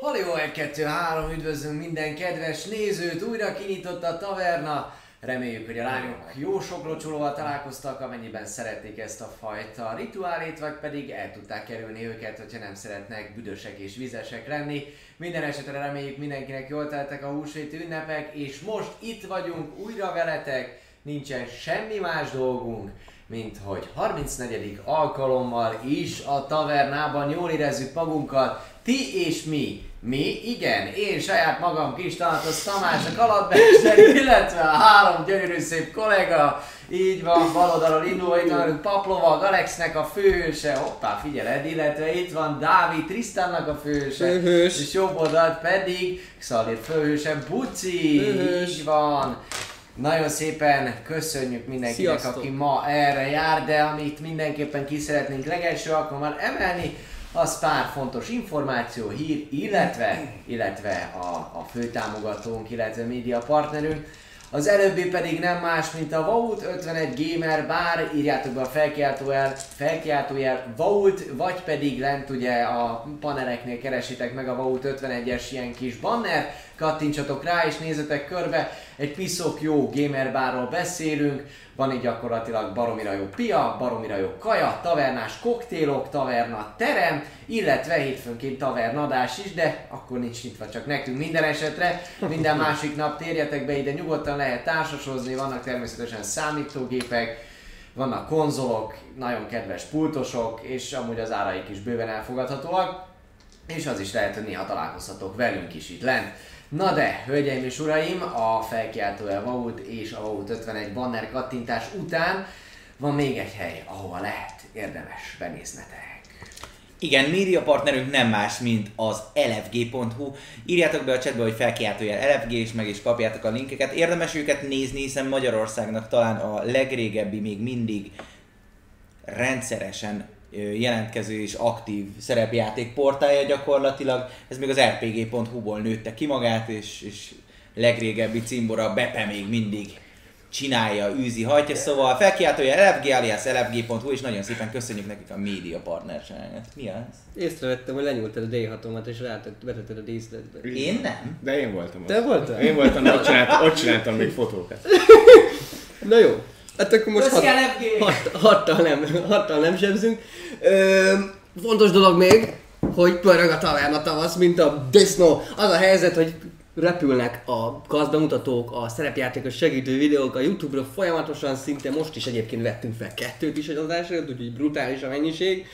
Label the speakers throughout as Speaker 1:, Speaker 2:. Speaker 1: Halió 1-2-3, üdvözlünk minden kedves nézőt, újra kinyitotta a taverna. Reméljük, hogy a lányok jó sok locsolóval találkoztak, amennyiben szerették ezt a fajta rituálét, vagy pedig el tudták kerülni őket, hogyha nem szeretnek büdösek és vizesek lenni. Minden esetre reméljük mindenkinek jól teltek a húsvéti ünnepek, és most itt vagyunk újra veletek, nincsen semmi más dolgunk, mint hogy 34. alkalommal is a tavernában jól érezzük magunkat, ti és mi. Mi? Igen, én saját magam kis Tanatos Tamás, a kalandmester, illetve a három gyönyörű szép kollega, így van, bal oldalon indulva, itt van velünk Paplova, Alexnek a főse, hoppá, figyeled, illetve itt van Dávid, Trisztánnak a főse,
Speaker 2: Főhős.
Speaker 1: és jobb oldalt pedig Xalir főhőse, Buci,
Speaker 2: Főhős.
Speaker 1: így van. Nagyon szépen köszönjük mindenkinek,
Speaker 2: Sziasztok.
Speaker 1: aki ma erre jár, de amit mindenképpen ki szeretnénk legelső alkalommal emelni, az pár fontos információ, hír, illetve, illetve a, a főtámogatónk, illetve média partnerünk. Az előbbi pedig nem más, mint a Vault 51 Gamer Bar, írjátok be a felkiáltójel, felkiáltójel Vault, vagy pedig lent ugye a paneleknél keresitek meg a Vault 51-es ilyen kis banner, kattintsatok rá és nézzetek körbe, egy piszok jó gamer barról beszélünk, van egy gyakorlatilag baromira jó pia, baromira jó kaja, tavernás koktélok, taverna terem, illetve hétfőnként tavernadás is, de akkor nincs nyitva csak nekünk minden esetre. Minden másik nap térjetek be ide, nyugodtan lehet társasozni, vannak természetesen számítógépek, vannak konzolok, nagyon kedves pultosok, és amúgy az áraik is bőven elfogadhatóak, és az is lehet, hogy néha találkozhatok velünk is itt lent. Na de, hölgyeim és uraim, a felkiáltó el Vaut és a Vaut 51 banner kattintás után van még egy hely, ahova lehet érdemes benéznetek.
Speaker 3: Igen, média partnerünk nem más, mint az lfg.hu. Írjátok be a chatbe, hogy felkiáltójel LFG, és meg is kapjátok a linkeket. Érdemes őket nézni, hiszen Magyarországnak talán a legrégebbi, még mindig rendszeresen ö, jelentkező és aktív szerepjáték portálja gyakorlatilag. Ez még az rpg.hu-ból nőtte ki magát, és, és legrégebbi címbora Bepe még mindig csinálja, űzi, hajtja, szóval felkiáltója LFG alias LFG.hu, és nagyon szépen köszönjük nekik a média partnerséget. Mi az?
Speaker 2: Észrevettem, hogy lenyúltad a D6-omat, és rátett, betetted a díszletbe.
Speaker 3: Én nem.
Speaker 4: De én voltam ott.
Speaker 2: Te voltál?
Speaker 4: Én voltam, ott csináltam, ott csináltam még fotókat.
Speaker 2: Na jó, hát akkor most hat,
Speaker 1: Köszi, LFG!
Speaker 2: hat, hattal, nem, hattal nem sebzünk. Ö, fontos dolog még, hogy pörög a tavern a tavasz, mint a disznó. Az a helyzet, hogy repülnek a gazdamutatók, a szerepjátékos segítő videók a Youtube-ra folyamatosan, szinte most is egyébként vettünk fel kettőt is egy adás előtt, úgyhogy brutális a mennyiség,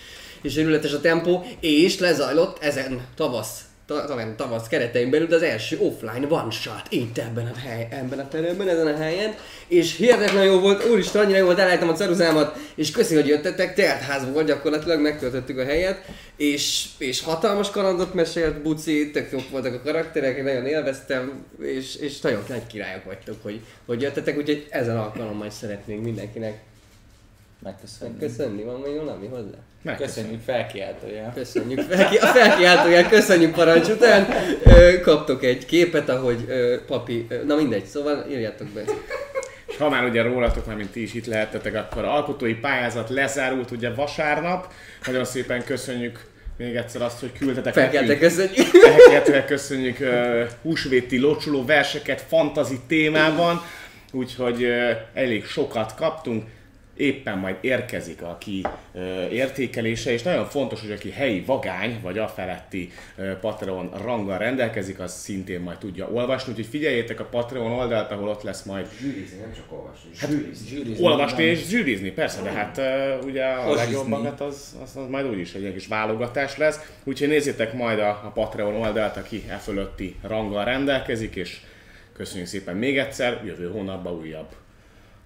Speaker 2: és örületes a tempó, és lezajlott ezen tavasz ta- tavern tavasz keretein belül, de az első offline one shot itt ebben a, hely, ebben a teremben, ezen a helyen, és hihetetlen jó volt, úristen, annyira jó volt, elejtem a ceruzámat, és köszi, hogy jöttetek, teltház volt gyakorlatilag, megtöltöttük a helyet, és, és hatalmas kalandot mesélt Buci, tök jók voltak a karakterek, én nagyon élveztem, és, és nagyon nagy királyok vagytok, hogy, hogy jöttetek, úgyhogy ezen alkalommal is szeretnénk mindenkinek
Speaker 3: Megköszönjük.
Speaker 2: köszönni, van még valami hozzá?
Speaker 3: Köszönjük felkiáltója.
Speaker 2: Köszönjük, felki, a felkiáltóját köszönjük parancs után. Ö, kaptok egy képet, ahogy ö, papi, ö, na mindegy, szóval írjátok be.
Speaker 4: És ha már ugye rólatok, már mint ti is itt lehettetek, akkor alkotói pályázat lezárult ugye vasárnap. Nagyon szépen köszönjük még egyszer azt, hogy küldtetek
Speaker 2: Felkeltek,
Speaker 4: nekünk.
Speaker 2: köszönjük.
Speaker 4: Elkérhetőleg köszönjük uh, húsvéti locsoló verseket fantazi témában, úgyhogy uh, elég sokat kaptunk. Éppen majd érkezik a ki uh, értékelése, és nagyon fontos, hogy aki helyi vagány, vagy afeletti uh, Patreon ranggal rendelkezik, az szintén majd tudja olvasni, úgyhogy figyeljétek a Patreon oldalt, ahol ott lesz majd
Speaker 1: Zsűrizni, nem csak olvasni. Zsűrizni.
Speaker 4: olvasni és zsűrizni, persze, de hát uh, ugye a
Speaker 3: Hozsizni.
Speaker 4: legjobbakat az, az, az majd úgyis egy ilyen kis válogatás lesz. Úgyhogy nézzétek majd a, a Patreon oldalt, aki e fölötti ranggal rendelkezik, és köszönjük szépen még egyszer, jövő hónapban újabb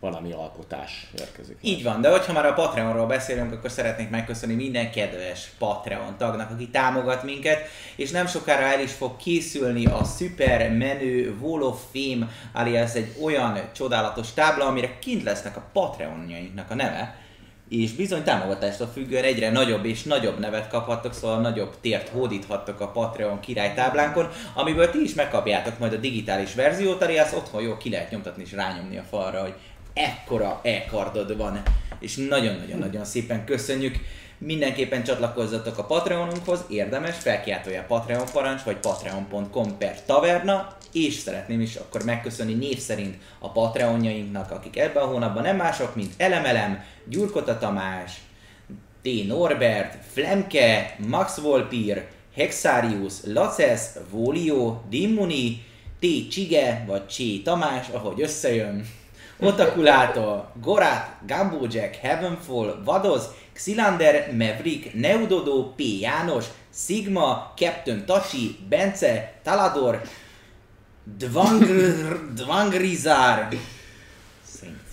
Speaker 4: valami alkotás érkezik.
Speaker 3: Így van, de hogyha már a Patreonról beszélünk, akkor szeretnék megköszönni minden kedves Patreon tagnak, aki támogat minket, és nem sokára el is fog készülni a szuper menő Wall of Fame, alias egy olyan csodálatos tábla, amire kint lesznek a Patreonjainknak a neve, és bizony támogatástól függően egyre nagyobb és nagyobb nevet kaphattok, szóval nagyobb tért hódíthattok a Patreon királytáblánkon, amiből ti is megkapjátok majd a digitális verziót, alias otthon jól ki lehet nyomtatni és rányomni a falra, hogy ekkora e-kardod van, és nagyon-nagyon-nagyon szépen köszönjük Mindenképpen csatlakozzatok a Patreonunkhoz, érdemes, felkiáltója Patreon parancs, vagy patreon.com per taverna, és szeretném is akkor megköszönni név szerint a Patreonjainknak, akik ebben a hónapban nem mások, mint Elemelem, Gyurkota Tamás, T. Norbert, Flemke, Max Volpír, Hexarius, Laces, Volio, Dimmuni, T. Csige, vagy Csé Tamás, ahogy összejön, Otakulától, Gorat, Gumbo Jack, Heavenfall, Vadoz, Xilander, Maverick, Neudodó, P. János, Sigma, Captain Tachi, Bence, Talador, Dvangr, Dvangrizár,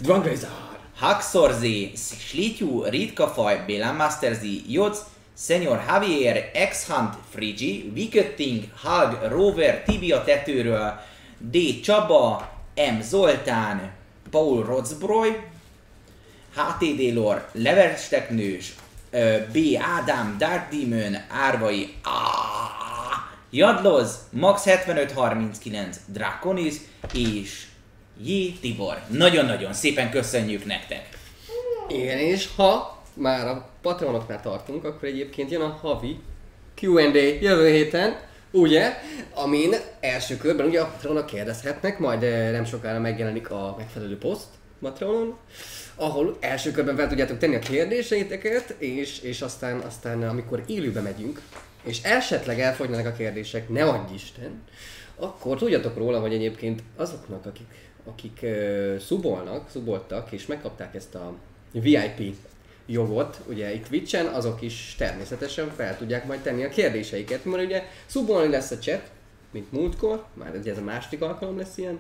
Speaker 2: Dvangrizár.
Speaker 3: Haxorzi, Slityu, Ritkafaj, Béla Masterzi, Joc, Senior Javier, X-Hunt, Frigi, Wicketing, Hug, Rover, Tibia tetőről, D. Csaba, M. Zoltán, Paul Rocbroy, HTD Lor, Leversteknős, ö, B. Ádám, Dark Demon, Árvai, Áááá, Jadloz, Max 7539, Draconis és J. Tibor. Nagyon-nagyon szépen köszönjük nektek!
Speaker 2: Igen, és ha már a Patreonoknál tartunk, akkor egyébként jön a havi Q&A jövő héten, ugye, amin első körben ugye a Patreonok kérdezhetnek, majd eh, nem sokára megjelenik a megfelelő poszt Patreonon, ahol első körben fel tudjátok tenni a kérdéseiteket, és, és aztán, aztán amikor élőbe megyünk, és esetleg elfogynának a kérdések, ne adj Isten, akkor tudjatok róla, hogy egyébként azoknak, akik, akik uh, szubolnak, szuboltak, és megkapták ezt a VIP jogot, ugye itt Twitchen, azok is természetesen fel tudják majd tenni a kérdéseiket, mert ugye szubolni lesz a chat, mint múltkor, már ugye ez a második alkalom lesz ilyen.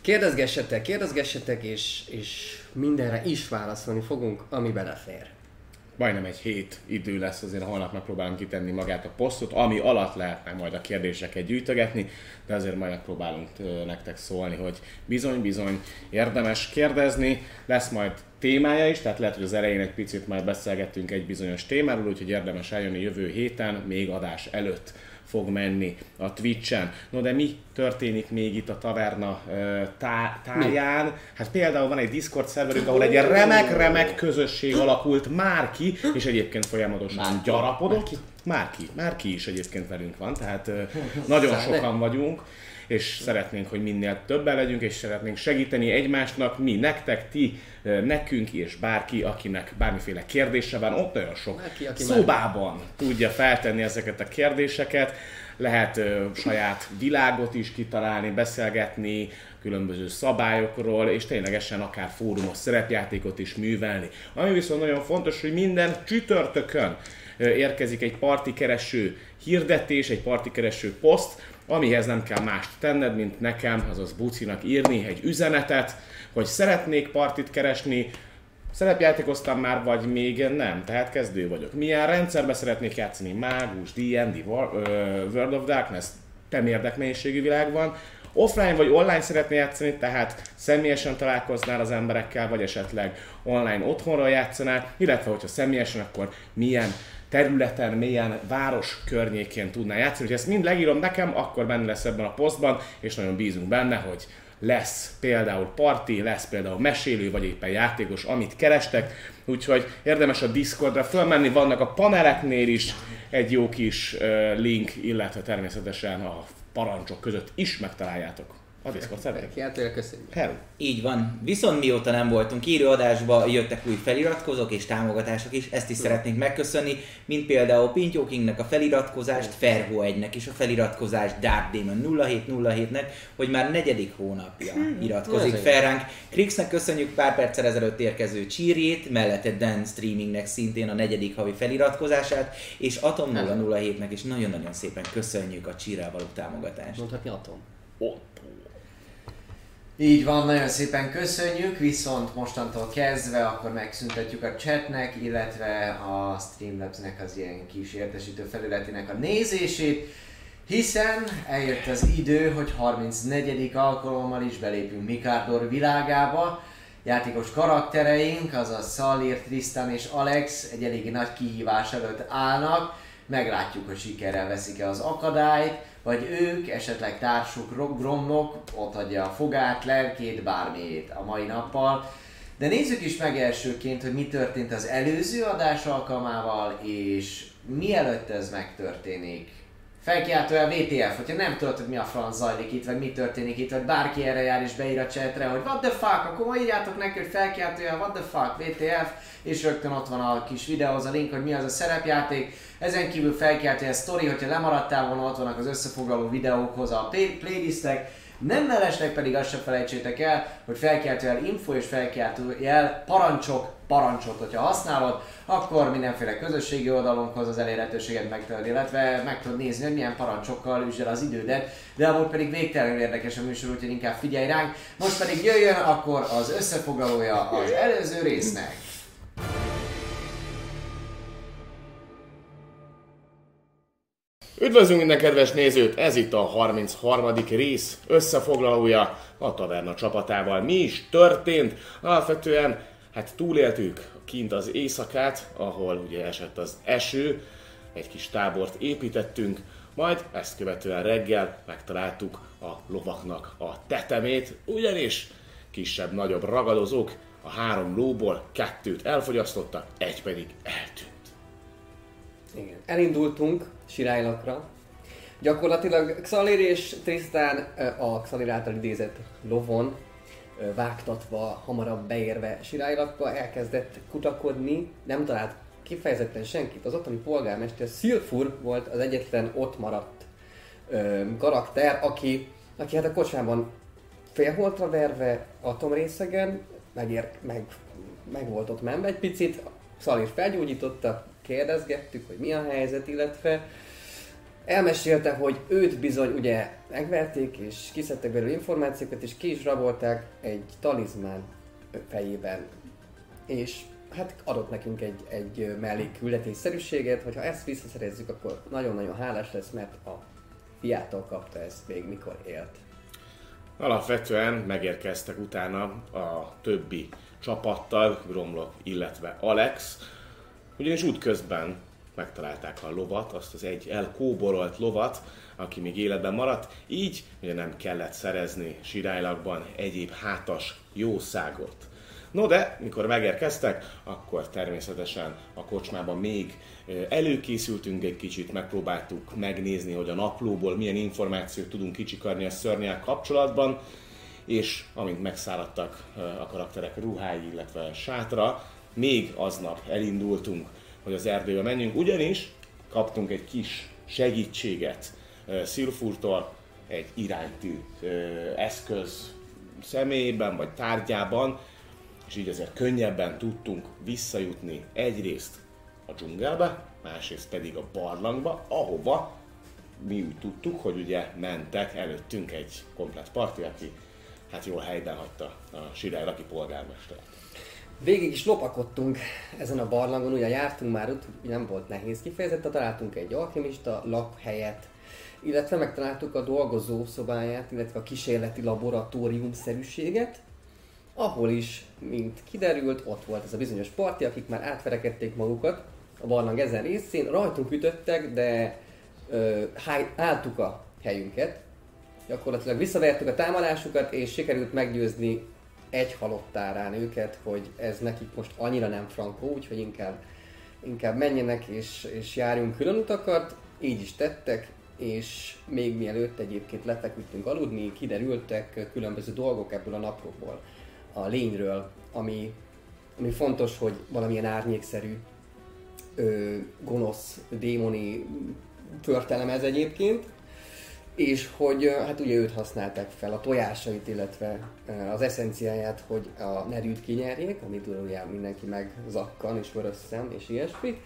Speaker 2: Kérdezgessetek, kérdezgessetek, és, és mindenre is válaszolni fogunk, ami belefér.
Speaker 4: Majdnem egy hét idő lesz, azért holnap megpróbálunk kitenni magát a posztot, ami alatt lehetne majd a kérdéseket gyűjtögetni, de azért majd megpróbálunk ö, nektek szólni, hogy bizony-bizony érdemes kérdezni, lesz majd témája is, tehát lehet, hogy az elején egy picit már beszélgettünk egy bizonyos témáról, úgyhogy érdemes eljönni jövő héten, még adás előtt fog menni a Twitch-en. No de mi történik még itt a taverna ö, tá- táján? Hát például van egy Discord szerverünk, ahol egy remek-remek közösség alakult már ki, és egyébként folyamatosan már gyarapodott. Már ki, már ki is egyébként velünk van, tehát ö, nagyon sokan vagyunk, és szeretnénk, hogy minél többen legyünk, és szeretnénk segíteni egymásnak, mi, nektek, ti, ö, nekünk, és bárki, akinek bármiféle kérdése van, ott nagyon sok
Speaker 2: Bárki, aki már-
Speaker 4: szóba szobában tudja feltenni ezeket a kérdéseket, lehet ö, saját világot is kitalálni, beszélgetni különböző szabályokról, és ténylegesen akár fórumos szerepjátékot is művelni. Ami viszont nagyon fontos, hogy minden csütörtökön ö, érkezik egy partikereső hirdetés, egy partikereső poszt, amihez nem kell mást tenned, mint nekem, azaz Bucinak írni egy üzenetet, hogy szeretnék partit keresni, Szerepjátékoztam már, vagy még nem, tehát kezdő vagyok. Milyen rendszerbe szeretnék játszani? Mágus, D&D, War- ö, World of Darkness, nem érdekmennyiségű világban. Offline vagy online szeretnél játszani, tehát személyesen találkoznál az emberekkel, vagy esetleg online otthonról játszanál, illetve hogyha személyesen, akkor milyen területen, milyen város környékén tudnál játszani. Ha ezt mind legírom nekem, akkor benne lesz ebben a posztban, és nagyon bízunk benne, hogy lesz például parti, lesz például mesélő, vagy éppen játékos, amit kerestek, úgyhogy érdemes a Discordra fölmenni, vannak a paneleknél is egy jó kis ö, link, illetve természetesen a parancsok között is megtaláljátok a Discord szerveket.
Speaker 2: Kiáltója, köszönjük.
Speaker 4: Hello!
Speaker 3: Így van. Viszont mióta nem voltunk élőadásba, jöttek új feliratkozók és támogatások is, ezt is szeretnénk megköszönni, mint például Pintyó Kingnek a feliratkozást, Ferho 1-nek és a feliratkozást Dark Demon 0707-nek, hogy már negyedik hónapja iratkozik fel ránk. Krixnek köszönjük pár perccel ezelőtt érkező csírjét, mellette Dan Streamingnek szintén a negyedik havi feliratkozását, és Atom 007-nek is nagyon-nagyon szépen köszönjük a csírrel való támogatást.
Speaker 2: Mondhatni Atom.
Speaker 1: Így van, nagyon szépen köszönjük, viszont mostantól kezdve akkor megszüntetjük a chatnek, illetve a Streamlabsnek az ilyen kis értesítő felületének a nézését, hiszen eljött az idő, hogy 34. alkalommal is belépünk Mikardor világába. Játékos karaktereink, azaz Szalir, Tristan és Alex egy eléggé nagy kihívás előtt állnak, meglátjuk, hogy sikerrel veszik-e az akadályt, vagy ők, esetleg társuk Rob Gromlok, ott adja a fogát, lelkét, bármiét a mai nappal. De nézzük is meg elsőként, hogy mi történt az előző adás alkalmával, és mielőtt ez megtörténik. Felkiáltó a VTF, hogyha nem tudod, hogy mi a franc zajlik itt, vagy mi történik itt, vagy bárki erre jár és beír a chatre, hogy what the fuck, akkor ma írjátok neki, hogy felkiáltója, what the fuck, VTF, és rögtön ott van a kis videóhoz a link, hogy mi az a szerepjáték. Ezen kívül felkiáltója a sztori, hogyha lemaradtál volna, ott vannak az összefoglaló videókhoz a play- playlistek, nem mellesleg pedig azt se felejtsétek el, hogy felkiáltó el info és felkiáltó el parancsok, parancsot, hogyha használod, akkor mindenféle közösségi oldalunkhoz az elérhetőséget megtalálod, illetve meg tudod nézni, hogy milyen parancsokkal üzsel az idődet, de amúgy pedig végtelenül érdekes a műsor, úgyhogy inkább figyelj ránk. Most pedig jöjjön akkor az összefoglalója az előző résznek.
Speaker 4: Üdvözlünk minden kedves nézőt! Ez itt a 33. rész összefoglalója a taverna csapatával. Mi is történt? Alapvetően hát túléltük kint az éjszakát, ahol ugye esett az eső, egy kis tábort építettünk, majd ezt követően reggel megtaláltuk a lovaknak a tetemét, ugyanis kisebb-nagyobb ragadozók a három lóból kettőt elfogyasztottak, egy pedig eltűnt.
Speaker 2: Igen. Elindultunk Sirálylakra. Gyakorlatilag Xalir és Tristan ö, a Xalir által idézett lovon ö, vágtatva, hamarabb beérve Sirálylakba elkezdett kutakodni, nem talált kifejezetten senkit. Az ottani polgármester Szilfur volt az egyetlen ott maradt ö, karakter, aki, aki hát a kocsmában félholtra verve atomrészegen, megér, meg, meg volt ott menve egy picit, Szalir felgyógyította, kérdezgettük, hogy mi a helyzet, illetve elmesélte, hogy őt bizony ugye megverték, és kiszedtek belőle információkat, és ki is rabolták egy talizmán fejében. És hát adott nekünk egy, egy mellékküldetésszerűséget, hogy ha ezt visszaszerezzük, akkor nagyon-nagyon hálás lesz, mert a fiától kapta ezt még mikor élt.
Speaker 4: Alapvetően megérkeztek utána a többi csapattal, Gromlok, illetve Alex, ugyanis útközben megtalálták a lovat, azt az egy elkóborolt lovat, aki még életben maradt, így ugye nem kellett szerezni sirálylakban egyéb hátas jószágot. No de, mikor megérkeztek, akkor természetesen a kocsmában még ö, előkészültünk egy kicsit, megpróbáltuk megnézni, hogy a naplóból milyen információt tudunk kicsikarni a szörnyel kapcsolatban, és amint megszállottak ö, a karakterek ruhái, illetve sátra, még aznap elindultunk, hogy az erdőbe menjünk, ugyanis kaptunk egy kis segítséget ö, Szilfurtól, egy iránytű ö, eszköz személyében vagy tárgyában, és így ezért könnyebben tudtunk visszajutni egyrészt a dzsungelbe, másrészt pedig a barlangba, ahova mi úgy tudtuk, hogy ugye mentek előttünk egy komplet parti, aki hát jól helyben hagyta a sirálylaki polgármestert.
Speaker 2: Végig is lopakodtunk ezen a barlangon, ugye jártunk már ott, úgyhogy nem volt nehéz kifejezetten, találtunk egy alkimista lakhelyet, illetve megtaláltuk a dolgozó szobáját, illetve a kísérleti laboratórium-szerűséget, ahol is, mint kiderült, ott volt ez a bizonyos parti, akik már átverekedték magukat a barlang ezen részén, rajtunk ütöttek, de ö, háj, álltuk a helyünket, gyakorlatilag visszavertük a támadásukat, és sikerült meggyőzni egy halottárán őket, hogy ez nekik most annyira nem frankó, úgyhogy inkább, inkább menjenek és, és járjunk külön utakat, így is tettek, és még mielőtt egyébként lefeküdtünk aludni, kiderültek különböző dolgok ebből a napokból, a lényről, ami, ami fontos, hogy valamilyen árnyékszerű ö, gonosz, démoni történelem ez egyébként, és hogy ö, hát ugye őt használták fel, a tojásait, illetve ö, az eszenciáját, hogy a nerűt kinyerjék, amit ugye mindenki megzakkan és vörös szem és ilyesmi.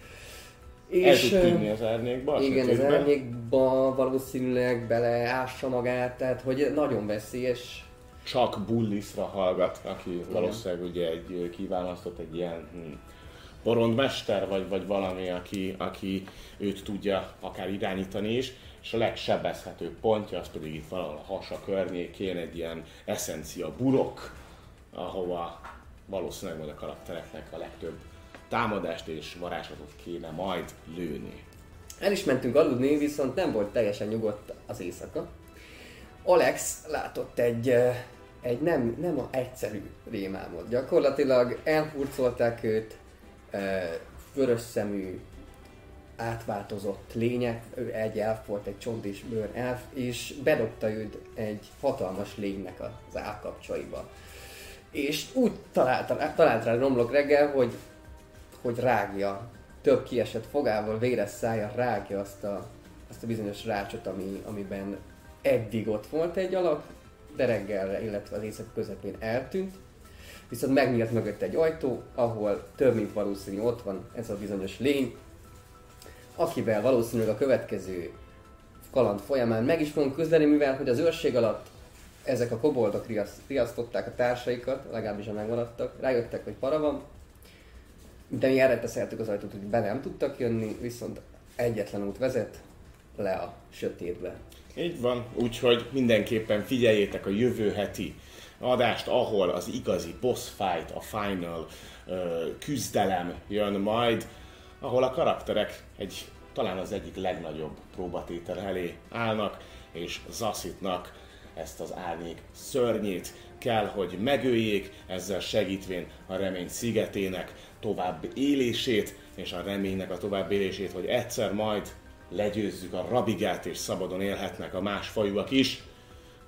Speaker 4: El tud
Speaker 2: ö,
Speaker 4: tűnni az árnyékba, a
Speaker 2: igen, az
Speaker 4: sötétbe.
Speaker 2: árnyékba valószínűleg beleássa magát, tehát hogy nagyon veszélyes
Speaker 4: csak Bullisra hallgat, aki valószínűleg ugye egy ö, kiválasztott egy ilyen hm, porondmester, vagy, vagy valami, aki, aki őt tudja akár irányítani is, és a legsebezhetőbb pontja az pedig itt valahol a hasa környékén egy ilyen eszencia burok, ahova valószínűleg majd a karaktereknek a legtöbb támadást és varázslatot kéne majd lőni.
Speaker 2: El is mentünk aludni, viszont nem volt teljesen nyugodt az éjszaka. Alex látott egy, eh, egy nem, nem a egyszerű rémálmod. Gyakorlatilag elhurcolták őt e, vörös szemű, átváltozott lények, ő egy elf volt, egy csont és bőr elf, és bedobta őt egy hatalmas lénynek az állkapcsaiba. És úgy talált, talált rá romlok reggel, hogy, hogy rágja, több kiesett fogával, véres szája rágja azt a, azt a bizonyos rácsot, ami, amiben eddig ott volt egy alak, de reggelre, illetve az éjszak közepén eltűnt. Viszont megnyílt mögött egy ajtó, ahol több mint valószínű ott van ez a bizonyos lény, akivel valószínűleg a következő kaland folyamán meg is fogunk küzdeni, mivel hogy az őrség alatt ezek a koboldok riaszt- riasztották a társaikat, legalábbis a megmaradtak, rájöttek, hogy para van, de mi erre teszeltük az ajtót, hogy be nem tudtak jönni, viszont egyetlen út vezet le a sötétbe.
Speaker 4: Így van, úgyhogy mindenképpen figyeljétek a jövő heti adást, ahol az igazi boss fight, a final ö, küzdelem jön majd, ahol a karakterek egy talán az egyik legnagyobb próbatétel elé állnak, és zaszitnak ezt az árnyék szörnyét kell, hogy megöljék, ezzel segítvén a remény szigetének tovább élését, és a reménynek a tovább élését, hogy egyszer majd legyőzzük a rabigát, és szabadon élhetnek a más fajúak is.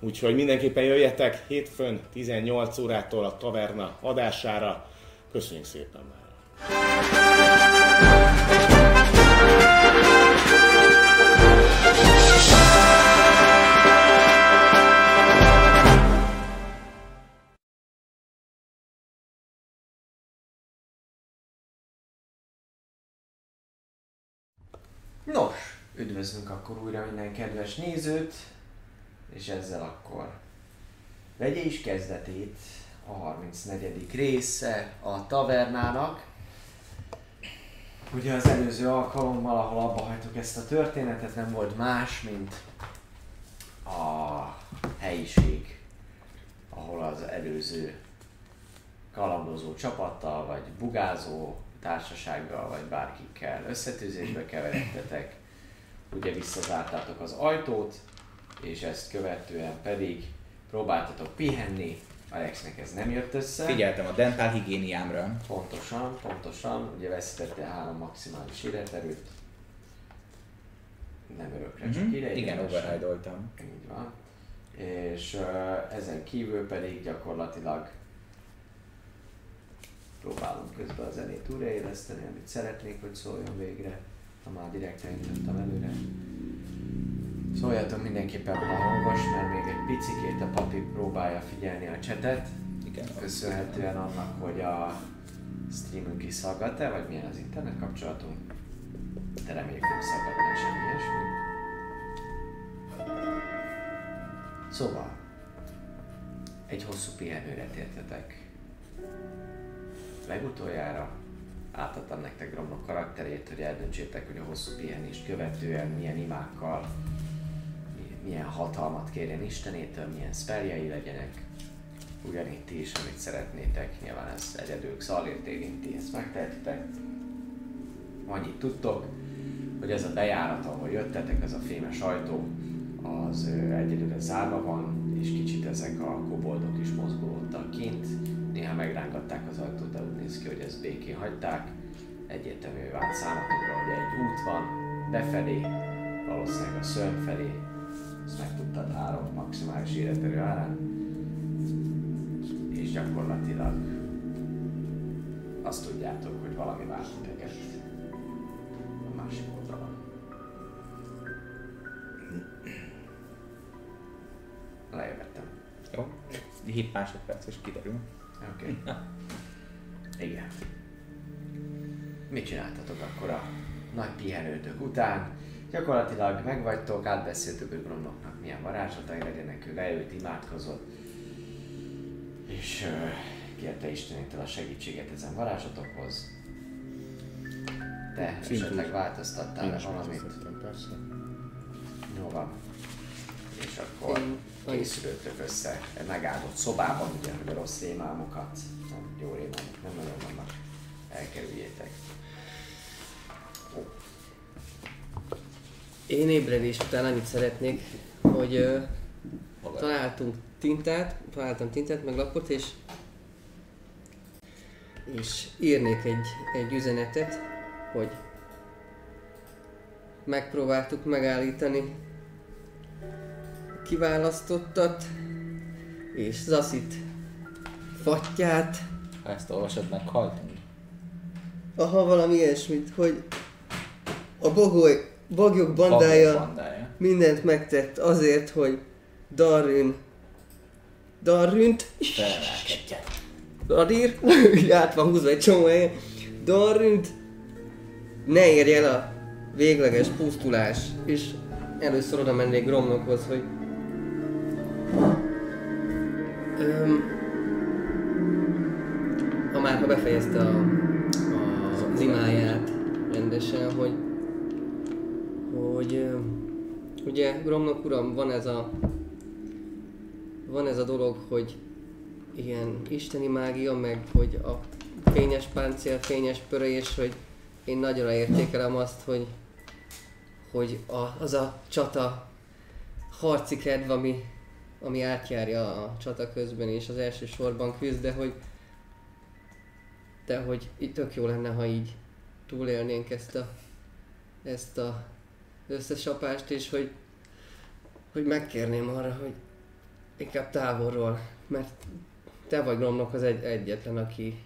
Speaker 4: Úgyhogy mindenképpen jöjjetek hétfőn 18 órától a taverna adására. Köszönjük szépen már!
Speaker 1: Nos, üdvözlünk akkor újra minden kedves nézőt, és ezzel akkor vegye is kezdetét a 34. része a tavernának. Ugye az előző alkalommal, ahol abba hagytuk ezt a történetet, nem volt más, mint a helyiség, ahol az előző kalandozó csapattal, vagy bugázó társasággal, vagy bárkikkel összetűzésbe keveredtetek. Ugye visszazártátok az ajtót, és ezt követően pedig próbáltatok pihenni, Alexnek ez nem jött össze.
Speaker 3: Figyeltem a dentálhigiéniámra.
Speaker 1: Pontosan, pontosan, ugye veszítette három maximális életerőt. Nem örökre, csak
Speaker 3: Mhm.
Speaker 1: ideiglenesen.
Speaker 3: Igen, override-oltam.
Speaker 1: Így van. És ö, ezen kívül pedig gyakorlatilag próbálunk közben a zenét újraéleszteni, amit szeretnék, hogy szóljon végre, ha már direkt elindítottam előre. Szóljatok mindenképpen, ha hangos, mert még egy picikét a papi próbálja figyelni a csetet,
Speaker 3: Igen.
Speaker 1: köszönhetően annak, hogy a streamünk is szaggat-e, vagy milyen az internet kapcsolatunk. De reméljük nem szaggatná semmi ilyesmi. Szóval, egy hosszú pihenőre tértetek. Legutoljára átadtam nektek Gromnak karakterét, hogy eldöntsétek, hogy a hosszú pihenést követően milyen imákkal, mi- milyen hatalmat kérjen Istenétől, milyen spelljei legyenek, ugyanitt ti is, amit szeretnétek, nyilván ez egyedül szalért érinti, ezt megtehetitek. Annyit tudtok, hogy ez a bejárat, ahol jöttetek, ez a fémes ajtó, az ö, egyelőre zárva van, és kicsit ezek a koboldok is mozgolódtak kint. Néha megrángatták az ajtót, de úgy néz ki, hogy ezt békén hagyták. Egyértelmű vált számotokra, hogy egy út van befelé, valószínűleg a szörny felé. Ezt megtudtad három maximális életerő árán és gyakorlatilag azt tudjátok, hogy valami vár titeket a másik oldalon. Lejövettem.
Speaker 3: Jó. 7 másodperc és kiderül.
Speaker 1: Oké. Okay. Igen. Mit csináltatok akkor a nagy pihenőtök után? Gyakorlatilag megvagytok, átbeszéltük, hogy Gromnoknak milyen varázslatai legyenek, ő leült, imádkozott, és ö, kérte Istenétől a segítséget ezen varázslatokhoz. Te
Speaker 4: Szintúr.
Speaker 1: esetleg változtattál le
Speaker 4: Én is
Speaker 1: valamit?
Speaker 4: megtiszteltem, persze.
Speaker 1: Jó van. És akkor
Speaker 2: Én-
Speaker 1: készülőtök össze egy megáldott szobában, ugye, hogy a rossz rémálmokat, nem jó rémálmok, nem nagyon vannak, elkerüljétek.
Speaker 2: Én ébredés után annyit szeretnék, hogy ö,
Speaker 3: Maga.
Speaker 2: találtunk tintát, találtam tintát, meg lapot, és és írnék egy, egy üzenetet, hogy megpróbáltuk megállítani kiválasztottat, és Zaszit fattyát,
Speaker 3: Ha ezt olvasod, meghaltunk.
Speaker 2: aha, valami ilyesmit, hogy a bogoly, bagyok bandája
Speaker 3: Bandája.
Speaker 2: mindent megtett azért, hogy Darrün Darrünt
Speaker 3: Felelkedjen.
Speaker 2: Dadir, így át van húzva egy csomó helyen, Darrünt ne érj el a végleges pusztulás, és először oda mennék Gromnokhoz, hogy Öm, ha már ha befejezte a, a, az imáját rendesen, hogy hogy öm, ugye Gromnok uram, van ez a van ez a dolog, hogy ilyen isteni mágia, meg hogy a fényes páncél, fényes pörés, hogy én nagyra értékelem azt, hogy, hogy a, az a csata harci kedv, ami, ami átjárja a csata közben, és az első sorban küzd, de hogy, de hogy itt tök jó lenne, ha így túlélnénk ezt a, ezt a összesapást, és hogy, hogy megkérném arra, hogy Inkább távolról, mert te vagy Gromnak az egy, egyetlen, aki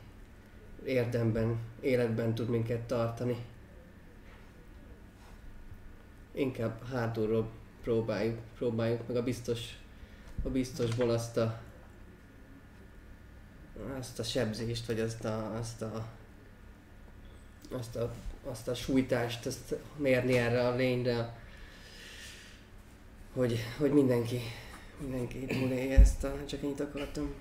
Speaker 2: érdemben, életben tud minket tartani. Inkább hátulról próbáljuk, próbáljuk meg a biztos, a biztosból azt a azt a sebzést, vagy azt a, azt a azt a, azt a sújtást, azt mérni erre a lényre, hogy, hogy mindenki, mindenki túlélje ezt a, csak ennyit akartam.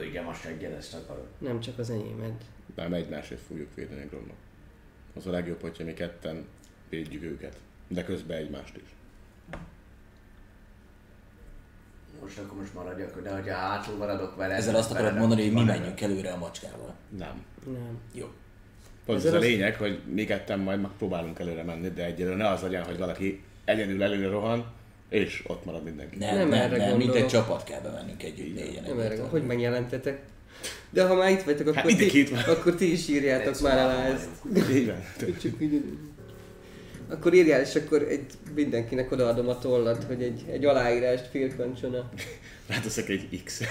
Speaker 1: Igen, most egyet ezt akarod.
Speaker 2: Nem csak az enyémed.
Speaker 4: Nem egymásért fogjuk védeni Gromnak. Az a legjobb, hogyha mi ketten védjük őket. De közben egymást is.
Speaker 1: Most akkor most maradjak, de hogyha hátul maradok vele...
Speaker 5: Ezzel azt akarod
Speaker 1: veled,
Speaker 5: mondani, hogy mi
Speaker 1: akkor
Speaker 5: menjünk előre a macskával.
Speaker 4: Nem.
Speaker 2: Nem.
Speaker 5: Jó.
Speaker 4: Pont ez,
Speaker 2: Ezzel
Speaker 4: a
Speaker 2: az-
Speaker 4: lényeg, hogy mi ketten majd megpróbálunk előre menni, de egyelőre ne az legyen, hogy valaki egyedül előre rohan, és ott marad mindenki.
Speaker 5: Nem,
Speaker 2: Nem
Speaker 5: nem,
Speaker 2: erre
Speaker 5: nem, nem mint egy
Speaker 2: gondolok.
Speaker 5: csapat kell bemennünk együtt négyen.
Speaker 2: Nem
Speaker 5: együtt.
Speaker 2: erre, hogy megjelentetek. De ha már itt vagytok, akkor,
Speaker 4: ide
Speaker 2: ti,
Speaker 4: Hát két van.
Speaker 2: akkor ti is írjátok már
Speaker 1: szóval
Speaker 2: alá ezt.
Speaker 4: Így van.
Speaker 2: Csak így- Akkor írjál, és akkor egy, mindenkinek odaadom a tollat, hogy egy, egy aláírást firkancson a...
Speaker 4: Ráteszek Hát egy X.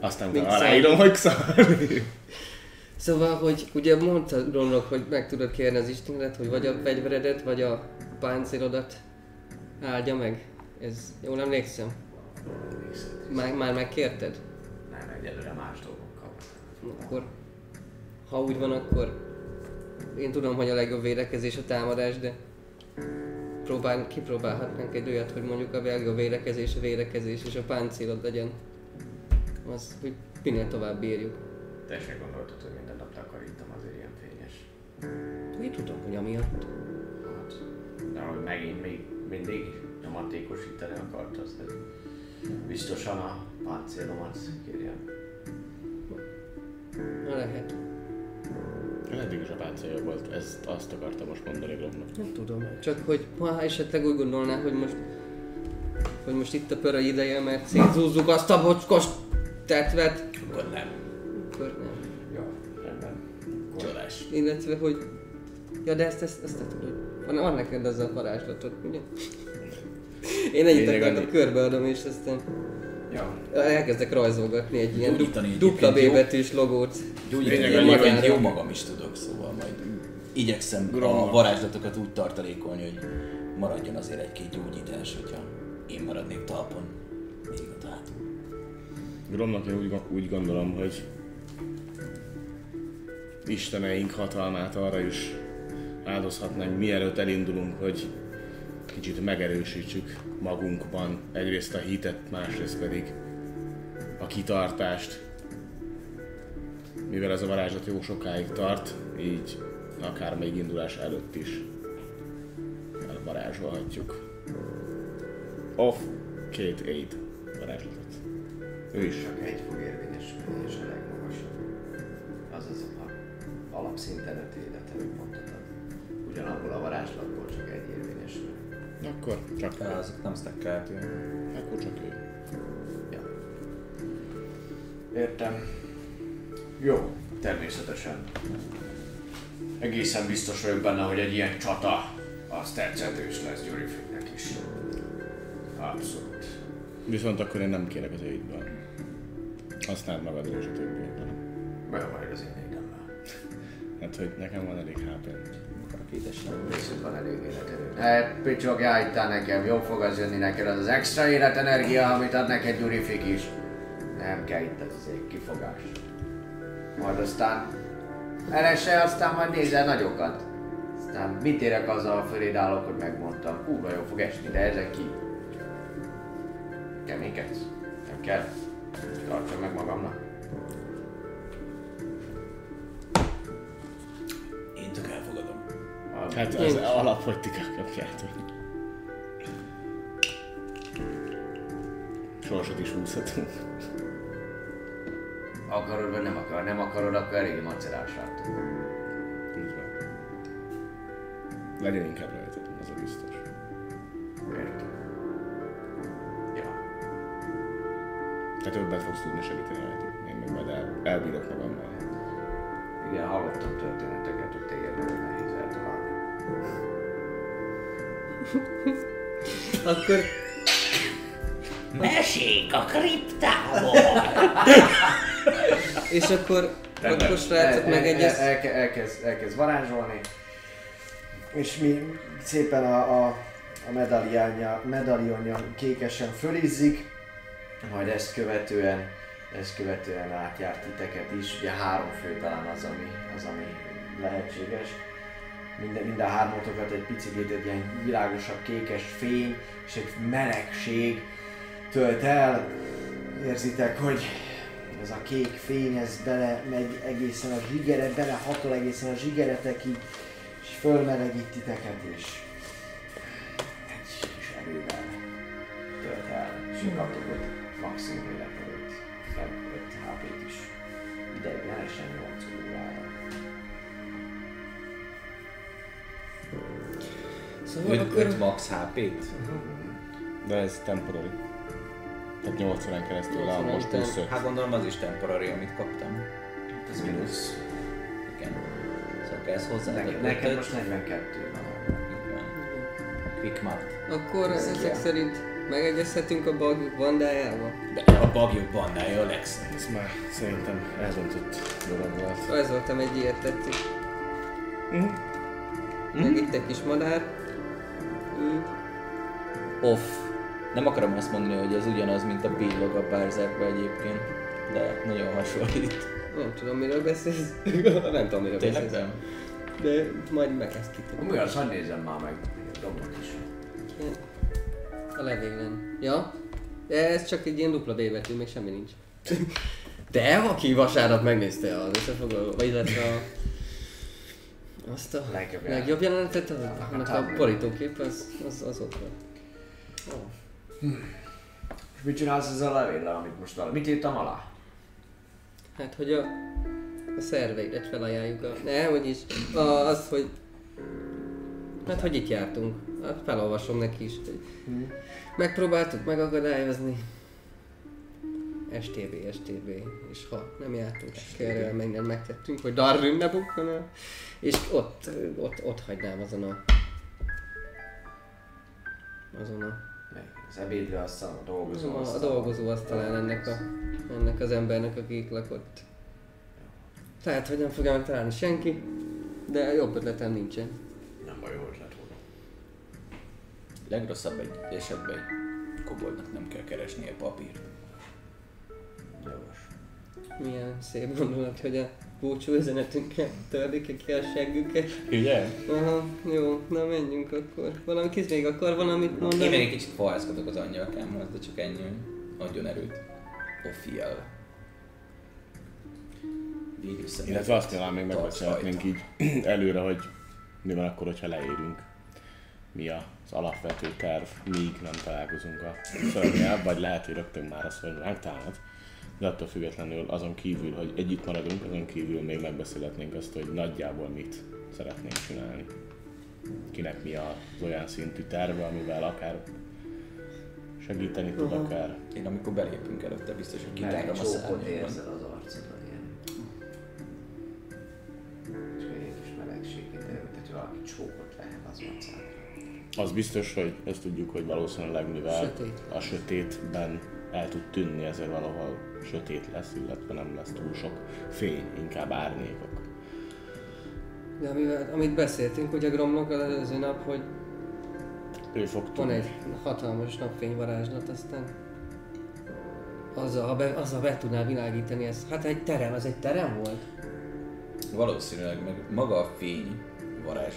Speaker 4: Aztán utána
Speaker 2: Mit
Speaker 4: aláírom, hogy szar.
Speaker 2: Szóval, hogy ugye mondta Ronrok, hogy meg tudod kérni az Istenet, hogy vagy a fegyveredet, vagy a páncélodat áldja meg. Ez, jól emlékszem? Már, már megkérted?
Speaker 1: Nem, egyelőre más dolgokkal.
Speaker 2: Akkor, ha úgy van, akkor én tudom, hogy a legjobb védekezés a támadás, de próbál, kipróbálhatnánk egy olyat, hogy mondjuk a legjobb védekezés a védekezés, és a páncélod legyen. Az, hogy minél tovább bírjuk.
Speaker 1: Te se gondoltad, hogy minden nap takarítom azért ilyen fényes.
Speaker 2: Én tudom, hogy amiatt.
Speaker 1: Hát, de hogy megint még mindig nyomatékosítani akart, azt ez biztosan a páncélomat kérjem.
Speaker 2: Na lehet.
Speaker 4: Eddig is a páncélja volt, ezt azt akartam most mondani Gromnak.
Speaker 2: Nem tudom. Csak hogy ha esetleg úgy gondolná, hogy most hogy most itt a pöröly ideje, mert szétzúzzuk azt a bocskos tetvet,
Speaker 5: Akkor nem.
Speaker 2: akkor nem.
Speaker 1: Jó, rendben.
Speaker 5: Csodás.
Speaker 2: Illetve, hogy... Ja, de ezt, ezt, ezt te tudod. Van, van neked az a varázslatod, ugye? Én ennyit
Speaker 4: Lényeg
Speaker 2: akartam,
Speaker 4: annyi.
Speaker 2: körbeadom, és aztán
Speaker 1: Jó,
Speaker 2: elkezdek rajzolgatni egy ilyen du-
Speaker 5: Gyógyítani
Speaker 2: dupla B
Speaker 5: egyébként jó.
Speaker 2: betűs logót.
Speaker 5: Gyógyítani
Speaker 4: Lényeg annyi,
Speaker 5: egyébként
Speaker 2: hogy-
Speaker 5: jó magam is tudok, szóval majd igyekszem
Speaker 4: Gromnak.
Speaker 5: a varázslatokat úgy tartalékolni, hogy maradjon azért egy-két gyógyítás, hogyha én maradnék talpon. Még ott hátul.
Speaker 4: Gromnak én úgy, úgy gondolom, hogy Isteneink hatalmát arra is áldozhatnánk, mielőtt elindulunk, hogy kicsit megerősítsük magunkban egyrészt a hitet, másrészt pedig a kitartást. Mivel ez a varázslat jó sokáig tart, így akár még indulás előtt is elvarázsolhatjuk. Off két aid varázslatot. Ő is.
Speaker 1: csak egy fog érvényesülni, és a legmagasabb. Azaz a alapszinten öt életelő pontot ad. Ugyanabból a varázslatból csak egy érvényesül.
Speaker 4: Akkor akkor csak
Speaker 3: De azok nem stackelhető.
Speaker 4: Akkor csak ő.
Speaker 1: Értem. Jó, természetesen. Egészen biztos vagyok benne, hogy egy ilyen csata az tetszetős lesz Gyurifének is. Abszolút.
Speaker 4: Viszont akkor én nem kérek az ügyből. Használd magadra és a többiekre.
Speaker 1: Meg majd az én érdemben.
Speaker 4: Hát, hogy nekem van elég hp
Speaker 1: Viszont van elég életerő. Ne picsogj itt nekem, jó fog az jönni neked az az extra életenergia, amit ad neked Gyurifik is. Nem kell itt ez egy kifogás. Majd aztán elese, aztán majd nézel nagyokat. Aztán mit érek azzal, ha föléd állok, hogy megmondtam. Hú, jó fog esni, de ezek ki. Keménykedsz? Nem kell. Tartsam meg magamnak.
Speaker 5: Én tök elfogadom.
Speaker 4: Hát az alap, hogy ti kapjátok. Sorsot is húzhatunk.
Speaker 1: Akarod vagy nem akarod, nem akarod, akkor elég macerás látod.
Speaker 4: Így van. Legyen inkább rajtad, az a biztos.
Speaker 1: Értem. Ja.
Speaker 4: Te többet fogsz tudni segíteni rajtuk. Én meg majd el, elbírok magammal.
Speaker 1: Igen, hallottam történeteket, hogy téged nagyon nehéz eltalálni.
Speaker 2: Akkor
Speaker 5: Mesék a kriptából!
Speaker 2: És akkor akkor a
Speaker 5: e-
Speaker 2: srácok megegyez.
Speaker 1: El, elke- elkezd, elkezd varázsolni, és mi szépen a, a, a medaliánja, medalionja kékesen fölizzik, majd ezt követően, ezt követően átjárt titeket is, ugye három fő talán az, ami, az, ami lehetséges. Minden, minden hármatokat egy picit egy ilyen világosabb kékes fény és egy melegség tölt el. Érzitek, hogy ez a kék fény, ez bele megy egészen a zsigere, belehatol egészen a zsigeretekig, és fölmelegít titeket, és egy kis erővel tölt el, és kaptok öt maximum életerőt, meg 5 HP-t is, ideiglenesen 8 órára.
Speaker 2: Szóval akkor
Speaker 3: 5 max HP-t.
Speaker 4: De ez temporary. Tehát 8 órán keresztül áll most
Speaker 2: 80-en.
Speaker 4: 25.
Speaker 3: Hát gondolom az is temporary, amit kaptam.
Speaker 1: Hát Ez mínusz.
Speaker 3: Igen. Szóval kell ezt hozzá.
Speaker 1: Neked, neked most 42 van.
Speaker 3: Quick math.
Speaker 2: Akkor ezek szerint megegyezhetünk a bagjuk bandájába?
Speaker 5: De a bagyok bannája a legszebb.
Speaker 4: Ez már szerintem elrontott dolog volt.
Speaker 2: Rajzoltam egy ilyet, tetszik. Meg itt egy kis madár. Mm.
Speaker 3: Off. Nem akarom azt mondani, hogy ez ugyanaz, mint a billog a Berserkbe egyébként, de nagyon hasonlít.
Speaker 2: Nem tudom, miről beszélsz. nem tudom, miről
Speaker 3: Tényleg
Speaker 2: beszélsz.
Speaker 3: nem?
Speaker 2: De majd meg ezt kitudom.
Speaker 1: Mi az, hadd nézem már meg. Dobnak is.
Speaker 2: A levélben. Ja? De ez csak egy ilyen dupla B betű, még semmi nincs. De aki vasárnap megnézte az összefoglaló, vagy illetve a... Azt a
Speaker 1: Legjobb jelenet.
Speaker 2: legjobb jelenetet, az, annak a borítókép, az, az, az ott van.
Speaker 1: És mit csinálsz ezzel a levéllel, amit most alá? Mit írtam alá?
Speaker 2: Hát, hogy a, a szerveidet felajánljuk a... Ne, hogy is. A, az, hogy... Hát, hogy itt jártunk. Hát, felolvasom neki is. Hogy megpróbáltuk megakadályozni. STB, STB. És ha nem jártunk sikerrel, meg nem megtettünk, hogy Darwin ne bukkan el. És ott, ott, ott hagynám azon a... Azon a...
Speaker 1: Meg Az ebédre aztán a dolgozó
Speaker 2: A, a
Speaker 1: asztal.
Speaker 2: dolgozó asztalán ennek, a, ennek az embernek, aki itt lakott. Tehát, hogy nem fogja megtalálni senki, de jobb ötletem nincsen.
Speaker 1: Nem baj, jó ötlet volt.
Speaker 5: Legrosszabb egy esetben egy koboldnak nem kell keresnie papírt.
Speaker 1: Jogos.
Speaker 2: Milyen szép gondolat, hogy a búcsú üzenetünkkel tördik ki a seggüket.
Speaker 5: Ugye?
Speaker 2: Aha, jó, na menjünk akkor. Valami kis még akar valamit
Speaker 3: Én még egy
Speaker 2: mondani?
Speaker 3: kicsit fahászkodok az angyalkámhoz, de csak ennyi, hogy adjon erőt.
Speaker 5: Offiel. Végül személy.
Speaker 4: Illetve azt nyilván még
Speaker 5: Tarts
Speaker 4: megbeszélhetnénk így előre, hogy mi van akkor, hogyha leérünk. Mi az alapvető terv, míg nem találkozunk a szörnyel, vagy lehet, hogy rögtön már az, hogy ránk támad. De attól függetlenül azon kívül, hogy együtt maradunk, azon kívül még megbeszélhetnénk azt, hogy nagyjából mit szeretnénk csinálni. kinek mi az olyan szintű terve, amivel akár segíteni tud, akár
Speaker 3: Én amikor belépünk előtte biztos, hogy
Speaker 1: Mert
Speaker 3: kitárom
Speaker 1: egy
Speaker 3: a
Speaker 1: csókot
Speaker 3: szárnyamban.
Speaker 1: érzel az arcodon ilyen. És egy kis melegség, de tehát valaki csókot vehet az macára.
Speaker 4: Az biztos, hogy ezt tudjuk, hogy valószínűleg mivel
Speaker 2: Sötét.
Speaker 4: a sötétben el tud tűnni, ezért valahol sötét lesz, illetve nem lesz túl sok fény, inkább árnyékok.
Speaker 2: De amivel, amit beszéltünk ugye Gromnak az előző nap, hogy
Speaker 4: Ő fog
Speaker 2: van
Speaker 4: tudni.
Speaker 2: egy hatalmas napfényvarázslat, aztán azzal, ha be, azzal be tudnál világítani ezt. Hát egy terem, az egy terem volt?
Speaker 3: Valószínűleg meg maga a fény varázs,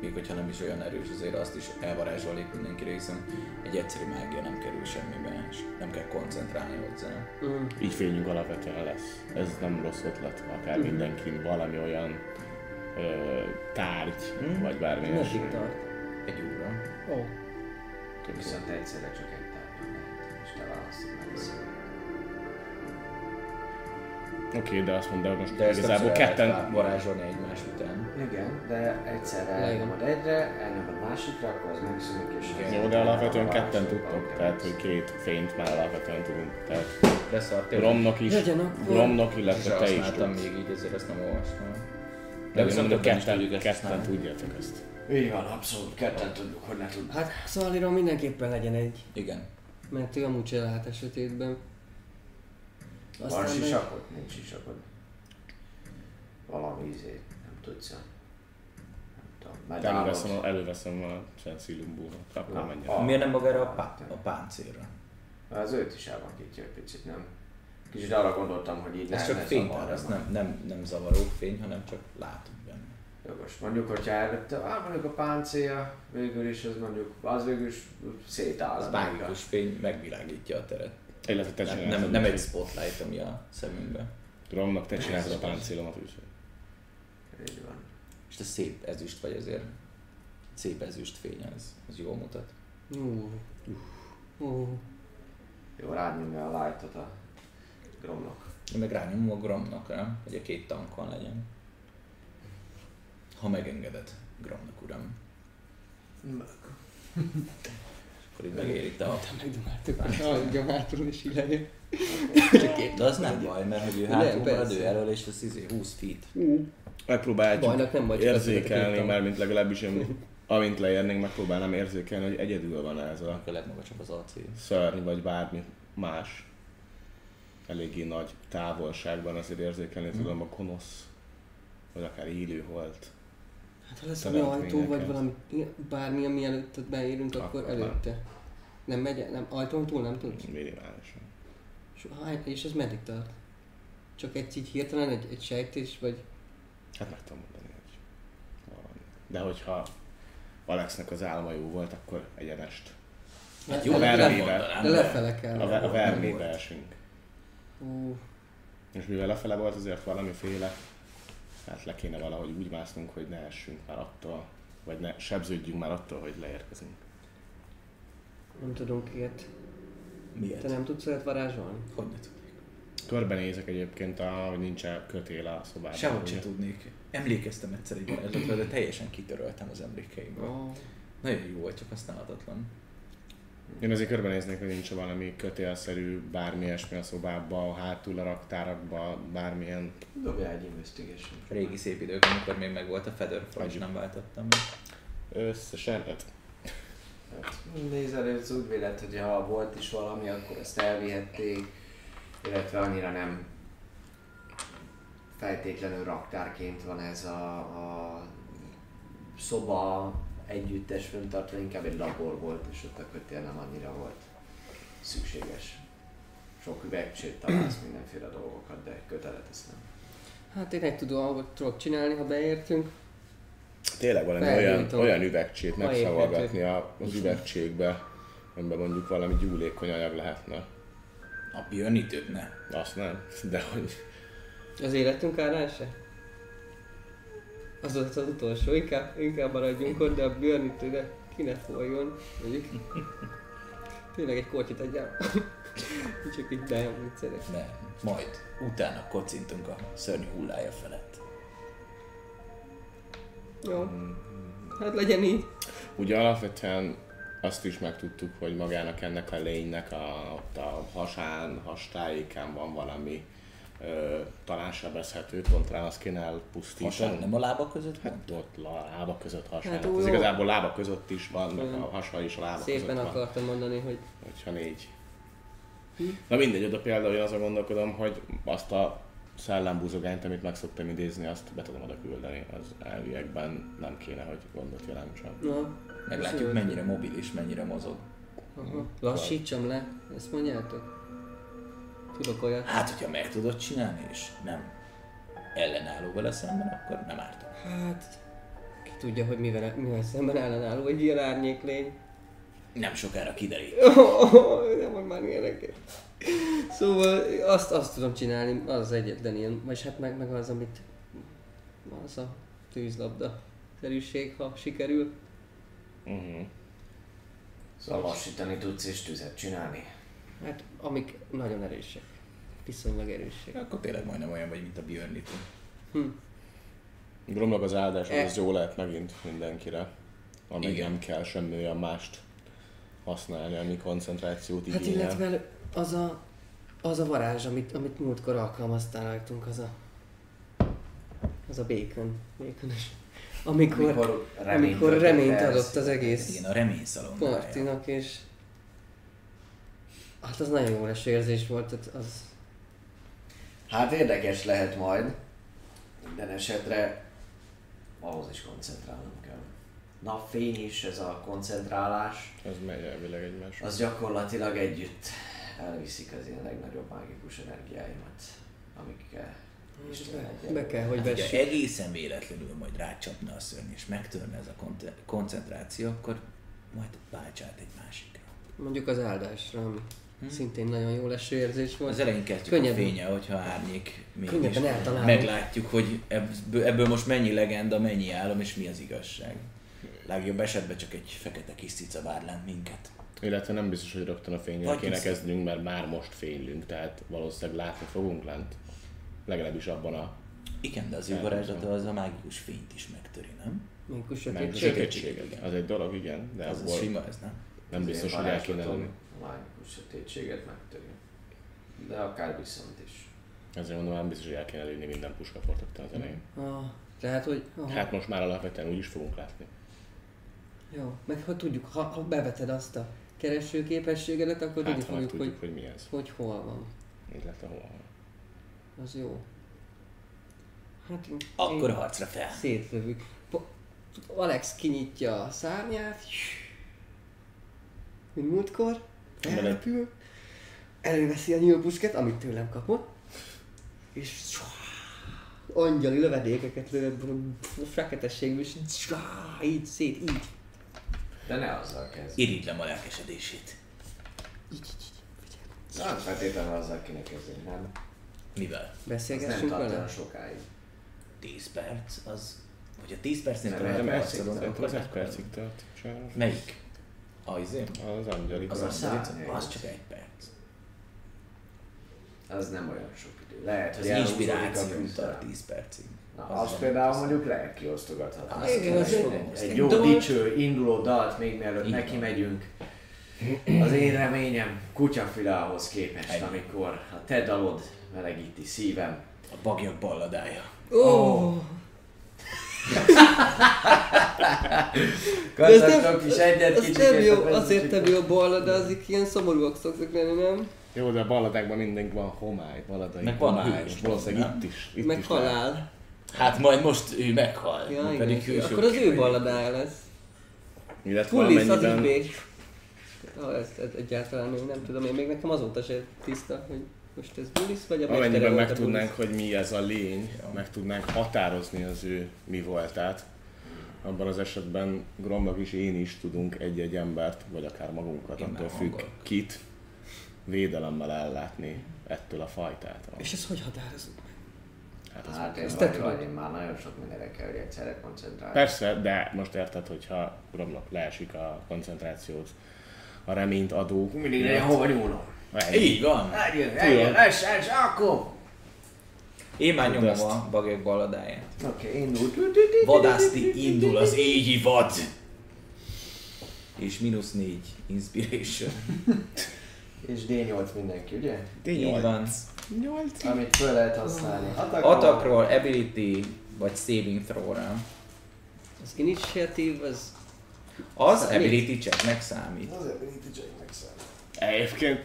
Speaker 3: még hogyha nem is olyan erős, azért azt is elvarázsolik mindenkire, hiszen egy egyszerű mágia nem kerül semmibe, és nem kell koncentrálni hozzá.
Speaker 4: Így fényünk alapvetően lesz. Ez nem rossz ötlet, ha
Speaker 2: Mhm.
Speaker 4: akár mindenki valami olyan ö, tárgy,
Speaker 2: Mhm.
Speaker 4: vagy bármi ilyesmi.
Speaker 2: Meddig tart?
Speaker 3: Egy óra.
Speaker 2: Ó, oh.
Speaker 1: Viszont egyszerre csak egy tárgyon lehet, és te választod meg a szívet.
Speaker 4: Oké, de azt mondta, hogy most
Speaker 3: De ezt
Speaker 4: igazából ketten...
Speaker 3: lehet varázsolni egymás után.
Speaker 1: Igen, de egyszerre
Speaker 2: Igen.
Speaker 1: elnyomod egyre, elnyomod másikra, akkor az megszűnik, és az
Speaker 4: Jó, de alapvetően
Speaker 1: a
Speaker 4: ketten
Speaker 1: másik
Speaker 4: tudtok,
Speaker 1: van,
Speaker 4: tehát
Speaker 1: kettő.
Speaker 4: hogy két fényt már alapvetően tudunk. Tehát
Speaker 3: De szar tényleg.
Speaker 4: Romnak is,
Speaker 2: Legyen akkor.
Speaker 4: Romnak,
Speaker 3: És
Speaker 4: illetve te is
Speaker 3: használtam
Speaker 4: tudsz.
Speaker 3: még így, ezért ezt nem olvastam.
Speaker 4: De viszont a
Speaker 3: többen is
Speaker 4: ketten,
Speaker 3: tudjuk ezt Hát
Speaker 4: ketten
Speaker 3: használni.
Speaker 4: tudjátok ezt.
Speaker 1: Így van, abszolút, ketten tudjuk, hogy ne tudjuk.
Speaker 2: Hát Szaliron mindenképpen legyen egy,
Speaker 3: Igen.
Speaker 2: mert ő amúgy se lát a sötétben.
Speaker 1: Van
Speaker 2: meg-
Speaker 1: sisakod? Nincs sisakod. Valami izé, nem tudsz. Nem tudom, majd
Speaker 4: Előveszem,
Speaker 1: állok.
Speaker 4: a- előveszem a Sensilum búrot, akkor
Speaker 1: Ah.
Speaker 4: menjen.
Speaker 1: Ah.
Speaker 3: Miért nem magára a, pá- a páncélra?
Speaker 1: Az őt is elvakítja egy picit, nem? Kicsit arra gondoltam, hogy így
Speaker 3: Ez csak
Speaker 1: ne
Speaker 3: fény,
Speaker 1: zavarja
Speaker 3: ez
Speaker 1: meg.
Speaker 3: nem, nem, nem zavaró fény, hanem csak látunk benne.
Speaker 1: Jogos. Mondjuk, hogyha előtte, á, mondjuk a páncélja, végül is az mondjuk, az végül is szétáll.
Speaker 3: Az
Speaker 1: a világ.
Speaker 3: mágikus fény megvilágítja a teret.
Speaker 4: Illetve te
Speaker 3: Nem,
Speaker 4: csináltad.
Speaker 3: nem, nem egy
Speaker 4: úgyhogy-
Speaker 3: spotlight, ami a szemünkbe.
Speaker 4: Romnak te csináltad a páncélomat, úgyhogy.
Speaker 1: Így van.
Speaker 3: És te szép ezüst vagy azért. Szép ezüst fény, ez, ez jól mutat.
Speaker 2: Ú, ú,
Speaker 1: Jó, rányomja a lightot a gromnak.
Speaker 3: Én meg rányomom a Gromnak, nem? Hogy a két tankon legyen. Ha megengedett, Gromnak uram. Akkor itt megéri te a...
Speaker 2: megdomáltuk a hangja hátul és így lejön.
Speaker 3: De az nem baj, mert hogy ő
Speaker 2: Nem,
Speaker 3: hátul marad,
Speaker 2: persze.
Speaker 3: ő elől, és ez izé 20 feet.
Speaker 4: Megpróbáljuk
Speaker 2: Bajnak nem vagy, csak azt
Speaker 4: érzékelni,
Speaker 2: mondtam.
Speaker 4: mármint legalábbis én, amint leérnénk, megpróbálnám érzékelni, hogy egyedül van ez a
Speaker 3: Akkor legmagasabb az AC.
Speaker 4: szörny, vagy bármi más. Eléggé nagy távolságban azért érzékelni tudom a gonosz, vagy akár élő volt.
Speaker 2: Hát ha lesz
Speaker 4: Te
Speaker 2: valami
Speaker 4: lehet
Speaker 2: ajtó, vagy
Speaker 4: mindenkit.
Speaker 2: valami, bármi, ami előtt beérünk, akkor,
Speaker 4: Akkor nem. Mm.
Speaker 2: előtte. Nem megy, nem, ajtón túl nem tudsz?
Speaker 4: Minimálisan.
Speaker 2: És, hány- és ez meddig tart? Csak egy így hirtelen, egy, egy sejtés, vagy...
Speaker 4: Hát meg tudom mondani, hogy valami. De hogyha Alexnek az álma jó volt, akkor egyenest.
Speaker 2: Hát
Speaker 3: Jó,
Speaker 2: de,
Speaker 3: nem
Speaker 4: vermével.
Speaker 2: le,
Speaker 3: mondanám,
Speaker 2: de
Speaker 3: de-
Speaker 2: lefele
Speaker 4: A,
Speaker 2: kell.
Speaker 4: ve- a
Speaker 3: Nem
Speaker 4: vermébe
Speaker 3: volt.
Speaker 4: esünk.
Speaker 2: Ú,
Speaker 4: És mivel lefele volt, azért valamiféle, hát le kéne valahogy úgy másznunk, hogy ne essünk már attól, vagy ne sebződjünk már attól, hogy leérkezünk.
Speaker 2: nem tudunk ilyet.
Speaker 3: Miért?
Speaker 2: Te nem tudsz olyat varázsolni?
Speaker 3: Hogy ne tudnék?
Speaker 4: Körbenézek egyébként, a, hogy nincs kötél a szobában.
Speaker 3: Sehogy se
Speaker 4: ugye?
Speaker 3: tudnék. Emlékeztem egyszer egy varázslatra, de teljesen kitöröltem az emlékeimből.
Speaker 2: Ó,
Speaker 3: Nagyon jó volt, csak használhatatlan.
Speaker 4: Én azért körbenéznék, hogy nincs valami kötélszerű, bármi ilyesmi a szobában, hátul a raktárakban, bármilyen.
Speaker 1: Dobja egy investigation.
Speaker 3: Régi szép idők, amikor még meg volt a Featherfall, és nem váltottam meg.
Speaker 4: Összesen öt.
Speaker 1: Nézel, ez úgy vélet, hogy ha volt is valami, akkor ezt elvihették, illetve annyira nem feltétlenül raktárként van ez a, a szoba együttes föntartva, inkább egy labor volt, és ott a kötél nem annyira volt szükséges. Sok üveg, sőt találsz mindenféle dolgokat, de kötelet ezt nem.
Speaker 2: Hát én egy tudom, ahogy tudok csinálni, ha beértünk.
Speaker 4: Tényleg valami
Speaker 2: Felhívtam.
Speaker 4: olyan, olyan üvegcsét
Speaker 2: Ma
Speaker 4: megszavargatni a- az üvegcsékbe, amiben mondjuk valami gyúlékony anyag lehetne.
Speaker 3: A pionítőt ne.
Speaker 4: Azt nem, de hogy...
Speaker 2: Az életünk árása? Az volt az utolsó, inkább, inkább maradjunk ott, de a bőrnítőre ki ne folyjon, mondjuk. Tényleg egy kortyot adjál. Csak így nem, viccelek.
Speaker 3: Ne. Majd utána kocintunk a szörnyű hullája felett.
Speaker 2: Jó. Hát legyen így.
Speaker 4: Ugye alapvetően azt is megtudtuk, hogy magának ennek a lénynek a, ott a hasán, hastájékán van valami ö, talán sebezhető, pont rá azt kéne
Speaker 3: Hasán,
Speaker 4: elpusztítani.
Speaker 3: nem a lábak között? Hát.
Speaker 4: Hát ott a lába között hasán.
Speaker 2: Hát
Speaker 4: Hát,
Speaker 2: jó.
Speaker 4: Ez igazából lába között is van, meg a hasa is a lába
Speaker 2: Szépen
Speaker 4: között van.
Speaker 2: akartam mondani, hogy
Speaker 4: Hogyha négy.
Speaker 2: Hm?
Speaker 4: Na mindegy, oda például én azon gondolkodom, hogy azt a szellembuzogányt, amit meg szoktam idézni, azt be tudom oda küldeni. Az elviekben nem kéne, hogy gondot jelentsen.
Speaker 2: na,
Speaker 3: Meglátjuk,
Speaker 2: Köszönöm.
Speaker 3: mennyire mobilis, mennyire mozog.
Speaker 2: aha. lassítsam le, ezt mondjátok? Tudok olyat.
Speaker 3: Hát, hogyha meg tudod csinálni, és nem ellenálló vele szemben, akkor nem árt.
Speaker 2: Hát, ki tudja, hogy mivel, mivel szemben ellenálló egy ilyen árnyék lény.
Speaker 3: Nem sokára kiderül.
Speaker 2: nem mond már ilyeneket. Szóval azt, azt tudom csinálni, az az egyetlen ilyen, vagy hát meg, meg az, amit az a tűzlabda szerűség, ha sikerül. Mhm.
Speaker 4: Mhm.
Speaker 1: Szóval lassítani tudsz és tüzet csinálni.
Speaker 2: Hát amik nagyon erősek. Viszonylag erősek.
Speaker 3: Akkor tényleg majdnem olyan vagy, mint a Björn itt.
Speaker 4: Gromlok az áldás,
Speaker 2: E-
Speaker 4: az jó lehet megint mindenkire. Amíg
Speaker 3: Igen.
Speaker 4: nem kell semmi olyan mást használni, ami koncentrációt
Speaker 2: Hát
Speaker 4: igényel.
Speaker 2: illetve az a, az a varázs, amit, amit múltkor alkalmaztál rajtunk, az a az a békön, békönös. Amikor, amikor
Speaker 1: Amikor reményt
Speaker 2: reményt, amikor
Speaker 1: adott
Speaker 2: reményt
Speaker 1: el,
Speaker 2: adott az egész
Speaker 3: Igen, a remény szalonnája.
Speaker 2: partinak, és hát az nagyon jó lesz érzés volt, tehát az
Speaker 1: Hát érdekes lehet majd. Minden esetre ahhoz is koncentrálnom kell. Napfény is, ez a koncentrálás,
Speaker 4: Ez megy elvileg egymásra.
Speaker 1: az gyakorlatilag együtt elviszik az én legnagyobb mágikus energiáimat, amikkel Isten
Speaker 2: Mm, be,
Speaker 1: egyenlő.
Speaker 2: be kell, hogy
Speaker 3: Hát, Hogyha
Speaker 2: vessük.
Speaker 3: egészen véletlenül majd rácsapna a szörny, és megtörne ez a konte- koncentráció, akkor majd váltsát egy másikra.
Speaker 2: Mondjuk az áldásra, ami szintén nagyon jó leső érzés volt.
Speaker 3: Az elején kezdjük
Speaker 2: Könnyebben.
Speaker 3: a fénye, hogyha árnyék mégis
Speaker 2: Könnyebben eltalálom.
Speaker 3: meglátjuk, hogy ebből, ebből most mennyi legenda, mennyi álom és mi az igazság. Legjobb esetben csak egy fekete kis cica várlánk minket.
Speaker 4: Illetve nem biztos, hogy rögtön a fényre
Speaker 3: Vagy
Speaker 4: kéne
Speaker 3: viszont.
Speaker 4: kezdenünk, mert már most fénylünk, tehát valószínűleg látni fogunk lent. Legalábbis abban a
Speaker 3: Igen, de az ő varázslata az a mágikus fényt is megtöri, nem?
Speaker 2: Mondjuk úgy
Speaker 4: meg
Speaker 2: sötétség.
Speaker 4: sötétséget. Az egy dolog, igen, de
Speaker 3: Az,
Speaker 4: az
Speaker 3: az
Speaker 4: abból
Speaker 3: sima, ez nem?
Speaker 4: nem biztos, hogy el kéne lenni.
Speaker 1: A mágikus sötétséget megtöri. De akár viszont is.
Speaker 4: Ezért mondom, nem biztos, hogy el kéne lőni minden puskaportot az elején.
Speaker 2: Ah, tehát, hogy ah,
Speaker 4: Hát most már alapvetően úgy is fogunk látni.
Speaker 2: jó, meg ha tudjuk, ha, ha beveted azt a kereső képességedet, akkor
Speaker 4: Hát,
Speaker 2: tudni
Speaker 4: ha meg
Speaker 2: fogjuk, hogy,
Speaker 4: tudjuk, hogy mi ez.
Speaker 2: hogy hol van.
Speaker 4: Illetve hol van.
Speaker 2: Az jó. Hát én-
Speaker 3: Akkor
Speaker 2: én
Speaker 3: harcra fel!
Speaker 2: szétlövük. Po- Alex kinyitja a szárnyát, mint múltkor,
Speaker 4: Emellett-
Speaker 2: elrepül, előveszi a nyílbusket, amit tőlem kapott, és angyali lövedékeket lövött, a feketességű, és így szét, így,
Speaker 1: De ne azzal kezdj.
Speaker 3: Irigylem a lelkesedését.
Speaker 2: így, így, így. Figyelj.
Speaker 1: Nem feltétlenül azzal kéne kezdeni, nem?
Speaker 3: Mivel?
Speaker 1: Ez nem
Speaker 2: Beszélgessünk
Speaker 1: tart
Speaker 2: vele?
Speaker 1: olyan sokáig.
Speaker 3: 10 perc az... Vagy a 10 percnél
Speaker 1: Nem,
Speaker 3: talán
Speaker 1: nem,
Speaker 3: harcolunk,
Speaker 4: Szerintem
Speaker 3: akkor
Speaker 4: az egy
Speaker 3: meghalunk.
Speaker 4: percig tart. sajnos.
Speaker 3: Melyik? A izé?
Speaker 4: Az angyali.
Speaker 3: Az
Speaker 1: a
Speaker 3: a
Speaker 1: szárnyai.
Speaker 3: szárnyai. Az csak egy perc.
Speaker 1: Az nem olyan sok idő. Lehet,
Speaker 3: Az
Speaker 1: hogy elhúzódik a
Speaker 3: inspiráció
Speaker 1: küzdelem.
Speaker 3: tart 10 percig.
Speaker 1: Na, az, például mondjuk lelkiosztogatható.
Speaker 3: Az
Speaker 2: Igen, az
Speaker 3: kell,
Speaker 2: egy-
Speaker 3: hogy
Speaker 1: Egy
Speaker 3: egy
Speaker 1: jó
Speaker 3: dal-
Speaker 1: dicső, induló dalt még mielőtt
Speaker 3: Így
Speaker 1: neki
Speaker 3: van.
Speaker 1: megyünk. Az én reményem kutyafilához képest, amikor a te dalod melegíti szívem.
Speaker 3: A bagyok balladája.
Speaker 2: Ó, ez nem-
Speaker 1: Gazdatok is egyet
Speaker 2: az
Speaker 1: kicsit.
Speaker 2: nem jó, azért nem jó balla, de azik ilyen szomorúak szoktak lenni, nem?
Speaker 4: Jó, de a balladákban mindenki van homály, balladai
Speaker 3: Meg van
Speaker 4: homály.
Speaker 3: hős,
Speaker 4: Valószínűleg
Speaker 3: nem?
Speaker 4: itt is. Itt
Speaker 2: Meg
Speaker 4: is lehet.
Speaker 2: halál.
Speaker 3: Hát majd most ő meghal.
Speaker 2: Ja,
Speaker 3: mi
Speaker 2: igen,
Speaker 3: hősök
Speaker 2: akkor az ő
Speaker 3: vagyunk.
Speaker 2: balladája lesz.
Speaker 4: Illetve
Speaker 2: Kullisz az így
Speaker 4: amennyiben-
Speaker 2: még. Ha ezt, ezt egyáltalán én nem tudom, én még nekem azóta se tiszta, hogy most ez Bullis vagy a
Speaker 4: Amennyiben
Speaker 2: mestere volt a
Speaker 4: megtudnánk, hogy mi ez a lény, meg tudnánk határozni az ő mi voltát, abban az esetben Gromnak is én is tudunk egy-egy embert, vagy akár magunkat,
Speaker 3: Én már
Speaker 4: attól függ,
Speaker 3: hangolok.
Speaker 4: kit védelemmel ellátni ettől a fajtától.
Speaker 2: És ez hogy határozunk? meg?
Speaker 4: Hát az
Speaker 1: Hát én,
Speaker 2: Ezt te
Speaker 1: vagy,
Speaker 2: tudod.
Speaker 1: vagy, én már nagyon sok mindenre kell, hogy egyszerre koncentrálni.
Speaker 4: Persze, de most érted, hogyha Gromnak leesik a koncentrációt, a reményt adó...
Speaker 1: Mindig legyen hova nyúlom.
Speaker 4: Ennyi.
Speaker 3: Így van.
Speaker 1: Eljön, eljön, lesz, lesz, akkor!
Speaker 3: Én már
Speaker 4: Tudd
Speaker 3: nyomom
Speaker 4: azt.
Speaker 3: a bagyok balladáját.
Speaker 1: Oké, okay, indul.
Speaker 3: Vadászni indul az égi vad! És mínusz négy inspiration.
Speaker 1: És D8 mindenki, ugye?
Speaker 3: Így van.
Speaker 1: Amit föl lehet használni.
Speaker 3: Attackról, ability, vagy saving throw-ra.
Speaker 2: Az initiatív, az...
Speaker 3: Az
Speaker 4: Hát,
Speaker 3: ability checknek számít.
Speaker 1: Az ability check megszáll.
Speaker 4: Egyébként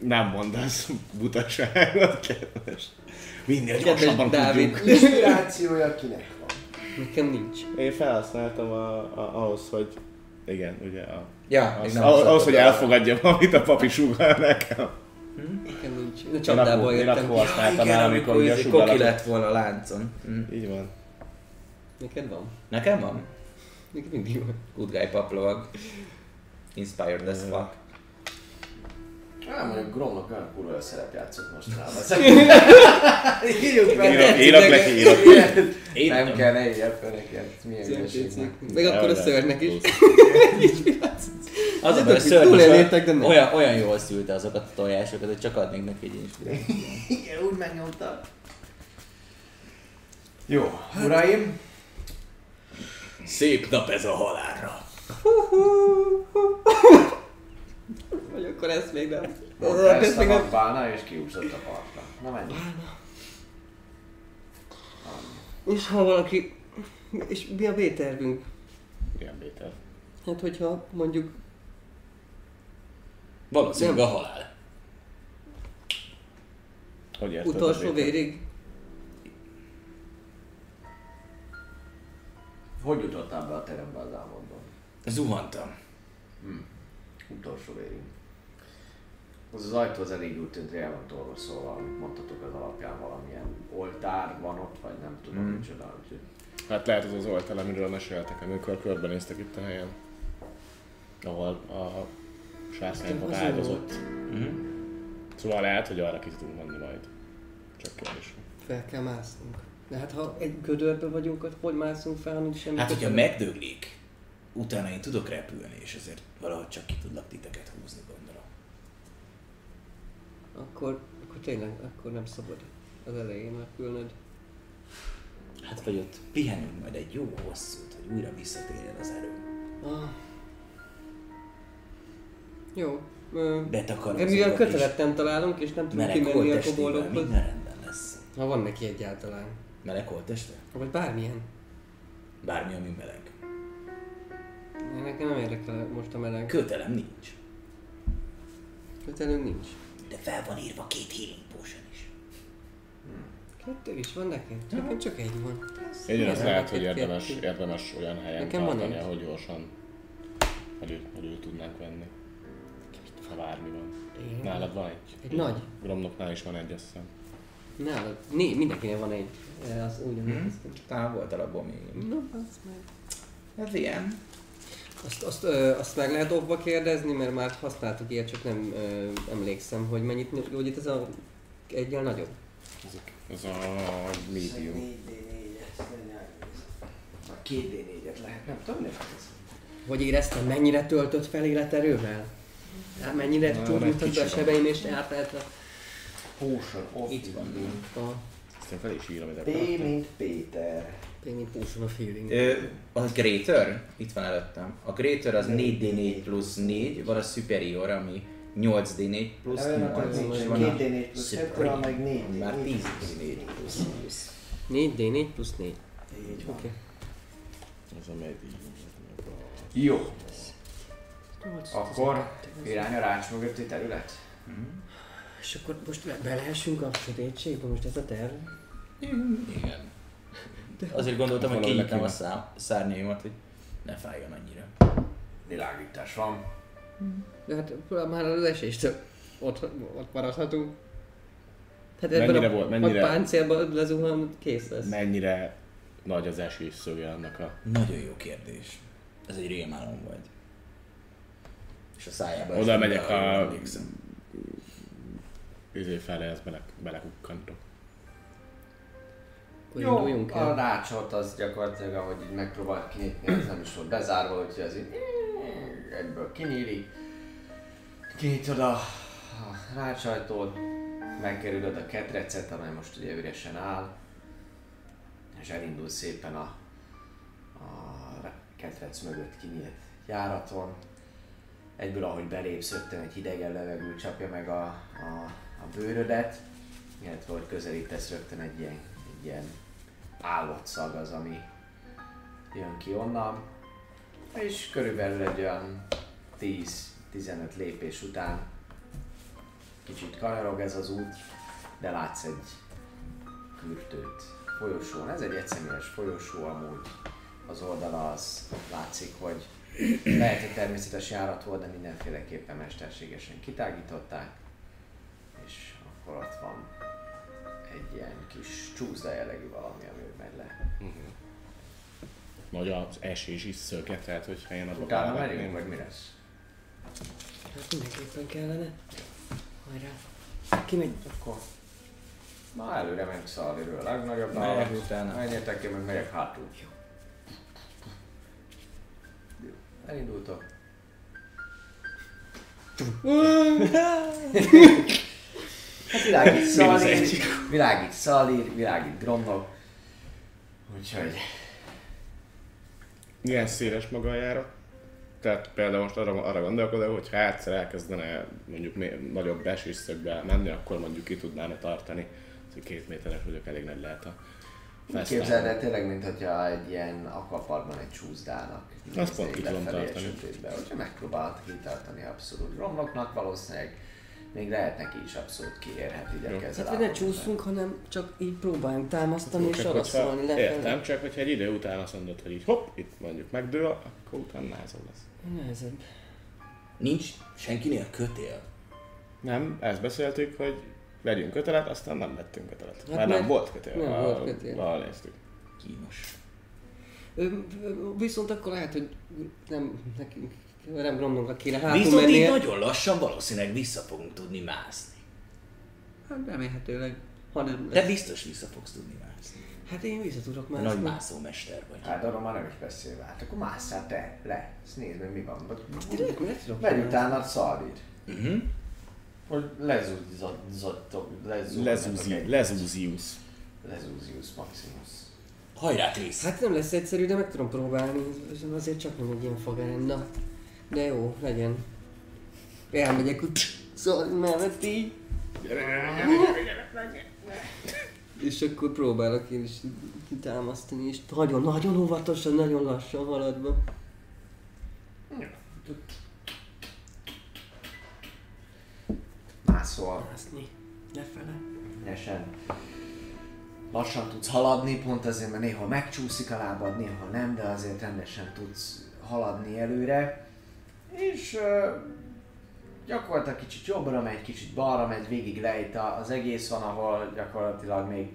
Speaker 4: nem mondasz butaságot, kedves. Minél
Speaker 2: Kedves
Speaker 4: gyorsabban
Speaker 2: Dávid.
Speaker 4: tudjuk.
Speaker 1: Inspirációja kinek van?
Speaker 2: Nekem nincs.
Speaker 4: Én felhasználtam a, a, ahhoz, hogy igen, ugye a,
Speaker 2: Hát
Speaker 3: Ja, még
Speaker 4: az,
Speaker 3: nem
Speaker 4: ahhoz, ahhoz, hogy
Speaker 3: használtad.
Speaker 4: elfogadjam, amit a papi sugal nekem.
Speaker 2: Nekem nincs. A
Speaker 4: Én
Speaker 2: csapdából
Speaker 4: akkor, én
Speaker 2: jöttem
Speaker 4: akkor
Speaker 2: ki.
Speaker 4: használtam
Speaker 3: Igen,
Speaker 4: el, amikor
Speaker 3: amikor
Speaker 4: ugye a
Speaker 3: ez koki
Speaker 4: sugarat.
Speaker 3: lett volna a láncon. Mm.
Speaker 4: Így van.
Speaker 2: Neked van?
Speaker 3: Nekem van?
Speaker 2: Neked mindig van.
Speaker 3: Good guy paplovag. Inspired as fuck.
Speaker 1: Nem mondjuk Gromnak olyan kurva jó szerep játszott mostanában. Írjuk
Speaker 4: Írok,
Speaker 1: be!
Speaker 4: írok neki, írok.
Speaker 1: Nem kell, ne írjak be neked. Milyen ügyeség meg.
Speaker 2: Meg akkor a
Speaker 4: Elvett.
Speaker 2: szörnek is.
Speaker 3: Az a
Speaker 2: tudom,
Speaker 3: baj,
Speaker 2: hogy
Speaker 3: szörnyű,
Speaker 2: túlélnétek, de nem.
Speaker 3: olyan, olyan jól szülte azokat a tojásokat, hogy csak adnék neki egy inspirációt.
Speaker 1: Igen, úgy megnyomtam. Jó, uraim,
Speaker 5: Szép nap ez a halálra.
Speaker 2: Vagy akkor ezt még nem.
Speaker 1: mondta
Speaker 2: Ezt
Speaker 1: ezt
Speaker 2: még
Speaker 1: a
Speaker 2: nem.
Speaker 1: bálna, és kiúszott a partra. Na menj.
Speaker 2: És ha valaki... És mi a B-tervünk?
Speaker 4: Ilyen Péter.
Speaker 2: Hát hogyha mondjuk...
Speaker 5: Valószínűleg a halál.
Speaker 4: Hogy érted? a
Speaker 2: Utolsó
Speaker 4: Péter?
Speaker 2: vérig.
Speaker 1: Hogy jutottál be a terembe az álmodban?
Speaker 5: Zuhantam.
Speaker 1: Utolsó vérig. Az az ajtó az elég úgy tűnt, hogy el van tolva, szóval amit mondtatok az alapján valamilyen oltár van ott, vagy nem tudom, mm. micsoda. Úgyhogy
Speaker 4: Hát lehet az az oltal, amiről meséltek, amikor körbenéztek itt a helyen. Ahol a
Speaker 2: Nekem
Speaker 4: sárszányok
Speaker 2: Hát az
Speaker 4: áldozott. Szóval lehet, hogy arra ki tudunk menni majd. Csak kérdés.
Speaker 2: Fel kell másznunk. De hát ha egy gödörbe vagyunk, akkor hogy mászunk fel, nincs semmi
Speaker 5: Hát, hogyha
Speaker 2: kötele?
Speaker 5: megdöglik, utána én tudok repülni, és azért valahogy csak ki tudlak titeket húzni, gondolom.
Speaker 2: Akkor, akkor tényleg, akkor nem szabad az elején repülnöd.
Speaker 5: Hát vagy ott pihenünk majd egy jó hosszút, hogy újra visszatérjen az erő.
Speaker 2: Ah. Jó. Ö,
Speaker 5: Betakarom
Speaker 2: de mivel kötelet nem találunk, és nem tudunk
Speaker 5: meleg
Speaker 2: kimenni a
Speaker 5: holttestével
Speaker 2: koboldokhoz.
Speaker 5: minden rendben lesz.
Speaker 2: Ha van neki egyáltalán.
Speaker 5: Meleg holtteste?
Speaker 2: Vagy bármilyen.
Speaker 5: Bármi, ami meleg.
Speaker 2: Nekem nem érdekel most a meleg.
Speaker 5: Kötelem nincs.
Speaker 2: Kötelünk nincs.
Speaker 5: De fel van írva két healing potion is.
Speaker 2: Kettő is van nekem? Nekem csak egy van.
Speaker 4: Egyen az
Speaker 2: Igen,
Speaker 4: lehet, hogy
Speaker 2: neked
Speaker 4: érdemes,
Speaker 2: kettő.
Speaker 4: érdemes olyan helyen
Speaker 2: Nekem
Speaker 4: Nekem
Speaker 2: van
Speaker 4: tartani,
Speaker 2: egy.
Speaker 4: ahol gyorsan elő, elő tudnánk venni. Ha bármi van.
Speaker 2: Én-
Speaker 4: Nálad van egy?
Speaker 2: Egy nagy.
Speaker 4: Gromnoknál is van egy, azt hiszem.
Speaker 2: Nálad. Né, mindenkinek van egy. E, Az úgy hmm?
Speaker 3: Talán volt alapból még.
Speaker 2: No, az meg.
Speaker 3: Ez ilyen.
Speaker 2: Azt, azt, ö, azt meg lehet okba kérdezni, mert már használtuk ilyet, csak nem ö, emlékszem, hogy mennyit, hogy itt ez a egyel nagyobb.
Speaker 4: Ez a medium.
Speaker 1: 4D4-et, a 2D4-et lehet, nem tudom, mi ez?
Speaker 2: Hogy éreztem, mennyire töltött fel életerővel? Hát mennyire
Speaker 4: Na,
Speaker 2: túljutott be a
Speaker 4: kicsit.
Speaker 2: sebeim és átállt a...
Speaker 1: Potion of
Speaker 3: Itt van.
Speaker 1: Healing.
Speaker 2: a
Speaker 4: Ezt én fel is írom ide.
Speaker 1: P, mint Péter.
Speaker 2: mint Potion of Healing.
Speaker 3: Ö, a Greater, itt van előttem. A Greater az 4D4 plusz 4, van a Superior, ami 8D4 plusz
Speaker 1: Ebben a
Speaker 3: 8,
Speaker 1: nincs,
Speaker 3: és
Speaker 1: a
Speaker 3: van a
Speaker 1: 2D4 plusz 2,
Speaker 3: Supreme,
Speaker 1: meg 4
Speaker 3: ami már 10D4 plusz 8.
Speaker 2: 4D4 plusz 4.
Speaker 1: Így van.
Speaker 2: Oké.
Speaker 4: Ez a medium.
Speaker 1: Jó. Akkor irány a rács mögötti terület.
Speaker 2: És akkor most be- belehessünk a sötétségbe, most ez a terv?
Speaker 5: Igen. Azért gondoltam, hogy
Speaker 4: Valahogy
Speaker 5: kinyitom a
Speaker 4: neki
Speaker 5: szá- szárnyaimat, hogy ne fájjon annyira.
Speaker 1: Világítás van.
Speaker 2: De hát már az eséstől ott, ott maradhatunk. Hát
Speaker 4: Mennyire
Speaker 2: ebben a,
Speaker 4: volt-
Speaker 2: a
Speaker 4: mennyire-
Speaker 2: páncélban lezuhan, kész lesz.
Speaker 4: Mennyire nagy az esés szöge annak a...
Speaker 5: Nagyon jó kérdés. Ez egy rémálom volt.
Speaker 3: És a szájába.
Speaker 4: Oda megyek
Speaker 5: Jól
Speaker 4: a...
Speaker 5: emlékszem.
Speaker 4: Izé fele, ezt bele, belekukkantok.
Speaker 2: Akkor induljunk
Speaker 1: a
Speaker 2: el.
Speaker 1: rácsot az gyakorlatilag, ahogy így megpróbált kinyitni, az nem is volt bezárva, úgyhogy az így eh, egyből kinyílik. Kinyitod a a rácsajtót, megkerülöd a ketrecet, amely most ugye üresen áll, és elindul szépen a, a ketrec mögött kinyílt járaton. Egyből ahogy belépsz, rögtön egy hidegen levegő csapja meg a, a, a bőrödet, illetve hogy közelítesz rögtön egy ilyen, egy ilyen állott szag az, ami jön ki onnan, és körülbelül egy olyan 10-15 lépés után kicsit kanyarog ez az út, de látsz egy kürtőt folyosón. Ez egy egyszemélyes folyosó amúgy. Az oldala az látszik, hogy lehet, hogy természetes járat volt, de mindenféleképpen mesterségesen kitágították. És akkor ott van egy ilyen kis csúszda jellegű valami, ami megy le.
Speaker 4: Nagy az esés is szöket, tehát hogyha én abba
Speaker 1: Utána
Speaker 4: belevágném,
Speaker 1: megyünk, vagy mi lesz?
Speaker 2: Hát mindenképpen kellene. Hajrá. Kimegy akkor.
Speaker 1: Ma előre ment Szalviről, a legnagyobb
Speaker 5: Megyek
Speaker 1: nála.
Speaker 5: utána.
Speaker 1: Menjetek ki, meg megyek hátul. Jó. Elindultok. hát világít Szalír, világít Szalír, világít Gromnok. Úgyhogy
Speaker 4: Milyen széles maga a járat? Tehát például most arra, arra gondolkodom, hogy ha egyszer elkezdene mondjuk mi- nagyobb esésszögbe menni, akkor mondjuk ki tudnáne tartani. Az, hogy Két méteres vagyok, elég nagy lehet a
Speaker 1: úgy
Speaker 4: fesztivál.
Speaker 1: képzeld el tényleg, mint hogyha egy ilyen akvaparkban egy csúszdának.
Speaker 4: Azt pont ki tudom
Speaker 1: Lefelé a
Speaker 4: tartani.
Speaker 1: sötétbe. Hogyha megpróbált kitartani abszolút Gromnoknak, valószínűleg még lehet neki is abszolút kiérhet ide
Speaker 2: Hát
Speaker 1: kezel.
Speaker 2: hogy ne csúszunk, hanem csak így próbáljunk támasztani és
Speaker 4: Csak
Speaker 2: arra
Speaker 4: hogyha-
Speaker 2: szólni lefelé.
Speaker 4: Értem, csak hogyha egy idő után azt mondod, hogy így hopp, itt mondjuk megdől, akkor utána názol lesz.
Speaker 2: Nehezebb.
Speaker 5: Nincs senkinél kötél.
Speaker 4: Nem, ezt beszéltük, hogy vegyünk kötelet, aztán nem vettünk kötelet. Hát Már
Speaker 2: mert-
Speaker 4: nem volt kötél.
Speaker 2: nem
Speaker 4: ha-
Speaker 2: volt kötél.
Speaker 4: Ha néztük.
Speaker 5: Kínos.
Speaker 2: Ö, ö, Viszont akkor lehet, hogy nem nekünk, nem gromlóra kéne hátul
Speaker 5: Viszont így
Speaker 2: mennie.
Speaker 5: nagyon lassan valószínűleg vissza fogunk tudni mászni.
Speaker 2: Hát remélhetőleg, ha nem
Speaker 5: Te
Speaker 2: lesz.
Speaker 5: biztos vissza fogsz tudni mászni.
Speaker 2: Hát én vissza tudok
Speaker 5: Te
Speaker 2: már.
Speaker 5: Nagy mászómester vagy.
Speaker 1: Hát arról már nem is beszélve. Hát akkor másszál te le. Ezt nézd meg mi van.
Speaker 2: Tényleg, miért tudok?
Speaker 1: Megy
Speaker 2: már?
Speaker 1: utána szalvid.
Speaker 5: Mhm.
Speaker 1: Hogy lezúzzottok.
Speaker 4: Lezúzi, lezúziusz.
Speaker 1: Lezúzius Maximus.
Speaker 5: Hajrá, Krisz!
Speaker 2: Hát nem lesz egyszerű, de meg tudom próbálni. Ez Azért csak nem egy ilyen fagárenna. De jó, legyen. Elmegyek úgy. Szóval mellett így. És akkor próbálok én is kitámasztani, és nagyon-nagyon óvatosan, nagyon lassan haladva.
Speaker 1: Mászol.
Speaker 2: Mászni. Lefele.
Speaker 1: Nyesen. Lassan tudsz haladni, pont azért, mert néha megcsúszik a lábad, néha nem, de azért rendesen tudsz haladni előre. És ö, gyakorlatilag kicsit jobbra megy, kicsit balra megy, végig lejt a- az egész van, ahol gyakorlatilag még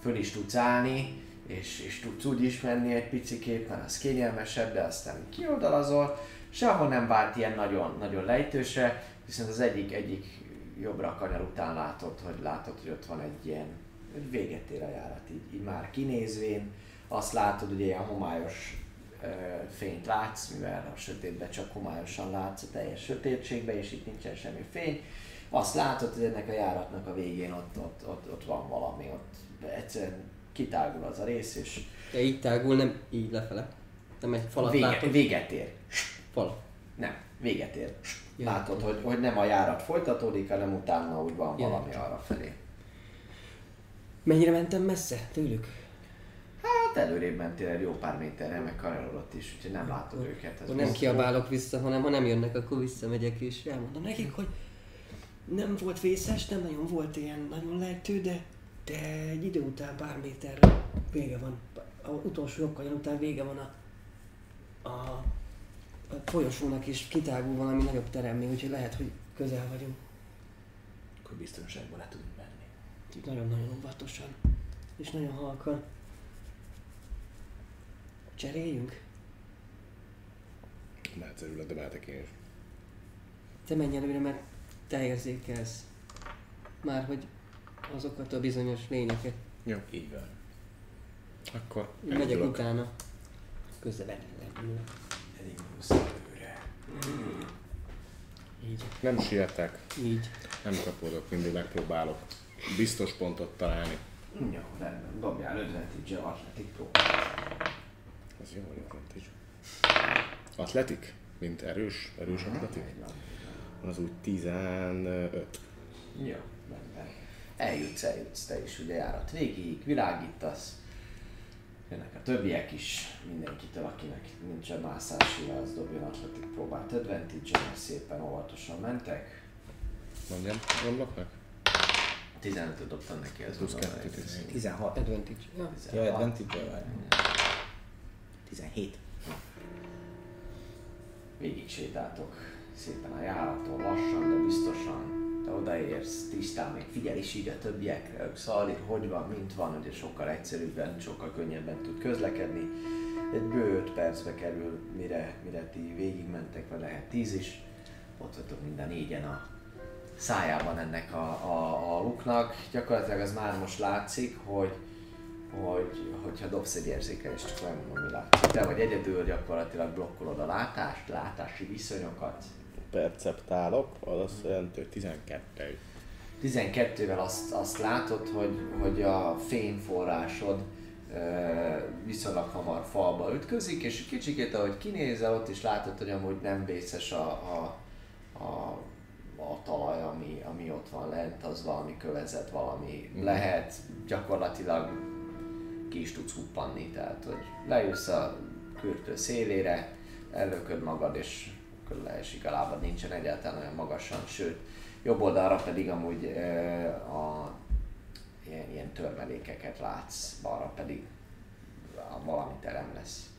Speaker 1: föl is tudsz állni, és, és tudsz úgy is menni egy picikét, mert az kényelmesebb, de aztán kioldalazol. Sehol nem vált ilyen nagyon, nagyon lejtőse, viszont az egyik, egyik jobbra kanyar után látod, hogy látod, hogy ott van egy ilyen hogy véget ér a járat, így, így már kinézvén, azt látod, hogy ilyen homályos ö, fényt látsz, mivel a sötétben csak homályosan látsz a teljes sötétségbe, és itt nincsen semmi fény. Azt látod, hogy ennek a járatnak a végén ott, ott, ott, ott van valami, ott egyszerűen kitágul az a rész, és
Speaker 2: De így tágul, nem így lefele. Nem egy falat
Speaker 1: vége,
Speaker 2: látok.
Speaker 1: véget ér.
Speaker 2: Fal.
Speaker 1: Nem, véget ér.
Speaker 2: Ja.
Speaker 1: Látod, hogy, hogy nem a járat folytatódik, hanem utána úgy van
Speaker 2: Ja.
Speaker 1: valami arra felé.
Speaker 2: Mennyire mentem messze tőlük?
Speaker 1: Hát előrébb mentél egy jó pár méterre, meg kanyarodott is, úgyhogy nem látod őket. Ez
Speaker 2: Akkor nem
Speaker 1: biztos.
Speaker 2: kiabálok vissza, hanem ha nem jönnek, akkor visszamegyek és elmondom nekik, hogy nem volt vészes, nem nagyon volt ilyen nagyon lejtő, de, de egy idő után pár méterre vége van. A utolsó jogkanyon után vége van a, a, a folyosónak és kitágul valami nagyobb terem még, úgyhogy lehet, hogy közel vagyunk.
Speaker 5: Akkor biztonságban le tudunk menni.
Speaker 2: Úgyhogy Nagyon-nagyon óvatosan és nagyon halkan. Cseréljünk?
Speaker 4: Lehet örülök, de beletek én is.
Speaker 2: Te menj előre, mert te érzékelsz. Már hogy azokat a bizonyos lényeket.
Speaker 5: Így van.
Speaker 4: Akkor
Speaker 2: Én megyek
Speaker 4: elindulok.
Speaker 2: utána. Közvetlenül.
Speaker 5: Elég muszáj előre.
Speaker 2: Így.
Speaker 4: Nem sietek.
Speaker 2: Így.
Speaker 4: Nem kapodok, mindig megpróbálok biztos pontot találni.
Speaker 1: Jó, rendben. Dobjál advantage atletik próbál.
Speaker 4: Ez jó, atletik. Atletik? Mint erős? Erős atletik? Az úgy 15.
Speaker 1: Jó, rendben. Eljutsz, eljutsz te is, ugye járat végig, világítasz. Jönnek a többiek is, mindenkitől, akinek nincsen mászási, az dobjon atletik próbált advantage szépen óvatosan mentek.
Speaker 4: Mondjam, romlok meg?
Speaker 1: 15-öt dobtam neki, az
Speaker 4: 22
Speaker 1: 12
Speaker 3: 16.
Speaker 2: Advantage. Ja.
Speaker 3: Ja, advantage vagy. 17.
Speaker 1: Végig sétáltok szépen a járaton, lassan, de biztosan. Te odaérsz, tisztán még figyel is így a többiekre, ők szalír, hogy van, mint van, ugye sokkal egyszerűbben, sokkal könnyebben tud közlekedni. Egy bő 5 percbe kerül, mire, mire ti végigmentek, vagy lehet 10 is. Ott vagytok mind a négyen a szájában ennek a, a, a luknak. Gyakorlatilag az már most látszik, hogy hogy, hogyha dobsz egy érzékelést, csak megmondom, mi látszik. Te vagy egyedül, gyakorlatilag blokkolod a látást, látási viszonyokat.
Speaker 4: Perceptálok, az azt jelenti, hogy 12.
Speaker 1: 12-vel azt, azt látod, hogy, hogy a fényforrásod ö, viszonylag hamar falba ütközik, és kicsikét ahogy kinézel, ott is látod, hogy amúgy nem vészes a, a, a, a talaj, ami, ami ott van lent, az valami kövezet, valami lehet, gyakorlatilag ki is tudsz huppanni, tehát hogy lejössz a kürtő szélére, ellököd magad, és akkor leesik a lábad, nincsen egyáltalán olyan magasan, sőt, jobb oldalra pedig amúgy ö, a, ilyen, ilyen törmelékeket látsz, balra pedig a- valami terem lesz.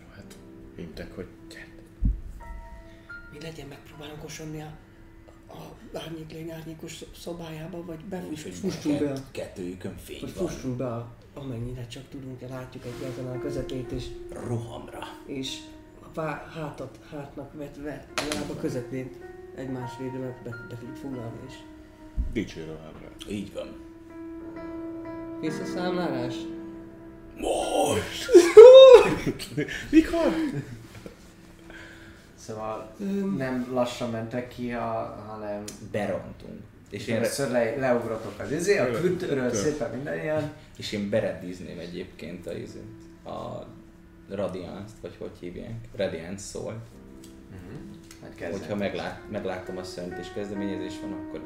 Speaker 4: Jó, hát intek, hogy gyert.
Speaker 2: Mi legyen, megpróbálunk osonni a, a árnyék lény árnyékos szobájába, vagy befussunk be, a-
Speaker 5: Kettőjükön fény
Speaker 2: vagy
Speaker 5: van.
Speaker 2: fussunk be, a- amennyire csak tudunk, látjuk egyáltalán a közepét, és
Speaker 5: Rohamra.
Speaker 2: és a pá- hátat hátnak vetve a lába közepén egymás védelmet be, be tudjuk foglalni is.
Speaker 4: Dicsérő ember.
Speaker 5: Így van.
Speaker 2: Kész a számlálás?
Speaker 5: Most!
Speaker 4: Mikor?
Speaker 1: Szóval nem lassan mentek ki, ha- hanem
Speaker 3: Berontunk.
Speaker 1: és
Speaker 3: És én,
Speaker 1: először le, leugrotok az izé, a kültőről
Speaker 4: Tör.
Speaker 1: szépen minden ilyen.
Speaker 3: és én beredízném egyébként a izét. A Radiance-t, vagy hogy hívják? szóval. Radiance szólt.
Speaker 1: Majd
Speaker 3: Hogyha
Speaker 1: Mhm. Hát kezdem.
Speaker 3: meglát, meglátom a szent és kezdeményezés van, akkor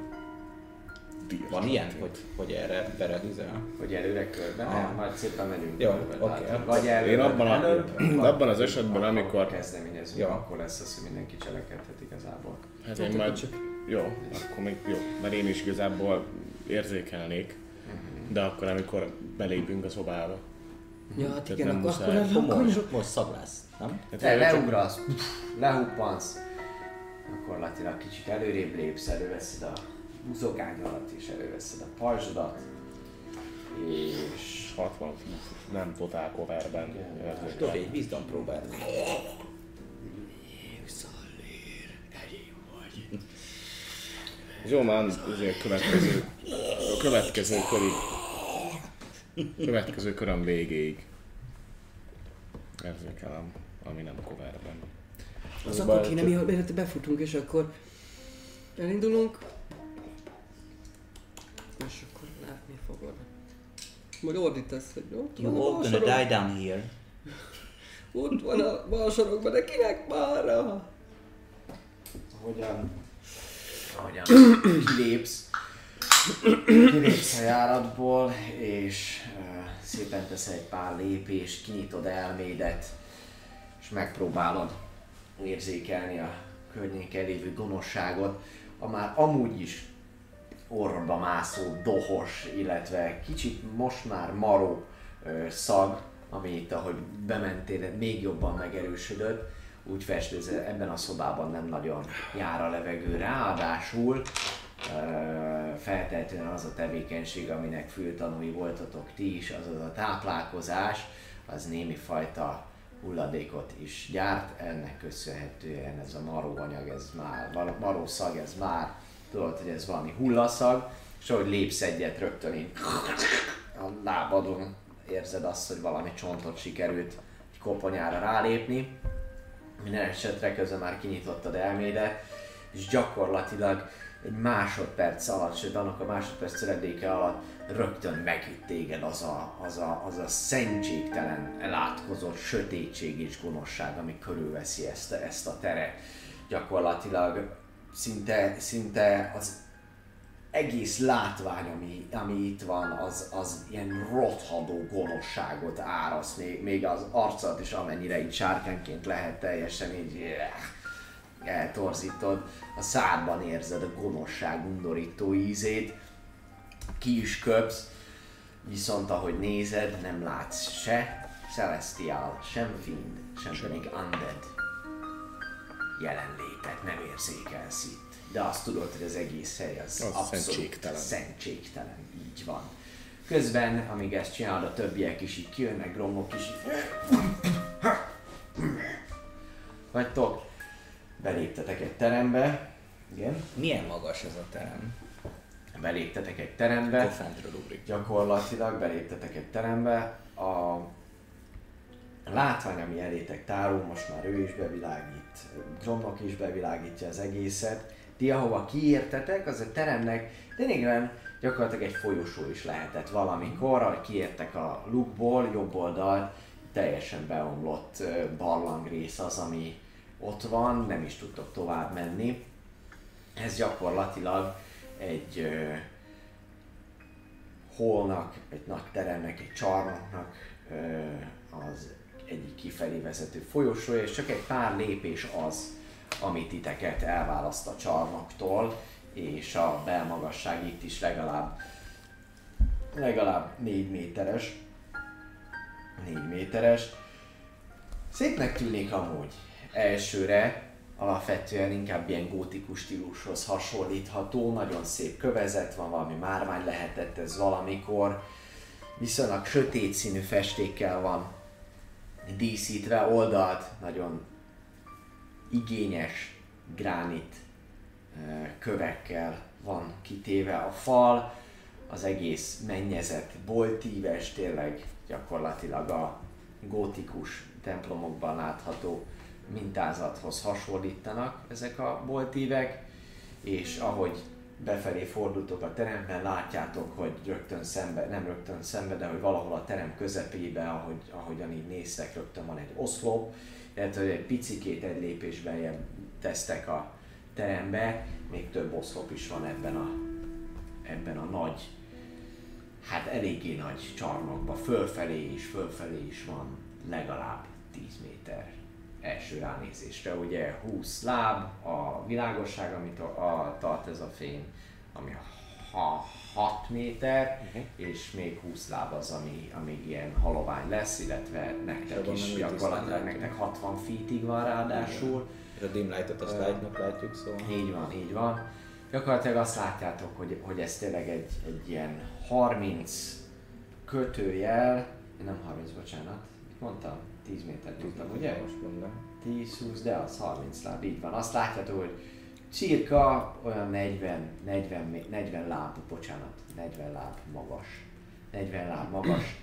Speaker 3: van ilyen, hogy, hogy erre beredízel?
Speaker 1: Hogy előre körben, nem, majd szépen menünk.
Speaker 3: Jó,
Speaker 1: körbe,
Speaker 3: oké.
Speaker 1: tehát Vagy előbb,
Speaker 4: Ah. Én abban, a,
Speaker 1: előbb,
Speaker 4: abban az esetben,
Speaker 1: akkor
Speaker 4: amikor...
Speaker 1: kezdeményezünk,
Speaker 3: Jó.
Speaker 1: akkor lesz az, hogy mindenki cselekedhet igazából.
Speaker 4: Hát én majd... Jó, akkor még jó, mert én is igazából érzékelnék. De akkor, amikor belépünk a szobába.
Speaker 2: Ja, hát
Speaker 4: Tehát
Speaker 2: igen,
Speaker 4: nem
Speaker 2: akkor,
Speaker 4: muszáj.
Speaker 2: akkor, akkor, akkor
Speaker 3: Most, most szaglász, nem?
Speaker 4: Hát
Speaker 1: Te
Speaker 4: én csak-
Speaker 1: leugrasz, lehuppansz, gyakorlatilag kicsit előrébb lépsz, előveszed a buzogányodat és előveszed a pajzsodat, és
Speaker 4: 60 fut, nem totál coverben érzékelem.
Speaker 3: Dobj egy vízdom próbáld.
Speaker 4: Jó, már azért következő, a következő körig, következő köröm végéig érzékelem, ami nem coverben.
Speaker 2: az akkor kéne, mi, mielőtt befutunk, és akkor elindulunk. És akkor látni fogod. Majd ordítasz, hogy ott van a bal sarok,
Speaker 3: down here.
Speaker 2: ott van a bal sarokban, de kinek balra?
Speaker 1: hogyan, hogyan kilépsz, kilépsz a járatból, és uh, szépen teszel egy pár lépést, kinyitod elmédet, és megpróbálod érzékelni a környéken lévő gonoszságot, a már amúgy is orba mászó, dohos, illetve kicsit most már maró ö, szag, ami itt, ahogy bementél, még jobban megerősödött, úgy fest, ez ebben a szobában nem nagyon jár a levegő, ráadásul ö, feltétlenül az a tevékenység, aminek fültanúi voltatok ti is, azaz a táplálkozás, az némi fajta hulladékot is gyárt, ennek köszönhetően ez a maró anyag, ez már, mar- maró szag, ez már, tudod, hogy ez valami hullaszag, és ahogy lépsz egyet rögtön így a lábadon érzed azt, hogy valami csontot sikerült egy koponyára rálépni, minden esetre közben már kinyitottad elmédet, és gyakorlatilag egy másodperc alatt, sőt annak a másodperc töredéke alatt rögtön megüt téged az a, az a, az a szentségtelen, elátkozott sötétség és gonoszság, ami körülveszi ezt, a- ezt a teret. Gyakorlatilag szinte, szinte az egész látvány, ami, ami itt van, az, az ilyen rothadó gonoszságot áraszt, még, még az arcad is amennyire így sárkánként lehet teljesen így eh, eltorzítod, a szádban érzed a gonoszság undorító ízét, ki is köpsz, viszont ahogy nézed, nem látsz se Celestial, sem Fiend, sem pedig Undead jelenlétet nem érzékelsz itt. De azt tudod, hogy az egész hely az,
Speaker 4: Az
Speaker 1: abszolút
Speaker 4: szentségtelen.
Speaker 1: szentségtelen. Így van. Közben, amíg ezt csinálod, a többiek is így kijönnek, gromok is így... Vagytok, beléptetek egy terembe. Igen.
Speaker 3: Milyen magas ez a terem?
Speaker 1: Beléptetek egy terembe.
Speaker 3: Fentről ugrik.
Speaker 1: Gyakorlatilag beléptetek egy terembe, a látvány, ami elétek tárul, most már ő is bevilágít, Gromnok is bevilágítja az egészet. Ti, ahova kiértetek, az a teremnek tényleg gyakorlatilag egy folyosó is lehetett valamikor, ahogy kiértek a lukból, jobb oldalt, teljesen beomlott ö, barlangrész az, ami ott van, nem is tudtok tovább menni. Ez gyakorlatilag egy ö, holnak, egy nagy teremnek, egy csarnoknak ö, az egyik kifelé vezető folyosója, és csak egy pár lépés az, amit titeket elválaszt a csarnoktól, és a belmagasság itt is legalább legalább 4 méteres. 4 méteres. Szépnek tűnik amúgy elsőre, alapvetően inkább ilyen gótikus stílushoz hasonlítható, nagyon szép kövezet van, valami márvány lehetett ez valamikor, viszonylag sötét színű festékkel van díszítve oldalt, nagyon igényes gránit ö, kövekkel van kitéve a fal, az egész mennyezet boltíves, tényleg gyakorlatilag a gótikus templomokban látható mintázathoz hasonlítanak ezek a boltívek, és ahogy befelé fordultok a teremben, látjátok, hogy rögtön szembe, nem rögtön szembe, de hogy valahol a terem közepébe, ahogy, ahogyan így néztek, rögtön van egy oszlop, illetve hogy egy picikét egy lépésben ilyen tesztek a terembe, még több oszlop is van ebben a, ebben a nagy, hát eléggé nagy csarnokba, fölfelé is, fölfelé is van legalább 10 méter első ránézésre. Ugye 20 láb, a világosság, amit a, a, tart ez a fény, ami ha, 6 méter,
Speaker 5: Mhm.
Speaker 1: uh-huh. és még 20 láb az, ami, ami ilyen halovány lesz, illetve nektek
Speaker 5: abban nem
Speaker 1: is
Speaker 5: úgy
Speaker 1: gyakorlatilag
Speaker 5: tisztán
Speaker 1: nektek 60 feetig van ráadásul.
Speaker 5: És a dim lightot azt lightnak látjuk, szóval...
Speaker 1: Így van, így van. Gyakorlatilag azt látjátok, hogy, hogy ez tényleg egy, egy ilyen 30 kötőjel, nem 30, bocsánat, mit mondtam? 10 métert mondtam, ugye?
Speaker 5: Most mondom.
Speaker 1: 10-20, de az 30 láb, így van. Azt látjátok, hogy cirka olyan 40, 40, mé- 40 láb, bocsánat, 40 láb magas. 40 láb magas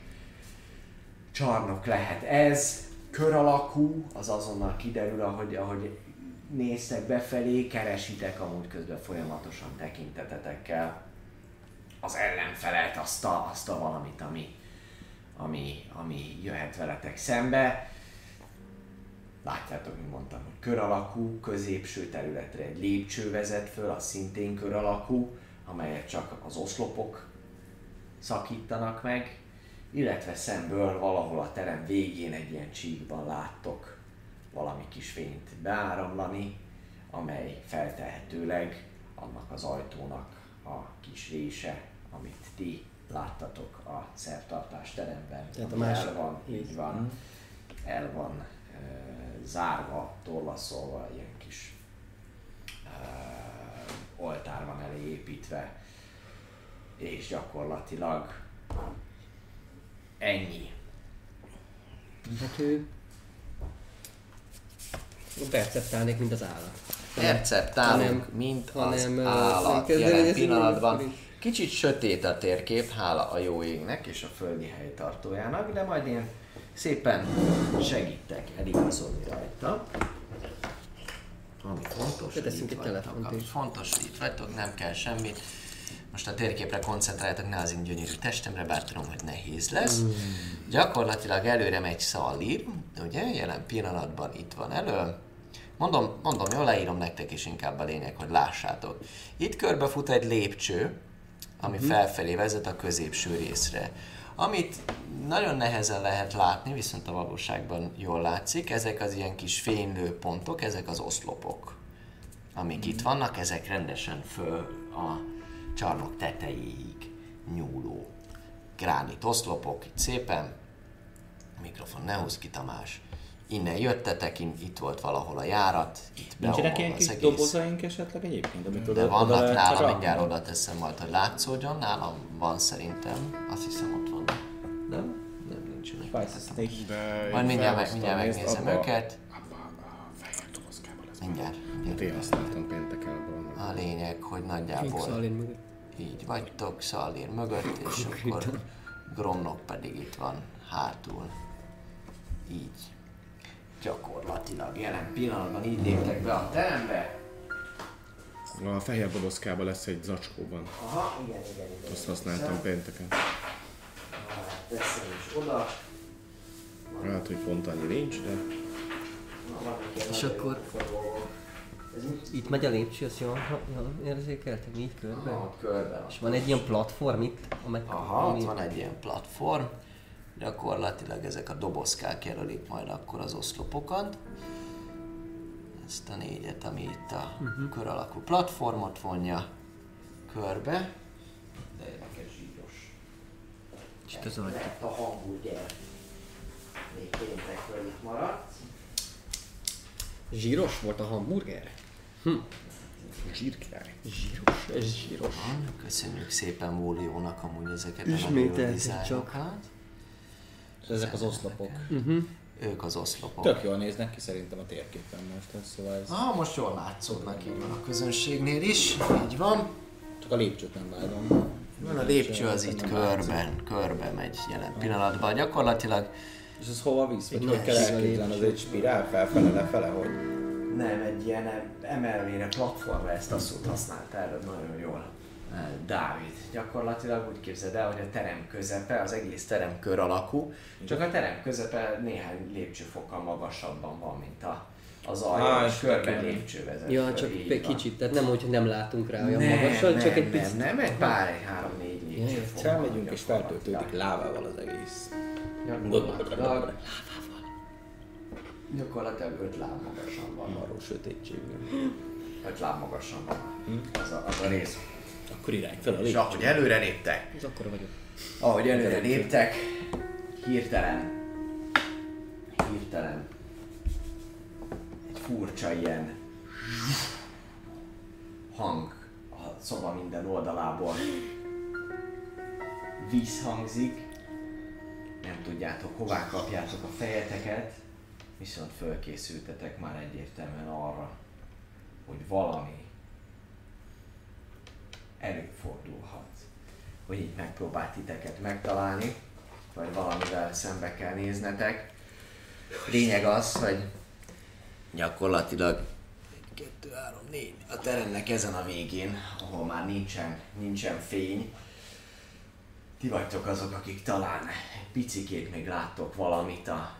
Speaker 1: csarnok lehet ez, kör alakú, az azonnal kiderül, ahogy, ahogy néztek befelé, keresitek amúgy közben folyamatosan tekintetetekkel az ellenfelet, azt a, azt a valamit, ami, ami, ami jöhet veletek szembe. Látjátok, mint mondtam, hogy kör alakú, középső területre egy lépcső vezet föl, az szintén kör alakú, amelyet csak az oszlopok szakítanak meg, illetve szemből valahol a terem végén egy ilyen csíkban láttok valami kis fényt beáramlani, amely feltehetőleg annak az ajtónak a kis rése, amit ti láttatok a szertartás teremben.
Speaker 2: Tehát a
Speaker 1: ami
Speaker 2: másik- Mhm.
Speaker 1: el van, így van, el van ö, zárva, torlaszolva, ilyen kis ö, oltár van elé építve, és gyakorlatilag ennyi.
Speaker 2: Hát ő... Perceptálnék, mint az állat.
Speaker 1: Perceptálunk,
Speaker 2: Hanem-
Speaker 1: mint
Speaker 2: hanem,
Speaker 1: az
Speaker 2: ö,
Speaker 1: állat
Speaker 2: elkezdeni,
Speaker 1: jelen
Speaker 2: ez így
Speaker 1: pillanatban.
Speaker 2: nagyon furi.
Speaker 1: Kicsit sötét a térkép, hála a jó égnek és a földi helytartójának, de majd én szépen segítek eligazodni rajta. Ami fontos, hogy itt
Speaker 2: Beteszünk egy
Speaker 1: vagytok,
Speaker 2: telefont
Speaker 1: ami
Speaker 2: is.
Speaker 1: fontos, hogy itt vagytok, nem kell semmit. Most a térképre koncentráltok, ne az én gyönyörű testemre, bár tudom, hogy nehéz lesz. Gyakorlatilag előre megy Szalib, ugye, jelen pillanatban itt van elő. Mondom, mondom, jól leírom nektek is inkább a lényeg, hogy lássátok. Itt körbefut egy lépcső, ami felfelé vezet a középső részre. Amit nagyon nehezen lehet látni, viszont a valóságban jól látszik, ezek az ilyen kis fénylő pontok, ezek az oszlopok amik itt vannak, ezek rendesen föl a csarnok tetejéig nyúló gránit oszlopok, itt szépen, mikrofon ne húz ki Tamás, innen jöttetek, in- itt volt valahol a járat, itt
Speaker 3: Nincsenek
Speaker 1: beomlott
Speaker 3: ilyen
Speaker 1: az
Speaker 3: kis
Speaker 1: egész.
Speaker 3: dobozaink esetleg egyébként, amit oda
Speaker 1: De vannak
Speaker 3: oda
Speaker 1: nálam,
Speaker 3: rakni?
Speaker 1: mindjárt oda teszem majd, hogy látszódjon, nálam van szerintem, azt hiszem ott van. Nem? Nem, nincsenek.
Speaker 3: Fajszaszték.
Speaker 4: De
Speaker 1: Majd
Speaker 4: én
Speaker 1: mindjárt, meg,
Speaker 4: felhoztam,
Speaker 1: mindjárt
Speaker 4: nézd,
Speaker 1: megnézem
Speaker 4: abba-
Speaker 1: őket.
Speaker 4: Abba a fehér dobozkába lesz.
Speaker 1: Mindjárt.
Speaker 4: Hát én használtam pénteken abban.
Speaker 1: A lényeg, hogy nagyjából
Speaker 2: Szalin mögött.
Speaker 1: így vagytok Szalér mögött, és akkor Gromnok pedig itt van hátul. Így. Gyakorlatilag jelen pillanatban így léptek be a terembe.
Speaker 4: A fehér dobozkában lesz egy zacskóban.
Speaker 1: Aha, igen, igen, igen.
Speaker 4: Azt használtam pénteken.
Speaker 1: Hát, Teszem is oda.
Speaker 4: Hát, hogy pont annyi nincs, de...
Speaker 1: Na, vannak ilyen
Speaker 2: És
Speaker 1: nagyon
Speaker 2: akkor-
Speaker 1: jó forró. Ez mit
Speaker 2: Itt megy a lépcső, azt jól, jól érzékeltem, így körbe.
Speaker 1: van ott körben?
Speaker 2: És van egy ilyen platform itt, amely...
Speaker 1: Aha, ott van egy ilyen platform. Gyakorlatilag ezek a dobozkák jelölik majd akkor az oszlopokat. Ezt a négyet, ami itt a uh-huh. kör alakú platformot vonja körbe. De érdekes zsíros.
Speaker 2: És itt az agy.
Speaker 1: Lett a hamburger. Még péntekről itt maradt.
Speaker 2: Zsíros volt a hamburger? Hm.
Speaker 4: Zsírkirály.
Speaker 2: Zsíros, ez zsíros.
Speaker 1: Köszönjük szépen Móliónak amúgy ezeket
Speaker 2: Ismételtük
Speaker 1: nagyon jó
Speaker 2: csak.
Speaker 1: dizájnokat.
Speaker 5: Ezek az oszlopok.
Speaker 1: Ők az oszlopok.
Speaker 5: Tök jól néznek ki szerintem a térképen most, ez, szóval ez...
Speaker 1: Ah, most jól látszódnak így van a közönségnél is, így van.
Speaker 5: Csak a lépcsőt nem vágom.
Speaker 1: Van a lépcső az itt körben, körbe megy jelen pillanatban. Gyakorlatilag
Speaker 5: És ez hova visz? Vagy
Speaker 2: Egy
Speaker 5: hogy kell
Speaker 2: másik
Speaker 5: elképzelni? Az egy spirál felfele, lefele, hogy...
Speaker 1: nem egy ilyen emelvére platformra ezt a szót használta erre nagyon jól. eh, Dávid, gyakorlatilag úgy képzeld el, hogy a terem közepe, az egész terem kör alakú, csak a terem közepe néhány lépcsőfokkal magasabban van, mint a, az
Speaker 5: Á,
Speaker 1: alja, és
Speaker 5: és
Speaker 1: körben
Speaker 5: nekem-
Speaker 1: lépcső vezet.
Speaker 2: Ja,
Speaker 1: föl,
Speaker 2: csak
Speaker 1: így
Speaker 2: egy
Speaker 1: van.
Speaker 2: kicsit, tehát nem, hogy nem látunk rá olyan
Speaker 1: Nem,
Speaker 2: magasan, csak
Speaker 1: nem,
Speaker 2: egy picit.
Speaker 1: Nem, nem, egy pár, egy három-négy lépcső
Speaker 2: Jaj,
Speaker 1: fokkal
Speaker 5: Felmegyünk és
Speaker 1: gyakorlatilag.
Speaker 5: feltöltődik lávával az egész.
Speaker 1: Gyakorlatilag, gyakorlatilag öt láb magasan van.
Speaker 5: Arról sötétségű.
Speaker 1: Öt láb magasan van. Az a, az a rész.
Speaker 5: Akkor irány fel a
Speaker 1: És
Speaker 5: lépcső.
Speaker 1: ahogy előre léptek,
Speaker 2: Ez akkor vagyok.
Speaker 1: ahogy előre léptek, hirtelen, hirtelen egy furcsa ilyen hang a szoba minden oldalából víz hangzik, nem tudjátok hová kapjátok a fejeteket, viszont fölkészültetek már egyértelműen arra, hogy valami előfordulhat, hogy így megpróbált titeket megtalálni, vagy valamivel szembe kell néznetek. Lényeg az, hogy gyakorlatilag 1, 2, 3, 4, a teremnek ezen a végén, ahol már nincsen, nincsen fény, ti vagytok azok, akik talán egy picikét még láttok valamit a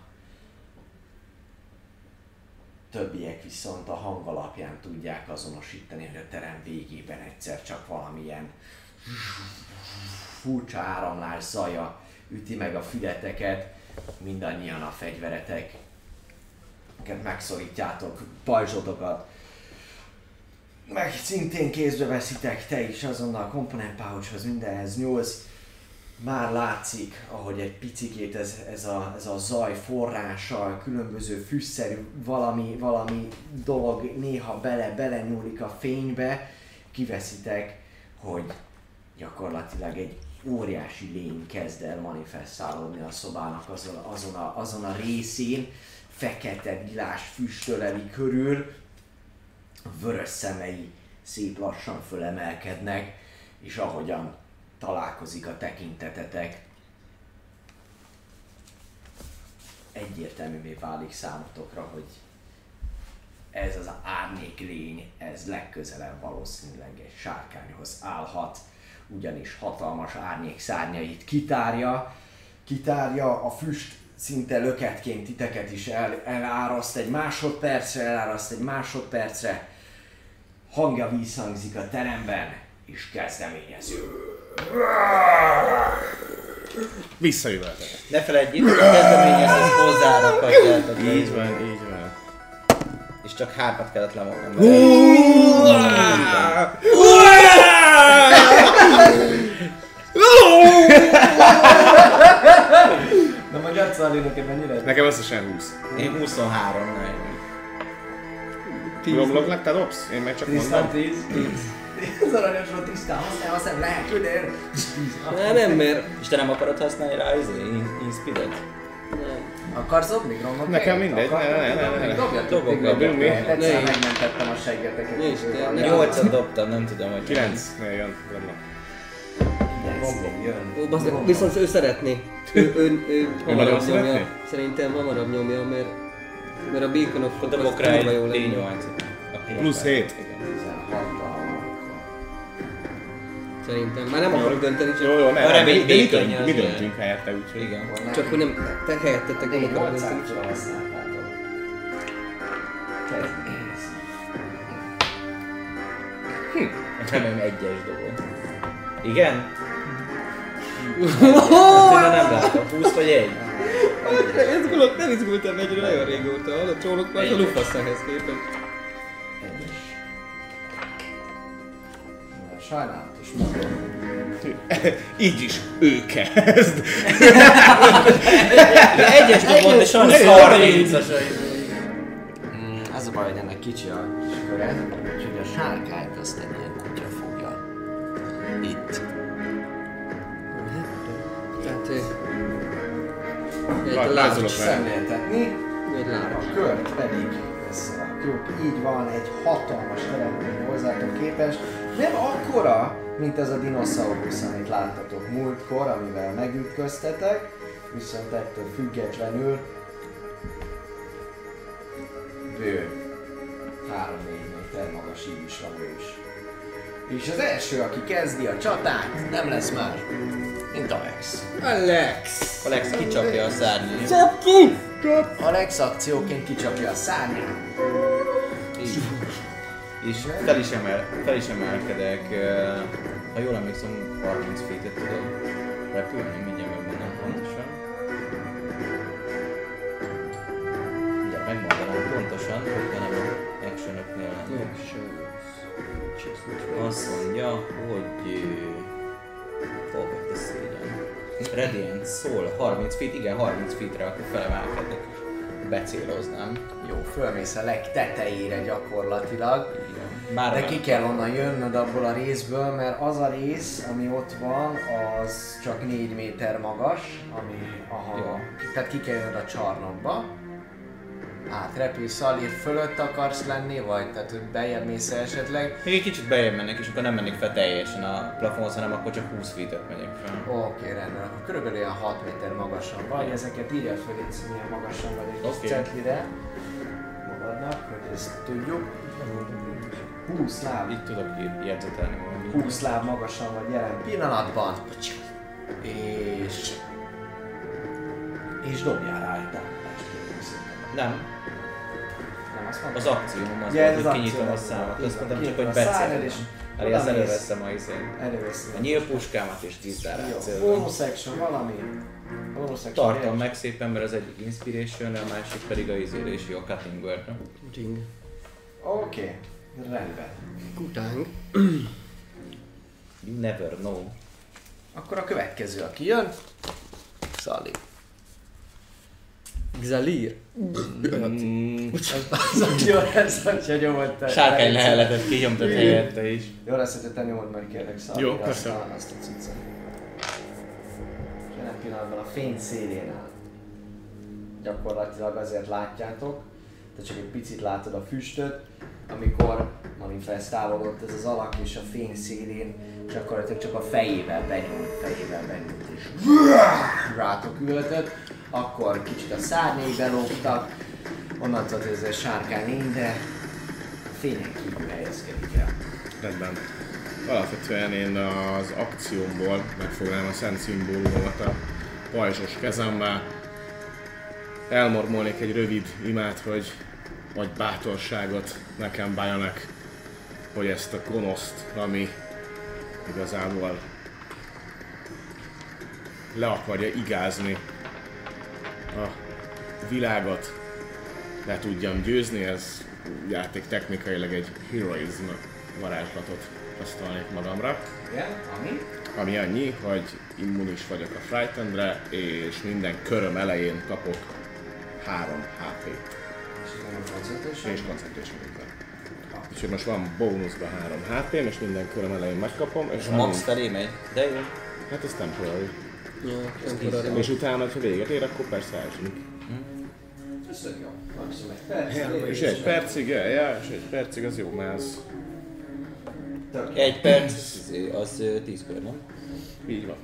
Speaker 1: többiek viszont a hang alapján tudják azonosítani, hogy a terem végében egyszer csak valamilyen furcsa áramlás zaja üti meg a fületeket, mindannyian a fegyveretek, amiket megszorítjátok, pajzsotokat, meg szintén kézbe veszitek, te is azonnal a komponentpáhocshoz, mindenhez nyúlsz. Már látszik, ahogy egy picikét ez, ez, a, ez a zaj forrása, különböző fűszerű valami, valami dolog néha bele, bele nyúlik a fénybe, kiveszitek, hogy gyakorlatilag egy óriási lény kezd el manifestálódni a szobának azon, azon, a, azon a részén, fekete gilás füstöleli körül, vörös szemei szép lassan fölemelkednek, és ahogyan találkozik a tekintetetek, egyértelművé válik számotokra, hogy ez az árnyék lény, ez legközelebb valószínűleg egy sárkányhoz állhat, ugyanis hatalmas árnyék szárnyait kitárja, kitárja a füst szinte löketként titeket is el, eláraszt egy másodpercre, eláraszt egy másodpercre, hangja visszhangzik a teremben, és kezdeményező.
Speaker 4: Visszajövök.
Speaker 3: Ne felejtjétek, a kezdeményezés hozzárakhatjátok.
Speaker 4: Így van, így van.
Speaker 3: És csak hármat kellett lemognom. vele.
Speaker 1: Na magyar Czarli, neked mennyire?
Speaker 4: Nekem összesen 20.
Speaker 3: Én 23 nál
Speaker 4: Romloglak, te dobsz? Én meg csak mondom.
Speaker 1: Tisztán 10. Ez aranyos volt, tisztán, aztán, aztán lehet, hogy ér.
Speaker 2: Nem, nem, mert...
Speaker 3: És te nem akarod használni rá izé, in- inspidet?
Speaker 1: Akarsz dobni, Gromot?
Speaker 4: Nekem mindegy, ne, ne, ne, ne, ne.
Speaker 1: Dobjatok,
Speaker 3: Dobok,
Speaker 1: dobjatok.
Speaker 4: dobjunk mi.
Speaker 1: Egyszer
Speaker 2: Ne.
Speaker 1: megmentettem a seggeteket.
Speaker 2: Ne is, te- ne. Jó.
Speaker 3: 8-at dobtam, nem tudom, hogy...
Speaker 4: 9 jön, Romlok.
Speaker 1: Gromlok jön.
Speaker 2: Ó, basz, viszont ő szeretné. Ő, ő, ő
Speaker 4: nagyon
Speaker 2: hamarabb
Speaker 4: szeretné?
Speaker 2: nyomja. Szerintem hamarabb nyomja, mert... Mert a beacon of
Speaker 3: Akkor dobok rá egy D8-at. Akkor
Speaker 4: Plusz
Speaker 3: jobbá.
Speaker 4: hét.
Speaker 3: Igen.
Speaker 1: 16
Speaker 2: Szerintem. Már nem akarok dönteni, csak...
Speaker 4: Jó, jó, ne,
Speaker 3: Arra
Speaker 4: ne, mi,
Speaker 3: még
Speaker 4: mi,
Speaker 3: békén
Speaker 4: döntünk,
Speaker 3: jön
Speaker 4: mi
Speaker 3: az
Speaker 4: döntünk helyette, úgyhogy.
Speaker 3: Igen.
Speaker 2: Csak hogy nem... Te helyettetek
Speaker 1: Én
Speaker 2: nem akarok
Speaker 1: 800
Speaker 2: dönteni.
Speaker 1: ra használtátok. Ez-
Speaker 3: Nem, egyes dobom. Igen? Azt én már nem látom. 20 vagy egy?
Speaker 2: Nem izgulok, nem izgultam egyre nagyon régóta, a csólok már a lufasszáhez képest.
Speaker 1: Egyes. Na, Sajnálatos módon.
Speaker 4: Így is ő kezd.
Speaker 3: De egyes dobom, de sajnos 30-as.
Speaker 1: Mm, az a baj, hogy ennek kicsi a köre, úgyhogy a sárkányt azt egy ilyen kutya fogja. Itt.
Speaker 2: Tehát...
Speaker 4: Lá-
Speaker 2: Hát, Egy
Speaker 4: lázolok.
Speaker 2: lázolok.
Speaker 1: Szemléltetni,
Speaker 2: Egy láb.
Speaker 1: a kört pedig összerakjuk. Így van, egy hatalmas teremtmény hozzátok képest. Nem akkora, mint az a dinoszaurusz, amit láttatok múltkor, amivel megütköztetek, viszont ettől függetlenül bő 3-4 méter magas így is van ő is. És az első, aki kezdi a csatát, nem lesz más, mint Alex.
Speaker 2: Alex!
Speaker 3: Alex kicsapja a szárnyát.
Speaker 2: Csap ki!
Speaker 1: Alex akcióként kicsapja a szárnyát.
Speaker 3: Így. És fel is, emel, fel is emelkedek. ö, Ha jól emlékszem, 30 feet-et tudok repülni, mindjárt megmondom pontosan. Mindjárt megmondanám pontosan, hogy nem a action lennék. Azt mondja, hogy... ö, Hol volt a szégyen? Radiant szól 30 feet, igen 30 feetre, akkor felemelkedek. Becéloznám.
Speaker 1: Jó, fölmész a legtetejére gyakorlatilag.
Speaker 3: Bár
Speaker 1: De ki kell onnan jönnöd abból a részből, mert az a rész, ami ott van, az csak 4 méter magas, ami aha,
Speaker 3: Jó.
Speaker 1: tehát ki kell jönnöd a csarnokba. Átrepülsz Alir fölött akarsz lenni, vagy tehát hogy bejebb mész esetleg.
Speaker 3: Még egy kicsit bejebb mennék, és akkor nem mennék fel teljesen a plafonhoz, hanem akkor csak 20 feet megyek fel.
Speaker 1: Oké, okay, rendben, akkor körülbelül ilyen 6 méter magasan vagy, ezeket írja föl itt, hogy milyen magasan vagy egy
Speaker 3: Oké.
Speaker 1: okay. cetlire. Magadnak, hogy ezt tudjuk. 20 láb
Speaker 3: Így tudok ír- jegyzetelni valamit.
Speaker 1: 20 láb magasan vagy jelen pillanatban. És... És dobjál rá egy támadást. kérlek szépen.
Speaker 3: Nem,
Speaker 1: Nem azt mondom?
Speaker 3: az akcióm az
Speaker 1: Ja,
Speaker 3: volt,
Speaker 1: ez
Speaker 3: hogy
Speaker 1: az
Speaker 3: kinyitom
Speaker 1: akció.
Speaker 3: a számot.
Speaker 1: Így
Speaker 3: Azt
Speaker 1: van,
Speaker 3: mondtam csak,
Speaker 1: kinyitom
Speaker 3: hogy
Speaker 1: a számot, és
Speaker 3: becélem. Elé az
Speaker 1: oda mész.
Speaker 3: előveszem a izén. A
Speaker 1: Előveszem.
Speaker 3: nyílpuskámat és
Speaker 1: Jó,
Speaker 3: dizdárációt.
Speaker 1: bonus action valami. Bonus action.
Speaker 3: Tartom
Speaker 1: Miért?
Speaker 3: meg szépen, mert az egyik inspiration a másik pedig a izélési a cutting word
Speaker 2: Jing.
Speaker 1: Oké, rendben.
Speaker 2: Kutánk.
Speaker 3: You never know.
Speaker 1: Akkor a következő, aki jön. Szali.
Speaker 2: Xalir.
Speaker 1: Az, aki jól lesz, hogyha nyomod te.
Speaker 3: Sárkány leheletet kinyomtad helyette is.
Speaker 1: Jó lesz, hogyha te nyomod meg, kérlek Szali.
Speaker 4: Jó,
Speaker 1: azt-
Speaker 4: köszönöm.
Speaker 1: Azt a cuccot. Jelen pillanatban a fény szélén áll. Gyakorlatilag azért látjátok, te csak egy picit látod a füstöt, amikor manifestálódott ez az alak, és a fény szélén gyakorlatilag csak a fejével benyúlt, fejével benyúlt, és rátok ültött, akkor kicsit a szárnyai belógtak, onnantól ez a sárkány lény, de fényen kívül helyezkedik el.
Speaker 4: Rendben. Alapvetően én az akciómból megfognám a szent szimbólumomat a pajzsos kezemmel. Elmormolnék egy rövid imát, hogy vagy bátorságot nekem bájanak, hogy ezt a gonoszt, ami igazából le akarja igázni a világot, le tudjam győzni, ez játék technikailag egy heroizm varázslatot használnék magamra,
Speaker 1: Igen? Ami?
Speaker 4: ami annyi, hogy immunis vagyok a Frightenedre, és minden köröm elején kapok 3 HP-t,
Speaker 1: És igen, a koncentráció.
Speaker 4: és concentration weakness. Úgyhogy most van bónuszban 3 hp és minden köröm elején megkapom, és
Speaker 5: A max
Speaker 4: amint-
Speaker 5: felé megy, de jó.
Speaker 4: Hát ez temporary.
Speaker 2: Ja, temporary.
Speaker 4: És utána, ha véget ér, akkor persze elsünk.
Speaker 1: Ez tök jó. Maximum egy perc. lépés.
Speaker 4: És egy percig, ja, ja, és egy percig az jó, mert ez
Speaker 1: Tök jó.
Speaker 5: Egy perc, izé, az ö, 10 kör, nem?
Speaker 4: így van.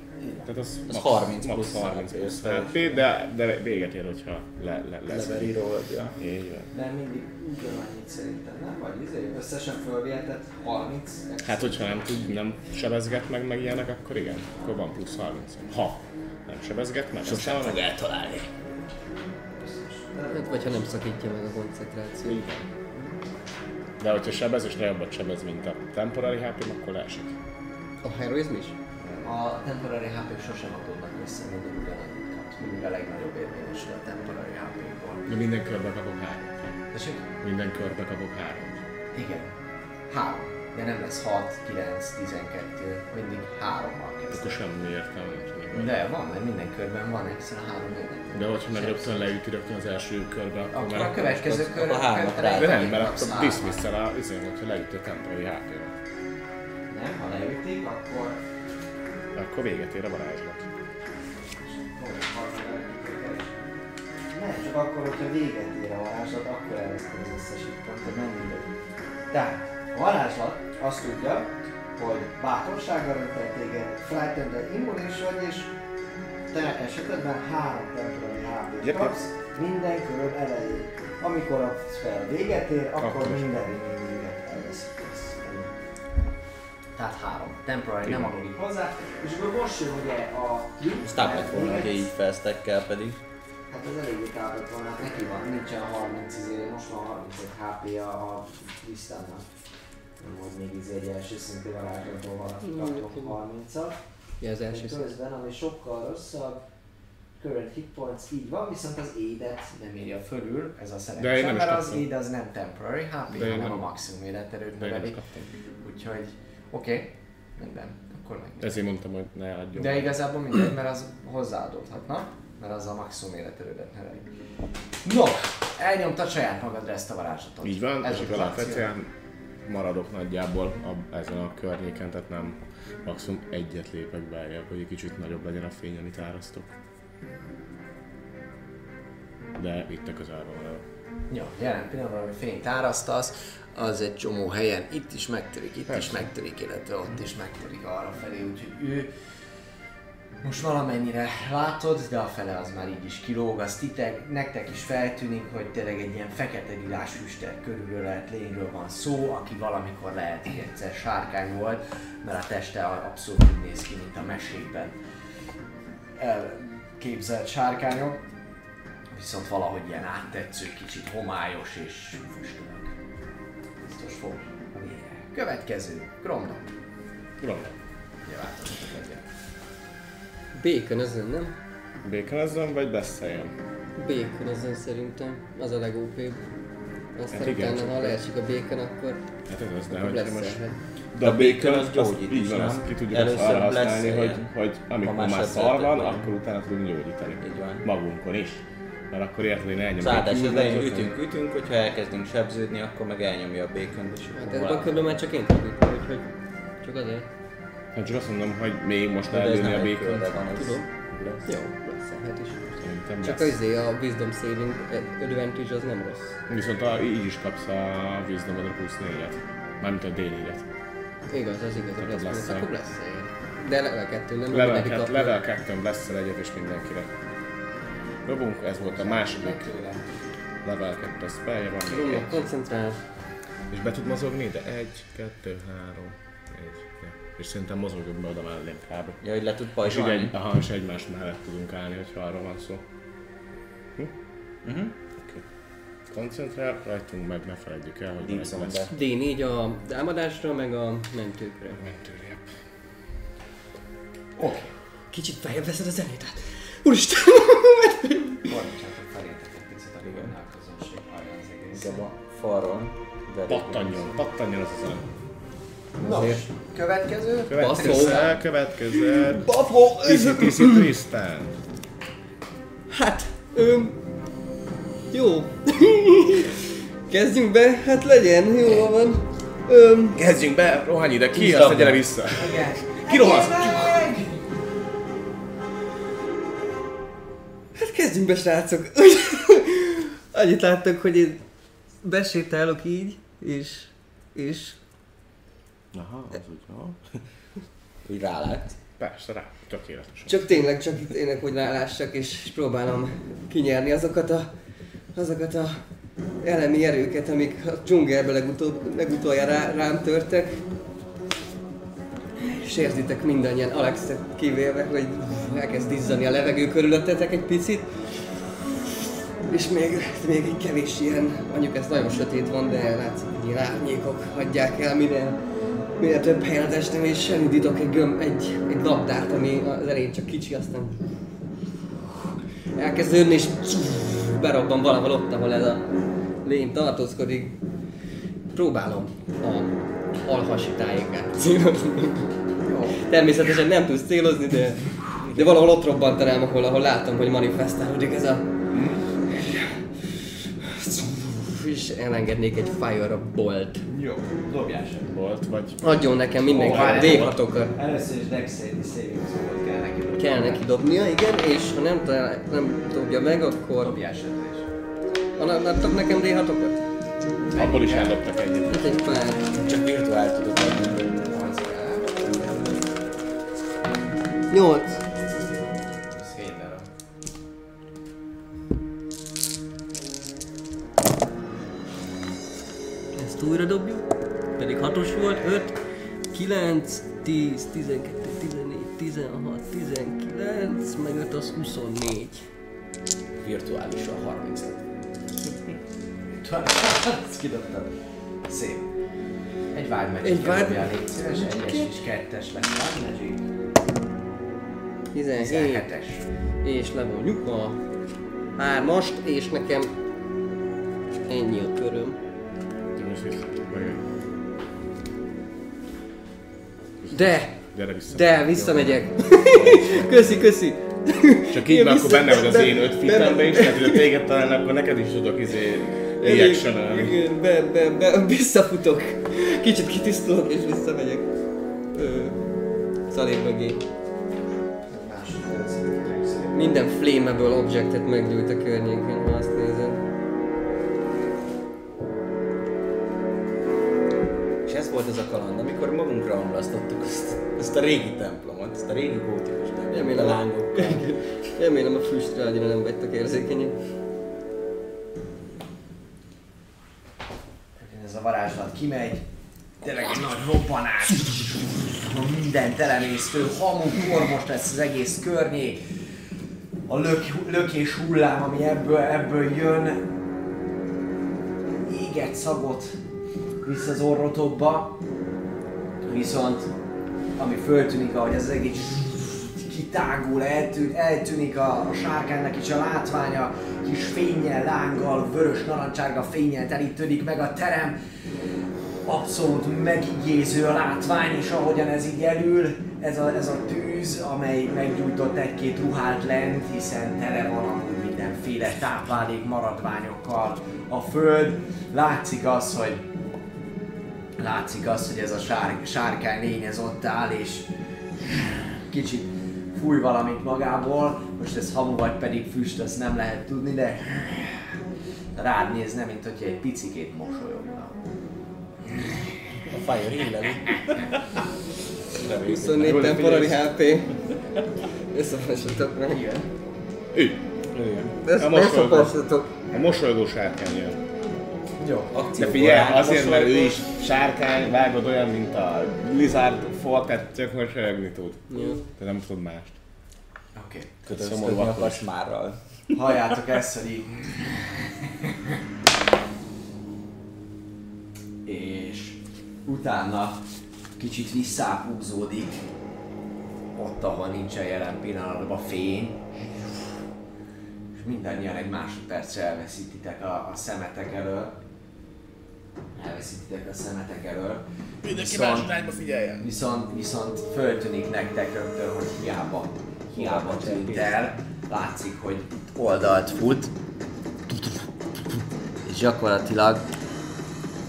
Speaker 4: Tehát az,
Speaker 5: Az 30
Speaker 4: max
Speaker 5: plusz
Speaker 4: 30 plusz
Speaker 5: HP,
Speaker 4: HP, Hát, de, de véget ér, hogyha le, le, lesz.
Speaker 5: Leveri rólad, ja.
Speaker 4: Így van.
Speaker 1: De mindig ugyanannyit szerintem, nem? Vagy izé, összesen fölvihetett 30 extra.
Speaker 4: Hát, hogyha nem tud, nem sebezget meg, meg ilyenek, akkor igen, akkor van plusz 30. Ha nem sebezget meg, aztán van meg.
Speaker 5: eltalálni.
Speaker 2: Hát, vagy ha nem szakítja meg a koncentrációt.
Speaker 4: Így van. De hogyha sebez, és nagyobbat sebez, mint a temporary hp akkor leesik.
Speaker 2: A heroizm is?
Speaker 1: A temporary hp sosem adódnak vissza, mindig ugyanannyit kapsz. Mindig a legnagyobb érvényesül a temporary HP-ból.
Speaker 4: De minden körbe kapok három.
Speaker 1: Tessék?
Speaker 4: Minden körbe kapok három.
Speaker 1: Igen. Három. De nem lesz 6, 9, 12, mindig hárommal
Speaker 4: Akkor
Speaker 1: kezd.
Speaker 4: semmi értelme nincsen. igaz?
Speaker 1: De van, mert minden körben van extra három élet.
Speaker 4: De hogyha meg rögtön leüti rögtön az első körbe, akkor,
Speaker 1: Akkor
Speaker 4: már-
Speaker 1: a következő
Speaker 5: akkor
Speaker 1: körben
Speaker 5: hármat rá.
Speaker 4: De nem, mert akkor dismisszel a izén, hogyha leüti a temporary hp
Speaker 1: Nem, ha leütik, akkor...
Speaker 4: Akkor véget ér a varázslat.
Speaker 1: Nem, csak akkor, hogyha véget ér a varázslat, akkor elvesztem az összes hitpontot, nem mindegy. Tehát, a varázslat azt tudja, hogy bátorság garantál téged, frightened immunis vagy, és te esetedben három temporary hp
Speaker 4: Yep,
Speaker 1: kapsz minden köröd elején. Amikor a spell véget ér, akkor,
Speaker 4: Akkor is.
Speaker 1: minden reményéget elveszítesz. Tehát három. Temporary nem adódik hozzá. És akkor most jön ugye a Q,
Speaker 5: Ezt támadott
Speaker 1: mert
Speaker 5: volna,
Speaker 1: véget-
Speaker 5: hogyha így felsztekkel pedig.
Speaker 1: Hát ez eléggé távolt volna, hát neki van, nincsen 30 izé, most van 35 hp -ja a listának. Nem volt még izé egy első szintű varázslatból valaki kaptunk 30 at
Speaker 2: Ja, az első szó.
Speaker 1: Közben, ami sokkal rosszabb, current hit points így van, viszont az édet nem írja fölül, ez a
Speaker 4: De én
Speaker 1: szerencsé,
Speaker 4: nem is
Speaker 1: mert az
Speaker 4: kaptam.
Speaker 1: éd az nem temporary HP,
Speaker 4: De én
Speaker 1: hanem
Speaker 4: nem.
Speaker 1: a maximum élet erőt
Speaker 4: De én is
Speaker 1: növeli.
Speaker 4: kaptam.
Speaker 1: Úgyhogy, oké, okay, minden, akkor meg.
Speaker 4: Ezért mondtam, hogy ne adjon.
Speaker 1: De igazából mindegy, mert az hozzáadódhatna, mert az a maximum életerődet növeli. Nos, elnyomtad saját magadra ezt a varázslatot.
Speaker 4: Így van,
Speaker 1: Ez
Speaker 4: és
Speaker 1: az
Speaker 4: akkor
Speaker 1: akció.
Speaker 4: alapvetően maradok nagyjából a, ezen a környéken, tehát nem maximum egyet lépek beljebb, hogy egy kicsit nagyobb legyen a fény, amit árasztok. De itt a közelben van.
Speaker 1: Ja, jelen pillanatban, ami fényt árasztasz, az egy csomó helyen itt is megtörik, itt is megtörik, illetve ott is megtörik arra felé, úgyhogy ő most valamennyire látod, de a fele az már így is kilóg, az titek, nektek is feltűnik, hogy tényleg egy ilyen fekete lilás füstel körülről lehet lényről van szó, aki valamikor lehet, hogy egyszer sárkány volt, mert a teste abszolút úgy néz ki, mint a mesékben elképzelt sárkányok viszont valahogy ilyen áttetsző, kicsit homályos és füstölök. Biztos fog. Yeah. Következő, Gromnak.
Speaker 4: Tudom,
Speaker 1: Nyilvántartok egyet.
Speaker 2: Békön ezen, nem?
Speaker 4: békenezzem vagy beszéljem?
Speaker 2: Békön ezen szerintem. Az a legópébb. Aztán
Speaker 4: Hát igen,
Speaker 2: utána,
Speaker 4: csak
Speaker 2: ha
Speaker 4: az-
Speaker 2: leesik a békön, akkor
Speaker 4: Hát ez az, de
Speaker 2: Akkor
Speaker 4: hogyha
Speaker 2: lesz Hát
Speaker 4: most...
Speaker 2: erre.
Speaker 4: De a békön
Speaker 5: bacon
Speaker 4: az
Speaker 5: az
Speaker 4: gyógyít
Speaker 5: gyógyít
Speaker 4: így
Speaker 5: is,
Speaker 4: van,
Speaker 5: nem?
Speaker 4: azt ki tudjuk
Speaker 5: Először
Speaker 4: azt arra
Speaker 5: lesz
Speaker 4: használni,
Speaker 5: ilyen.
Speaker 4: hogy, hogy amikor
Speaker 5: Ha
Speaker 4: már,
Speaker 5: már
Speaker 4: szar van,
Speaker 5: sebzettek
Speaker 4: akkor utána tudunk gyógyítani.
Speaker 5: Így van. Szóval
Speaker 4: Magunkon is. Mert akkor érted, hogy ne elnyomjuk.
Speaker 5: Az áldás az
Speaker 4: Tudjuk,
Speaker 5: elején
Speaker 4: hogy-
Speaker 5: ütünk, ütünk, hogyha elkezdünk sebződni, akkor meg elnyomja a békön, és
Speaker 2: Hát
Speaker 5: akkor
Speaker 2: ebben a
Speaker 5: valami.
Speaker 2: körben már csak én tanultam, úgyhogy csak azért.
Speaker 4: Nem Hát csak azt mondom, hogy még most
Speaker 5: De ez nem
Speaker 4: előni a
Speaker 5: egy körre
Speaker 4: békön.
Speaker 5: van, ez
Speaker 2: Tudom.
Speaker 5: lesz.
Speaker 2: Jó, persze, hát is.
Speaker 4: Szerintem
Speaker 2: Csak
Speaker 4: lesz.
Speaker 2: az a Wisdom Saving Advantage az nem rossz.
Speaker 4: Viszont a, így is kapsz a vízdomodra plusz négyet. Mármint a D4-et.
Speaker 2: Igaz, az igaz, hogy lesz, lesz
Speaker 4: lesz-e.
Speaker 2: akkor lesz ilyen. De level 2 nem
Speaker 4: Level,
Speaker 2: mindegyik
Speaker 4: kett,
Speaker 2: kap-
Speaker 4: level 2 lesz el egyet és mindenkire. Robunk, ez volt a második level 2 spellje van még
Speaker 2: Jó,
Speaker 4: egy.
Speaker 2: koncentrál.
Speaker 4: És be tud mozogni ide? Egy, kettő, három, egy, ja. És szerintem mozogjuk be oda mellém kb.
Speaker 3: Ja, hogy le tud
Speaker 4: És, így
Speaker 3: pajzsolni.
Speaker 4: egy, aha, és egymás mellett tudunk állni, hogyha arról van szó. Hm? Mhm. Oké. Koncentrál, rajtunk meg, ne felejtjük el, hogy
Speaker 5: Deep
Speaker 4: rajt
Speaker 5: zone,
Speaker 4: lesz.
Speaker 5: de
Speaker 2: D4 a támadásra, meg a mentőkre.
Speaker 4: Mentőrébb.
Speaker 1: Oké,
Speaker 2: Kicsit feljebb veszed a zenét át. Úristen!
Speaker 1: fordítsátok felétek egy picit, amíg annál a közönség hallja az egész.
Speaker 5: inkább a falról. verik.
Speaker 4: Pattanjon, pattanjon az az
Speaker 1: Nos, következő.
Speaker 4: Következzel, következzel.
Speaker 2: Bafó!
Speaker 4: Tiszi, tiszi, Tristan.
Speaker 2: Hát, öm... Jó. Kezdjünk be, hát legyen, jó van. Öm...
Speaker 4: Kezdjünk be, rohanj ide ki,
Speaker 3: Tisztában.
Speaker 4: aztán gyere vissza.
Speaker 1: Igen.
Speaker 4: Kirohansz.
Speaker 2: Hát kezdjünk be, srácok. Annyit láttak, hogy én besétálok így, és... és...
Speaker 4: Aha, az úgy van.
Speaker 3: Úgy rálát.
Speaker 4: Persze, rá, tökéletesen.
Speaker 2: Csak tényleg, csak itt tényleg, hogy rálássak, és próbálom kinyerni azokat a... azokat a elemi erőket, amik a dzsungelbe legutóbb, legutoljára rá, rám törtek. Sérzitek mindannyian, Alexet kivéve, hogy elkezd izzani a levegő körülöttetek egy picit. És még, még egy kevés ilyen, mondjuk ez nagyon sötét van, de látszik, hogy ilyen árnyékok hagyják el minden, minél több helyen az estem, és elindítok egy, göm, egy, egy labdát, ami az elején csak kicsi, aztán elkezd önni, és berobban valahol ott, ahol ez a lény tartózkodik. Próbálom a alhasi tájékát célozni. Természetesen nem tudsz célozni, de, de valahol ott robbantanám, ahol, ahol látom, hogy manifestálódik ez a és elengednék egy Fire Bolt.
Speaker 1: Jó, dobjál sem.
Speaker 4: Volt, vagy
Speaker 2: Adjon nekem mindenki a d 6
Speaker 1: Először is Dex Saving Throw-ot kell neki dobni.
Speaker 2: Kell neki dobnia, igen, és ha nem, talál, nem dobja meg, akkor... Ah,
Speaker 1: Dobjál sem.
Speaker 2: Annak adtak nekem d 6 okat
Speaker 4: abból is eldobtak egyet.
Speaker 2: Hát egy pár.
Speaker 5: Csak virtuál tudod adni.
Speaker 2: 8.
Speaker 1: Ez 7 darab.
Speaker 2: Ezt újra dobjuk. Pedig 6-os volt, 5, 9, 10, 12, 14, 16, 19, meg 5 az 24.
Speaker 5: Virtuálisan 30
Speaker 1: Ezt kidobtad. Szép. Egy Wild Magic.
Speaker 2: Egy Wild-
Speaker 1: dobjál, légy szíves, egyes és kettes lesz Wild Magic.
Speaker 2: 17.
Speaker 1: 17-es.
Speaker 2: És levonjuk a hármast, és nekem ennyi a köröm.
Speaker 4: Gyors vissza. Vagy-
Speaker 2: De!
Speaker 4: Gyere vissza.
Speaker 2: De, visszamegyek. köszi, köszi.
Speaker 4: Csak így,
Speaker 2: Én
Speaker 4: mert akkor
Speaker 2: vissza-
Speaker 4: benne vagy az
Speaker 2: be-
Speaker 4: én öt
Speaker 2: be-
Speaker 4: fitemben is, tehát hogyha téged találnak, akkor neked is tudok izé reaction -elni.
Speaker 2: Igen, be, be, be, visszafutok. Kicsit kitisztulok és visszamegyek. Ö, Szalé mögé. Minden flammable objectet meggyújt a környéken, ha azt nézem.
Speaker 5: És ez volt ez a kaland, amikor magunkra omlasztottuk ezt, ezt a régi templomot, ezt a régi gótikus templomot.
Speaker 2: Remélem.
Speaker 5: a lángokkal.
Speaker 2: Remélem a füstre annyira nem vagytok érzékenyek.
Speaker 1: Ez a varázslat kimegy. Tényleg egy nagy robbanás. Ahol Minden telemésztő hamu, kormos lesz az egész környék. A lök, lökés hullám, ami ebből, ebből jön, éget szagot visz az orrotokba. Viszont ami föltűnik, ahogy ez az egész kitágul, eltűn, eltűnik a, a sárkánynak is a látványa, kis fényjel, lánggal, vörös, narancsárga fényjel telítődik meg a terem. Abszolút megigéző a látvány, és ahogyan ez így elül, ez a, ez a tűz, amely meggyújtott egy-két ruhát lent, hiszen tele van amúgy mindenféle táplálék maradványokkal a föld. Látszik az, hogy látszik az, hogy ez a sár, sárkány lény ez ott áll, és kicsit fúj valamit magából, most ez hamu vagy pedig füst, ezt nem lehet tudni, de rád nézne, mint hogyha egy picikét mosolyogna.
Speaker 5: A Fire Hill-el.
Speaker 2: 24 temporary HP. Összefasítok meg.
Speaker 1: Igen.
Speaker 4: Ő,
Speaker 2: Ezt
Speaker 4: Na, most
Speaker 2: Összefasítok.
Speaker 4: a mosolygó sárkány jön.
Speaker 1: Jó.
Speaker 4: De
Speaker 6: akció
Speaker 4: figyelj,
Speaker 3: hát,
Speaker 6: korán
Speaker 4: azért, mert ő
Speaker 6: mosolygós.
Speaker 4: is sárkány, vágod olyan, mint a lizard fal, tehát csak mosolyogni tud. Te nem tudod mást.
Speaker 1: Oké. Okay.
Speaker 3: Kötözködni
Speaker 4: Szomorú akkor
Speaker 3: a
Speaker 4: is.
Speaker 3: kasmárral.
Speaker 1: Halljátok ezt, hogy így. És utána kicsit visszápúzódik ott, ahol nincsen jelen pillanatban fény. És mindannyian egy másodpercre elveszítitek a, a szemetek elől. Elveszítitek a szemetek elől.
Speaker 7: Mindenki
Speaker 1: Viszont-
Speaker 7: más irányba figyeljen.
Speaker 1: Viszont, viszont föltűnik nektek rögtön, hogy hiába, hiába tűnt el. Látszik, hogy oldalt fut.
Speaker 2: És gyakorlatilag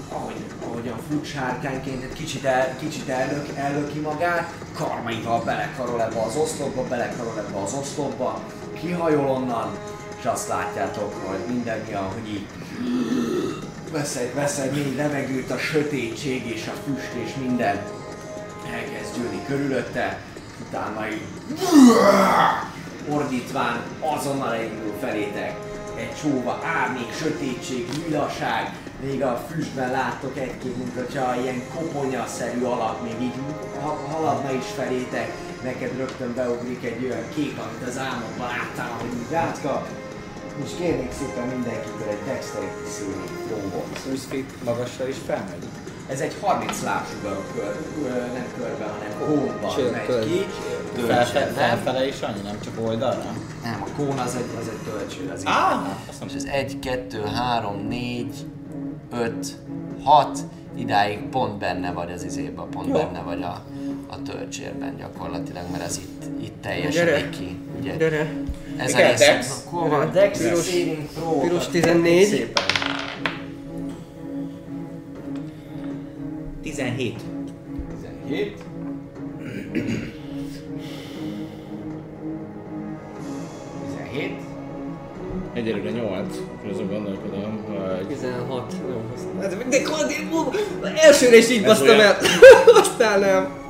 Speaker 1: Ahogy, ahogy a fut sárkányként egy kicsit, el, kicsit ellök, ellöki magát, karmaival belekarol ebbe az oszlopba, belekarol ebbe az oszlopba, kihajol onnan, és azt látjátok, hogy mindannyian, hogy így vesz egy, vesz egy mély levegőt, a sötétség és a füst és minden elkezd gyűlni körülötte, utána így ordítván azonnal elindul felétek. Egy csóva árnyék, sötétség, nyilaság, még a füstben láttok egy-két, mint hogyha ilyen koponyaszerű alak még így ha- haladna is felétek, neked rögtön beugrik egy olyan kép, amit az álmodban láttál, hogy így rácka. És kérnék szépen mindenkitől egy dexterity színi próbot.
Speaker 3: 20 feet magasra is felmegy.
Speaker 1: Ez egy 30 lábsugarú kör, ö, nem körben, hanem
Speaker 2: Cső,
Speaker 1: hónban megy
Speaker 2: kör.
Speaker 1: ki.
Speaker 3: Felfe- Felfele is annyi, nem csak oldalra?
Speaker 1: Nem, a kón az egy, az egy töltső, az így.
Speaker 3: Á! Azt
Speaker 8: És ez 1, 2, 3, 4, 5, 6, idáig pont benne vagy az izébe, pont Jó. benne vagy a, a töltsérben gyakorlatilag, mert ez itt, itt teljesen
Speaker 2: Gyere.
Speaker 8: ég ki. Ugye?
Speaker 2: Gyere.
Speaker 8: Ez
Speaker 3: Kell
Speaker 8: egész
Speaker 3: Dex?
Speaker 8: akkor
Speaker 1: A
Speaker 8: van.
Speaker 1: Dex
Speaker 2: Piros-
Speaker 1: Saving Throw.
Speaker 2: piros 14.
Speaker 1: Szépen.
Speaker 6: 17.
Speaker 1: 17. Tizenhét.
Speaker 4: Egyelőre 8, és azon gondolkodom, hogy...
Speaker 2: 16. Jó, azt- Hát, De Kodi, ú, elsőre is így
Speaker 4: Ez
Speaker 2: basztam
Speaker 4: olyan.
Speaker 2: el. Aztán nem.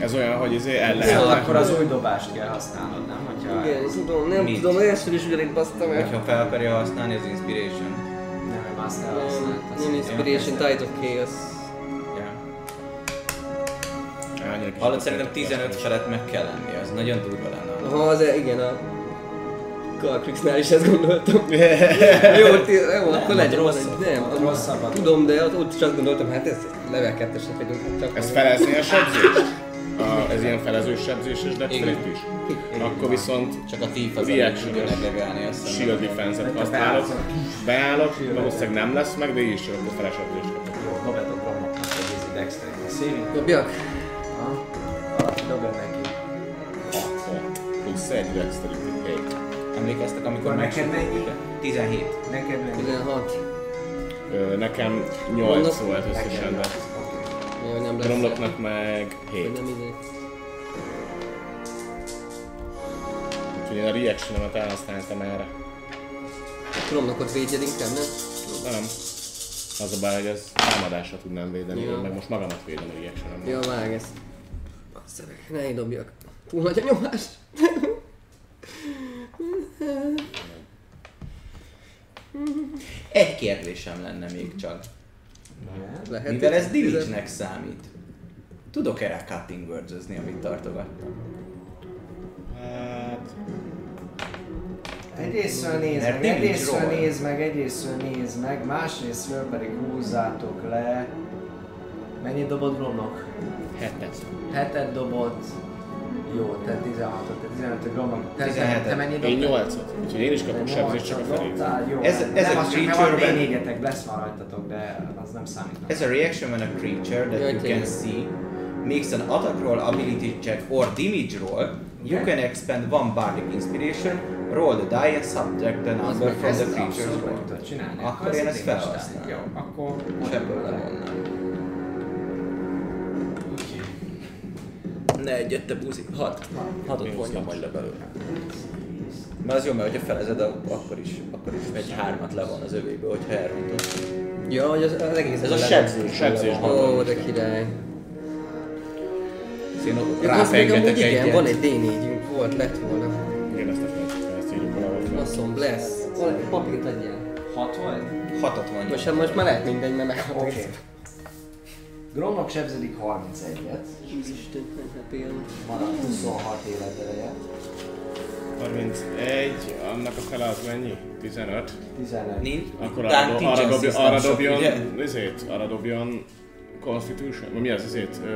Speaker 4: Ez olyan, hogy izé el
Speaker 1: Szóval
Speaker 4: lehet.
Speaker 1: akkor az új dobást kell használnod, nem? Hogyha
Speaker 2: Igen, tudom, nem
Speaker 3: Mit?
Speaker 2: tudom, elsőre is ugyanígy basztam el.
Speaker 3: Hogyha fel akarja használni az Inspiration.
Speaker 1: nem a master
Speaker 2: Nem,
Speaker 1: használtad.
Speaker 2: nem Inspiration, Tide of Chaos.
Speaker 3: Ja.
Speaker 4: Annyira kis
Speaker 3: Hallod, szerintem 15 felett meg kell lenni, az nagyon durva lenne.
Speaker 2: Aha, az e- igen, a Galkrixnál is ezt gondoltam. jó, ti, jó, akkor legyen
Speaker 3: ott
Speaker 2: az egy,
Speaker 3: rosszabb.
Speaker 2: nem,
Speaker 1: Ott
Speaker 2: az
Speaker 1: rosszabbat.
Speaker 2: Tudom, de ott- ott is azt gondoltam, hát ez level 2-esek vagyunk. Hát csak
Speaker 4: Ez felezni a sebzést? A, ez ilyen felezős sebzés és dexterity is? Akkor viszont
Speaker 3: Csak a thief az, amit
Speaker 4: Reaction-es.
Speaker 3: tudja meglegelni azt hiszem.
Speaker 4: shield defense-et használok. Beállok, valószínűleg nem lesz meg, de így is a feles sebzést kapok.
Speaker 1: Jó, dobjátok romoknak egy easy dexterity saving.
Speaker 2: Dobjak?
Speaker 1: Ha? Valaki dobja neki.
Speaker 4: Hat. Plusz egy dexterity. Egy.
Speaker 3: Emlékeztek, amikor
Speaker 1: Van neked
Speaker 3: megsütöttük? 17.
Speaker 1: Neked mennyi?
Speaker 2: 16.
Speaker 4: Ö, Nekem
Speaker 2: Romlok-
Speaker 4: 8 volt összesen, de
Speaker 2: Jó, nem lesz.
Speaker 4: romloknak meg 7.
Speaker 2: Nem ide.
Speaker 4: Úgyhogy én a reaction-emet elhasználtam erre.
Speaker 2: Romlokot védjed inkább, nem?
Speaker 4: Nem. Az a baj, hogy ez támadásra tudnám védeni,
Speaker 2: Ja.
Speaker 4: én meg most magamat védem a reaction
Speaker 2: Jó, vág ezt. Basszerek, ne így dobjak. Túl nagy a nyomás.
Speaker 3: Egy kérdésem lenne még csak.
Speaker 2: Lehet,
Speaker 3: Mivel
Speaker 2: hogy
Speaker 3: ez divage számít, tudok-e rá cutting words amit tartogattam?
Speaker 4: Hát...
Speaker 1: Egyrésztről nézd meg,
Speaker 3: Mert nem is
Speaker 1: egyrésztről
Speaker 3: roll.
Speaker 1: nézd meg, egyrésztről nézd meg, másrésztről pedig húzzátok le. Mennyit dobod Gromnak?
Speaker 4: Hetet.
Speaker 1: Hetet dobod. Jó, te 16-ot, te 15 Gromnak. Te, te,
Speaker 3: 17-et.
Speaker 1: te mennyit dobtál?
Speaker 4: Én 8-ot, úgyhogy én is
Speaker 1: Te
Speaker 4: kapok sebzést,
Speaker 1: nyolcat
Speaker 4: csak a felé.
Speaker 1: dobtál, Jó,
Speaker 3: Ez-
Speaker 1: ez,
Speaker 3: ez
Speaker 1: ez nem,
Speaker 3: a
Speaker 1: az csak mert van
Speaker 3: creature-ben-
Speaker 1: D4-etek, lesz már rajtatok, de az nem számít.
Speaker 3: As a reaction when a creature that
Speaker 2: Jaj,
Speaker 3: you
Speaker 2: tényleg.
Speaker 3: can see makes an attack roll, ability check or damage roll, you
Speaker 1: Okay.
Speaker 3: can expend one bardic inspiration, roll the die and subtract the number
Speaker 2: meg
Speaker 3: from the
Speaker 1: Ezt
Speaker 3: creature's
Speaker 1: abszolút
Speaker 3: roll.
Speaker 1: meg tudod csinálni.
Speaker 3: Akkor én ezt
Speaker 1: szintén is
Speaker 3: felhasználom.
Speaker 1: csináljuk. Jó, akkor
Speaker 3: És ebből levonnám. Ne egy, jött a buzi. Hat. Hatot vonja majd le belőle. Mert az jó, mert hogyha felezed, ak- akkor is, akkor is egy hármat levon az övébe, hogyha elrontod.
Speaker 2: Ja, hogy az, az egész.
Speaker 3: Ez a sebzés.
Speaker 4: Sebzés.
Speaker 2: Ó, de király.
Speaker 3: Én ott
Speaker 2: Ja, az még amúgy
Speaker 3: rápengetek
Speaker 2: igen,
Speaker 3: egyet.
Speaker 2: van egy D4-ünk, volt, lett volna.
Speaker 4: Igen, ezt a felcsit, ezt írjuk valahol fel.
Speaker 2: Faszom, lesz. Papírt adjál.
Speaker 1: Hat volt?
Speaker 3: Hatot mondjuk.
Speaker 2: Most, hát most már lehet mindegy, mert meghat
Speaker 1: Oké. Okay. Gromnak sebzedik 31-et,
Speaker 2: Úristen, ne pihen.
Speaker 1: maradt 26 életereje,
Speaker 4: 31, annak a fele az mennyi? 15.
Speaker 1: 15.
Speaker 3: Nincs.
Speaker 4: Akkor
Speaker 3: Dunk
Speaker 4: arra, do,
Speaker 3: teaching
Speaker 4: arra, dobj,
Speaker 3: system
Speaker 4: arra
Speaker 3: sok,
Speaker 4: dobjon,
Speaker 3: ugye?
Speaker 4: ezért, arra dobjon Constitution, mi az ezért? Ö,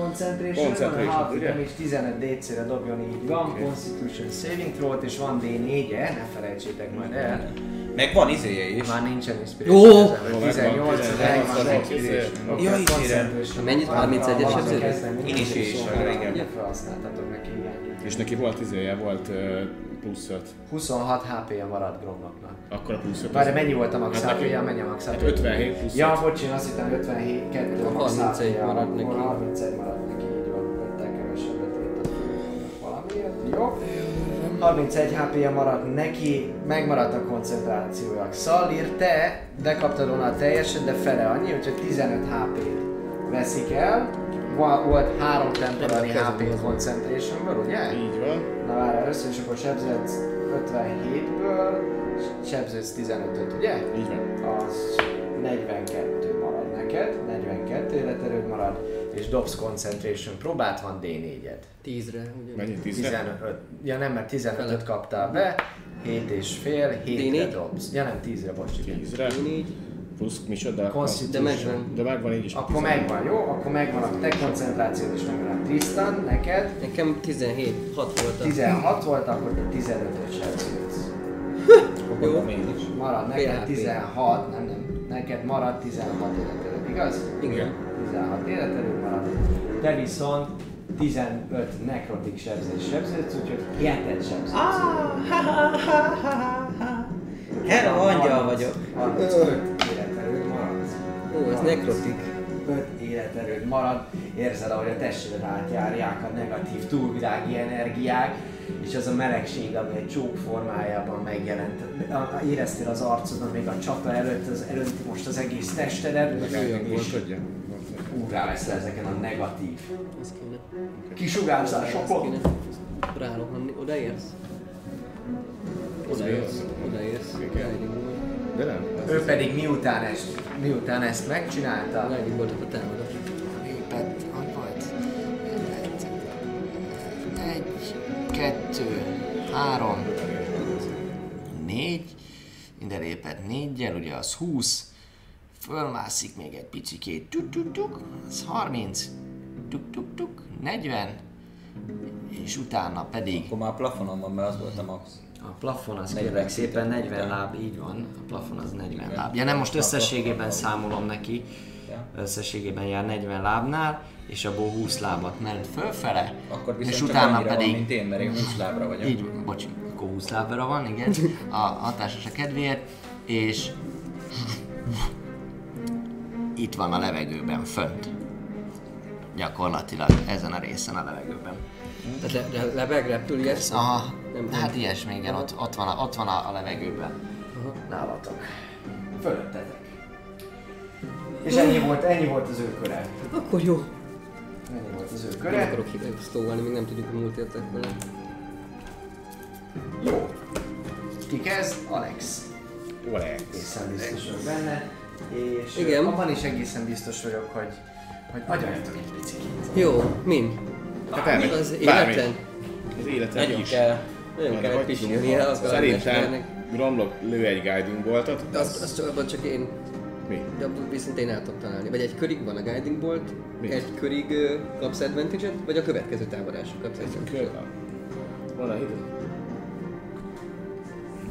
Speaker 1: Concentration,
Speaker 4: Concentration,
Speaker 1: Concentration
Speaker 4: ugye?
Speaker 1: ugye? és 15 DC-re dobjon így van, okay. Constitution Saving throw és van D4-e, ne felejtsétek majd el.
Speaker 3: Meg van izéje is.
Speaker 1: Már nincsen inspiration
Speaker 2: Ó!
Speaker 1: ezen, hogy 18 az
Speaker 4: Tizennyolc,
Speaker 1: egy, az egy
Speaker 4: tizennyolc.
Speaker 1: izé.
Speaker 4: Oké.
Speaker 1: Jó,
Speaker 3: Jaj,
Speaker 1: Concentration.
Speaker 2: Mennyit? 31-es
Speaker 1: Valahol
Speaker 2: sebződés?
Speaker 1: kezdem,
Speaker 3: Én is így is
Speaker 1: soha
Speaker 3: arra,
Speaker 1: nem
Speaker 3: igen.
Speaker 1: ugye Felhasználtatok neki, igen.
Speaker 4: És neki volt izéje, volt ö, plusz 5.
Speaker 1: 26 HP-ja maradt Gromnoknak.
Speaker 4: Akkor a plusz 5.
Speaker 1: Várj, mennyi volt a max
Speaker 4: Hát neki-
Speaker 1: HP-ja? Mennyi a max
Speaker 4: Hát
Speaker 1: hp
Speaker 4: 57 plusz
Speaker 1: Ja, bocs, én azt hittem 57, 2 a max
Speaker 2: 31
Speaker 1: HP-ja,
Speaker 2: maradt
Speaker 1: akkor
Speaker 2: neki.
Speaker 1: 31 maradt neki, így van, öttel kevesebbet ért a valamiért. Jó. 31 HP-ja maradt neki, megmaradt a koncentrációja. Szalír, te, de kaptad volna a teljeset, de fele annyi, úgyhogy 15 HP-t veszik el. Va- Volt három temporary HP concentration ugye?
Speaker 4: Így van.
Speaker 1: Na várj, először is akkor sebződsz 57-ből, sebződsz 15-öt, ugye?
Speaker 4: Így van.
Speaker 1: Az 42 marad neked, 42 életerőd marad, és dobsz concentration próbát, van D4-ed.
Speaker 2: Tízre, ugye?
Speaker 4: Mennyi? 10
Speaker 1: 15, ja nem, mert 15-öt kaptál be, 7 és fél, 7-re
Speaker 2: D4?
Speaker 1: dobsz. Ja nem, 10-re, bocs, igen.
Speaker 4: 10-re. Plusz micsoda?
Speaker 1: Constitution.
Speaker 2: De megvan.
Speaker 4: De megvan így is.
Speaker 1: Akkor megvan, jó? Akkor megvan a te koncentrációd, és megvan a Tristan, neked.
Speaker 2: Nekem 17, 6 volt a...
Speaker 1: 16 volt, akkor te 15-öt sebződsz.
Speaker 2: Jó.
Speaker 1: Marad neked
Speaker 2: PHP.
Speaker 1: 16, nem, nem, neked marad 16 életerőd, igaz?
Speaker 2: Igen.
Speaker 1: 16 életerőd marad. Te viszont 15 nekrotik sebzés sebződsz, úgyhogy 7 sebződsz.
Speaker 3: Hello, angyal
Speaker 1: 30,
Speaker 3: vagyok.
Speaker 1: 35 életerőd marad.
Speaker 2: Ó, ez
Speaker 1: 35
Speaker 2: nekrotik.
Speaker 1: életerőd marad. Érzed, ahogy a testedet átjárják a negatív túlvilági energiák, és az a melegség, ami egy csók formájában megjelent. A- a- Éreztél az arcodon még a csata előtt, az előtt most az egész testedet, és
Speaker 4: Tudja.
Speaker 1: úrrá lesz ezeken a negatív
Speaker 2: Ez kéne. Ez
Speaker 1: kisugárzásokat.
Speaker 2: kéne. Rárohanni. Odaérsz? Odaérsz. Odaérsz. Lightning
Speaker 4: De nem.
Speaker 1: Ő pedig miután ezt, miután ezt megcsinálta,
Speaker 2: voltak a támadás.
Speaker 9: Lépett, hogy volt? Lépett. Egy, kettő, három, négy. Ide lépett négyel, ugye az 20. Fölmászik még egy picikét, tuk, tuk, tuk, az 30, tuk, tuk, tuk, 40, és utána pedig
Speaker 5: Akkor már plafonon van, mert az volt a max.
Speaker 9: a plafon az kérlek szépen 40 láb, így van, a plafon az 40 láb. Ja nem, most összességében számolom neki, összességében jár 40 lábnál, és abból 20 lábat ment fölfele,
Speaker 5: Akkor viszont
Speaker 9: és
Speaker 5: csak
Speaker 9: utána
Speaker 5: annyira
Speaker 9: pedig
Speaker 5: van, mint én, mert én 20 lábra vagyok.
Speaker 9: így, bocs, akkor 20 lábra van, igen, a hatásos a kedvéért, és itt van a levegőben, fönt. Gyakorlatilag ezen a részen a levegőben.
Speaker 2: Tehát le, le, lebeg, repül, ilyen?
Speaker 9: Aha,
Speaker 2: Nem
Speaker 9: hát ilyesmi, igen, ott, ott van, a, ott van a, a levegőben.
Speaker 1: nálatok. Fölöttetek. És ennyi volt, ennyi volt az ő köre.
Speaker 2: Akkor jó.
Speaker 1: Ennyi volt az ő
Speaker 2: Nem
Speaker 1: köre.
Speaker 2: akarok hibát sztóvalni, még nem tudjuk, hogy múlt értek vele.
Speaker 1: Jó. Ki kezd? Alex.
Speaker 4: Olé.
Speaker 1: Egészen biztos vagyok benne. És
Speaker 2: Igen.
Speaker 1: ö, abban is egészen biztos vagyok, hogy hogy agyaljatok egy picit.
Speaker 2: Jó, min?
Speaker 4: Hát elmegy.
Speaker 2: Az
Speaker 4: Bármi.
Speaker 2: életen?
Speaker 4: Az életen
Speaker 5: Nagyon
Speaker 4: is.
Speaker 5: kell.
Speaker 2: Nagyon
Speaker 4: Erre
Speaker 2: kell egy
Speaker 4: hogy
Speaker 2: pisilni,
Speaker 4: tudunk?
Speaker 2: el az
Speaker 4: Szerintem Gromlok lő egy guiding boltot.
Speaker 2: De azt, azt csak, abban csak én,
Speaker 4: Mi?
Speaker 2: de abban viszont én el tudok találni. Vagy egy körig van a guiding bolt,
Speaker 4: Mi?
Speaker 2: egy körig ö, kapsz advantage vagy a következő támadásra kapsz advantage
Speaker 4: Köl. Van a hideg.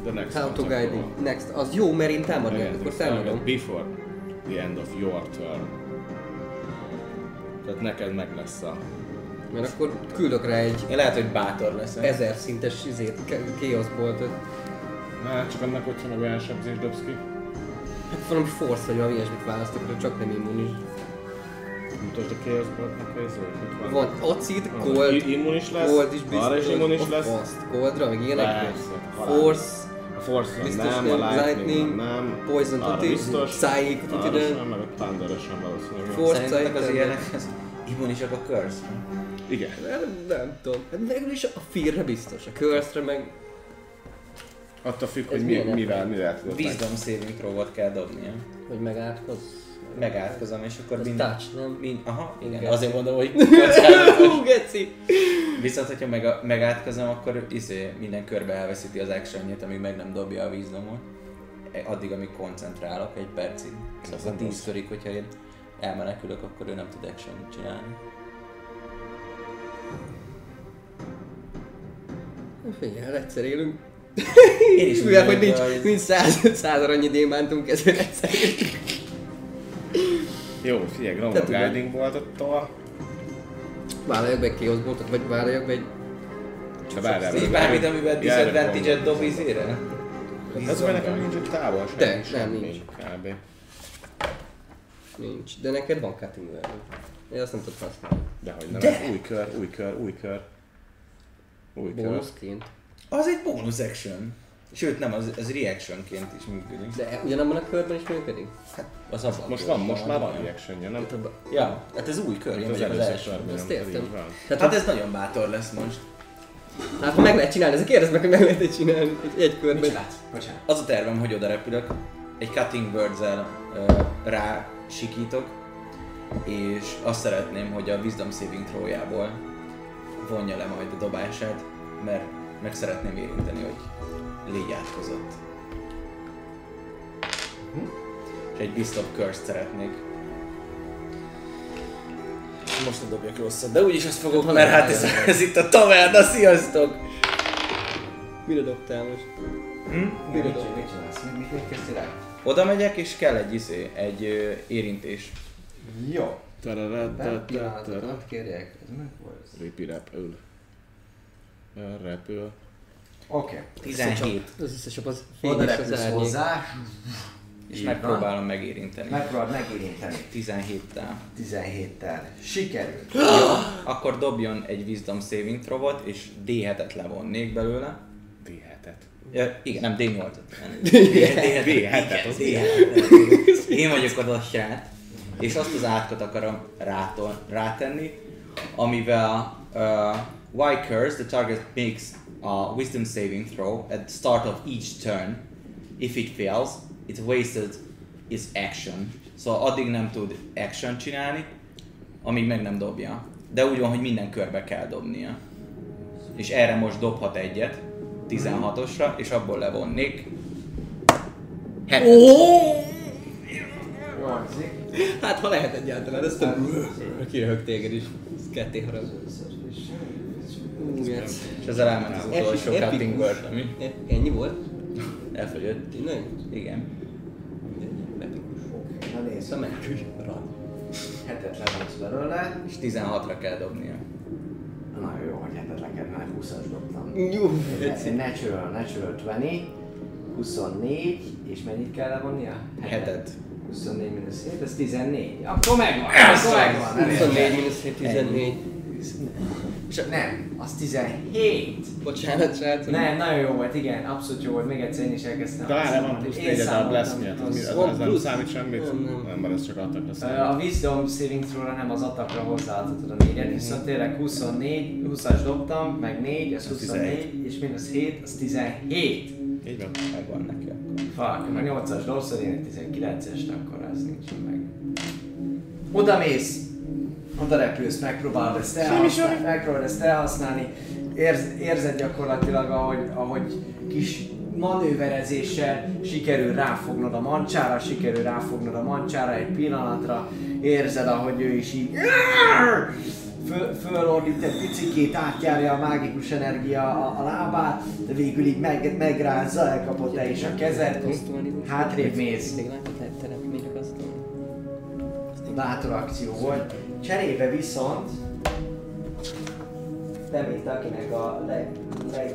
Speaker 4: The next
Speaker 2: How to
Speaker 4: one,
Speaker 2: guiding. Next. Az jó, mert én támadni,
Speaker 4: Igen,
Speaker 2: akkor
Speaker 4: ez target
Speaker 2: támadom.
Speaker 4: Before the end of your turn. Tehát neked meg lesz a...
Speaker 2: Mert akkor küldök rá egy
Speaker 5: Én lehet, hogy bátor leszek.
Speaker 2: ezer szintes izét, ke- chaos boltot.
Speaker 4: Na, hát csak annak, hogyha meg olyan sebzést dobsz ki.
Speaker 2: Hát valami force vagy valami ilyesmit választok, akkor csak nem immunis.
Speaker 4: Mutasd a Chaos Boltnak ez, hogy itt van.
Speaker 2: Van acid,
Speaker 4: Van.
Speaker 2: gold,
Speaker 4: I- immunis lesz,
Speaker 2: gold is biztos.
Speaker 4: arra is immunis
Speaker 2: of
Speaker 4: lesz.
Speaker 2: course. Goldra, meg ilyenek.
Speaker 4: Persze, halál.
Speaker 2: Force,
Speaker 4: A Force
Speaker 2: Biztos
Speaker 4: nem,
Speaker 2: nem,
Speaker 4: a Lightning
Speaker 2: Lightning,
Speaker 4: nem,
Speaker 2: Poison
Speaker 4: arra
Speaker 2: tuti,
Speaker 4: biztos,
Speaker 2: Psychic tuti,
Speaker 4: arra
Speaker 2: de-
Speaker 4: sem, meg a Thunder sem valószínűleg.
Speaker 2: Force-
Speaker 5: Szerintetek az
Speaker 2: Szerintem-
Speaker 5: ilyenek, az immunisak a curse.
Speaker 4: Igen.
Speaker 2: nem, nem tudom. Hát végül is a fear biztos, a curse meg
Speaker 4: Attól függ, hogy
Speaker 2: Ez
Speaker 4: mi,
Speaker 2: milyen
Speaker 4: mivel, mivel tudod meg.
Speaker 3: Wisdom saving throw-ot kell dobnia.
Speaker 2: Hogy megátkoz.
Speaker 3: Megátkozom, és akkor
Speaker 2: Ez
Speaker 3: Hát minden...
Speaker 2: touch, nem?
Speaker 3: Mind, aha, igen,
Speaker 2: Igen.
Speaker 3: azért mondom, hogy kockázatos.
Speaker 2: Hú, geci!
Speaker 3: Viszont, hogyha meg, megátkozom, akkor izé, minden körbe elveszíti az actionjét, amíg meg nem dobja a vízdomot. Addig, amíg koncentrálok egy percig. Szóval a tíz körig, hogyha én elmenekülök, akkor ő nem tud action csinálni.
Speaker 2: Figyelj, egyszer élünk.
Speaker 3: Én is úgy
Speaker 2: Mivel, hogy
Speaker 3: vagyok,
Speaker 2: nincs,
Speaker 3: hogy-
Speaker 2: nincs száz, száz arannyi démántunk, ezért egyszer élünk.
Speaker 4: Jó, figyelj, Gnome
Speaker 2: Te
Speaker 4: a
Speaker 2: tudod.
Speaker 4: Guiding Bolt-tól.
Speaker 2: Vállaljak be egy Chaos Boltot, vagy vállaljak be egy...
Speaker 4: De várjál,
Speaker 3: Így
Speaker 4: várjál.
Speaker 3: Szóval bármit, amiben
Speaker 4: Járj,
Speaker 3: disadvantage-et
Speaker 4: gondolom.
Speaker 3: dob izére?
Speaker 4: Ez
Speaker 3: Vízdomra.
Speaker 4: már nekem nincs egy távol semmi.
Speaker 2: De, nem,
Speaker 4: semmi,
Speaker 2: nincs.
Speaker 4: Kb.
Speaker 2: Nincs. De neked van cutting value. Én azt nem tudok használni.
Speaker 4: Dehogy nem. De. Új kör, új kör, új kör. Új kör.
Speaker 2: Bónuszként.
Speaker 3: Az egy bonus action. Sőt, nem, az, az reactionként is működik.
Speaker 2: De e- ugyanabban a körben is működik?
Speaker 3: Az abban
Speaker 4: Most
Speaker 3: volt,
Speaker 4: van, most már van
Speaker 3: olyan.
Speaker 4: reactionja, nem?
Speaker 3: Ja, hát ez új kör, én
Speaker 4: Itt az
Speaker 3: vagyok az
Speaker 4: előző
Speaker 3: első.
Speaker 4: körben
Speaker 2: Ezt
Speaker 4: nyomtad,
Speaker 2: értem.
Speaker 4: így van.
Speaker 2: Tehát
Speaker 3: Hát ez nagyon bátor lesz most.
Speaker 2: Hát ha meg lehet csinálni, ezért kérdezd meg, hogy meg lehet csinálni egy, egy
Speaker 1: Mit
Speaker 2: körben.
Speaker 1: csinálsz? Bocsánat.
Speaker 3: Az a tervem, hogy oda repülök, egy cutting words-el rá sikítok, és azt szeretném, hogy a wisdom saving trójából vonja le majd a dobását, mert meg szeretném érinteni, hogy légy átkozott. És egy Beast of Curse-t szeretnék. Most ne dobjak rosszat, de úgyis azt fogok, mert hát ez, ez itt a taverna, sziasztok!
Speaker 2: Mire dobtál most?
Speaker 1: Mit csinálsz? Mit csinálsz? Mit- Mit mit kezdtél el?
Speaker 3: Oda megyek és kell egy izé, egy ö, érintés.
Speaker 1: Jó.
Speaker 4: Tarará,
Speaker 1: Nem
Speaker 4: tarará, tarará.
Speaker 1: pillanatokat kérjek. Ez meg volt.
Speaker 4: Ripi repül. Repül.
Speaker 1: Oké.
Speaker 3: 17.
Speaker 2: Az összesebb az
Speaker 1: Oda
Speaker 2: fényes az
Speaker 1: repülsz
Speaker 2: árnyék.
Speaker 1: hozzá.
Speaker 3: És
Speaker 1: Így
Speaker 3: megpróbálom megérinteni.
Speaker 1: van. Megpróbáld megérinteni.
Speaker 3: 17-tel.
Speaker 1: 17-tel. Sikerült.
Speaker 3: Akkor dobjon egy Wisdom Saving Throwot, és D7-et levonnék belőle.
Speaker 4: D7-et.
Speaker 3: Ja, igen, hát nem D8-et. nem. D7-et. Igen, D7-et. Én vagyok az a srác. És azt az átkot akarom rátol, rátenni, amivel uh, Y curse, the target makes a wisdom saving throw at the start of each turn. If it fails, it wasted its action. Szóval addig nem tud action csinálni, amíg meg nem dobja. De úgy van, hogy minden körbe kell dobnia és erre most dobhat egyet, 16-osra, és abból levonnék. Hetet.
Speaker 1: Jó hangzik.
Speaker 2: Hát ha lehet egyáltalán, ezt tudom. Kiröhög téged is. Ez ketté harag. Ú, geci.
Speaker 3: És ezzel elment az utolsó
Speaker 2: Epikus.
Speaker 3: cutting word, ami
Speaker 2: E- Ennyi volt?
Speaker 3: elfogyott.
Speaker 2: Tényleg?
Speaker 3: Igen.
Speaker 2: Epikus.
Speaker 1: Na nézd.
Speaker 2: Szóval menekülj.
Speaker 1: Hetet levonsz belőle.
Speaker 3: És 16-ra kell dobnia.
Speaker 1: Nagyon jó, hogy hetet neked, mert 20-as dobtam.
Speaker 2: Jó.
Speaker 1: Ez egy natural, natural 20, 24, és mennyit kell levonnia?
Speaker 3: Hetet.
Speaker 1: 24 mínusz 7, ez 14. Akkor megvan, akkor megvan. elég.
Speaker 2: 24 minusz 7, 14.
Speaker 1: Nem, az 17.
Speaker 2: Bocsánat, srácok.
Speaker 1: Nem, nagyon jó volt, igen, abszolút jó volt, még egyszer én is elkezdtem.
Speaker 4: De várjál, van
Speaker 1: Én
Speaker 4: plusz 4 a
Speaker 1: számoltam,
Speaker 4: bless miatt. Az, mi- az,
Speaker 1: az-
Speaker 4: az nem
Speaker 2: plusz-
Speaker 4: számít semmit?
Speaker 2: Nem, nem.
Speaker 4: Nem, mert ez csak adtak a
Speaker 1: Ö,
Speaker 4: számít.
Speaker 1: A Wisdom Saving Throw-ra nem az atakra hozzáadhatod a 4-et, viszont tényleg 24, 20-as dobtam, meg 4, az 24, és mínusz 7, az 17.
Speaker 4: Így van.
Speaker 3: Megvan neki akkor.
Speaker 1: Fuck, meg 8-as dobszod, én egy 19-est, akkor az nincs meg. Oda mész, oda repülsz, megpróbálod ezt elhasználni, megpróbálod ezt elhasználni, Érz, érzed gyakorlatilag, ahogy, ahogy kis manőverezéssel sikerül ráfognod a mancsára, sikerül ráfognod a mancsára egy pillanatra, érzed, ahogy ő is így föl, fölordít egy picikét, átjárja a mágikus energia a, a lábát, de végül így meg, megrázza, elkapod te is a kezed, hátrébb mész.
Speaker 2: Még látod, lehet teremtmények azt mondani.
Speaker 1: Bátor akció volt. Cserébe viszont te, mint akinek a leg... leg...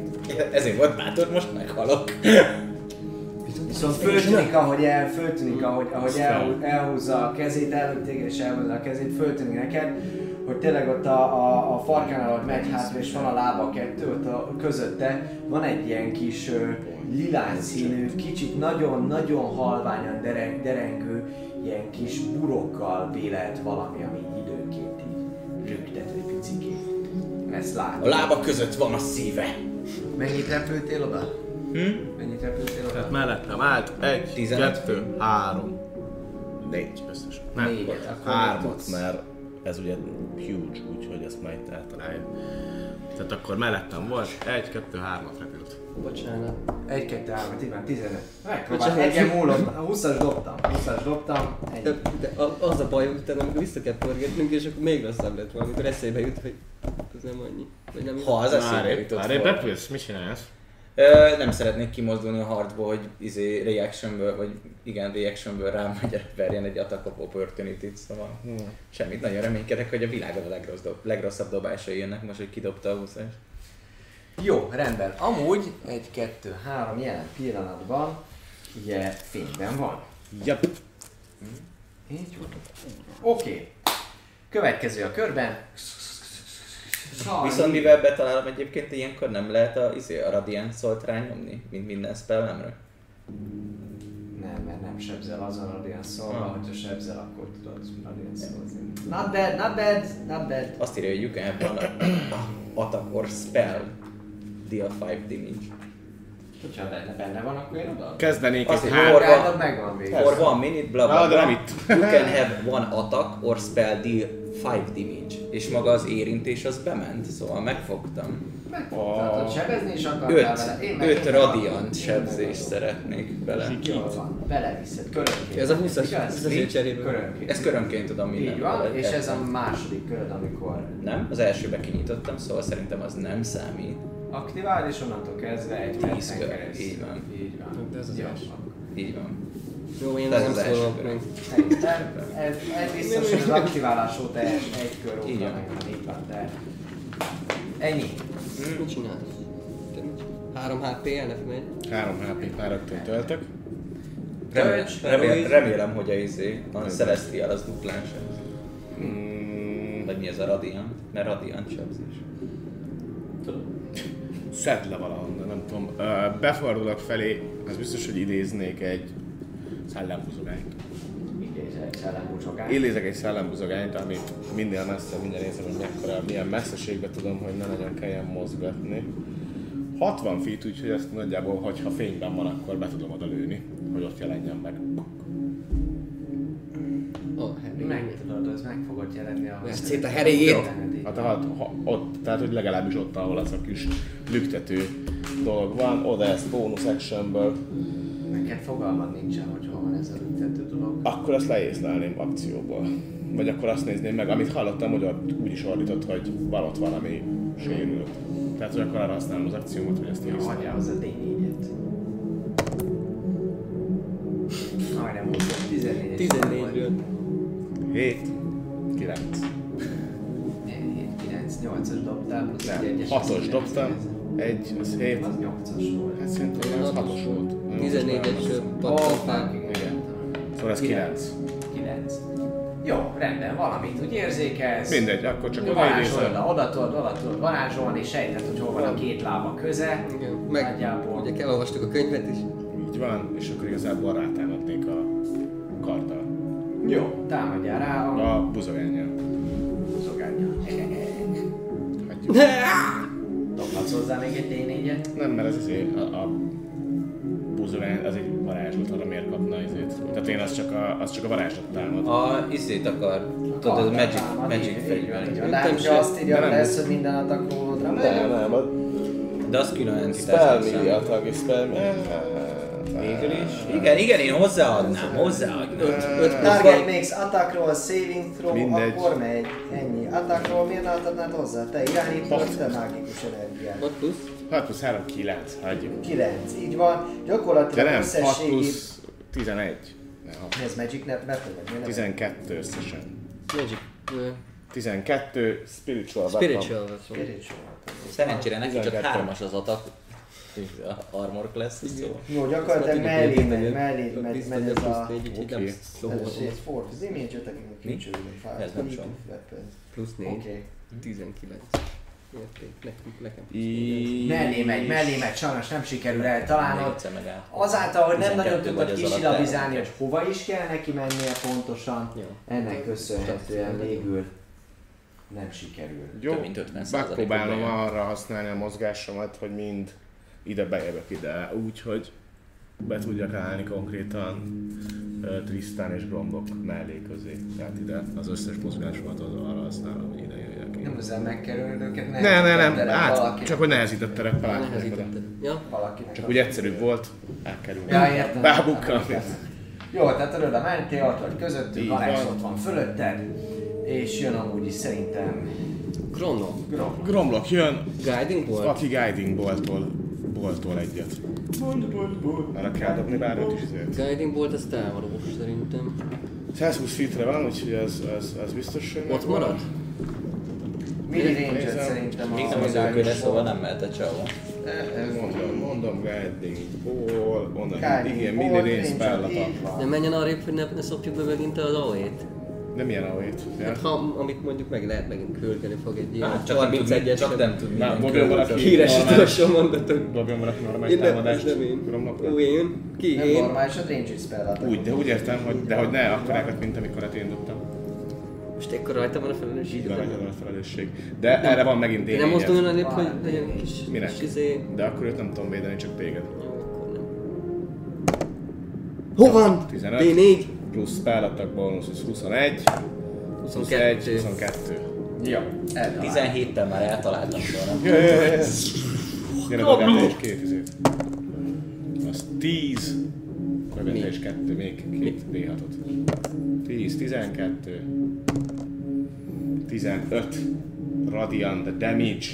Speaker 3: Ezért volt bátor, most meghalok.
Speaker 1: Viszont Szóval föltűnik, ahogy, el, föltűnik, ahogy, ahogy el, elhúzza a kezét, előtt téged és elhúzza a kezét, föltűnik neked, hogy tényleg ott a, a, a farkánál, ott megy hátra, és van a lába kettő, ott a, közötte van egy ilyen kis ö, lilás színű, kicsit nagyon-nagyon halványan dereng, derengő, ilyen kis burokkal bélelt valami, ami így időként így rögtet egy picikét. Ezt
Speaker 3: A
Speaker 1: látod.
Speaker 3: lába között van a szíve.
Speaker 1: Mennyit repültél oda?
Speaker 10: Hm?
Speaker 1: Mennyit repültél oda?
Speaker 10: Tehát mellette vált. Egy,
Speaker 3: Tizenegy.
Speaker 10: kettő, három, négy összesen. Hát, Nem,
Speaker 1: Négyet, akkor mit
Speaker 10: hármat,
Speaker 1: tudsz?
Speaker 10: mert ez ugye huge, úgyhogy ezt majd eltalálja. Tehát akkor mellettem volt, egy, kettő, hármat repült.
Speaker 2: Bocsánat.
Speaker 1: 1, 2, 3, 10, 15. Megpróbál,
Speaker 2: Bocsánat.
Speaker 1: egyen múlott. A 20-as dobtam. 20-as dobtam. Ennyi.
Speaker 2: De, de a- az a baj, hogy utána amikor vissza kell pörgetnünk, és akkor még rosszabb lett volna, amikor eszébe jut, hogy ez nem annyi. Vagy nem
Speaker 3: Ha az eszébe
Speaker 10: Már épp,
Speaker 3: jutott
Speaker 10: már épp
Speaker 3: volna.
Speaker 10: repülsz? Mit csinálsz?
Speaker 3: Ö, nem szeretnék kimozdulni a harcból, hogy izé reactionből, vagy igen, reactionből rám hogy verjen egy attack of opportunity szóval semmit, nagyon reménykedek, hogy a világon a legrossz dob, legrosszabb dobásai jönnek most, hogy kidobta a 20
Speaker 1: Jó, rendben. Amúgy egy, kettő, három jelen pillanatban ugye fényben van.
Speaker 4: Yep.
Speaker 1: Így van. Oké. Következő a körben.
Speaker 3: Viszont mivel betalálom egyébként, ilyenkor nem lehet a, izé, a radiant szolt rányomni, mint minden spellemre.
Speaker 1: Nem, mert nem sebzel azon a radianszolva, ha. hogyha sebzel, akkor tudod radianszolni. Not bad, not bad, not bad.
Speaker 3: Azt írja, hogy you can have one attack or spell deal 5 damage.
Speaker 1: Hogyha benne, benne van, akkor én oda.
Speaker 4: Kezdenék
Speaker 3: Azt
Speaker 4: egy
Speaker 3: mondja,
Speaker 4: három.
Speaker 3: Orva.
Speaker 1: Orgánod megvan végig.
Speaker 3: For one minute, bla bla
Speaker 4: Na, de
Speaker 3: bla.
Speaker 4: nem itt.
Speaker 3: You can have one attack or spell deal 5 damage. És maga az érintés az bement, szóval megfogtam.
Speaker 1: Megfogtad, hogy sebezni is akartál
Speaker 3: 5
Speaker 1: vele. Én meg-
Speaker 3: öt
Speaker 1: én
Speaker 3: radiant
Speaker 1: meg-
Speaker 3: sebzést szeretnék bele.
Speaker 1: Jól van, beleviszed körönként.
Speaker 2: Ez a 20-as
Speaker 1: Igaz?
Speaker 2: 20-as cserében.
Speaker 1: Körönként.
Speaker 3: Ezt körönként tudom minden.
Speaker 1: Így van, és ez a második köröd, amikor
Speaker 3: Nem, az elsőbe kinyitottam, szóval szerintem az nem számít.
Speaker 1: aktivál, és onnantól kezdve egy percen
Speaker 3: kör,
Speaker 1: keresztül.
Speaker 3: így van.
Speaker 1: Így van.
Speaker 2: De ez az
Speaker 1: Jó.
Speaker 2: első.
Speaker 3: Így van.
Speaker 2: Jó, én
Speaker 3: Ez
Speaker 2: nem
Speaker 3: az első
Speaker 2: szólalok
Speaker 3: kör.
Speaker 2: meg.
Speaker 1: Szerintem ez, ez biztos, hogy az aktiválás óta egy, egy kör óta
Speaker 3: Így van.
Speaker 1: megvan, így van, de ennyi.
Speaker 2: Mit csinálsz? Te mit csinálsz? 3 HP elnef megy.
Speaker 4: Három HP pár rögtön töltök.
Speaker 3: Remélem,
Speaker 2: Tölts,
Speaker 3: remélem,
Speaker 2: Eloise.
Speaker 3: remélem hogy a izé, a Celestial az duplán sebzés.
Speaker 4: Hmm,
Speaker 3: Vagy mi ez a radiant? Mert radiant sebzés.
Speaker 4: Szedd le valahonnan, nem tudom. Ö, Befordulok felé, az biztos, hogy idéznék egy szellembuzogányt.
Speaker 1: Idézel egy szellemúcsokát.
Speaker 4: Idézek egy szellembuzogányt, amit minél messze, minden érzem, hogy mekkora, milyen messzeségbe tudom, hogy ne nagyon kelljen mozgatni. 60 feet, úgyhogy ezt nagyjából, hogyha fényben van, akkor be tudom oda lőni, hogy ott jelenjen meg.
Speaker 2: Ó, oh, Harry.
Speaker 1: Meg tudod, az meg fogod jelenni a...
Speaker 2: Ezt szét a herégét.
Speaker 4: Hát a hat, ha, ott, tehát hogy legalábbis ott, ahol az a kis lüktető dolog van, oda ezt bonus actionből,
Speaker 1: Neked fogalmad nincsen, hogy hol van ez a büntető dolog.
Speaker 4: akkor azt leészlelném akcióból. Vagy akkor azt nézném meg, amit hallottam, hogy ott úgy is ordított, hogy van ott valami sérült. Tehát, hogy akkor arra használom az akciómat, hogy ezt
Speaker 1: Ja,
Speaker 4: észlelem.
Speaker 1: hagyjál az a D4-et. Majdnem úgy, 14
Speaker 2: 14-ről.
Speaker 4: 7, 9.
Speaker 1: 7, 9, 8-as dobtál, plusz
Speaker 4: Nem,
Speaker 1: egy egyes.
Speaker 4: 6-os dobtam, 1, az 7.
Speaker 1: Az 8-as volt.
Speaker 4: Hát szerintem az 6-os volt.
Speaker 2: 14-es
Speaker 1: Oh,
Speaker 2: pattanfák.
Speaker 1: fucking igen.
Speaker 4: Szóval ez 9.
Speaker 1: 9. Jó, rendben, valamit úgy érzékelsz.
Speaker 4: Mindegy, akkor csak oda
Speaker 1: Varázsold,
Speaker 4: idézem.
Speaker 1: oda tudod, oda tudod varázsolni, sejted, hogy hol van a két lába köze.
Speaker 2: Igen, meg
Speaker 1: Nagyjából.
Speaker 2: ugye elolvastuk a könyvet is.
Speaker 4: Így van, és akkor igazából rátámadnék a karddal.
Speaker 1: Jó, támadjál rá a
Speaker 4: A buzogányjal.
Speaker 1: szogányjal.
Speaker 4: Hagyjuk.
Speaker 1: Dobhatsz hozzá még egy D4-et.
Speaker 4: Nem, mert ez azért a, a buzolány, az egy varázslat, arra miért kapna ezért. Tehát én az csak a, az csak a varázslat támad.
Speaker 3: A izét akar, tudod, a magic,
Speaker 1: Támad,
Speaker 3: magic
Speaker 1: így- így
Speaker 3: fegyver.
Speaker 1: van.
Speaker 2: Nem
Speaker 1: Látom, hogy
Speaker 2: sem.
Speaker 1: azt írja,
Speaker 4: De
Speaker 1: hogy
Speaker 4: nem
Speaker 1: lesz, hogy minden atakódra
Speaker 4: Nem,
Speaker 1: megy.
Speaker 4: nem, a
Speaker 3: De az külön
Speaker 4: spell
Speaker 3: entitás.
Speaker 4: media tag, és spell Végül
Speaker 3: Igen, igen, én hozzáadnám, hozzáadnám.
Speaker 2: 5
Speaker 1: Target makes attack roll, saving throw,
Speaker 4: Mindegy.
Speaker 1: akkor megy. Ennyi. Attack roll, miért ne adnád hozzá? Te irányítod, te mágikus energiát.
Speaker 2: 6 plusz.
Speaker 4: 6 Hát plusz 3, 9, hagyjuk.
Speaker 1: 9, így van.
Speaker 4: De
Speaker 1: Gyakorlatilag
Speaker 4: nem, 6
Speaker 1: összességét...
Speaker 4: plusz 11. Nem, hat.
Speaker 1: Mi Ez Magic Net Method, vagy mi nem?
Speaker 4: 12 összesen.
Speaker 2: Magic. Ö,
Speaker 4: 12 spiritual weapon.
Speaker 2: Spiritual veszol.
Speaker 1: Spiritual.
Speaker 3: Szerencsére neki csak
Speaker 4: 12.
Speaker 3: hármas az atak. Armor class, szóval.
Speaker 1: Jó, gyakorlatilag mellé megy, mellé megy, megy ez a...
Speaker 4: Oké.
Speaker 1: Ez egy
Speaker 2: Plusz
Speaker 1: for az image, attacking a creature with a fire.
Speaker 3: Ez nem sok.
Speaker 2: Plusz 4.
Speaker 1: Oké.
Speaker 2: 19. Érték, nekünk, nekem.
Speaker 4: I-
Speaker 1: Mellé megy, mellé megy, sajnos nem sikerül eltalálnod.
Speaker 3: Négyszer meg át.
Speaker 1: Azáltal, hogy nem
Speaker 3: 12
Speaker 1: nagyon
Speaker 3: vagy
Speaker 1: tudod
Speaker 3: az
Speaker 1: kisilabizálni, hogy hova is kell neki mennie pontosan,
Speaker 2: Jó.
Speaker 1: ennek köszönhetően végül nem sikerül.
Speaker 4: Jó,
Speaker 3: Több mint 50 százalékot
Speaker 4: megpróbálom
Speaker 3: bejön.
Speaker 4: arra használni a mozgásomat, hogy mind ide bejövök ide, úgyhogy be tudjak állni konkrétan ö, Tristan és Grombok mellé közé. Tehát ide az összes mozgásomat az arra használom, hogy ide jöjjek én.
Speaker 1: Nem ezzel megkerülöd őket, ne,
Speaker 4: Ne, ne, nem,
Speaker 1: rendelek
Speaker 4: át,
Speaker 1: valakit-
Speaker 4: csak hogy nehezített terep alá kerülök oda.
Speaker 2: Nehezítetted. Ja?
Speaker 1: Valakinek
Speaker 4: Csak
Speaker 1: a-
Speaker 4: úgy egyszerűbb volt, elkerülni.
Speaker 1: Ja, értem.
Speaker 4: Bábukkal.
Speaker 1: Jó, tehát oda mentél, ott vagy közöttük,
Speaker 4: Így
Speaker 1: Alex
Speaker 4: van.
Speaker 1: ott van fölötted, és jön amúgy is szerintem
Speaker 2: Krono.
Speaker 1: Grom.
Speaker 4: Gromlok jön,
Speaker 2: Guiding volt?
Speaker 4: aki Guiding boltból, boltól egyet. Arra kell dobni bár őt is ezért.
Speaker 2: Guiding volt, ez távolós szerintem.
Speaker 4: 120 feetre van, úgyhogy az, az, az biztos, hogy
Speaker 2: Ott
Speaker 4: megvan.
Speaker 2: marad?
Speaker 1: Mini range
Speaker 4: Nézem.
Speaker 1: szerintem
Speaker 5: Még
Speaker 1: a
Speaker 5: nem az ő
Speaker 1: medállis
Speaker 5: köre, szóval
Speaker 1: volt.
Speaker 5: nem mehet a csávó.
Speaker 4: Mondom, mondom, Guiding Ball, onnan,
Speaker 1: Guiding
Speaker 4: igen,
Speaker 1: bolt,
Speaker 4: mini range
Speaker 1: range,
Speaker 4: spell
Speaker 1: így van.
Speaker 2: Ne menjen arrébb, hogy ne, ne szopjuk be megint az alét.
Speaker 4: Nem ilyen ahét.
Speaker 2: Hát ha, amit mondjuk meg lehet megint kölgeni fog egy ilyen
Speaker 5: Hát, csak, nem tud,
Speaker 2: 31-es.
Speaker 5: csak nem tud
Speaker 4: Na,
Speaker 5: mindenki.
Speaker 4: dobjon valaki
Speaker 2: Híres
Speaker 4: normális,
Speaker 2: utolsó mondatok.
Speaker 4: dobjon valaki normális
Speaker 2: Én nem, ez
Speaker 4: támadást.
Speaker 2: nem én.
Speaker 4: Gromlokra.
Speaker 2: Ú, én? Ki
Speaker 1: Nem
Speaker 2: én?
Speaker 1: normális, a range spell attack.
Speaker 4: Úgy, de úgy értem, hogy, de hogy ne akkorákat, mint amikorat én dobtam.
Speaker 2: Most ekkor rajta van a felelősség.
Speaker 4: Így van, hogy a felelősség. De erre van megint
Speaker 2: Én nem mozdulj
Speaker 4: D4-et.
Speaker 2: olyan épp, hogy legyen kis,
Speaker 4: Minek?
Speaker 2: kis izé...
Speaker 4: De akkor őt nem tudom védeni, csak téged.
Speaker 2: Jó, akkor nem. Hol van?
Speaker 4: 15.
Speaker 2: D4.
Speaker 4: Plusz spellattak bónusz, az 21, 21,
Speaker 2: 22.
Speaker 4: 22.
Speaker 1: Ja, eltalál.
Speaker 5: 17-tel már eltaláltam volna.
Speaker 4: Gyere, dobjál te is két izét. Az 10, dobjál te is kettő, még két D6-ot. 10, 12, 15 radiant damage,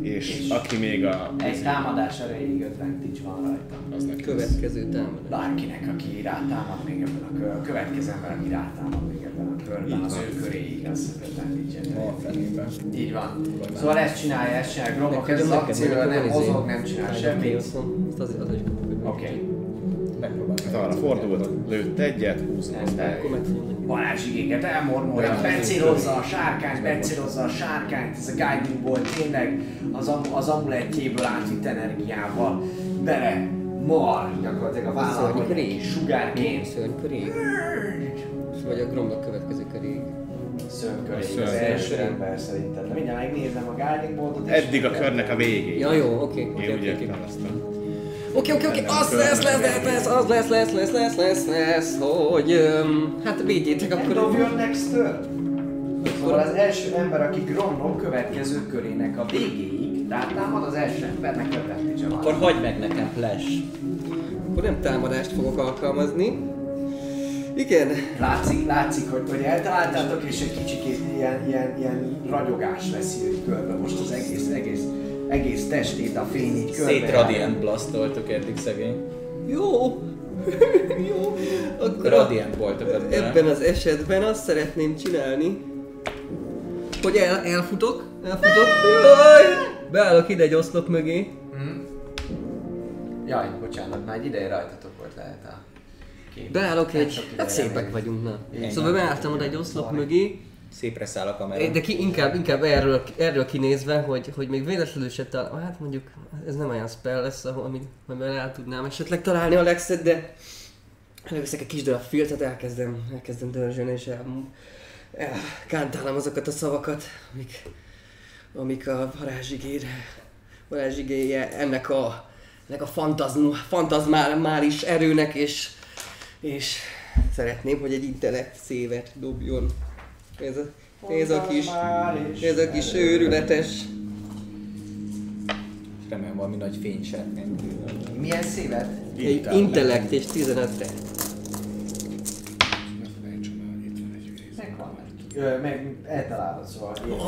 Speaker 4: és aki még a...
Speaker 1: Egy támadás erejéig 50 tics van rajta.
Speaker 4: Az neki lesz.
Speaker 2: Következő támadás.
Speaker 1: Bárkinek, aki rátámad még ebben a kör, a következő ember, aki rátámad még ebben a körben, az ő köréig az 50 ticset.
Speaker 5: A fenében.
Speaker 1: Így van. Szóval ezt csinálja, ezt csinálja, Gromok
Speaker 2: Neked
Speaker 1: ez az
Speaker 2: neked
Speaker 1: akciója,
Speaker 2: neked
Speaker 1: nem
Speaker 2: van izé.
Speaker 1: mozog, nem csinál semmit.
Speaker 2: Ezt azért az is kapok. hogy
Speaker 1: Oké.
Speaker 4: Hát arra fordult, lőtt egyet, 20
Speaker 2: Akkor megfogom.
Speaker 1: Varázsigéket elmormolja, becélozza a sárkányt, becélozza a sárkányt, ez a guiding volt tényleg az, am- az amulettjéből átvitt energiával bele mar gyakorlatilag a vállalkozik
Speaker 2: Szörnyű
Speaker 1: egy
Speaker 2: Én
Speaker 1: sugárként
Speaker 2: szörnykörig. Vagy a gromba következő körig.
Speaker 1: szönköré
Speaker 4: Szörny.
Speaker 1: az első ember szerintem. De mindjárt megnézem a guiding boltot. és-
Speaker 4: Eddig a körnek a végén.
Speaker 2: Ja jó, oké.
Speaker 4: Én
Speaker 2: Oké,
Speaker 4: úgy
Speaker 2: oké, oké.
Speaker 4: értem ezt a...
Speaker 2: Oké, oké, oké, az lesz, lesz, lesz, lesz, az lesz, lesz, lesz, lesz, lesz, lesz, hogy... öm, Hát védjétek
Speaker 1: Nem
Speaker 2: akkor...
Speaker 1: dobjon next-től? Szóval az első ember, aki gromlom következő körének a végéig, tehát támad az első embernek ötlet is
Speaker 5: Akkor hagyd meg nekem flash.
Speaker 2: Akkor nem támadást fogok alkalmazni. Igen,
Speaker 1: Látszik, látszik, hogy, hogy eltaláltátok, és egy kicsikét ilyen, ilyen, ilyen ragyogás veszi őt körbe. Most az egész, egész, egész testét a fény így körbe.
Speaker 5: Szétradiant blastoltuk eddig szegény.
Speaker 2: Jó. Jó. Akkor
Speaker 5: Radiant voltak ebben.
Speaker 2: Ebben az esetben azt szeretném csinálni, hogy el, elfutok, elfutok. Jaj! Beállok ide egy oszlop mögé.
Speaker 1: Jaj, bocsánat, már egy ideje rajtatok volt lehet a kép.
Speaker 2: Beállok
Speaker 1: Nem
Speaker 2: egy...
Speaker 1: sok ideje
Speaker 2: Hát szépek
Speaker 1: elnézést.
Speaker 2: vagyunk, na.
Speaker 1: Igen.
Speaker 2: Szóval beálltam oda egy oszlop mögé,
Speaker 5: Szépre száll a kamera.
Speaker 2: de ki, inkább, inkább erről, erről kinézve, hogy, hogy még véletlenül se talál... Hát mondjuk ez nem olyan spell lesz, ahol amit majd bele el tudnám esetleg találni Alexet, de előveszek egy kis darab filtet, elkezdem, elkezdem dörzsön, és el, el, kántálom azokat a szavakat, amik, amik a varázsigér, varázsigéje ennek a, ennek a fantazm, fantazmális erőnek, és, és szeretném, hogy egy intellekt szévet dobjon. Ez a, ez a kis, ez a kis őrületes.
Speaker 5: Remélem valami nagy fénysárkány.
Speaker 1: Milyen szívet?
Speaker 2: Egy intellekt és 15-re.
Speaker 1: Megvan. Ö, meg eltalálod, szóval. ilyen.
Speaker 2: Ah,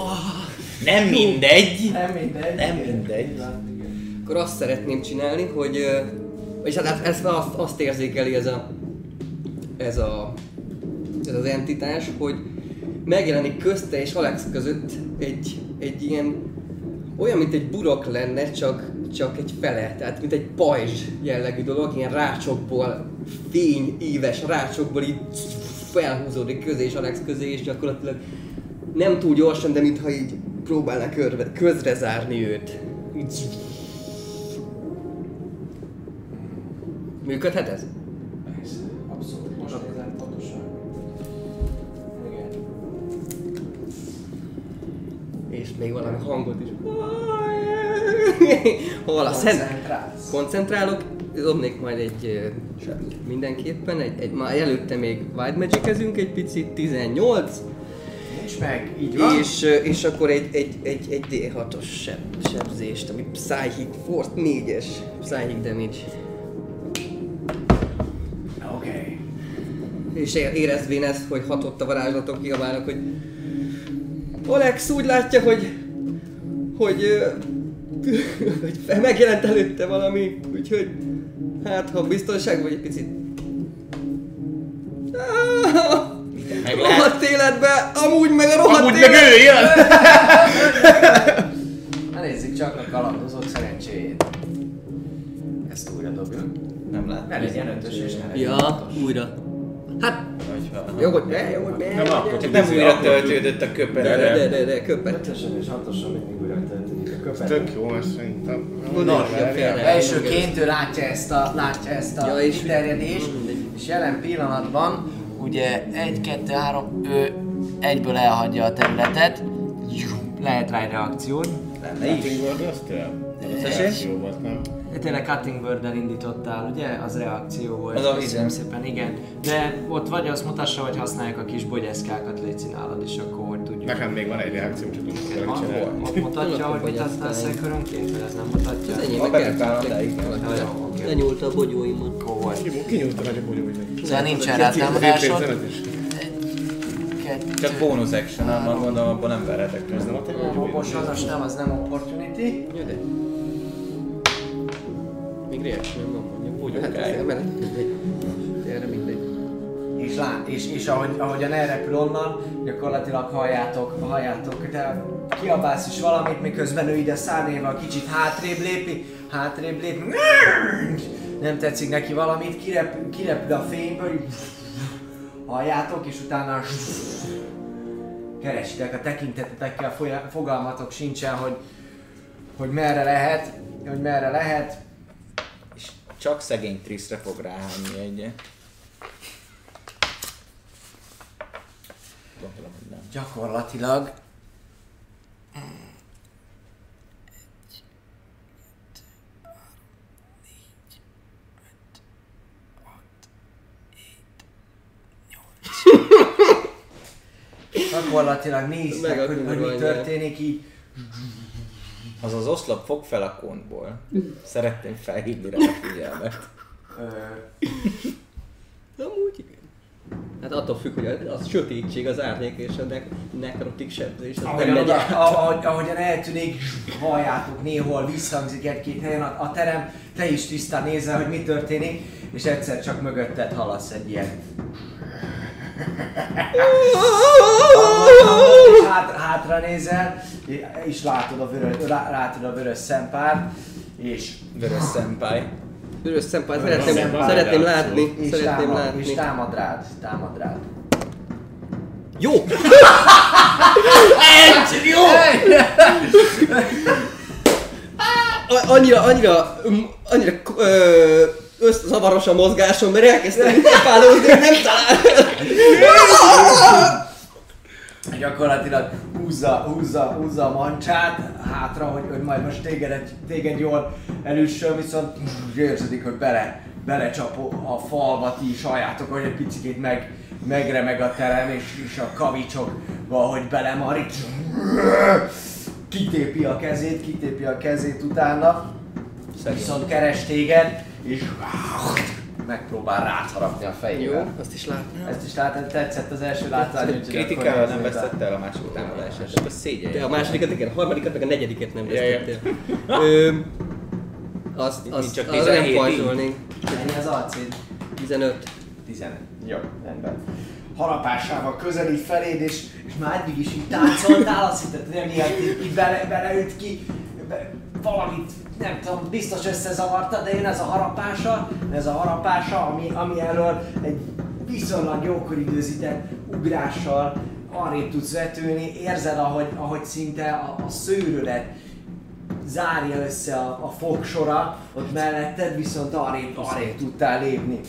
Speaker 5: Nem mindegy!
Speaker 1: Nem mindegy.
Speaker 5: Nem
Speaker 1: Igen,
Speaker 5: mindegy.
Speaker 1: így van, igen.
Speaker 2: Akkor azt szeretném csinálni, hogy... ö, És hát ezt, azt, azt érzékeli ez a... Ez a... Ez az entitás, hogy megjelenik közte és Alex között egy, egy ilyen... Olyan, mint egy burok lenne, csak, csak egy fele. Tehát, mint egy pajzs jellegű dolog, ilyen rácsokból, fény, éves rácsokból így felhúzódik közé és Alex közé, és gyakorlatilag nem túl gyorsan, de mintha így próbálnak körbe- közre zárni őt. Így Működhet ez?
Speaker 1: Persze, Abszolút. Most nézem pontosan. Igen.
Speaker 2: És még valami hangot is. Hol a szent?
Speaker 1: Koncentrálsz.
Speaker 2: Koncentrálok, dobnék majd egy ö, mindenképpen, egy, egy, már előtte még Wild magic egy picit, 18,
Speaker 1: Nincs meg, így van.
Speaker 2: és, ö, és akkor egy, egy, egy, egy D6-os seb, sebzést, ami Psychic Force 4-es, Psychic Damage.
Speaker 1: Oké. Okay.
Speaker 2: És é- érezvén ezt, hogy hatott a varázslatok, kiabálnak, hogy Alex úgy látja, hogy hogy, ö, hogy fe- megjelent előtte valami, úgyhogy hát ha biztonságban vagy egy picit Ah,
Speaker 3: Meg lehet,
Speaker 2: rohadt életbe, amúgy meg a rohadt
Speaker 4: Amúgy meg ő jön!
Speaker 1: Na nézzük csak a kalandozók szerencséjét. Ezt újra dobjuk. Hát,
Speaker 3: nem lehet.
Speaker 1: Ne legyen ötös és ne legyen
Speaker 2: Ja,
Speaker 1: hatos.
Speaker 2: újra. Hát,
Speaker 3: Hogyha-
Speaker 2: jó, hogy be, jó, hogy be.
Speaker 4: Nem akkor
Speaker 3: Csak
Speaker 4: tudsz,
Speaker 3: nem újra
Speaker 4: akkor
Speaker 3: töltődött a
Speaker 2: De,
Speaker 3: köpenet.
Speaker 2: de, de, de, köpet.
Speaker 11: Ötösen és hatosan mindig újra töltődik a
Speaker 4: tudsz.
Speaker 11: köpet.
Speaker 4: Tök jó, mert szerintem.
Speaker 2: Gondolom, hogy a félre.
Speaker 1: Elsőként ő látja ezt a, látja ezt a
Speaker 2: Ja,
Speaker 1: ja,
Speaker 2: és-
Speaker 1: és kiterjedést, és jelen pillanatban
Speaker 9: Ugye egy, kettő, három, ő egyből elhagyja a területet. Lehet rá egy reakciót.
Speaker 4: Cutting World azt el? Jó volt, nem?
Speaker 1: Tényleg Cutting word indítottál, ugye? Az reakció volt.
Speaker 3: Az a
Speaker 1: Köszönöm
Speaker 3: izem.
Speaker 1: szépen, igen. De ott vagy azt mutassa, hogy használják a kis bogyászkákat, légy nálad, és akkor hogy tudjuk.
Speaker 4: Nekem még van egy reakcióm, csak tudom, hogy
Speaker 1: Van,
Speaker 4: csinálni.
Speaker 1: Ott mutatja,
Speaker 2: Tudom,
Speaker 1: hogy mit
Speaker 2: fogyasztani.
Speaker 1: használsz körönként, vagy ez nem mutatja?
Speaker 2: Enyémek
Speaker 1: Jó,
Speaker 2: kell.
Speaker 1: jó, oké.
Speaker 2: Lenyúlt a bogyóimat.
Speaker 1: Akkor
Speaker 4: Kinyújtam vagyok úgy, hogy meg.
Speaker 9: Szóval nincsen
Speaker 4: Szép
Speaker 9: rátámadásod.
Speaker 4: pénzemet is.
Speaker 9: Kettő.
Speaker 3: Csak bónusz action, nem van, gondolom, abban nem veretek
Speaker 4: Ez
Speaker 3: közben.
Speaker 4: nem a te
Speaker 1: A
Speaker 4: vagy?
Speaker 1: hobos azas nem, az nem opportunity.
Speaker 2: Jó, de. Még reaction van mondjuk. Úgy hát
Speaker 3: okáig.
Speaker 2: ez emellett mindegy. Erre mindegy.
Speaker 1: És, lát, és, és ahogy, ahogyan elrepül onnan, gyakorlatilag halljátok, halljátok, de kiabálsz is valamit, miközben ő így a szánéval kicsit hátrébb lépi, hátrébb lép, nem tetszik neki valamit, kirep, kirepül a fényből, így halljátok, és utána keresitek a tekintetetekkel, folyam- fogalmatok sincsen, hogy, hogy merre lehet, hogy merre lehet,
Speaker 3: És csak szegény Triszre fog ráhányni egy. Gondolom, hogy nem.
Speaker 1: gyakorlatilag gyakorlatilag
Speaker 2: Meg
Speaker 1: néztek, hogy,
Speaker 2: a
Speaker 1: hogy mi
Speaker 2: kurva
Speaker 1: történik így.
Speaker 3: Az az oszlop fog fel a kontból. Szeretném felhívni rá a figyelmet.
Speaker 1: Ö,
Speaker 2: Amúgy igen. Hát attól függ, hogy a, a sötétség, az árnyék és a nek- nekrotik sebzés, az nem
Speaker 1: ahogyan,
Speaker 2: megy
Speaker 1: oda,
Speaker 2: át.
Speaker 1: ahogy, ahogyan eltűnik, halljátok néhol, visszhangzik egy-két helyen a, a terem, te is tisztán nézel, hogy mi történik, és egyszer csak mögötted hallasz egy ilyen és hát, hátra nézel, és látod a vörös, rá, látod a vörös szempárt, és,
Speaker 3: Vörös szempáj.
Speaker 2: Vörös szempár, szeretném,
Speaker 4: szempár,
Speaker 2: szeretném
Speaker 4: de
Speaker 2: látni,
Speaker 1: és,
Speaker 2: szeretném
Speaker 1: támad, és
Speaker 2: látni.
Speaker 1: támad rád, támad rád.
Speaker 2: Jó!
Speaker 1: Jó!
Speaker 2: A- Annyira, annyira, m- annyira k- ö, összzavaros a mozgásom, mert elkezdtem kapálódni, nem talál.
Speaker 1: Gyakorlatilag húzza, húzza, húzza a mancsát hátra, hogy, hogy majd most téged, téged jól elüssön, viszont érződik, hogy bele, belecsap a falba ti sajátok, hogy egy picit meg, megremeg a terem, és, és a kavicsok valahogy belemarít. Kitépi a kezét, kitépi a kezét utána, viszont keres téged, és megpróbál rátharapni a fejével.
Speaker 2: Jó, azt is látnám.
Speaker 1: Ezt is látod, tetszett az első látvány, úgyhogy
Speaker 3: Kritikával
Speaker 1: akkor
Speaker 3: nem
Speaker 1: nézzük rá.
Speaker 3: veszett el a második támadását, csak a szégyen.
Speaker 2: De a másodikat igen, a harmadikat meg a negyediket nem
Speaker 4: Ja, ja.
Speaker 2: vesztettél. Ö, Azt,
Speaker 3: Itt
Speaker 2: azt,
Speaker 3: csak
Speaker 2: arra nem
Speaker 3: 17
Speaker 2: pajzsolnék.
Speaker 1: Ennyi az acid.
Speaker 2: 15.
Speaker 1: 10. Jó, rendben. Harapásával közelít feléd, és, és már eddig is így táncoltál, azt hitted, hogy emiatt így, így bele, beleüt ki, be, valamit, nem tudom, biztos összezavarta, de jön ez a harapása, ez a harapása, ami, ami elől egy viszonylag jókor időzített ugrással arrébb tudsz vetülni, érzed, ahogy, ahogy szinte a, a szőrödet zárja össze a, a fogsora, ott melletted viszont arrébb, arrébb tudtál lépni.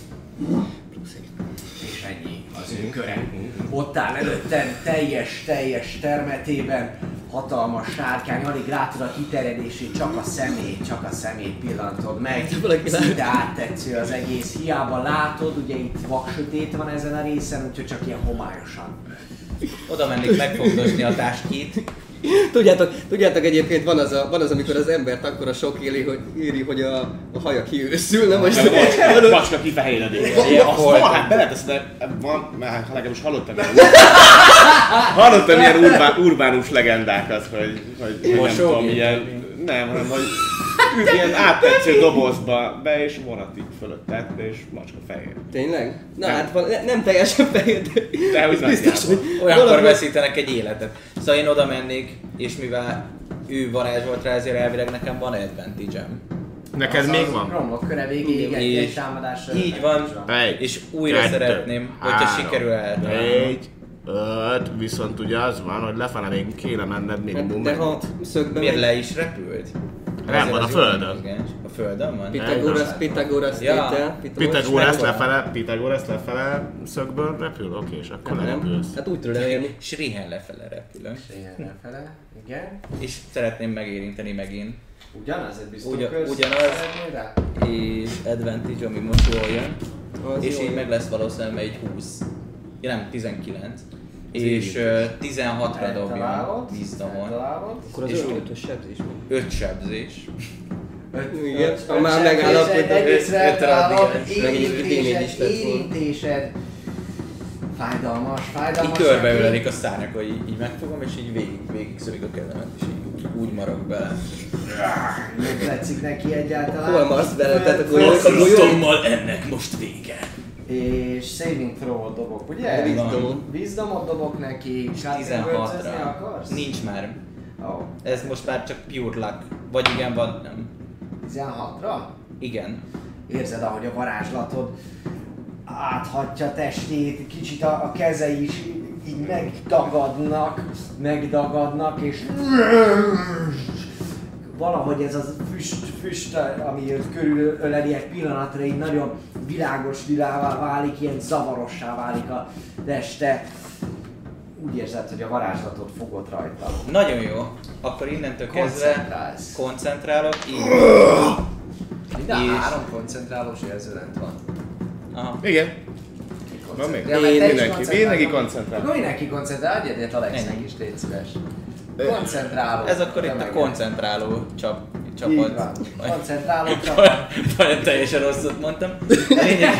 Speaker 1: És ennyi az ő köre. Ott áll előtted teljes, teljes termetében, hatalmas sárkány, alig látod a kiterjedését, csak a szemét, csak a szemét pillantod meg.
Speaker 3: Hát,
Speaker 2: Valaki lát-
Speaker 1: Szinte áttetsző az egész, hiába látod, ugye itt vak sötét van ezen a részen, úgyhogy csak ilyen homályosan.
Speaker 3: Oda mennék megfogdosni a táskét.
Speaker 2: Tudjátok, tudjátok egyébként van az, a, van az, amikor az embert akkor a sok éli, hogy, éri, hogy a, a haja kiőszül, nem most
Speaker 4: Vacska- Vacska kifehéredik.
Speaker 3: Ilyen
Speaker 4: Azt
Speaker 3: volt.
Speaker 4: valahát beleteszed, de van, már legalábbis hallottam ilyen. Hallottam ilyen urbán, urbánus legendákat, hogy, hogy nem
Speaker 3: Mosógép.
Speaker 4: tudom, ilyen, nem, hanem hogy üt ilyen áttetsző dobozba be, és vonatik fölött tett, és macska fehér.
Speaker 2: Tényleg? Na hát van, ne, nem teljesen fehér,
Speaker 4: De úgy
Speaker 2: biztos, hogy
Speaker 4: nagyjából.
Speaker 3: Olyankor
Speaker 2: valahol-
Speaker 3: veszítenek egy életet. Szóval én oda mennék, és mivel ő varázsolt rá, ezért elvileg nekem van advantage
Speaker 12: Neked még van?
Speaker 1: Romlok köre végéig egy, egy
Speaker 3: És
Speaker 1: támadásra.
Speaker 3: így van,
Speaker 12: Egy,
Speaker 3: és újra
Speaker 12: kettő,
Speaker 3: szeretném, hogyha
Speaker 12: három,
Speaker 3: sikerül eltalálnom.
Speaker 12: Egy, öt, viszont ugye az van, hogy lefele még kéne menned minimum.
Speaker 2: Hát, De ha szögbe
Speaker 3: Miért
Speaker 2: megy,
Speaker 3: le is repült?
Speaker 12: Nem,
Speaker 3: Azért
Speaker 12: van a
Speaker 3: az
Speaker 12: földön.
Speaker 3: jó mozgás. A földön van?
Speaker 2: Pitagoras, Pitagoras
Speaker 3: Ja.
Speaker 2: tétel. Pitagoras.
Speaker 12: Pitagórasz lefele, Pitagórasz lefele szögből repül? Oké, és akkor
Speaker 2: Nem?
Speaker 12: lerepülsz.
Speaker 2: Hát úgy tudod elérni.
Speaker 3: Srihen lefele repülök.
Speaker 1: Igen, fele. Igen.
Speaker 3: És szeretném megérinteni megint.
Speaker 1: Ugyanaz, egy biztos
Speaker 3: Ugyan-
Speaker 1: köz?
Speaker 3: ugyanaz.
Speaker 1: Szeretnél rá?
Speaker 3: És advantage, ami most jól jön.
Speaker 2: Az
Speaker 3: és
Speaker 2: jó.
Speaker 3: így meg lesz valószínűleg egy 20. Ja, nem, 19. És ö, 16-ra dobja
Speaker 1: Eltalálod,
Speaker 3: vízdomon.
Speaker 1: eltalálod.
Speaker 2: Akkor az
Speaker 3: És úgy.
Speaker 2: ötös sebzés van.
Speaker 3: 5 sebzés.
Speaker 2: Hát, Igen, ha már megállapodott.
Speaker 1: Egyrészt
Speaker 3: Öt- ötre addig
Speaker 1: eltalálod,
Speaker 3: is,
Speaker 2: meg is idén
Speaker 1: érintésed,
Speaker 2: is lett volna.
Speaker 1: érintésed. Fájdalmas,
Speaker 3: Így
Speaker 1: fájdalmas.
Speaker 3: körbeülelik a szárnyak, hogy így, így megfogom, és így végig, végig szövik a kezemet, és így úgy marad bele.
Speaker 1: Ah, Nem tetszik neki egyáltalán.
Speaker 2: Hol marsz bele, tehát akkor jó, akkor jó.
Speaker 3: Alkalmaztommal ennek most vége.
Speaker 1: És saving throw dobok, ugye?
Speaker 2: Vízdomon.
Speaker 1: Vízdomot dobok neki, kártyagörcözni
Speaker 3: 16-ra.
Speaker 1: akarsz?
Speaker 3: Nincs már.
Speaker 1: Ó,
Speaker 3: Ez most már csak pure luck. Vagy igen, vagy nem.
Speaker 1: 16-ra?
Speaker 3: Igen.
Speaker 1: Érzed, ahogy a varázslatod áthatja testét, kicsit a, a kezei is így megdagadnak, megdagadnak, és valahogy ez az füst, füst, ami őt körülöleli egy pillanatra, így nagyon világos világá válik, ilyen zavarossá válik a teste. Úgy érzed, hogy a varázslatot fogod rajta.
Speaker 3: Nagyon jó. Akkor innentől kezdve
Speaker 1: Koncentrálsz.
Speaker 3: koncentrálok. Így.
Speaker 1: Minden
Speaker 3: És-
Speaker 1: három koncentrálós jelzőlent van.
Speaker 3: Aha.
Speaker 4: Igen. Van még?
Speaker 1: Ja, mert te is
Speaker 4: mindenki-
Speaker 1: koncentrálsz.
Speaker 4: mindenki koncentrál.
Speaker 1: Akkor mindenki koncentrál, adj egyet Alexnek
Speaker 3: Ennyi.
Speaker 1: is, légy szíves. Koncentráló.
Speaker 3: Ez akkor
Speaker 1: De
Speaker 3: itt a
Speaker 1: meg-
Speaker 3: koncentráló csap,
Speaker 1: Így
Speaker 3: csapat.
Speaker 1: van.
Speaker 3: Vagy-
Speaker 1: Koncentráló csapat.
Speaker 3: Nagyon teljesen rosszat mondtam. A lényeg,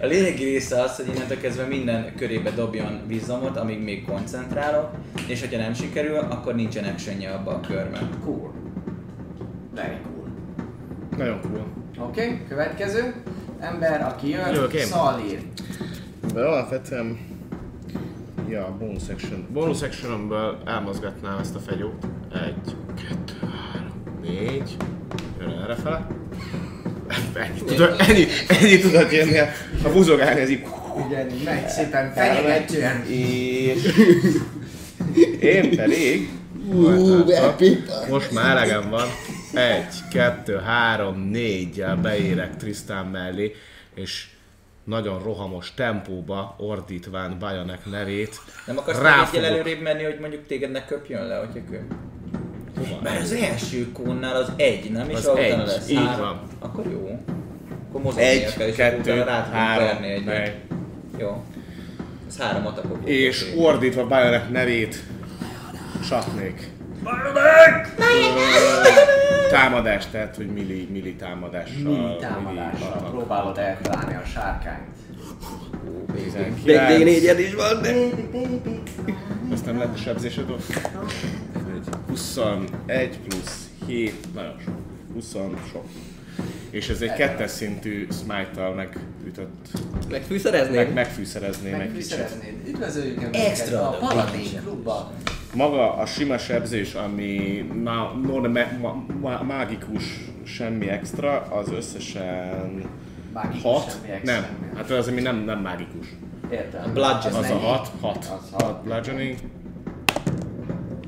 Speaker 3: a lényeg része az, hogy innentől kezdve minden körébe dobjon vízomot, amíg még koncentrálok, és hogyha nem sikerül, akkor nincsen actionje abba a körben.
Speaker 1: Cool. Very cool.
Speaker 4: Nagyon cool.
Speaker 1: Oké, okay, következő. Ember, aki jön,
Speaker 12: Jövök én?
Speaker 1: Szalír.
Speaker 12: De alapvetően... Ja, a bonus action. Bonus actionomből elmozgatnám ezt a fegyót. Egy, kettő, három, négy. Jön errefele. Ennyi tudod, ennyi, ennyi tudod jönni.
Speaker 4: A buzogálni ez így...
Speaker 1: Igen, megy szépen fenyegetően.
Speaker 4: És... Én pedig...
Speaker 2: Ú, epic.
Speaker 12: Most már elegem van. Egy, kettő, három, négyel beérek Trisztán mellé, és nagyon rohamos tempóba ordítván Bajanek nevét.
Speaker 3: Nem akarsz
Speaker 12: ráfogok.
Speaker 3: egyel előrébb menni, hogy mondjuk téged ne köpjön le, hogyha köp? Mert az első kónnál az egy, nem? És
Speaker 12: Az
Speaker 3: arra
Speaker 12: egy,
Speaker 3: utána lesz
Speaker 12: így
Speaker 3: három.
Speaker 12: van.
Speaker 3: Akkor jó. Akkor mozognia kell, és akkor utána rá tudunk verni egyet.
Speaker 4: egy.
Speaker 3: Jó. Ez három atakok.
Speaker 4: És ordítva Bajonek nevét csapnék. Bajonek! Támadást, tehát hogy milli, milli támadással.
Speaker 1: Mi támadással
Speaker 4: atak.
Speaker 1: próbálod eltalálni a sárkányt.
Speaker 4: 19.
Speaker 2: Még még négyed is van, de...
Speaker 4: Azt nem lehet a sebzésed ott? 21 plusz 7, nagyon sok. 20 sok. És ez egy kettes szintű smite-tal megütött, meg,
Speaker 2: Megfűszereznék?
Speaker 4: megfűszerezném egy kicsit.
Speaker 1: Megfűszereznéd. Üdvözöljük embereket
Speaker 3: Extra
Speaker 1: a
Speaker 3: adag.
Speaker 1: Paladin klubba.
Speaker 4: Maga a sima sebzés, ami má, non, me, ma, ma, mágikus, semmi extra, az összesen
Speaker 1: Mágikus
Speaker 4: 6.
Speaker 1: semmi extra.
Speaker 4: Nem, hát az, ami nem, nem mágikus.
Speaker 1: Értem.
Speaker 3: Bludgeon.
Speaker 1: Az
Speaker 4: Az a
Speaker 1: mennyi?
Speaker 4: 6, 6.
Speaker 1: Az
Speaker 4: 6 bludgeoning.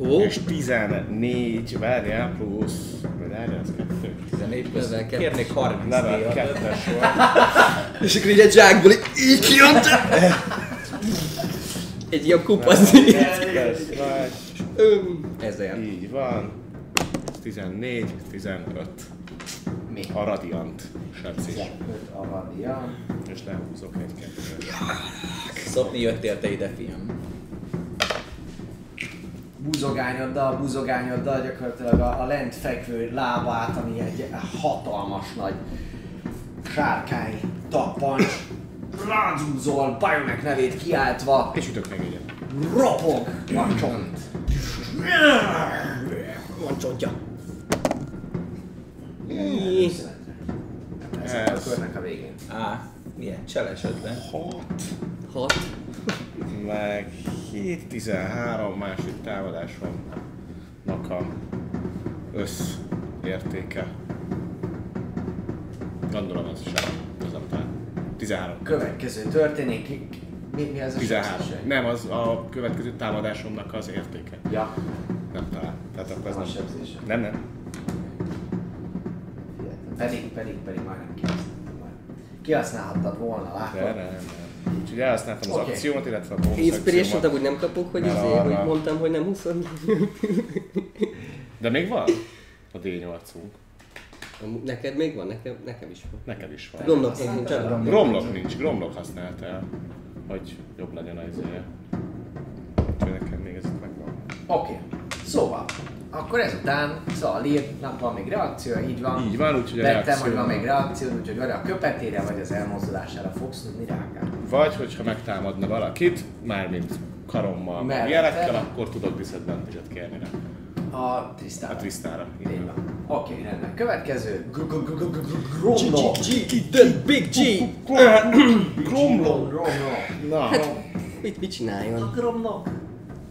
Speaker 2: Ó,
Speaker 4: És 14, várjál, plusz... Várjál, ez kettő.
Speaker 3: 14 plusz.
Speaker 2: Level kettő.
Speaker 3: Kérnék 30
Speaker 4: Level
Speaker 3: díjat.
Speaker 4: 2-es volt.
Speaker 2: és akkor így egy zsákból így- így kijön. Egy ilyen kupasz.
Speaker 4: Plusz vagy.
Speaker 2: Öm, ezért.
Speaker 4: Így van. 14, 15.
Speaker 1: Mi?
Speaker 4: A radiant sebzés.
Speaker 1: 15 a vadia.
Speaker 4: És lehúzok egy kettőt.
Speaker 3: Szopni jöttél te ide, fiam.
Speaker 1: buzogányoddal, buzogányoddal gyakorlatilag a, a lent fekvő lábát, ami egy hatalmas nagy sárkány tappancs, rázúzol, Bajonek nevét kiáltva,
Speaker 4: És ütök meg egyet.
Speaker 1: ropog a csont.
Speaker 2: Van csontja.
Speaker 1: Ez a körnek a végén.
Speaker 3: Á, milyen cseles ötlen.
Speaker 4: 6,
Speaker 2: Hat.
Speaker 4: meg 7, 13 másik támadás van. Naka össz értéke. Gondolom ez sem. Az nem talán. 13.
Speaker 1: Következő történik. Mi, mi az a
Speaker 4: 13.
Speaker 1: sebzés?
Speaker 4: Nem, az a következő támadásomnak az értéke.
Speaker 1: Ja,
Speaker 4: Nem talán. Tehát akkor ez
Speaker 1: a
Speaker 4: nem.
Speaker 1: sebzése.
Speaker 4: Nem, nem.
Speaker 1: Pedig, pedig, pedig majdnem kihasználtam. volna. Kihasználhattad volna,
Speaker 4: De, nem,
Speaker 1: látod?
Speaker 4: nem. Úgyhogy elhasználtam az
Speaker 1: Oké.
Speaker 4: akciómat, illetve a bonus
Speaker 2: Inspiration-t
Speaker 4: akciómat.
Speaker 2: amúgy nem kapok, hogy
Speaker 4: Na,
Speaker 2: izé,
Speaker 4: na.
Speaker 2: hogy mondtam, hogy nem 20.
Speaker 4: De még van a D8-unk.
Speaker 2: Amúgy Neked még van, nekem, nekem is van.
Speaker 4: Neked is van.
Speaker 2: Gomnak még nincs arra.
Speaker 4: Gromlok nincs, gromlok használt el, hogy jobb legyen az izéje. Úgyhogy nekem még ez itt megvan.
Speaker 1: Oké, szóval, akkor ezután, szóval Lirnak van még reakció, így van.
Speaker 4: Így van, úgyhogy a
Speaker 1: Vettem, hogy
Speaker 4: reakció-
Speaker 1: van még reakció, úgyhogy vagy a köpetére, vagy az elmozdulására fogsz tudni reagálni.
Speaker 4: Vagy, hogyha megtámadna valakit, mármint karommal, meg
Speaker 1: Mellette.
Speaker 4: ilyenekkel, akkor tudok disadvantage-et kérni rá. Hát
Speaker 1: A Trisztára.
Speaker 4: A Trisztára.
Speaker 1: Így van. Oké, rendben. Következő. Gromló.
Speaker 2: The Big G!
Speaker 4: Gromlok!
Speaker 1: Gromló.
Speaker 4: Na,
Speaker 2: Mit, mit csináljon?
Speaker 1: Gromló.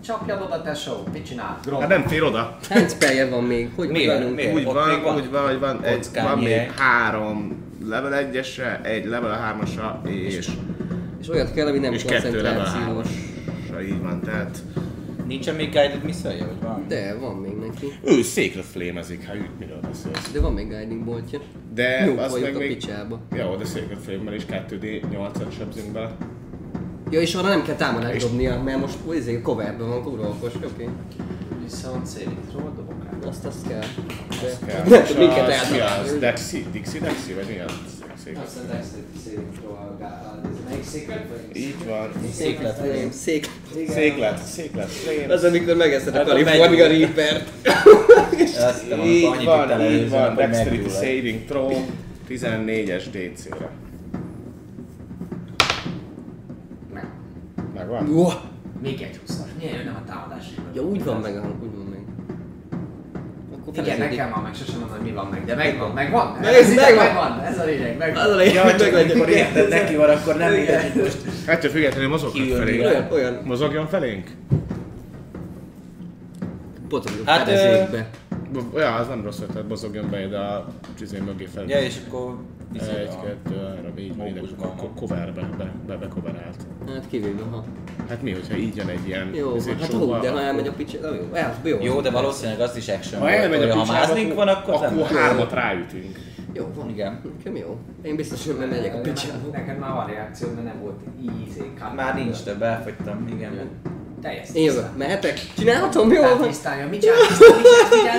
Speaker 1: Csapjad oda, tesó. Mit csinál?
Speaker 4: hát
Speaker 1: Gromló.
Speaker 4: nem fér oda.
Speaker 2: Hány spellje van még? Hogy
Speaker 3: Miért?
Speaker 2: vagyunk?
Speaker 3: Miért?
Speaker 4: Úgy
Speaker 3: Ott még
Speaker 4: van,
Speaker 3: van?
Speaker 4: úgy van, hogy van, egy,
Speaker 3: Kockányi
Speaker 4: van még
Speaker 3: egy.
Speaker 4: három level 1-esre, egy level 3-asra és,
Speaker 2: És olyat kell, ami nem
Speaker 4: és kettő level
Speaker 2: koncentrációs.
Speaker 4: 3-asra. Így van, tehát
Speaker 3: Nincsen még guided missile vagy valami?
Speaker 2: De van még neki.
Speaker 4: Ő székre flémezik, ha üt, miről beszélsz.
Speaker 2: De van még guiding boltja.
Speaker 4: De
Speaker 2: Jó
Speaker 4: az meg
Speaker 2: vagyok a
Speaker 4: még...
Speaker 2: picsába.
Speaker 4: Jó, de székre flémmel is 2D8-at sebzünk bele.
Speaker 2: Ja, és arra nem kell támadást dobnia, mert most izé, coverben van, kurva okos, oké. Okay.
Speaker 1: Viszont szélít róla dobok rá.
Speaker 2: Azt azt kell. De...
Speaker 4: Kell.
Speaker 2: Nem
Speaker 4: És
Speaker 2: tudom, minket
Speaker 4: az, mi az?
Speaker 2: eltalálni.
Speaker 4: Dexi? Dixi Dexi? Vagy mi az? Székre.
Speaker 1: Azt a textet szélít róla. Ez melyik széklet vagy?
Speaker 4: Így van.
Speaker 3: Széklet.
Speaker 2: Nem, Szék.
Speaker 4: Széklet, széklet, flame.
Speaker 2: Az, amikor megeszed a
Speaker 3: Hát a
Speaker 2: California
Speaker 3: megyünk.
Speaker 2: Reaper-t.
Speaker 3: Azt hittem, hogy
Speaker 4: Így
Speaker 3: annyit
Speaker 4: van,
Speaker 3: itt
Speaker 4: így van.
Speaker 3: előzőnek, hogy
Speaker 4: Dexterity
Speaker 3: meggyullad.
Speaker 4: saving throw 14-es DC-re.
Speaker 1: Nem.
Speaker 4: Megvan?
Speaker 2: Jó.
Speaker 1: Még egy 20-as. Miért nem a támadás?
Speaker 2: Ja, úgy van meg a hang, úgy van meg. Akkor
Speaker 1: Igen,
Speaker 2: feleződik.
Speaker 1: nekem van meg, sosem mondom, hogy mi van meg, de megvan, megvan.
Speaker 2: Meg-
Speaker 1: Ez ide
Speaker 2: megvan.
Speaker 1: megvan, ez a lényeg,
Speaker 2: Az a
Speaker 1: megvan.
Speaker 2: lényeg,
Speaker 3: Ja,
Speaker 2: hogy
Speaker 3: csak amikor
Speaker 2: meglegyen.
Speaker 3: érted neki van, akkor nem
Speaker 1: Igen.
Speaker 3: mindegy, hogy most
Speaker 4: Ettől függetlenül mozognak
Speaker 3: Kiülni
Speaker 4: felénk.
Speaker 3: rá.
Speaker 2: Olyan, olyan
Speaker 4: Mozogjon felénk?
Speaker 2: potoljuk
Speaker 3: Hát,
Speaker 2: hát, fedezékbe.
Speaker 4: Ja, az nem rossz ötlet, mozogjon be ide a csizé mögé felé.
Speaker 3: Ja, és akkor viszed
Speaker 4: Egy,
Speaker 3: a-
Speaker 4: kettő, három, így van, ide
Speaker 3: Mókusban van.
Speaker 4: koverbe, be, be, be koverált.
Speaker 2: Hát kivéve, ha.
Speaker 4: Hát mi, hogyha így jön egy ilyen
Speaker 2: Jó,
Speaker 4: izé
Speaker 2: van, hát
Speaker 4: csóval,
Speaker 2: hú, de ha
Speaker 4: akkor-
Speaker 2: elmegy a picsi, na jó, el, jó.
Speaker 3: Jó, de valószínűleg azt is action
Speaker 4: Ha
Speaker 3: volt,
Speaker 4: elmegy
Speaker 3: hogy
Speaker 4: a
Speaker 3: ha mászlink
Speaker 4: picsába,
Speaker 3: van, akkor,
Speaker 4: akkor
Speaker 3: nem.
Speaker 4: hármat ráütünk.
Speaker 2: Jó, van.
Speaker 3: Igen.
Speaker 2: Nekem jó. Én biztos, hogy nem megyek a picsába.
Speaker 1: Neked már van reakció, de nem volt ízé, kárt.
Speaker 3: Már nincs több, elfogytam, igen.
Speaker 1: Teljes
Speaker 2: Én jövök, mehetek? Csinálhatom, jó van.
Speaker 1: Tisztálja, mit csinálsz? Mit csinálsz?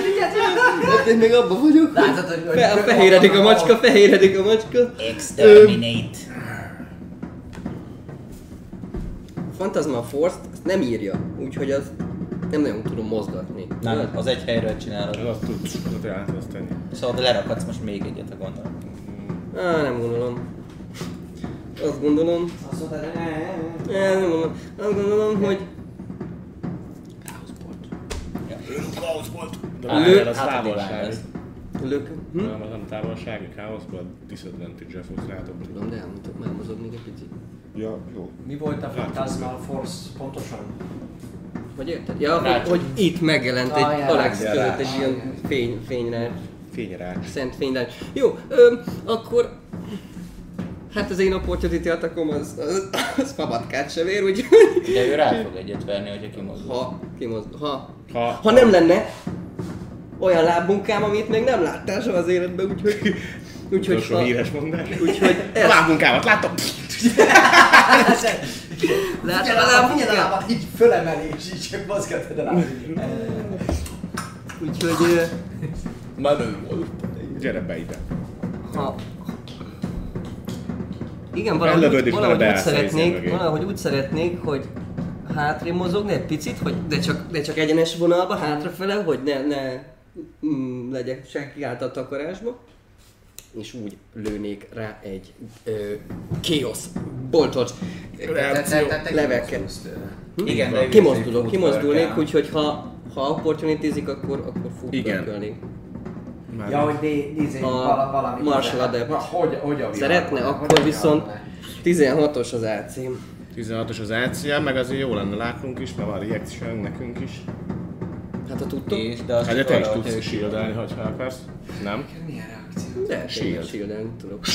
Speaker 1: Mit csinálsz? Mit csinálsz?
Speaker 2: Hát én még abban vagyok.
Speaker 1: Látod, hogy- hogy-
Speaker 2: Fe- fehéredik a macska, fehéredik a macska.
Speaker 3: Exterminate.
Speaker 2: Fantasma Force ezt nem írja, úgyhogy az nem nagyon tudom mozgatni.
Speaker 3: Nem, az egy helyről csinálod.
Speaker 4: Ez azt tudsz, az a teát, azt ennyi.
Speaker 3: Szóval de lerakadsz most még egyet, ha gondolom.
Speaker 2: Á, nem gondolom. Azt gondolom,
Speaker 1: Azt mondtad, hogy ne, ne, ne.
Speaker 2: Á, nem gondolom, azt gondolom, hogy
Speaker 4: De az
Speaker 3: hát a
Speaker 4: távolság.
Speaker 3: divány
Speaker 2: lök... Hm?
Speaker 4: Nem, az nem távolság, káoszban disadvantage-re fogsz rádobni.
Speaker 2: Tudom, de elmondok, már mozog még egy picit.
Speaker 4: Ja, jó.
Speaker 1: Mi volt a Phantasmal Force pontosan?
Speaker 2: Hogy érted? Ja, hogy, hogy itt megjelent egy
Speaker 1: Ah, jaj,
Speaker 2: Alex
Speaker 4: jaj,
Speaker 2: között
Speaker 4: jaj.
Speaker 2: egy ilyen fény, fényre,
Speaker 4: Fényrács.
Speaker 2: szent fényre. Jó, öm, akkor... Hát az én opportunity attackom az, az, az fabatkát sem ér, úgyhogy...
Speaker 3: De ő rá fog egyet verni, hogyha kimozdul.
Speaker 2: Ha, kimozd, ha.
Speaker 4: Ha-
Speaker 2: ha nem lenne olyan lábmunkám, amit még nem láttál soha az életben, úgyhogy... Úgyhogy,
Speaker 4: Utolsó
Speaker 2: ha,
Speaker 4: híres mondás.
Speaker 2: úgyhogy
Speaker 4: A
Speaker 2: ez,
Speaker 1: Hát,
Speaker 4: lábmunkámat láttam!
Speaker 2: Látod
Speaker 1: Figyeld a lábad,
Speaker 2: Hát, a
Speaker 1: figyeld a
Speaker 2: lábunkat?
Speaker 1: lábad, így fölemeli, és így csak mozgatod a lábad.
Speaker 2: Úgyhogy... ö,
Speaker 5: Menő volt.
Speaker 4: Gyere be ide.
Speaker 2: Ha... Igen,
Speaker 4: Ellövöd
Speaker 2: valahogy,
Speaker 4: és
Speaker 2: valahogy
Speaker 4: bele
Speaker 2: úgy
Speaker 4: beállsz a izé
Speaker 2: szeretnék,
Speaker 4: mögé.
Speaker 2: valahogy úgy szeretnék, hogy hátrébb mozogni egy picit, hogy de csak, de csak egyenes vonalba, hátrafele, hogy ne, ne mm, legyek senki által takarásba. És úgy lőnék rá egy ö, chaos boltot. Levekkel.
Speaker 3: Igen, de ő
Speaker 2: Kimozdulok,
Speaker 3: fut
Speaker 2: kimozdulnék,
Speaker 3: pörgál.
Speaker 2: úgyhogy ha, ha opportunityzik, akkor, akkor fog
Speaker 4: Igen.
Speaker 2: pörkölni.
Speaker 1: Ja, hogy né- nézzél
Speaker 2: A
Speaker 1: vala- valami.
Speaker 2: martial adept.
Speaker 1: Na, hogy, hogy a világ?
Speaker 2: Szeretne,
Speaker 1: Hogy
Speaker 2: akkor
Speaker 1: a
Speaker 2: viszont
Speaker 1: világ?
Speaker 2: 16-os az AC-m.
Speaker 4: 16-os az ACL, meg azért jó lenne látnunk is, mert van reaction nekünk is.
Speaker 2: Hát ha tudtok,
Speaker 5: És de az
Speaker 4: Hát de te
Speaker 5: arra,
Speaker 4: is
Speaker 5: hogy
Speaker 4: tudsz
Speaker 5: ő-
Speaker 4: shieldelni, ha akarsz. Nem?
Speaker 1: Milyen reakció?
Speaker 2: de
Speaker 4: Shield.
Speaker 2: shield tudok.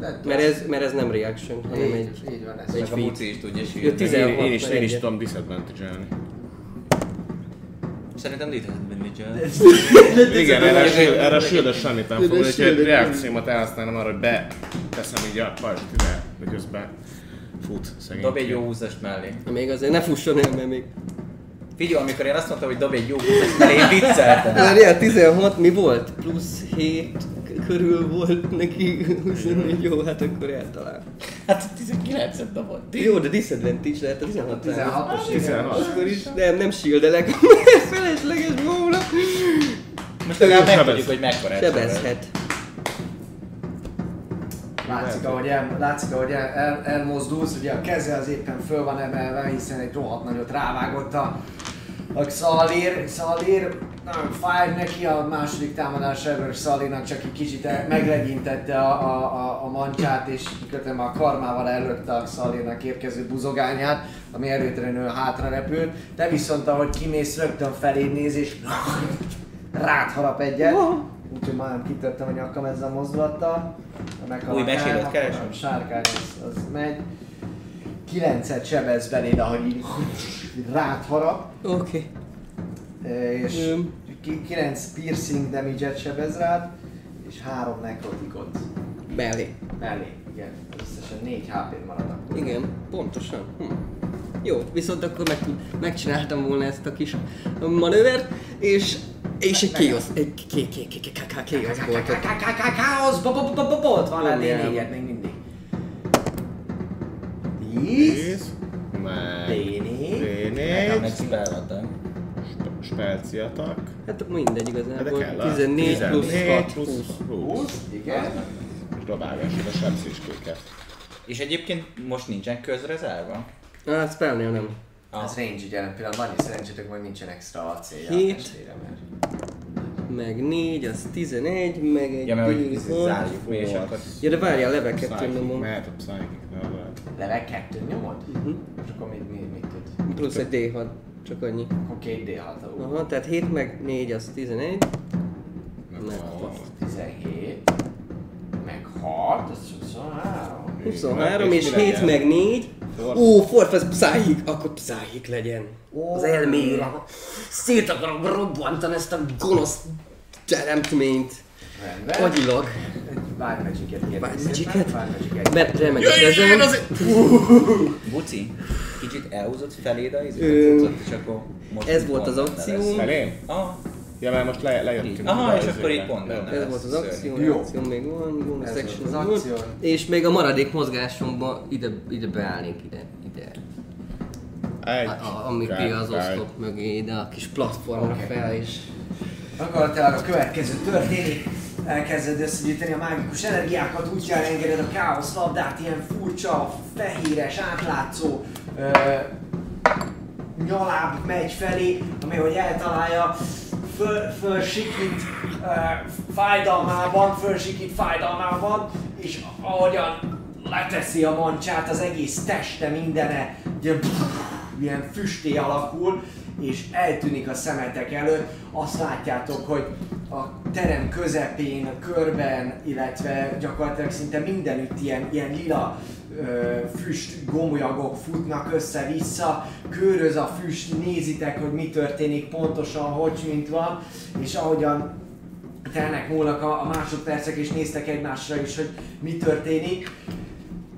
Speaker 1: De-
Speaker 2: Mert ez, mert ez nem reaction, hanem egy...
Speaker 1: Így van ez.
Speaker 2: egy
Speaker 5: A
Speaker 2: feat.
Speaker 5: Muci is tudja
Speaker 2: Jó,
Speaker 5: sírni.
Speaker 2: tiz-
Speaker 4: Én, én, is,
Speaker 2: 16
Speaker 4: én is
Speaker 2: meg
Speaker 4: tudom disadvantage-elni.
Speaker 5: Szerintem disadvantage
Speaker 4: Igen, erre, a shield, erre a shield semmit nem fog, úgyhogy
Speaker 2: shieldet-
Speaker 4: reakciómat elhasználom arra, hogy beteszem így a pajzsot ide, miközben fut szegény.
Speaker 5: Dobj egy jó húzast mellé.
Speaker 2: Még azért ne fusson el, mert még...
Speaker 5: Figyelj, amikor én azt mondtam, hogy dobj egy jó húzast mellé, én vicceltem.
Speaker 2: Várjál, 16 mi volt? Plusz 7 körül volt neki 24, jó, hát akkor eltalál.
Speaker 5: Hát 19-et dobott.
Speaker 2: Jó, de disadvantage lehet a 16 -nál.
Speaker 1: 16-os. igen.
Speaker 4: 16.
Speaker 2: Akkor is, nem, nem shieldelek, mert felesleges volna.
Speaker 5: Most legalább
Speaker 4: Sebez.
Speaker 5: megtudjuk, hogy mekkora ez.
Speaker 2: Sebezhet.
Speaker 1: Látszik, ahogy, el, látszik, ahogy el, el, elmozdulsz, ugye a keze az éppen föl van emelve, hiszen egy rohadt nagyot rávágott a, a Xalir, Xalir nagyon fáj neki a második támadás ebből Xalirnak csak egy kicsit el- meglegyintette a, a, a, a mancsát, és kötem a karmával előtte a Xalirnak érkező buzogányát, ami erőtelenül hátra repült. Te viszont, ahogy kimész, rögtön feléd néz, és rád harap egyet. Úgyhogy már nem kitörtem a nyakam ezzel a mozdulattal. Meg
Speaker 5: Új mesélőt keresem?
Speaker 1: A sárkány az, az megy. Kilencet sebez beléd, ahogy így rád harap.
Speaker 2: Oké.
Speaker 1: És
Speaker 2: Öm.
Speaker 1: 9 piercing damage-et sebez rád, és 3 nekrotikot
Speaker 2: Mellé.
Speaker 1: mellé. Igen, összesen 4 hp marad akkor.
Speaker 2: Igen, pontosan. Hm. Jó, viszont akkor meg, megcsináltam volna ezt a kis manővert, és, és egy chaos, egy ké- ké- ké- ké- ká- ká- chaos boltot.
Speaker 1: Káosz, bolt van a
Speaker 2: Dobjál.
Speaker 1: D4-et még mindig. 10,
Speaker 4: Meg...
Speaker 1: D4,
Speaker 5: Hát meg
Speaker 4: D4.
Speaker 5: spelladtam.
Speaker 4: Speciatak.
Speaker 2: Hát mindegy
Speaker 4: De
Speaker 2: igazából,
Speaker 4: kell a
Speaker 2: 14 plusz 6,
Speaker 4: 20.
Speaker 2: 20.
Speaker 4: 20.
Speaker 1: 20, igen.
Speaker 4: És dobálgás, a sebzéskéket.
Speaker 5: És egyébként most nincsen közrezárva? Ah.
Speaker 2: Ah, spellnél nem.
Speaker 1: Az range ugye jelen pillanatban, annyi szerencsétök, hogy nincsen extra acélja
Speaker 2: Hét.
Speaker 1: a testére, mert...
Speaker 2: Meg 4, az 11, meg egy
Speaker 5: Ja, mert hogy
Speaker 2: D6.
Speaker 5: zárjuk mi, és akkor...
Speaker 2: Ja, de várjál, leveket nyomom.
Speaker 4: Mehet a Psychic, ne lehet.
Speaker 1: Leve kettőt nyomod? És akkor mit, mit, mit tud?
Speaker 2: Plusz egy D6, csak annyi.
Speaker 1: Akkor két D6, ú,
Speaker 2: Aha, tehát 7 meg 4 az 11. Meg
Speaker 1: 17, meg 6, az 23.
Speaker 2: 23 és 7 meg 4. Ó, Forth az pszáhik, akkor pszáhik legyen. Az elmére. Szét akarom robbantani ezt a gonosz teremtményt.
Speaker 1: Rendben.
Speaker 2: Agyilag.
Speaker 1: Egy Wild Magic-et kérnék
Speaker 2: Wild
Speaker 1: szépen.
Speaker 2: Magic-et?
Speaker 1: Wild Magic-et.
Speaker 2: Mert remek a kezem.
Speaker 5: Buci, kicsit elhúzott feléd a izét,
Speaker 2: Ö,
Speaker 5: a cuccot, és akkor most
Speaker 2: ez
Speaker 5: így
Speaker 2: volt
Speaker 5: pont
Speaker 2: az
Speaker 5: benne
Speaker 2: akció.
Speaker 5: lesz.
Speaker 4: Felém?
Speaker 5: Aha,
Speaker 4: Ja, mert most le,
Speaker 5: így.
Speaker 4: lejöttünk.
Speaker 5: Aha,
Speaker 4: ide
Speaker 5: és
Speaker 4: az
Speaker 5: akkor
Speaker 4: izébe.
Speaker 5: így pont benne
Speaker 2: Ez
Speaker 5: lesz
Speaker 2: volt az
Speaker 5: a szörny.
Speaker 2: akció,
Speaker 1: Jó.
Speaker 2: reakció még van, bonus
Speaker 1: Ez volt
Speaker 2: action
Speaker 1: az
Speaker 2: volt.
Speaker 1: akció.
Speaker 2: És még a maradék mozgásomba ide, ide beállnék ide, ide.
Speaker 4: Egy,
Speaker 2: A, Hát, a, ami ki
Speaker 4: kettő,
Speaker 2: az oszlop mögé, ide a kis platformra
Speaker 1: Oké.
Speaker 2: fel és...
Speaker 1: Gyakorlatilag a következő történik. Elkezded összegyűjteni a mágikus energiákat, útjára engeded a káosz labdát, ilyen furcsa, fehéres, átlátszó ö, nyaláb megy felé, ami hogy eltalálja, föl, fölsikít ö, fájdalmában, fölsikít fájdalmában, és ahogyan leteszi a mancsát, az egész teste mindene ilyen, ilyen füsté alakul, és eltűnik a szemetek előtt. Azt látjátok, hogy a terem közepén, a körben, illetve gyakorlatilag szinte mindenütt ilyen, ilyen lila ö, füst gomolyagok futnak össze-vissza, köröz a füst, nézitek, hogy mi történik pontosan, hogy mint van, és ahogyan telnek múlnak a, a másodpercek, és néztek egymásra is, hogy mi történik.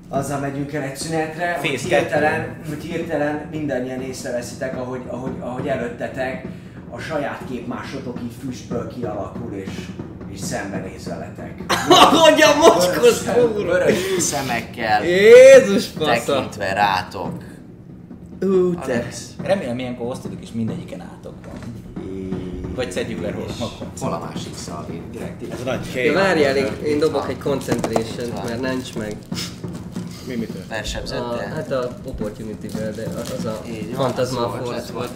Speaker 1: azzal megyünk el egy szünetre, hogy
Speaker 3: Fész
Speaker 1: hirtelen, hogy hirtelen mindannyian észreveszitek, ahogy, ahogy, ahogy előttetek a saját képmásotok így füstből kialakul és, és szembenéz veletek.
Speaker 2: Ahogy a mocskos kurva!
Speaker 9: Vörös szemekkel
Speaker 2: Jézus fasza!
Speaker 9: tekintve rátok.
Speaker 2: Ú, te!
Speaker 3: Remélem ilyenkor osztodik és mindegyiken átok van. Vagy szedjük le róla magunkat.
Speaker 9: Hol a másik szalvin?
Speaker 4: Ez nagy kép.
Speaker 2: Ja, várjál, én, én dobok egy concentration mert nincs meg.
Speaker 4: Mi mitől?
Speaker 2: A,
Speaker 9: Versebzette.
Speaker 2: hát a opportunity-vel, de az, az a
Speaker 9: Így van,
Speaker 2: fantasma
Speaker 9: az volt, ez
Speaker 2: force
Speaker 9: volt.
Speaker 2: volt.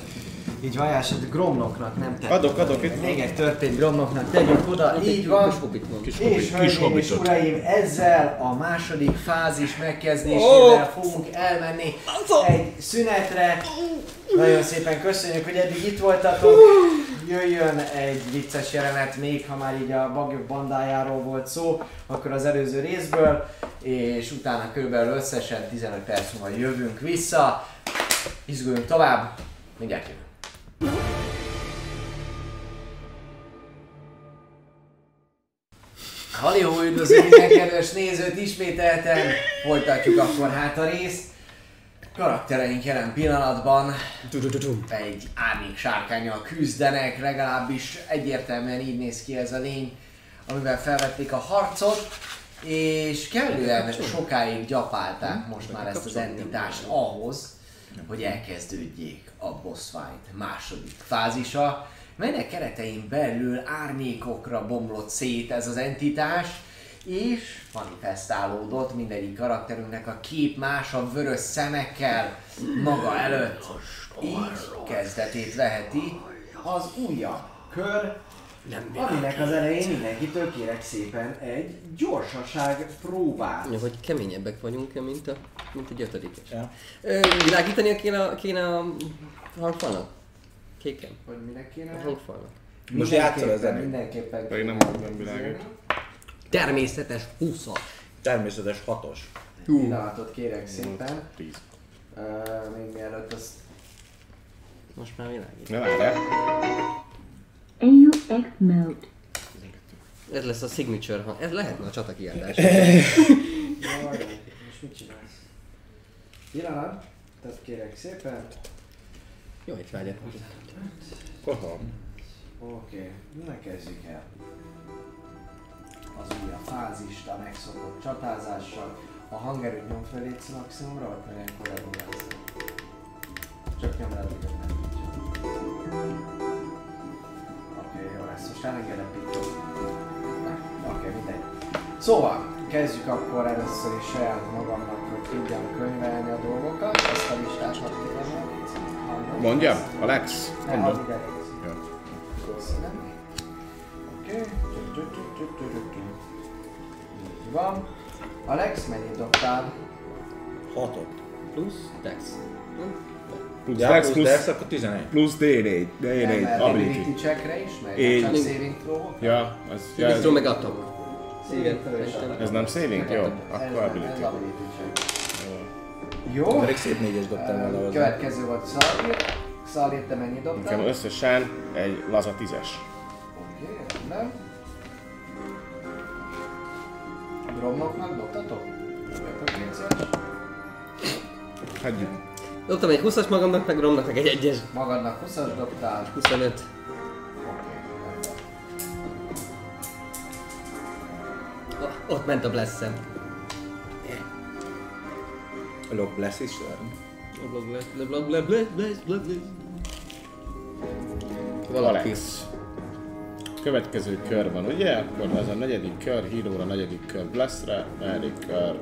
Speaker 1: Így van, és a gromnoknak nem tett.
Speaker 4: Adok, adok itt.
Speaker 1: Még egy történt gromnoknak tegyük oda, így van.
Speaker 2: Kis hobbit van.
Speaker 4: Kis
Speaker 1: És
Speaker 4: hobbit, kis
Speaker 1: hölgyeim és
Speaker 4: hobbitot.
Speaker 1: uraim, ezzel a második fázis megkezdésével fogunk elmenni egy szünetre. Nagyon szépen köszönjük, hogy eddig itt voltatok. Jöjjön egy vicces jelenet, még ha már így a bagyok bandájáról volt szó, akkor az előző részből, és utána körülbelül összesen 15 perc múlva jövünk vissza. Izguljunk tovább, mindjárt jövünk. Halihó üdvözlő minden kedves nézőt ismételten, folytatjuk akkor hát a részt. Karaktereink jelen pillanatban egy árnyék sárkányjal küzdenek, legalábbis egyértelműen így néz ki ez a lény, amivel felvették a harcot, és kellően sokáig gyapálták most már ezt az entitást ahhoz, hogy elkezdődjék a boss fight második fázisa, melynek keretein belül árnyékokra bomlott szét ez az entitás, és manifestálódott mindegyik karakterünknek a kép más a vörös szemekkel maga előtt. Így kezdetét veheti az újabb kör, aminek az elején mindenkitől kérek szépen egy gyorsaság próbát.
Speaker 2: Ja, hogy keményebbek vagyunk, mint a, mint egy ötödikes. Ja. Ö, világítania kéne, a- kéne a hangfalnak? Kéken?
Speaker 1: Hogy minek kéne?
Speaker 2: A hangfalnak.
Speaker 3: Most játszol
Speaker 1: Mindenképpen-
Speaker 3: az előtt.
Speaker 1: Mindenképpen.
Speaker 4: Pedig nem nem világít.
Speaker 2: Természetes 20
Speaker 3: Természetes hatos.
Speaker 1: Pillanatot kérek szépen.
Speaker 4: Tíz.
Speaker 1: Ö, még mielőtt azt
Speaker 2: Most már világít.
Speaker 4: Ne várjál.
Speaker 13: AUX mode.
Speaker 2: Ez lesz a signature hang. Ez lehetne a csata kiállás.
Speaker 1: Jaj, most mit csinálsz? Pillanat, tehát kérek szépen.
Speaker 2: Jó, egy vágyat.
Speaker 1: Oké, ne kezdjük el. Az újabb fázist, a megszokott csatázással. A hangerőt nyom fel létsz maximumra, ott meg ilyenkor ledugász. Csak nyom le addig, hogy nem tudja. Oké, jó, ezt most elengedem pittok. Oké, mindegy. Szóval, kezdjük akkor először is saját magamnak, hogy tudjam könyvelni a dolgokat. Ezt a listát hadd kérem.
Speaker 4: Mondjam? Alex?
Speaker 1: Nem,
Speaker 4: Mondom.
Speaker 1: addig elég.
Speaker 4: Jó.
Speaker 1: Köszönöm. Oké. Tü-tü-tü-tü-tü-tü. Így van. Alex, mennyit dobtál?
Speaker 3: Hatot.
Speaker 2: Plusz dex.
Speaker 4: Plusz
Speaker 3: Ja,
Speaker 4: Dex,
Speaker 3: plusz,
Speaker 4: plusz,
Speaker 3: plusz, akkor 11.
Speaker 4: plusz D4. D4.
Speaker 1: Emel
Speaker 4: Ability.
Speaker 1: ability checkre is, mert
Speaker 4: Így.
Speaker 1: csak saving throw
Speaker 4: Ja, az, ja, ez,
Speaker 2: Biztos meg attack.
Speaker 1: Saving throw és attack.
Speaker 4: ez nem saving? Jó,
Speaker 1: Ez
Speaker 4: akkor
Speaker 1: nem, ez
Speaker 4: ability.
Speaker 1: ability check. Jó.
Speaker 3: Pedig szép négyes dobtál volna
Speaker 1: Ehm,
Speaker 3: hozzá.
Speaker 1: Következő volt Xalir. Xalir, te mennyit
Speaker 4: Nekem
Speaker 1: dobtál?
Speaker 4: összesen egy laza tízes.
Speaker 1: Oké, rendben. Gromnoknak dobtatok? Dobtatok, légy szíves.
Speaker 4: Hagyjuk.
Speaker 2: Dobtam egy 20-as magamnak, meg Romnak meg egy 1-es.
Speaker 1: Magadnak 20-as dobtál.
Speaker 2: 25. O- Ott ment a blessem.
Speaker 3: Log lesz is.
Speaker 2: Valaki.
Speaker 4: Alex. Következő kör van, ugye? Akkor az a negyedik kör, híróra, negyedik kör Blessre, negyedik kör,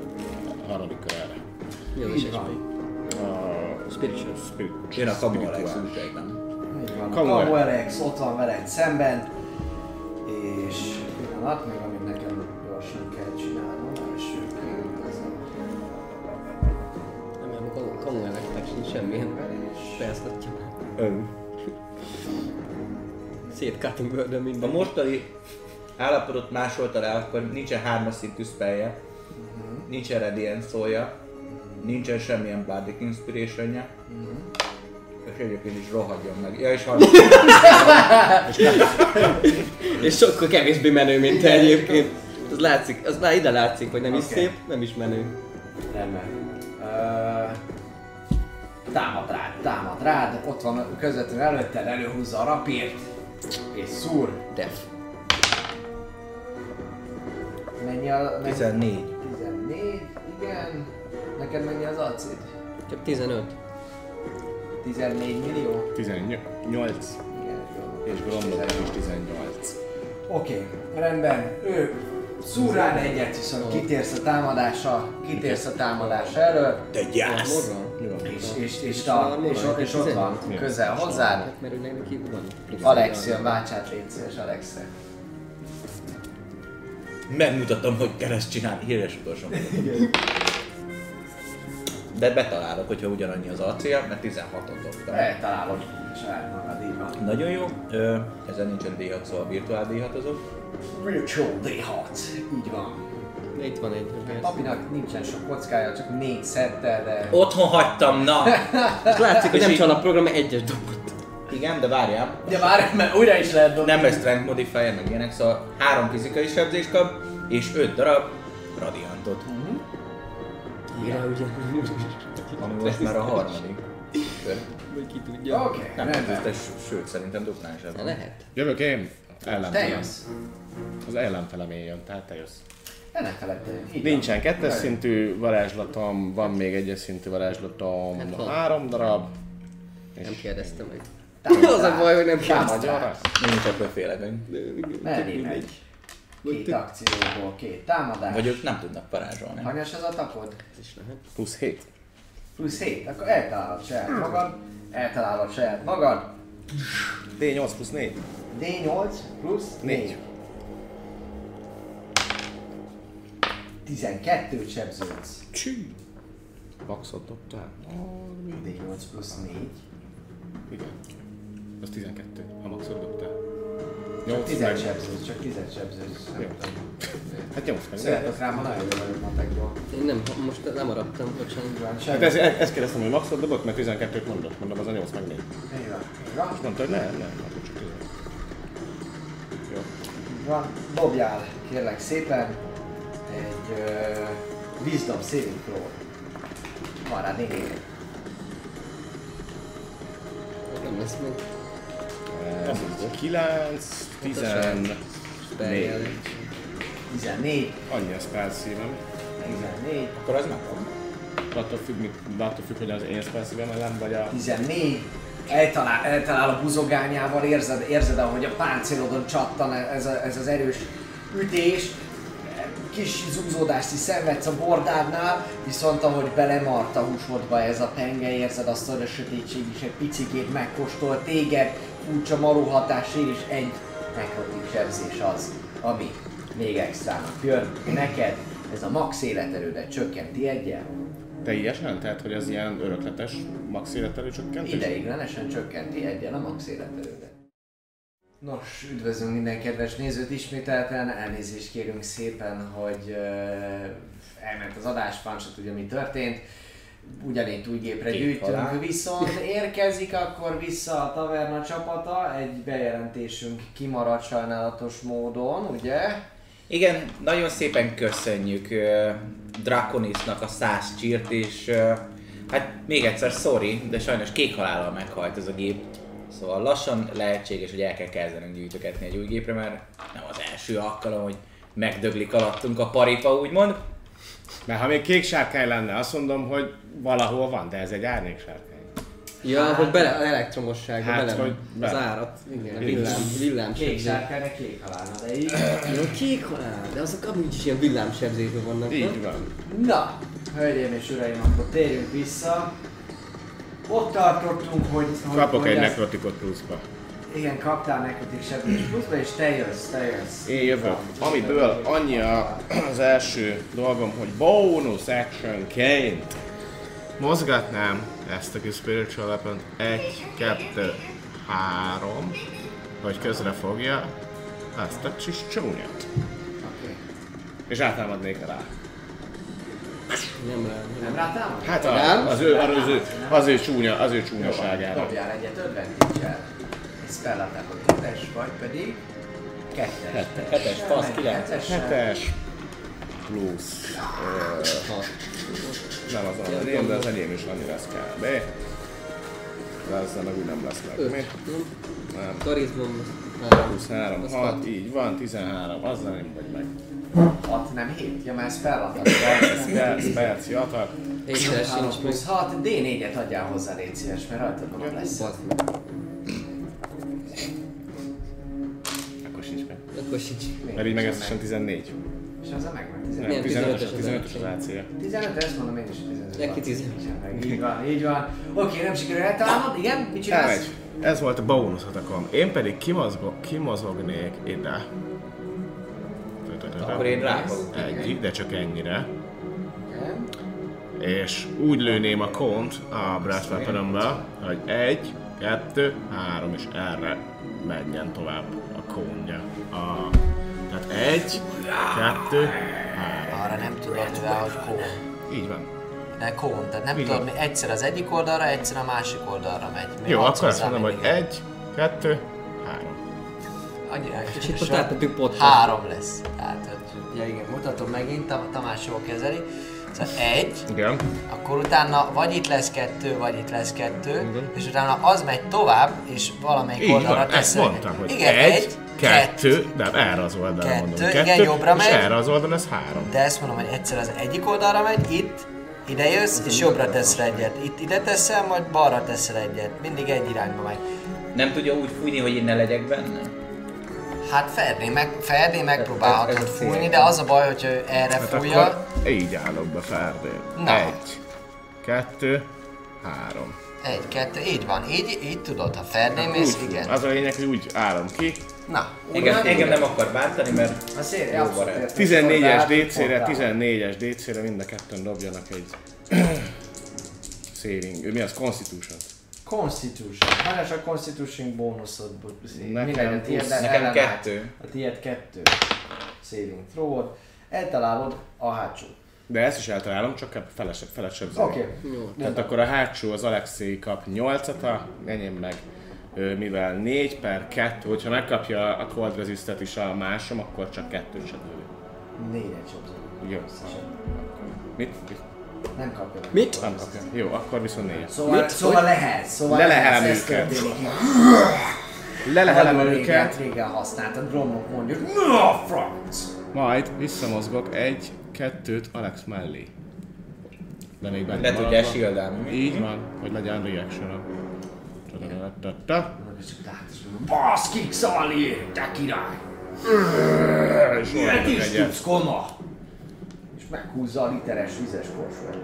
Speaker 4: harmadik kör erre.
Speaker 2: Mi az is esmény?
Speaker 4: A
Speaker 2: Spiritual.
Speaker 4: spirit-
Speaker 3: Jön a kamu Alex,
Speaker 4: spirituális.
Speaker 3: úgy ejtem.
Speaker 1: Így van,
Speaker 4: Kamu
Speaker 1: Kamu Alex ott van veled szemben, és pillanat, még amit nekem gyorsan kell csinálnom, elsőként ez
Speaker 2: Nem, mert kom- komoly nektek sincs semmilyen fejeztatja. Szét cutting bőrön
Speaker 3: A
Speaker 2: minden.
Speaker 3: mostani állapotot másolta le, akkor nincsen hármas szintű spellje, nincsen radiant szója, nincsen semmilyen bardic inspirationja, és egyébként is rohadjon meg. Ja, és harmadik.
Speaker 2: És sokkal kevésbé menő, mint te egyébként. Az látszik, az már ide látszik, hogy nem is szép, nem is menő.
Speaker 1: Rendben. Ö, támad rád, támad rád, ott van közvetlenül előtte, előhúzza a rapírt, és szúr.
Speaker 2: Def.
Speaker 1: Mennyi a... Mennyi?
Speaker 3: 14.
Speaker 1: 14, igen. Neked mennyi az acid?
Speaker 2: Csak 15.
Speaker 1: 14 millió?
Speaker 4: 18.
Speaker 1: Igen, jó.
Speaker 4: És gondolom, is 18.
Speaker 1: Oké, rendben. Ő szúr rád egyet, viszont kitérsz a támadása, kitérsz a támadása elől.
Speaker 2: Yes.
Speaker 1: És, és, és, a, és, o- és ott van, közel hozzád.
Speaker 2: Mert ő neki van.
Speaker 1: Alexia, váltsát légy szíves, Alexia.
Speaker 3: Megmutattam, hogy kell ezt csinálni, híres utolsó mondatom. De betalálok, hogyha ugyanannyi az ac mert 16-ot dobtam.
Speaker 1: Eltalálod saját magad, így van.
Speaker 3: Nagyon jó, Ö, ezen nincsen D6, szóval virtuál D6 azok.
Speaker 1: Virtual D6, így van.
Speaker 2: Itt van egy.
Speaker 1: Papinak nincsen sok kockája, csak négy szettel, de...
Speaker 3: Otthon hagytam, na!
Speaker 2: Ezt látszik, hogy
Speaker 3: És
Speaker 2: nem
Speaker 3: így-
Speaker 2: csak a program, mert egyes dobott.
Speaker 3: Igen, de várjál.
Speaker 1: De már, mert újra is lehet dobni.
Speaker 3: Nem lesz strength modifier, meg ilyenek, szóval három fizikai sebzést kap, és öt darab radiantot.
Speaker 2: Mire ugye?
Speaker 3: Ami most már a harmadik. kör.
Speaker 2: Vagy ki tudja.
Speaker 1: Oké, okay,
Speaker 3: Nem, ez,
Speaker 1: rendben.
Speaker 3: de s- sőt, szerintem duplán sem.
Speaker 2: Lehet.
Speaker 4: Jövök én?
Speaker 1: Te
Speaker 4: Ellenfelem.
Speaker 1: jössz.
Speaker 4: Az ellenfelem én jön, tehát te jössz.
Speaker 1: Ennek felettél. Így
Speaker 4: Nincsen
Speaker 1: van.
Speaker 4: kettes szintű varázslatom, van még egyes szintű varázslatom,
Speaker 2: Hát van.
Speaker 4: három darab.
Speaker 2: Nem kérdeztem meg.
Speaker 1: Támadj
Speaker 2: Az a
Speaker 1: rá.
Speaker 2: baj, hogy nem
Speaker 1: Támadj
Speaker 2: kérdeztem.
Speaker 1: rá.
Speaker 3: Mindig csak befélegünk.
Speaker 1: Mellé megy. Két akcióból, két
Speaker 3: Vagy
Speaker 1: támadás.
Speaker 3: ők nem tudnak parázsolni.
Speaker 1: Hanyas az a tapod?
Speaker 4: Plusz 7.
Speaker 1: Plusz 7, akkor eltalálod saját magad. Eltalálod saját magad.
Speaker 4: D8 plusz 4.
Speaker 1: D8 plusz
Speaker 4: Négy.
Speaker 1: 4. 12 sebződsz.
Speaker 4: Maxot dobtál?
Speaker 1: D8 plusz 4.
Speaker 4: Igen. Az 12. Ha maxot dobtál. 8
Speaker 1: 10
Speaker 4: meg.
Speaker 1: sebződsz, csak 10 sebződsz.
Speaker 4: Jó.
Speaker 1: Nem tudom.
Speaker 4: Hát 8 meg.
Speaker 1: Szeretek rám, ha nagyon jól vagyok matekból.
Speaker 2: Én nem, most nem maradtam, bocsánat.
Speaker 1: Így van,
Speaker 4: Hát
Speaker 1: sebződsz.
Speaker 4: ez, e- ezt kérdeztem, hogy maxot dobott, mert 12-t mondott. Mondom, az a 8 meg 4.
Speaker 1: Így van, így van,
Speaker 4: És mondta, hogy nem, nem, akkor csak 11. Jó.
Speaker 1: így van. Dobjál, kérlek szépen, egy ö, Wisdom Saving throw. Van rá négy.
Speaker 2: Nem lesz meg.
Speaker 4: Ez 9, 14.
Speaker 1: 14,
Speaker 4: Annyi a spell szívem.
Speaker 1: 14,
Speaker 3: Akkor az megvan.
Speaker 4: Attól függ, mit- attól függ, hogy az én spell szívem ellen, vagy a
Speaker 1: 14. Eltalál, eltalál a buzogányával, érzed, érzed ahogy a páncélodon csattan ez, a, ez az erős ütés. Kis zúzódást is szenvedsz a bordádnál, viszont ahogy belemart a húsodba ez a penge, érzed azt, hogy a sötétség is egy picikét megkóstol téged, furcsa maró hatás ér, és egy nekrotik sebzés az, ami még extrának jön neked. Ez a max életerődet csökkenti egyel.
Speaker 4: teljesen? Tehát, hogy az ilyen örökletes max életelő csökkentés?
Speaker 1: Ideiglenesen csökkenti egyen a max életerődet. Nos, üdvözlünk minden kedves nézőt ismételten, elnézést kérünk szépen, hogy uh, elment az adás, Pán se tudja mi történt. Ugyanígy új gépre
Speaker 3: Két halál.
Speaker 1: gyűjtünk, viszont érkezik akkor vissza a taverna csapata, egy bejelentésünk kimaradt sajnálatos módon, ugye?
Speaker 3: Igen, nagyon szépen köszönjük ö, Draconisnak a száz csírt, és ö, hát még egyszer sorry, de sajnos kék halállal meghalt ez a gép. Szóval lassan lehetséges, hogy el kell kezdenünk gyűjtögetni egy új gépre, mert nem az első alkalom, hogy megdöglik alattunk a paripa, úgymond.
Speaker 4: Mert ha még kék sárkány lenne, azt mondom, hogy valahol van, de ez egy árnyék sárkány.
Speaker 2: Ja, hogy bele, elektromosságba,
Speaker 4: Hát,
Speaker 2: bele,
Speaker 4: hogy
Speaker 2: az
Speaker 4: bele.
Speaker 2: árat, igen, villám,
Speaker 1: Kék
Speaker 2: villámsebzés.
Speaker 1: sárkány, kék halálna, de így...
Speaker 2: Jó, kék halál, de azok amúgy is ilyen villámsebzésben vannak.
Speaker 4: Így van.
Speaker 1: Na, hölgyeim és uraim, akkor térjünk vissza. Ott tartottunk, hogy... hogy
Speaker 4: Kapok
Speaker 1: hogy
Speaker 4: egy
Speaker 1: ezt-
Speaker 4: nekrotikot pluszba.
Speaker 1: Igen, kaptál nekrotik sebzés pluszba, és te jössz, te jössz.
Speaker 4: Én jövök. Amiből annyi a, az első dolgom, hogy bonus actionként mozgatnám ezt a kis spiritual weapon 1, 2, 3, hogy közre fogja ezt a kis csúnyát.
Speaker 1: Oké.
Speaker 4: És átámadnék rá.
Speaker 2: Nem rá.
Speaker 1: Nem rátámad?
Speaker 4: Hát a,
Speaker 2: Nem?
Speaker 4: az, ő, az, ő, az ő csúnya, az ő csúnyaságára.
Speaker 1: Dobjál egyet advantage-el. Egy spell attackot kettes, vagy pedig kettes.
Speaker 3: Hetes, fasz, kilenc.
Speaker 1: Kettes.
Speaker 4: Hetes. plusz ö, hat. Nem az az enyém, de az enyém is annyi lesz kb. De ezzel meg úgy nem lesz meg. Mi? Nem.
Speaker 2: Karizmom.
Speaker 4: Plusz 3, 6, így van, 13, azzal nem vagy meg.
Speaker 1: 6, nem 7? Ja, már ez feladhat.
Speaker 4: Perc, perc, perc, jatak.
Speaker 2: Egyszer
Speaker 1: 3
Speaker 2: sincs meg.
Speaker 1: plusz 6, D4-et adjál hozzá, légy szíves, mert rajtad van a lesz.
Speaker 2: Bazd meg.
Speaker 4: Akkor sincs meg.
Speaker 2: Akkor sincs.
Speaker 4: Mert így meg ez sem 14.
Speaker 1: És azzal megvan
Speaker 4: Nem,
Speaker 1: 15.
Speaker 2: Milyen
Speaker 4: 15-ös,
Speaker 2: 15-ös
Speaker 4: 15-ös az AC-je.
Speaker 1: 15, ezt mondom én is 15.
Speaker 2: Neki 15.
Speaker 1: Így van, így van. Oké, nem sikerül eltalálnod, igen, mit csinálsz?
Speaker 4: Elmegy. Ez volt a bónusz atakom. Én pedig kimozgok, kimozognék ide.
Speaker 3: Akkor én ráfogok.
Speaker 4: Egyik, de csak ennyire.
Speaker 1: Igen.
Speaker 4: És úgy lőném a kont a Brass weaponomba, hogy egy, kettő, három, és erre menjen tovább a kónja. A... Tehát egy, kettő, három.
Speaker 9: Arra nem tudod, mivel hogy kón.
Speaker 4: Így van.
Speaker 9: Ne kón, tehát nem
Speaker 4: Igen.
Speaker 9: tudod, mi egyszer az egyik oldalra, egyszer a másik oldalra megy. Még
Speaker 4: Jó,
Speaker 9: hatszor
Speaker 4: akkor azt mondom,
Speaker 9: számít,
Speaker 4: hogy
Speaker 9: igen.
Speaker 4: egy, kettő, három.
Speaker 9: Annyira
Speaker 2: És itt
Speaker 9: kicsit
Speaker 2: most átmentünk pont.
Speaker 9: Három lesz. Tehát, hogy- ja igen, mutatom megint, Tam- Tamás jól kezeli. Szóval egy,
Speaker 4: Igen.
Speaker 9: akkor utána vagy itt lesz kettő, vagy itt lesz kettő, és utána az megy tovább, és valamelyik
Speaker 4: Így
Speaker 9: oldalra
Speaker 4: van, ezt
Speaker 9: teszel.
Speaker 4: mondtam, hogy
Speaker 9: igen,
Speaker 4: egy, kettő, nem, erre az oldalra
Speaker 9: kettő,
Speaker 4: mondom,
Speaker 9: igen,
Speaker 4: kettő,
Speaker 9: jobbra
Speaker 4: és
Speaker 9: megy.
Speaker 4: erre az oldalon ez három.
Speaker 9: De ezt mondom, hogy egyszer az egyik oldalra megy, itt, ide jössz, és
Speaker 1: Mhm.
Speaker 9: jobbra teszel egyet. Itt ide teszel, majd balra teszel egyet. Mindig egy irányba megy.
Speaker 3: Nem tudja úgy fújni, hogy én ne legyek benne?
Speaker 9: Hát Ferdi, meg, Ferdi megpróbálhatod
Speaker 3: Ez- ez a cél.
Speaker 9: fújni, de az a baj, hogyha ő erre
Speaker 4: Hát
Speaker 9: fújja,
Speaker 4: akkor így állok be Ferdén.
Speaker 9: Na.
Speaker 4: Egy, kettő, három.
Speaker 9: egy, kettő, így van, így, így tudod, ha Ferdi mész,
Speaker 4: Hát Úgy,
Speaker 9: igen.
Speaker 4: az a lényeg, hogy úgy állom ki.
Speaker 9: Na,
Speaker 3: Engem, engem nem akar bántani, mert
Speaker 1: A szél, abszolút
Speaker 3: barát.
Speaker 1: értem.
Speaker 4: 14-es
Speaker 1: Soldát,
Speaker 4: DC-re,
Speaker 1: mondtál.
Speaker 4: 14-es DC-re mind a ketten dobjanak egy saving. Mi az? Constitution.
Speaker 1: Constitution. Hányas a Constitution bónuszod?
Speaker 4: Nekem
Speaker 1: Mi legyen tiéd?
Speaker 4: plusz.
Speaker 3: Nekem
Speaker 1: ellenállt.
Speaker 3: kettő.
Speaker 1: A tiéd Hát kettő. Saving throw Eltalálod a hátsó.
Speaker 4: De ezt is eltalálom, csak ebb- felesebb, felesebb zene.
Speaker 1: Oké.
Speaker 4: Tehát akkor a hátsó az Alexei kap 8-at, a enyém meg ö, mivel 4 per 2, hogyha megkapja a cold resistet is a másom, akkor csak kettőt se lő.
Speaker 1: Négyet csapzol.
Speaker 4: Jó. Mit? Mit?
Speaker 1: Nem kapja meg.
Speaker 2: Mit?
Speaker 4: Nem kapja. Jó, akkor viszont 4
Speaker 1: Szóval,
Speaker 2: Mit?
Speaker 1: szóval lehet, szóval
Speaker 4: Lelehelem
Speaker 1: lehet, ez
Speaker 4: őket.
Speaker 1: történik.
Speaker 4: Lelehelem
Speaker 1: Nagyon
Speaker 4: őket,
Speaker 1: régen, régen használtad, Gromnak mondjuk, na franc!
Speaker 4: majd visszamozgok egy, kettőt Alex mellé. De még benne
Speaker 3: le
Speaker 4: maradva.
Speaker 3: tudja shieldálni.
Speaker 4: Így van, hogy legyen reaction Csodálatta.
Speaker 1: Baszkik, Szali, te király!
Speaker 4: És
Speaker 1: Ilyet
Speaker 4: oldok
Speaker 1: is
Speaker 4: egyet.
Speaker 1: tudsz, kona! És meghúzza a literes vizes korsót.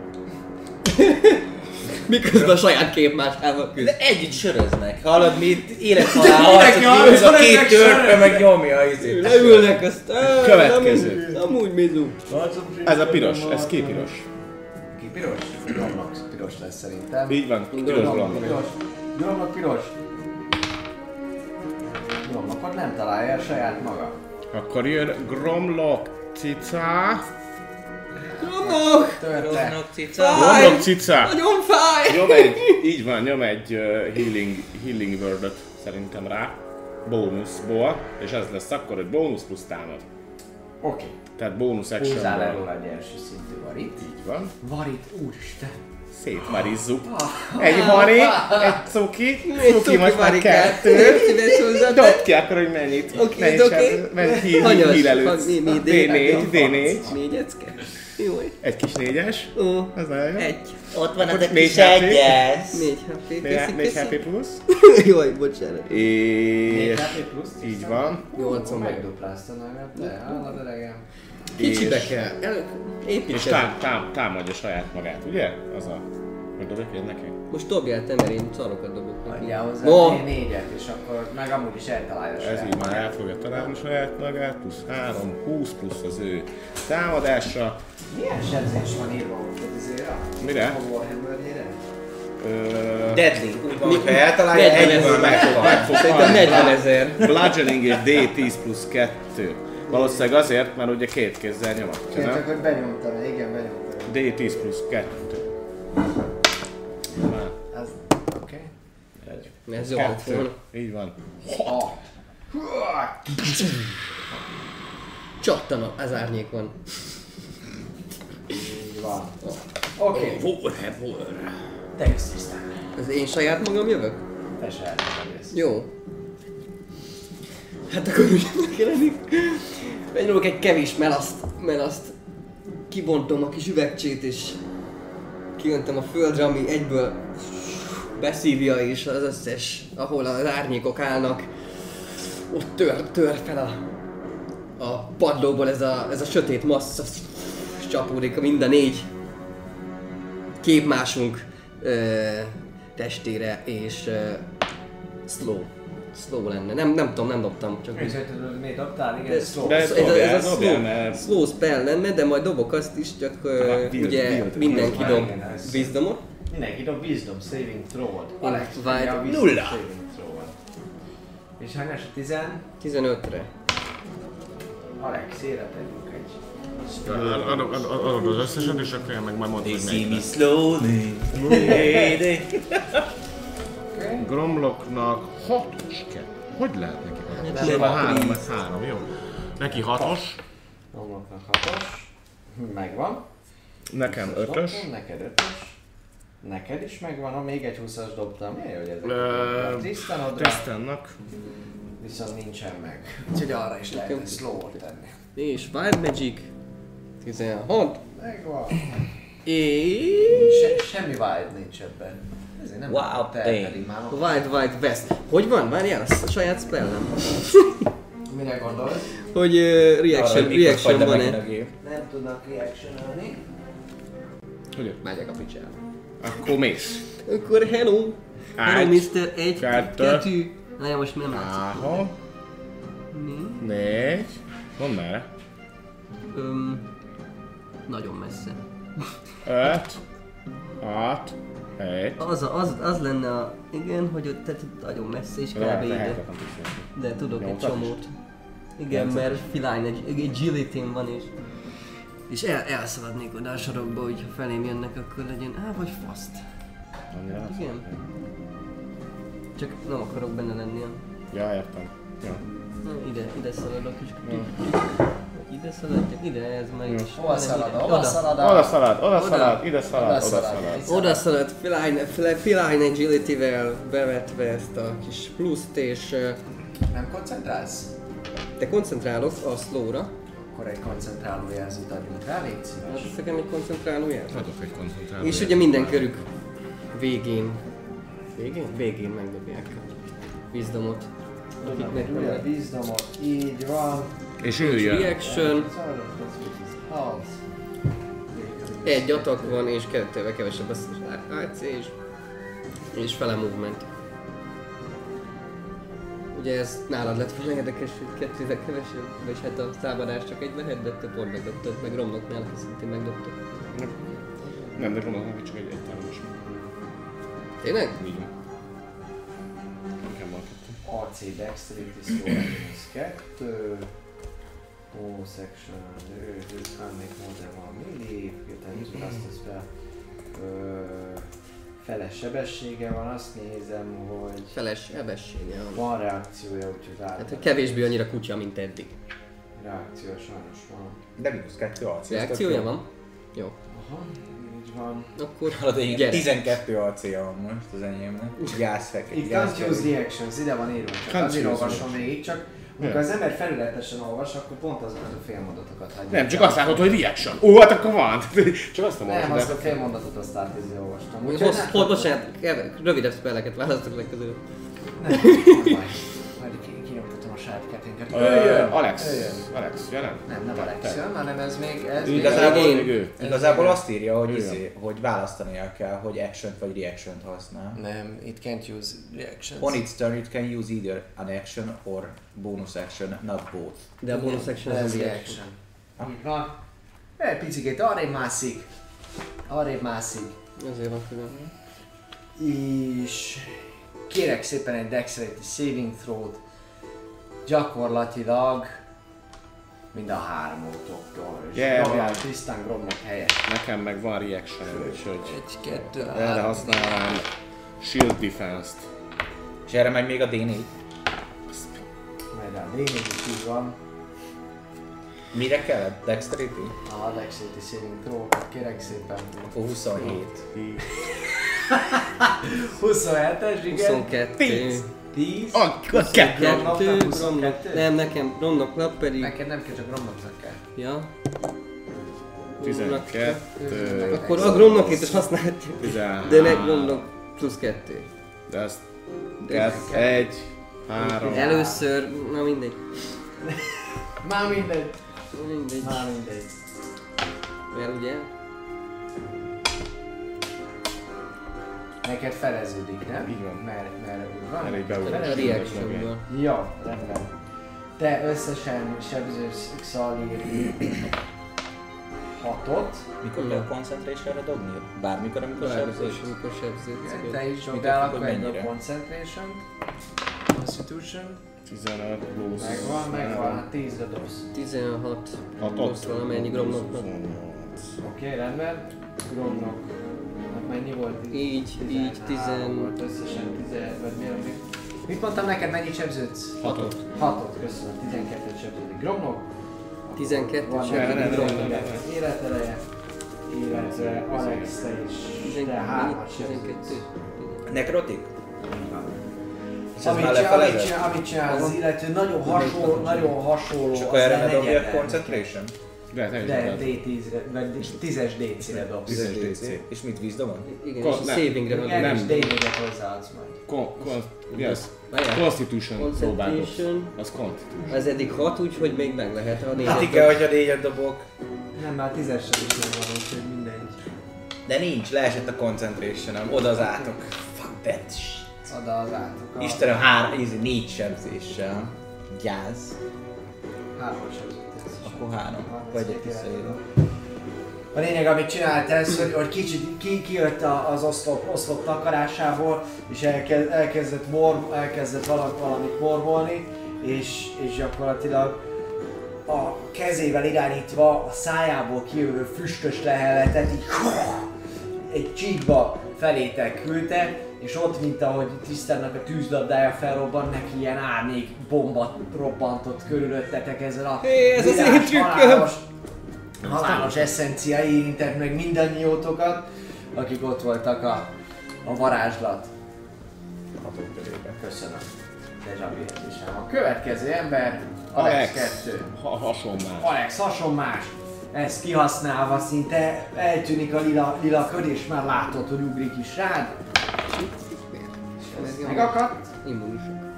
Speaker 2: Miközben a saját kép másával küzd.
Speaker 3: De együtt söröznek. Hallod, mi itt élethalál harcot
Speaker 1: mindenki
Speaker 3: vívunk, ez a
Speaker 1: harcol,
Speaker 3: két
Speaker 1: ezek
Speaker 3: törpe
Speaker 1: söröznek.
Speaker 3: meg nyomja az izét.
Speaker 2: Leülnek azt. "Á,
Speaker 4: Következő.
Speaker 2: nem úgy- Nem úgy mizunk.
Speaker 4: Ez a piros, ez képiros.
Speaker 1: Ki piros? Gromnak piros lesz szerintem.
Speaker 4: Így van, piros
Speaker 1: Gromnak
Speaker 4: blond.
Speaker 1: piros. Gromnak piros. Gromnak ott nem találja el saját maga.
Speaker 4: Akkor jön Gromlok cica.
Speaker 2: Nyomok!
Speaker 1: Törte.
Speaker 3: Rohanok, cica.
Speaker 4: Gromlok cica.
Speaker 2: Nagyon fáj!
Speaker 4: Nyom egy, így van, nyom egy uh, healing, healing word szerintem rá. Bónuszból. És ez lesz akkor, hogy bónusz plusz támad.
Speaker 1: Oké.
Speaker 4: Tehát bónusz
Speaker 1: Húzzál el
Speaker 4: actionból.
Speaker 1: róla egy első szintű varit.
Speaker 4: Így van.
Speaker 1: Varit, úristen.
Speaker 4: Szétmarizzuk.
Speaker 2: Ah,
Speaker 4: Egy mari, egy cuki, cuki
Speaker 2: cuki
Speaker 4: most már
Speaker 2: marikát.
Speaker 4: kettő.
Speaker 2: Légy szíves hozzá, te-
Speaker 4: Dobd ki akkor, hogy mennyit.
Speaker 2: Oké,
Speaker 4: mennyit
Speaker 2: oké.
Speaker 4: sebz- Mennyit hát, hí-
Speaker 2: Hanyas?
Speaker 4: hílelődsz.
Speaker 2: Mi- mi-
Speaker 4: D4,
Speaker 2: D-
Speaker 4: D4.
Speaker 2: Négyecke. Jó.
Speaker 4: Egy kis négyes.
Speaker 2: Ó.
Speaker 4: Ez nagyon jó.
Speaker 2: Egy.
Speaker 3: Ott van ez a
Speaker 4: Négy
Speaker 3: kis
Speaker 4: HP.
Speaker 3: egyes.
Speaker 2: Négy HP.
Speaker 4: Né-
Speaker 2: Köszi,
Speaker 4: Négy
Speaker 2: köszi.
Speaker 4: happy plusz.
Speaker 2: Jaj, bocsánat.
Speaker 4: És...
Speaker 1: HP plusz?
Speaker 4: Így van.
Speaker 2: Nyolcon meg.
Speaker 1: Megduplázta magad, te állat öregem.
Speaker 2: Kicsibe kell. El-
Speaker 4: És
Speaker 2: Építsen.
Speaker 4: tám, tám, támadja saját magát, ugye? Az a... Hogy dobjak én neki?
Speaker 2: Most dobjál te, mert én szarokat dobok neki.
Speaker 1: Adjál hozzá
Speaker 2: Ó.
Speaker 1: oh. négyet, és akkor meg amúgy is eltalálja
Speaker 4: Ez
Speaker 1: saját.
Speaker 4: így már el fogja találni saját magát, plusz 3, 20 plusz az ő támadása.
Speaker 1: Milyen sebzés van írva ott a izére?
Speaker 4: Mire?
Speaker 1: A Warhammerjére?
Speaker 4: Ö,
Speaker 3: Deadly. Úgy van, hogyha eltalálja,
Speaker 2: 40
Speaker 3: egyből
Speaker 2: ezer.
Speaker 3: megfog.
Speaker 4: fog
Speaker 2: Szerintem
Speaker 4: halni.
Speaker 2: 40 ezer.
Speaker 4: Bludgeoning és D10 plusz 2. Valószínűleg azért, mert ugye két kézzel nyomatja,
Speaker 1: Csak
Speaker 4: nem?
Speaker 1: hogy benyomtam, igen, benyomtam.
Speaker 4: D10 plusz 2.
Speaker 1: Ez... Oké.
Speaker 2: Ez jó hát lett volna.
Speaker 4: Így van.
Speaker 2: Csattan az árnyék van.
Speaker 1: Így van. Oké. Okay. Te jössz tisztán.
Speaker 2: Az én saját magam jövök?
Speaker 1: Te se eljössz.
Speaker 2: Jó. Hát akkor úgy megjelenik. Megnyomok egy kevés melaszt, melaszt. Kibontom a kis üvegcsét és kiöntöm a földre, ami egyből beszívja és az összes, ahol az árnyékok állnak, ott tör, tör fel a, a padlóból ez a, ez a sötét massza, csapódik mind a négy képmásunk ö, testére, és ö, slow. Slow lenne. Nem, nem tudom, nem dobtam, csak
Speaker 1: És
Speaker 2: így.
Speaker 1: hogy tudod, miért dobtál? Igen,
Speaker 2: Ez,
Speaker 1: szó.
Speaker 4: De
Speaker 2: ez, ez, a-
Speaker 4: dobjál,
Speaker 2: ez a
Speaker 4: dobjál,
Speaker 2: slow,
Speaker 4: mert- Hát,
Speaker 2: slow spell lenne, de majd dobok azt is, csak ö,
Speaker 4: build,
Speaker 2: ugye
Speaker 4: build. hát,
Speaker 2: mindenki
Speaker 1: Build,
Speaker 2: dob
Speaker 1: igen, ez-
Speaker 2: vízdomot.
Speaker 1: Mindenki dob wisdom saving throw-od.
Speaker 2: Én
Speaker 1: Alex,
Speaker 2: vágy-
Speaker 1: ugye a wisdom
Speaker 2: nulla.
Speaker 1: saving throw-od. És hányás a tizen?
Speaker 2: 15-re.
Speaker 1: Alex, életedünk egy.
Speaker 12: Adok, adok, adok az összeset, és akkor én meg majd mondom,
Speaker 3: They
Speaker 12: hogy
Speaker 3: see
Speaker 12: melyik.
Speaker 3: me slowly. They- they-
Speaker 12: Gromloknak hatos kell. Hogy lehet neki hatos?
Speaker 2: Nem,
Speaker 12: Szóval
Speaker 2: nem,
Speaker 12: három,
Speaker 2: please.
Speaker 12: ez három, jó. Neki hatos,
Speaker 1: Homloknak hatos. Megvan.
Speaker 4: Nekem ötös.
Speaker 1: Dobtam, Neked ötös. Neked is megvan, ha még egy 20-as dobtam. Miért, hogy ez
Speaker 4: Ö,
Speaker 1: Tristanodra
Speaker 4: Tristannak.
Speaker 1: viszont nincsen meg. Úgyhogy arra is lehet egy slow tenni.
Speaker 2: És Wild Magic 16.
Speaker 1: Megvan.
Speaker 2: És...
Speaker 1: Se, semmi wild nincs ebben. Ezért nem
Speaker 3: Wow,
Speaker 1: wow, te
Speaker 3: tényleg.
Speaker 1: pedig már.
Speaker 2: Wild Wild West. Hogy van? Várjál, azt a saját spellem.
Speaker 1: Mire gondolsz?
Speaker 2: Hogy uh,
Speaker 3: Arra, hogy
Speaker 2: reaction,
Speaker 3: mikor
Speaker 2: reaction
Speaker 3: fagyna
Speaker 2: van-e?
Speaker 3: megint a gép.
Speaker 1: Nem tudnak reactionolni.
Speaker 2: Megyek a picsába.
Speaker 4: Akkor mész.
Speaker 2: Akkor hello! Hello
Speaker 4: Egy,
Speaker 2: Mr. 1,
Speaker 4: kettő.
Speaker 2: 2, Na ja, most nem látszik.
Speaker 4: Áha. Négy. Mondd már.
Speaker 2: Öm, nagyon messze.
Speaker 4: Öt. Hat. Hét.
Speaker 2: Az, a, az, az lenne a... Igen, hogy ott tehát itt nagyon messze és kb.
Speaker 4: Lehet,
Speaker 2: ide.
Speaker 4: lehet, lehet.
Speaker 2: De tudok egy
Speaker 4: Nyolcat is?
Speaker 2: csomót. Igen, mert filány, egy, egy gillitin van is. És el, elszaladnék oda a sorokba, hogyha felém jönnek, akkor legyen, á, vagy faszt.
Speaker 4: Annyira?
Speaker 2: Igen. Csak nem akarok benne lenni. hanem-
Speaker 4: Ja, értem. Jó.
Speaker 2: Na, ide, ide szaladok és... Ide szaladjak, ide, ez már is.
Speaker 1: Hova szalad? Hova
Speaker 2: Oda.
Speaker 1: szalad?
Speaker 4: Oda szalad, oda
Speaker 2: Oda.
Speaker 4: szalad, ide szalad, oda
Speaker 1: szalad.
Speaker 4: szalad.
Speaker 2: Oda szaladt Feline, Fle- Feline Agility-vel bevetve ezt a kis pluszt, és ö,
Speaker 1: Nem koncentrálsz?
Speaker 2: te koncentrálok a slowra.
Speaker 1: Akkor egy koncentráló jelzőt adjunk rá, légy szíves.
Speaker 2: Hát nekem egy koncentrálóját.
Speaker 12: Adok egy koncentrálóját.
Speaker 2: És ugye minden körük végén. Végén? Végén megdobják a vízdomot. Akiknek nem
Speaker 1: Ugye,
Speaker 2: lehet.
Speaker 1: vízdomot, így van.
Speaker 4: És ő jön.
Speaker 2: Reaction,
Speaker 1: Szalad, az víz. Halsz.
Speaker 2: egy atak van és kettővel kevesebb az AC és, és fele movement. Ugye ez nálad lett volna érdekes, hogy kettővel kevesebb, vagy hát a támadás csak egy lehet, de te pont megdobtad, meg romloknál szintén megdobtad.
Speaker 4: Nem, de gondolom, hogy csak egy egytelmes.
Speaker 2: Tényleg?
Speaker 4: Így van. Nekem van kettő.
Speaker 1: AC Dexterity Score minus 2. All section, you can make more than one melee, you can use cast a spell. Ö, Feles sebessége van, azt nézem, hogy
Speaker 2: Feles ebessége van.
Speaker 1: van reakciója, úgyhogy
Speaker 2: Hát, hogy
Speaker 1: állt.
Speaker 2: kevésbé annyira kutya, mint eddig.
Speaker 1: Reakciója sajnos van.
Speaker 3: De mínusz kettő AC.
Speaker 2: Reakciója van? Jó.
Speaker 1: Aha, így van.
Speaker 2: Akkor
Speaker 3: Hallod, én
Speaker 2: Gyere.
Speaker 3: 12 ac van most az enyémnek. Gyászfek.
Speaker 1: It can't use the actions, ide van írva, csak
Speaker 4: Can't
Speaker 1: azért
Speaker 4: use
Speaker 1: olvasom végig, csak amikor az ember felületesen olvas, akkor pont azokat a félmondatokat hagyja.
Speaker 4: Nem, csak azt látod, hogy reaction. Ó, hát akkor van. Csak azt nem
Speaker 1: Nem, azt a
Speaker 4: olvasod.
Speaker 1: félmondatot azt átézi olvastam. Úgyhogy
Speaker 2: hossz,
Speaker 1: nem-
Speaker 2: hol, bocsánat, kever- rövidebb spelleket választok legközelebb.
Speaker 1: Nem, nem baj. Majd ki- kinyomtatom a saját ketténket.
Speaker 4: Ö,
Speaker 1: Jöjjön!
Speaker 4: Alex.
Speaker 1: Jöjjön!
Speaker 4: Alex, jelen?
Speaker 1: Nem, nem Alex
Speaker 4: Te.
Speaker 1: jön, hanem ez még, ez még...
Speaker 3: Igazából,
Speaker 4: Még ő.
Speaker 3: igazából azt írja, hogy,
Speaker 4: Igen.
Speaker 3: izé, hogy választania kell, hogy action vagy reaction használ.
Speaker 9: Nem, it can't use reactions.
Speaker 3: On its turn it can use either an action or bonus action, not both.
Speaker 2: De a bonus action az
Speaker 1: Ez
Speaker 2: nem
Speaker 1: reaction. Így van. Egy picikét arrébb mászik. Arrébb mászik.
Speaker 2: Azért van külön.
Speaker 1: És kérek szépen egy Dexterity Saving Throw-t. Gyakorlatilag mind a hármótoktól. És
Speaker 4: Yeah,
Speaker 1: dobjál
Speaker 4: man.
Speaker 1: tisztán gromnak helyet.
Speaker 4: Nekem meg van reaction, úgyhogy
Speaker 9: Egy, kettő,
Speaker 4: erre
Speaker 9: három.
Speaker 4: használom shield defense-t.
Speaker 3: És erre megy még a D4.
Speaker 1: Majd a lényeg is így van.
Speaker 3: Mire kellett? Dexterity?
Speaker 1: A Alexét is saving throw-kat kérek szépen.
Speaker 3: Akkor 27.
Speaker 1: 27-es, igen.
Speaker 2: 22.
Speaker 1: 10.
Speaker 4: A, a kettő.
Speaker 1: Romnak
Speaker 2: 22.
Speaker 1: 22?
Speaker 2: Nem, nekem Romnak nap pedig...
Speaker 1: Neked nem kell, csak romloknak kell.
Speaker 2: Ja.
Speaker 4: 12.
Speaker 2: Akkor a Gromnak itt is használhatjuk.
Speaker 4: 13.
Speaker 2: De ne Gromnak plusz 2.
Speaker 4: De ezt kettő. Egy. Három.
Speaker 2: Először, na mindegy.
Speaker 1: Már mindegy.
Speaker 2: Mindegy.
Speaker 1: Már mindegy.
Speaker 2: Mert ugye?
Speaker 1: Neked feleződik, nem?
Speaker 4: Így van.
Speaker 1: Mert, mert úgy
Speaker 4: Mert
Speaker 1: van.
Speaker 4: egy beugrás.
Speaker 1: Feleződik.
Speaker 2: Reactionből.
Speaker 1: Jó, rendben. Te összesen sebzős Xalir hatot.
Speaker 3: Mikor kell concentration-ra dobni? Bármikor, amikor sebzés?
Speaker 2: Sebzés, amikor sebzés.
Speaker 1: Te is
Speaker 3: Mit
Speaker 1: dobjál
Speaker 3: tudjuk,
Speaker 1: akkor
Speaker 3: hogy
Speaker 1: egy
Speaker 3: mennyire?
Speaker 1: concentration. Constitution.
Speaker 4: 15 plusz.
Speaker 1: Megvan, megvan, hát 10 dobsz.
Speaker 2: 16.
Speaker 4: Hatot.
Speaker 2: Plusz valamennyi Gromnak.
Speaker 4: 28.
Speaker 1: Oké, rendben. Gromnak. Hát mennyi volt? Tíz-
Speaker 2: Így, így,
Speaker 1: 13
Speaker 2: tizen-
Speaker 1: volt, Összesen 10, vagy mi mi? Mit mondtam neked, mennyi sebződsz?
Speaker 4: Hatot.
Speaker 1: 6-ot, köszönöm, 12 sebződik Gromnak.
Speaker 2: 12
Speaker 1: Van
Speaker 2: sebződik
Speaker 1: egy
Speaker 2: Gromnak.
Speaker 1: élet- Életereje, illetve Alex, te is. Te
Speaker 2: 12.
Speaker 1: 3-at
Speaker 2: 12.
Speaker 1: sebződsz.
Speaker 3: Nekrotik? És ez
Speaker 1: Amit
Speaker 3: már
Speaker 1: csinál, amit
Speaker 3: lefelezett?
Speaker 1: csinál, amit csinál az illető, nagyon hasonló, nagyon hasonló.
Speaker 3: És
Speaker 1: az
Speaker 3: akkor erre ne
Speaker 1: legyen
Speaker 3: dobjak
Speaker 1: neki.
Speaker 3: concentration?
Speaker 4: De te is
Speaker 1: De
Speaker 4: tudod.
Speaker 1: D10-re, vagy 10-es DC-re dobsz.
Speaker 4: 10-es
Speaker 3: DC.
Speaker 4: DC.
Speaker 3: És mit vízdobon?
Speaker 2: Igen,
Speaker 4: Ko-
Speaker 2: és a
Speaker 4: nem.
Speaker 2: savingre van.
Speaker 1: Igen,
Speaker 4: nem.
Speaker 1: és D4-et hozzáadsz majd.
Speaker 4: Kon, kon, mi az?
Speaker 2: Várjál.
Speaker 4: Constitution próbálkoz.
Speaker 2: Constitution.
Speaker 4: Az Constitution.
Speaker 2: Ez eddig 6, úgyhogy még meg lehet a
Speaker 3: Hát
Speaker 2: négyet.
Speaker 3: igen, hogy a négyet dobok.
Speaker 1: Nem, már 10-es sem is megvan, úgyhogy mindegy.
Speaker 3: De nincs, leesett a concentration oda az átok. Fuck that shit.
Speaker 1: Oda az átok.
Speaker 3: Istenem, hár, ízi, négy sebzéssel. Gyász.
Speaker 1: Három sebződtél.
Speaker 3: Akkor három. Vagy egy visszaérő.
Speaker 1: A lényeg, amit csinált ez, hogy, hogy kicsit ki, kijött a- az oszlop, oszlop takarásából, és elke, elkezdett, mor, elkezdett valak, valamit mormolni, és, és gyakorlatilag a kezével irányítva a szájából kijövő füstös leheletet így egy csíkba felétek küldte, és ott, mint ahogy Tisztának a tűzlabdája felrobban, neki ilyen árnyék bomba robbantott körülöttetek ezzel a
Speaker 2: Hé, ez az én
Speaker 1: virás
Speaker 2: trükköm!
Speaker 1: halálos- halálos eszencia érintett meg mindannyiótokat, akik ott voltak a, a varázslat. Hatok körében. Köszönöm. De Zsabi is A következő ember, Alex,
Speaker 4: Alex.
Speaker 1: 2.
Speaker 4: Ha, hasonlás.
Speaker 1: Alex hasonmás, ezt kihasználva szinte eltűnik a lila, lila köd, és már látod, hogy ugrik is rád. Ez megakadt.
Speaker 2: Immunisak.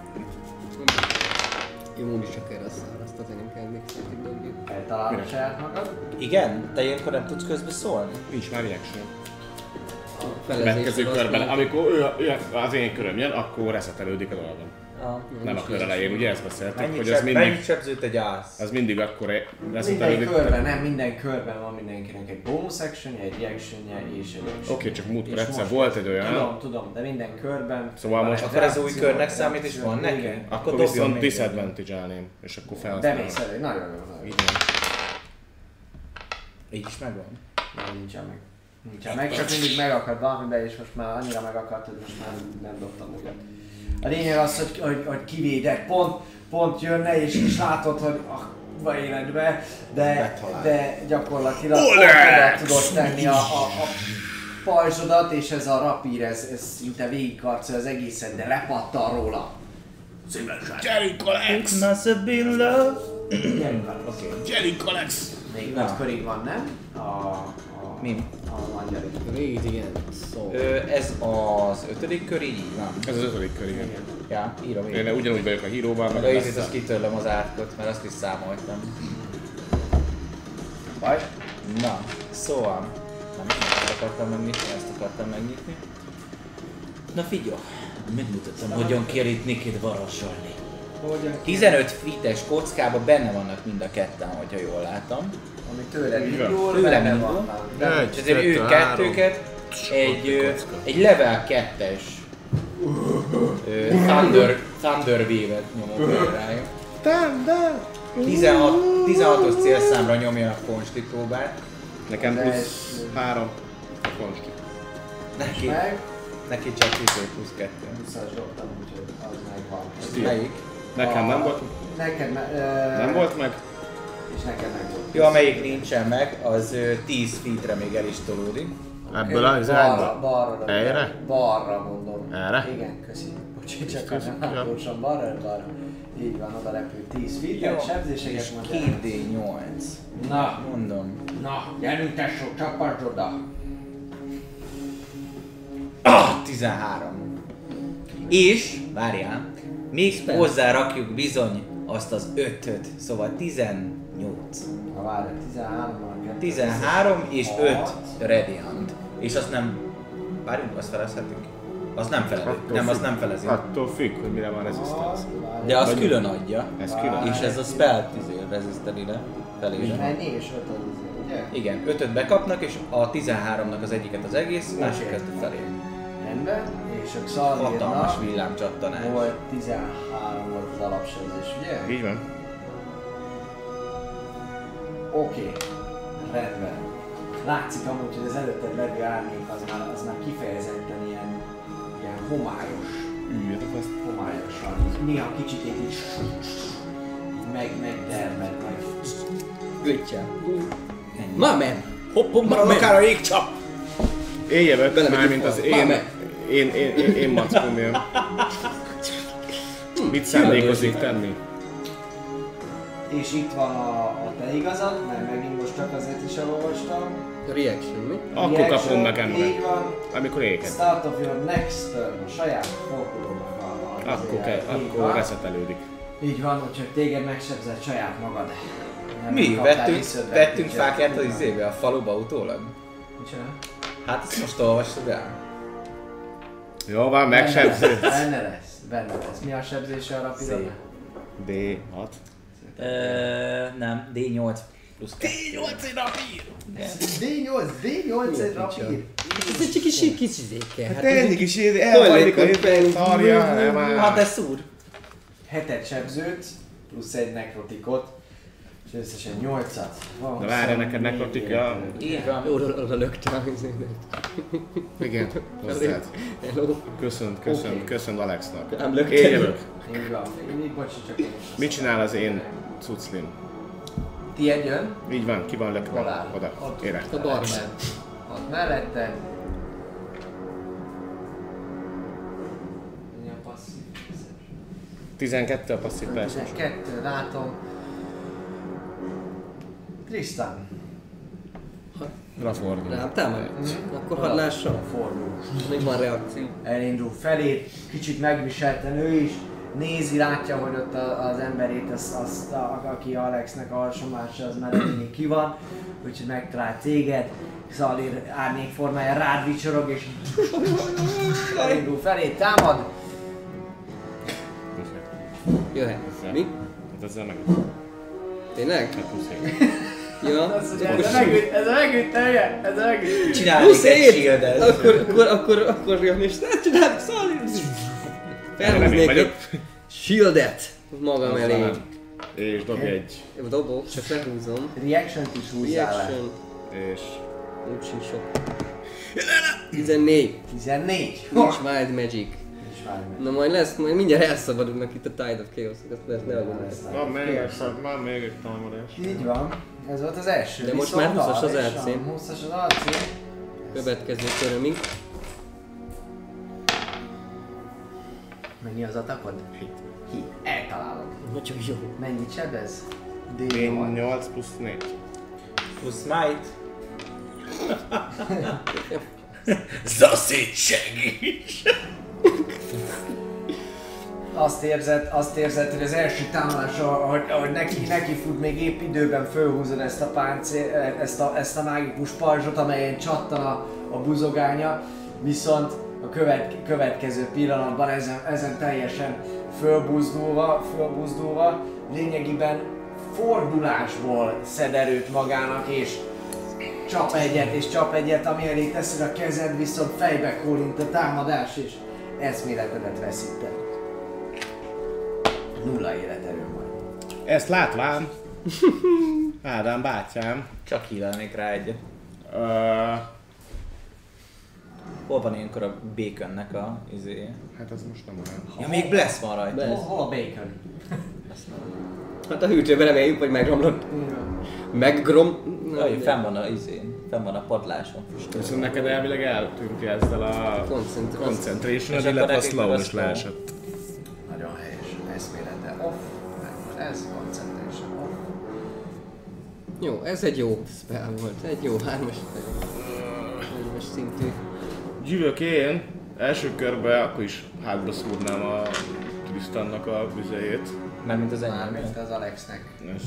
Speaker 2: Immunisak erre a száraz, tehát nem kell még szintig dobni.
Speaker 1: Eltalálod saját magad.
Speaker 3: Igen? Te ilyenkor nem tudsz közbe szólni?
Speaker 4: Nincs már reaction.
Speaker 2: Felezés
Speaker 4: Következő
Speaker 2: alatt
Speaker 4: körben,
Speaker 2: nem-
Speaker 4: amikor ő, ő, az én köröm jön, akkor reszetelődik a dolgom. Nem a kör elején, ugye ezt beszéltük,
Speaker 3: Mennyit
Speaker 4: hogy az
Speaker 3: seb,
Speaker 4: mindig,
Speaker 3: mennyit sebzőt egy ász?
Speaker 4: az mindig akkor
Speaker 1: Minden
Speaker 4: reszetelődik.
Speaker 1: körben, nem minden körben van mindenkinek egy bonus action egy reaction és egy action.
Speaker 4: Oké, csak múltkor
Speaker 1: És
Speaker 4: egyszer
Speaker 1: most-
Speaker 4: volt egy olyan,
Speaker 1: Tudom, tudom, de minden körben.
Speaker 4: Szóval
Speaker 1: van
Speaker 4: most-
Speaker 1: egy
Speaker 3: Akkor ez új
Speaker 1: reakció,
Speaker 3: körnek számít, és van
Speaker 1: reakció,
Speaker 3: neki?
Speaker 1: igen.
Speaker 4: akkor
Speaker 3: dobjon
Speaker 4: viszont
Speaker 3: még egyet.
Speaker 4: disadvantage-elném, és akkor felhasználom.
Speaker 1: Bemész elő, nagyon jó, nagyon jó.
Speaker 3: Így is megvan.
Speaker 1: Nem, nincsen meg. Nincsen meg, csak mindig megakad valamiben, és most már annyira megakadt, hogy most már nem dobtam újat. A lényeg az, hogy, hogy, hogy kivédek, pont, pont jönne, és, és látod, hogy a életbe, de, de gyakorlatilag oda tudod tenni a, a, a pajzsodat, és ez a rapír, ez, ez szinte végigkarcolja az egészet, de lepattan róla.
Speaker 4: Gyerünk Alex!
Speaker 3: Must have been love.
Speaker 1: Gyerünk, Alex.
Speaker 4: Gyerünk Alex!
Speaker 1: Még
Speaker 3: Na.
Speaker 1: öt körig van, nem? A, a,
Speaker 3: Mi?
Speaker 1: a magyar.
Speaker 2: Végig igen, szó.
Speaker 3: Ö, ez az ötödik kör, így így van.
Speaker 4: Ez az ötödik kör, igen.
Speaker 3: Ja, írom
Speaker 4: Én
Speaker 3: én.
Speaker 4: ugyanúgy vagyok a híróban, meg
Speaker 3: Meg
Speaker 4: a
Speaker 3: a ízét azt
Speaker 4: lesz.
Speaker 3: kitörlöm az átkot, mert azt is számoltam.
Speaker 1: Baj?
Speaker 3: Na, szóval... Nem, nem ezt akartam megnyitni, ezt akartam megnyitni. Na figyelj, megmutatom, hogyan kell itt Nikit varázsolni.
Speaker 1: Hogyan?
Speaker 3: 15 fites kockában benne vannak mind a ketten, hogyha jól látom.
Speaker 1: Ami tőled
Speaker 4: Így van.
Speaker 1: indul,
Speaker 3: Tőlem
Speaker 1: benne
Speaker 3: indul.
Speaker 1: van.
Speaker 3: És ezért ő kettőket egy, ö, egy level 2-es ö, Thunder, Thunder Wave-et nyomok rájuk. 16, 16-os célszámra nyomjanak konsti próbát.
Speaker 4: Nekem
Speaker 1: Az
Speaker 4: plusz három. a konsti.
Speaker 3: Neki,
Speaker 1: Meg,
Speaker 3: neki csak 10 plusz 2.
Speaker 1: visszas dobtam, úgyhogy az megvan.
Speaker 4: Ti.
Speaker 3: Melyik?
Speaker 4: Nekem nem
Speaker 1: A-
Speaker 4: volt,
Speaker 1: Neked me- ö,
Speaker 4: nem volt meg?
Speaker 1: eh, és neked meg volt.
Speaker 3: Jó, amelyik nincsen meg, az ö, 10 feetre még el is tolódik.
Speaker 12: Ebből az
Speaker 1: Balra,
Speaker 12: irányba?
Speaker 1: balra. dobja.
Speaker 12: Erre?
Speaker 1: Balra mondom.
Speaker 12: Erre?
Speaker 1: Igen, köszi. Bocsi, csak a hátlósan balra, balra. Így van, oda repül 10 feet, sebzéseget
Speaker 3: és
Speaker 1: mondja.
Speaker 3: 2D8.
Speaker 1: Na,
Speaker 3: Mondom.
Speaker 1: na, gyerünk tesó, csapasd oda.
Speaker 3: Ah, 13. És, várjál, még hozzárakjuk bizony azt az 5-öt, szóval 18.
Speaker 1: Na várj, 13-mal.
Speaker 3: 13 és 5 radiant. És azt nem... Várjunk, azt felezhetünk? Az nem felezi. Nem, az nem felezi.
Speaker 12: Attól függ, hogy mire van resistance.
Speaker 3: De az külön adja.
Speaker 12: Ez külön.
Speaker 3: És ez a spell izé, resistance-re, felére.
Speaker 1: Mennyi és 5 az izé, ugye?
Speaker 3: Igen, 5 bekapnak, és a 13-nak az egyiket az egész, a másik kezdett felé.
Speaker 1: Rendben, és a
Speaker 3: Hatalmas
Speaker 1: Xaldirnak
Speaker 3: villámcsattanás.
Speaker 1: volt 13 volt az alapsebzés, ugye?
Speaker 12: Így van.
Speaker 1: Oké, rendben. Látszik amúgy, hogy az előtted levő árnyék az már, az már kifejezetten ilyen, ilyen homályos
Speaker 12: Üljetek azt.
Speaker 1: homályosan, így néha kicsit így, így meg, megdermed, meg
Speaker 2: Göttyel. Ma men! Hoppom, ma men!
Speaker 5: Akár a jégcsap!
Speaker 12: Élje vett,
Speaker 2: Belemegyünk
Speaker 12: mármint az
Speaker 2: hozzá.
Speaker 12: én,
Speaker 2: Már
Speaker 12: én, én, én, én mackom él. Mit szándékozik tenni?
Speaker 1: És itt van a, a te igazad, mert megint most csak azért is elolvastam.
Speaker 2: Reaction, mi?
Speaker 12: Akkor
Speaker 1: Reaction,
Speaker 12: kapom meg ember.
Speaker 1: Így van.
Speaker 12: Amikor éket.
Speaker 1: Start of your next turn, a saját fordulónak a- a
Speaker 12: Akkor,
Speaker 1: izéje.
Speaker 12: ke,
Speaker 1: Így
Speaker 12: akkor
Speaker 1: van.
Speaker 12: reszetelődik.
Speaker 1: Így van, úgyhogy téged megsebzett saját magad. Nem
Speaker 3: Mi?
Speaker 1: kaptál
Speaker 3: Vettünk,
Speaker 1: visszötvet,
Speaker 3: vettünk
Speaker 1: micsoda.
Speaker 3: fákját az izé? izébe, a faluba utólag?
Speaker 1: Micsoda?
Speaker 3: Hát ezt most olvastad el?
Speaker 12: Jó van, megsebző.
Speaker 1: Benne lesz, benne lesz. Mi a sebzése a rapidon?
Speaker 12: D6.
Speaker 3: nem, D8 plusz D8 én
Speaker 1: D8, D8 egy rapid.
Speaker 2: Ez egy kis kis kis izéke. Hát
Speaker 12: Tényleg is így
Speaker 2: elhajlik a hét-
Speaker 12: szarja, nem
Speaker 3: Hát
Speaker 12: áll.
Speaker 3: ez szúr.
Speaker 1: Hetet sebzőt, plusz egy nekrotikot, és összesen nyolcat. Van
Speaker 12: Na várja,
Speaker 1: szó,
Speaker 12: neked
Speaker 1: négy
Speaker 12: nekrotika.
Speaker 1: értelem.
Speaker 3: Így van.
Speaker 2: Oda oda lögtem.
Speaker 12: Igen, hozzád.
Speaker 2: Hello.
Speaker 12: Köszönöm, köszönöm, köszönöm Alexnak.
Speaker 2: Nem lögtem.
Speaker 12: Éljövök.
Speaker 1: Így van. Mi- Bocsi, csak én is azt
Speaker 12: Mit csinál az én cuclim?
Speaker 1: mondom. Ti egy jön,
Speaker 12: Így van, ki van lökve?
Speaker 1: Hol áll?
Speaker 12: Oda,
Speaker 1: Ott.
Speaker 12: ére.
Speaker 2: A barman.
Speaker 1: ott mellette. Mi a passzív?
Speaker 12: 12 a passzív persze.
Speaker 1: 12, látom. Tristan.
Speaker 12: Rafordul.
Speaker 2: Rám támad? Akkor hadd lássam.
Speaker 1: Fordul.
Speaker 2: Még van reakció.
Speaker 1: Elindul felé, kicsit megviselten ő is. Nézi, látja, hogy ott a, az emberét, az, az, a, aki Alexnek a alsomása, az már mindig ki van. Úgyhogy megtalál téged. Szalir árnyék formája rád vicsorog és elindul felé, támad.
Speaker 2: Jöhet. Mi?
Speaker 12: Hát ezzel meg.
Speaker 2: Tényleg?
Speaker 12: Hát 27.
Speaker 2: Ja.
Speaker 1: Ez ugye, ez a megüt, ez a megüt, ez a megüt.
Speaker 3: Csinálnék egy
Speaker 2: 27!
Speaker 3: shieldet.
Speaker 2: Akkor, akkor, akkor, akkor jön és ne csinálj, szólj! Felhúznék
Speaker 12: vagyok.
Speaker 2: egy shieldet magam elé.
Speaker 12: És dobj egy.
Speaker 2: Jó, Dobok, csak lehúzom.
Speaker 1: Reaction-t is húzzál le.
Speaker 2: Reaction.
Speaker 12: És
Speaker 2: Úgy sincs sok. 14.
Speaker 1: 14.
Speaker 2: Nincs Wild Magic.
Speaker 1: Nincs már meg.
Speaker 2: Na majd lesz, majd mindjárt elszabadulnak itt a Tide of Chaos, ezt lehet ne aggódj.
Speaker 12: van még egy, van még egy támadás.
Speaker 1: Így van. Ez volt az első.
Speaker 2: De most
Speaker 1: Viszont
Speaker 2: már 20-as az
Speaker 1: arra is
Speaker 2: elcím.
Speaker 1: van, 20-as az alcím.
Speaker 2: Következő körömig.
Speaker 1: Mennyi az atakod? Hit. Hit. Eltalálod.
Speaker 2: Nagyon jó.
Speaker 1: Mennyit sebez?
Speaker 12: Én
Speaker 1: D8.
Speaker 12: 8 plusz 4.
Speaker 3: Plusz might.
Speaker 1: Azt érzed, azt érzed, hogy az első támadás, ahogy, ahogy neki, neki fut, még épp időben fölhúzod ezt a páncél, ezt a, ezt a mágikus pajzsot, amelyen csattan a, a buzogánya, viszont a követ, következő pillanatban ezen, ezen teljesen fölbuzdulva, fölbuzdulva, lényegében fordulásból szed erőt magának, és csap egyet, és csap egyet, ami elé teszed a kezed, viszont fejbe kólint a támadás, és eszméletedet veszíted. Nulla életerőm van.
Speaker 12: Ezt látván. Ádám bátyám.
Speaker 3: Csak hílelnék rá egyet.
Speaker 12: Ö,
Speaker 3: Hol van ilyenkor a békönnek a izéje?
Speaker 12: hát az most nem olyan.
Speaker 3: Ja, még bless van rajta.
Speaker 1: Hol, hol a bacon?
Speaker 2: Hát a hűtőben reméljük, hogy megromlott.
Speaker 1: Így van.
Speaker 2: Meggrom...
Speaker 3: Jaj, fenn van a izén, fenn van a padláson.
Speaker 4: Viszont neked elvileg eltűnt ezzel a
Speaker 2: Koncentráció.
Speaker 4: concentration,
Speaker 3: És akkor
Speaker 4: illetve a
Speaker 3: nekik meg
Speaker 4: slow
Speaker 3: a
Speaker 4: is
Speaker 3: slow.
Speaker 4: leesett.
Speaker 1: Nagyon helyes. Eszméletlen off. Meg most ez, concentration off.
Speaker 2: Jó, ez egy jó spell volt. Egy jó hármas... Hármas szintű.
Speaker 4: Gyűlök én, első körben akkor is hátba szúrnám a Tristannak a vizejét.
Speaker 3: Mármint az enyém.
Speaker 1: Mármint az Alexnek.
Speaker 4: És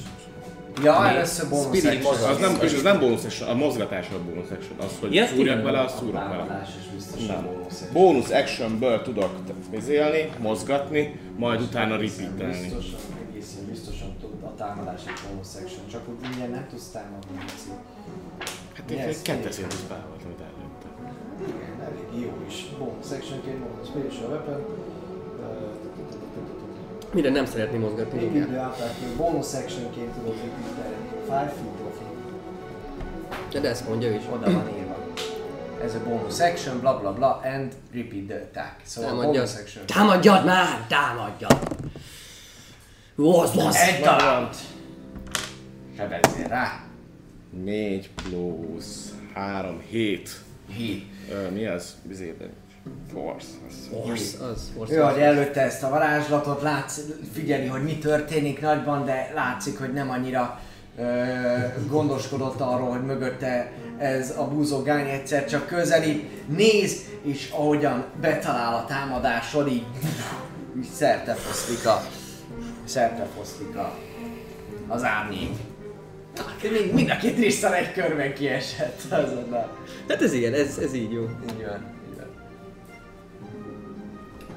Speaker 1: Ja, először bónusz
Speaker 3: Spirit
Speaker 1: action.
Speaker 3: mozog.
Speaker 4: az nem, és ez nem bonus action, a mozgatás a bonus action. Az, hogy
Speaker 3: Ja,
Speaker 4: szúrjak
Speaker 3: tényleg?
Speaker 4: vele, azt szúrok vele.
Speaker 11: Állás és biztos
Speaker 4: Nem.
Speaker 11: nem bónusz.
Speaker 4: Bonus actionből tudok vizélni, mozgatni, majd utána repeatelni.
Speaker 11: Biztosan, egészen biztosan tud a támadás egy bonus action, csak úgy ingyen nem tudsz támadni. Laci.
Speaker 4: Hát
Speaker 11: Mi
Speaker 4: én
Speaker 11: ez?
Speaker 4: kettes szintű spell volt, amit előtte.
Speaker 11: Igen, elég jó is. Bonus actionként bonus special weapon. Ö,
Speaker 2: Mire nem szeretné mozgatni,
Speaker 11: Még
Speaker 2: igen.
Speaker 11: idő átlátni, bonus actionként tudod építeni. Five feet of him.
Speaker 2: De, de ezt mondja ő is.
Speaker 1: Oda van írva. Ez a bonus action, bla bla bla, and repeat the attack. Szóval
Speaker 2: Támadjad.
Speaker 1: bonus action.
Speaker 2: Támadjad már! Támadjad! Rossz, rossz!
Speaker 1: Egy talált! Sebezzél rá.
Speaker 4: 4 plusz 3, 7.
Speaker 1: Hí.
Speaker 4: Ö, mi az? Bizébe. Force. Azt mondja.
Speaker 2: Rossz, az, rossz.
Speaker 1: Ő adja előtte ezt a varázslatot, látsz, figyeli, hogy mi történik nagyban, de látszik, hogy nem annyira ö, gondoskodott arról, hogy mögötte ez a búzogány egyszer csak közelít, néz, és ahogyan betalál a támadásod, így, így szerte foszlik a, szerte foszlik a, az árnyék. Mind, mind a két részen egy körben kiesett azonnal.
Speaker 2: Hát ez igen, ez, ez így jó.
Speaker 1: Így van, így van.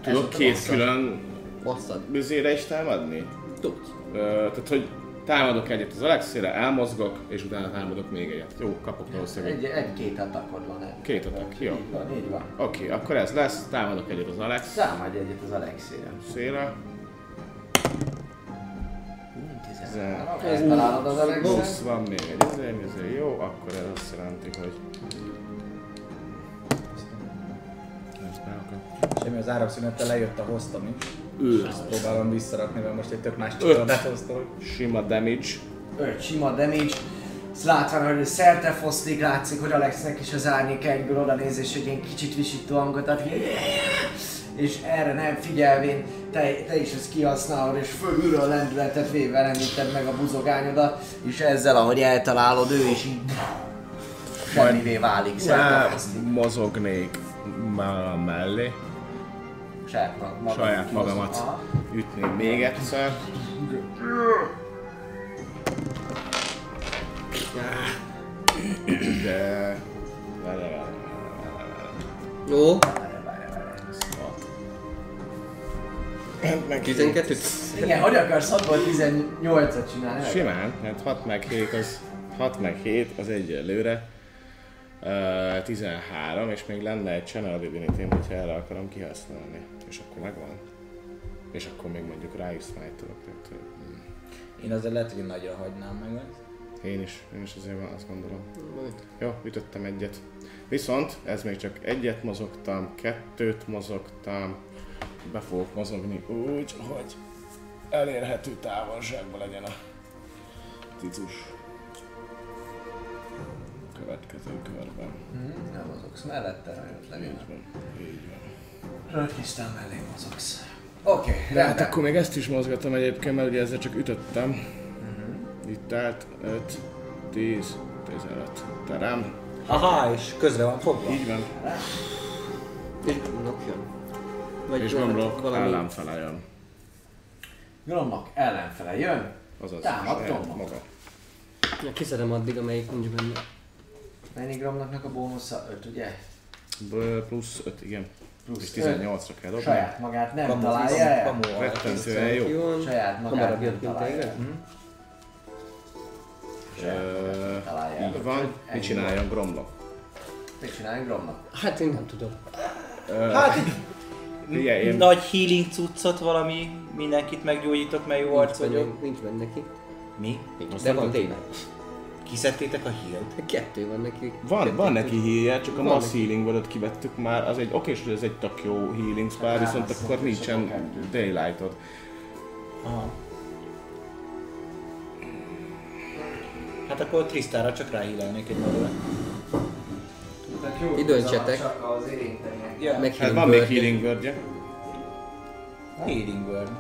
Speaker 4: Tudok két külön
Speaker 2: Basszad.
Speaker 4: bizére is támadni?
Speaker 2: Tudj.
Speaker 4: Ö, tehát, hogy támadok egyet az Alexére, elmozgok, és utána támadok még egyet. Jó, kapok valószínűleg
Speaker 1: Egy, egy-két atakod van erre.
Speaker 4: két atak. Jó.
Speaker 1: Így van, így van.
Speaker 4: Oké, akkor ez lesz. Támadok egyet az Alexére.
Speaker 1: Számadj egyet az Alexére. Ez találod az Alexet?
Speaker 4: Plusz van még egy ezért, ezért jó, akkor ez azt jelenti, hogy... Ez beakadt.
Speaker 3: Semmi az áramszünettel lejött a hoztam is.
Speaker 4: Ő.
Speaker 3: Azt próbálom visszarakni, mert most egy tök más csatát hoztam.
Speaker 4: Sima damage.
Speaker 1: Öt sima damage. Ezt Látva, hogy ő szerte foszlik, látszik, hogy Alexnek is az árnyék egyből oda néz, és egy ilyen kicsit visító hangot ad. És erre nem figyelvén, te, te is ezt kihasználod, és fölülről lendületet véve rendíted meg a buzogányodat, és ezzel, ahogy eltalálod, ő is így semmivé válik, szerte
Speaker 4: Á,
Speaker 1: foszlik.
Speaker 4: mozognék már mellé.
Speaker 1: Saját, magad
Speaker 4: Saját
Speaker 1: kihozod.
Speaker 4: magamat
Speaker 1: Aha.
Speaker 4: ütném még egyszer. De... Várjál, várjál, várjál,
Speaker 2: Jó.
Speaker 4: várjál. Meg
Speaker 2: 12
Speaker 1: Igen, hogy akarsz 6-ból 18-at csinálni?
Speaker 4: Simán, hát 6 meg 7 az, 6 meg 7 az egyelőre. Uh, 13, és még lenne egy Channel divinity hogyha erre akarom kihasználni. És akkor megvan. És akkor még mondjuk rájuk smite-olok. tehát, hogy, mm.
Speaker 3: Én azért lehet, hogy nagyra hagynám meg ezt.
Speaker 4: Én is, én is azért van, azt gondolom. Jó, ütöttem egyet. Viszont ez még csak egyet mozogtam, kettőt mozogtam. Be fogok mozogni úgy, hogy elérhető távolságban legyen a cicus. Következő körben.
Speaker 1: Hm, Nem mozogsz mellette, rajt
Speaker 4: Így
Speaker 1: levélem.
Speaker 4: van, így van.
Speaker 1: Rajtkistán mellé mozogsz. Oké, okay,
Speaker 4: De hát
Speaker 1: rendben.
Speaker 4: akkor még ezt is mozgatom egyébként, mert ugye ezzel csak ütöttem. Itt állt 5, 10, 15. Terem.
Speaker 3: Aha, és közre van fogva.
Speaker 4: Így van.
Speaker 2: És napja. Vagy
Speaker 4: És
Speaker 2: valami-
Speaker 4: gondolok,
Speaker 2: valami-
Speaker 4: ellenfele jön.
Speaker 1: Gromnak ellenfele jön.
Speaker 4: Azaz,
Speaker 1: Támad
Speaker 4: saját
Speaker 1: Gromnak.
Speaker 4: maga.
Speaker 2: Na, Kiszedem addig, amelyik nincs benne.
Speaker 1: Mennyi Gromnak a bónusza? 5, ugye?
Speaker 4: B- plusz 5, igen.
Speaker 1: Plusz öt.
Speaker 4: és 18-ra kell dobni.
Speaker 1: Saját magát nem
Speaker 3: Kamu-
Speaker 1: találja
Speaker 3: kamu-
Speaker 1: el.
Speaker 3: kamuval.
Speaker 4: Rettentően jó.
Speaker 2: Jó van.
Speaker 1: Saját magát
Speaker 2: Hamarabb
Speaker 1: nem
Speaker 2: jött, mint
Speaker 1: találja Hm?
Speaker 2: téged.
Speaker 1: el. Saját magát nem találja el.
Speaker 4: Így van.
Speaker 1: Úgyhogy
Speaker 4: Mit
Speaker 1: ennyi
Speaker 4: csináljon Gromlok?
Speaker 1: volt. Mit csináljon Gromnak?
Speaker 2: Hát én nem tudom.
Speaker 1: Mm.
Speaker 4: Igen, én
Speaker 3: Nagy healing cuccot valami, mindenkit meggyógyítok, mert jó arc
Speaker 2: Nincs
Speaker 3: vagyok.
Speaker 2: benne- Nincs benne neki.
Speaker 3: Mi?
Speaker 2: De van tényleg.
Speaker 3: Kiszedtétek a healt?
Speaker 2: Kettő van neki.
Speaker 4: van, van neki híje, csak a
Speaker 2: Van
Speaker 4: mass
Speaker 2: neki.
Speaker 4: healingből ott kivettük már, az egy okés, hogy ez egy tök jó healing spell,
Speaker 1: Hát
Speaker 4: viszont akkor nincsen daylightod.
Speaker 3: Aha. Hát Hát akkor Trisztára csak ráhílelnék egy valóra.
Speaker 11: Tehát jó,
Speaker 2: Időntsetek.
Speaker 11: Csak az érinteniek.
Speaker 3: Ja,
Speaker 2: Meg
Speaker 4: Hát
Speaker 2: healing
Speaker 4: van még
Speaker 2: word.
Speaker 4: healing word
Speaker 3: Healing Word.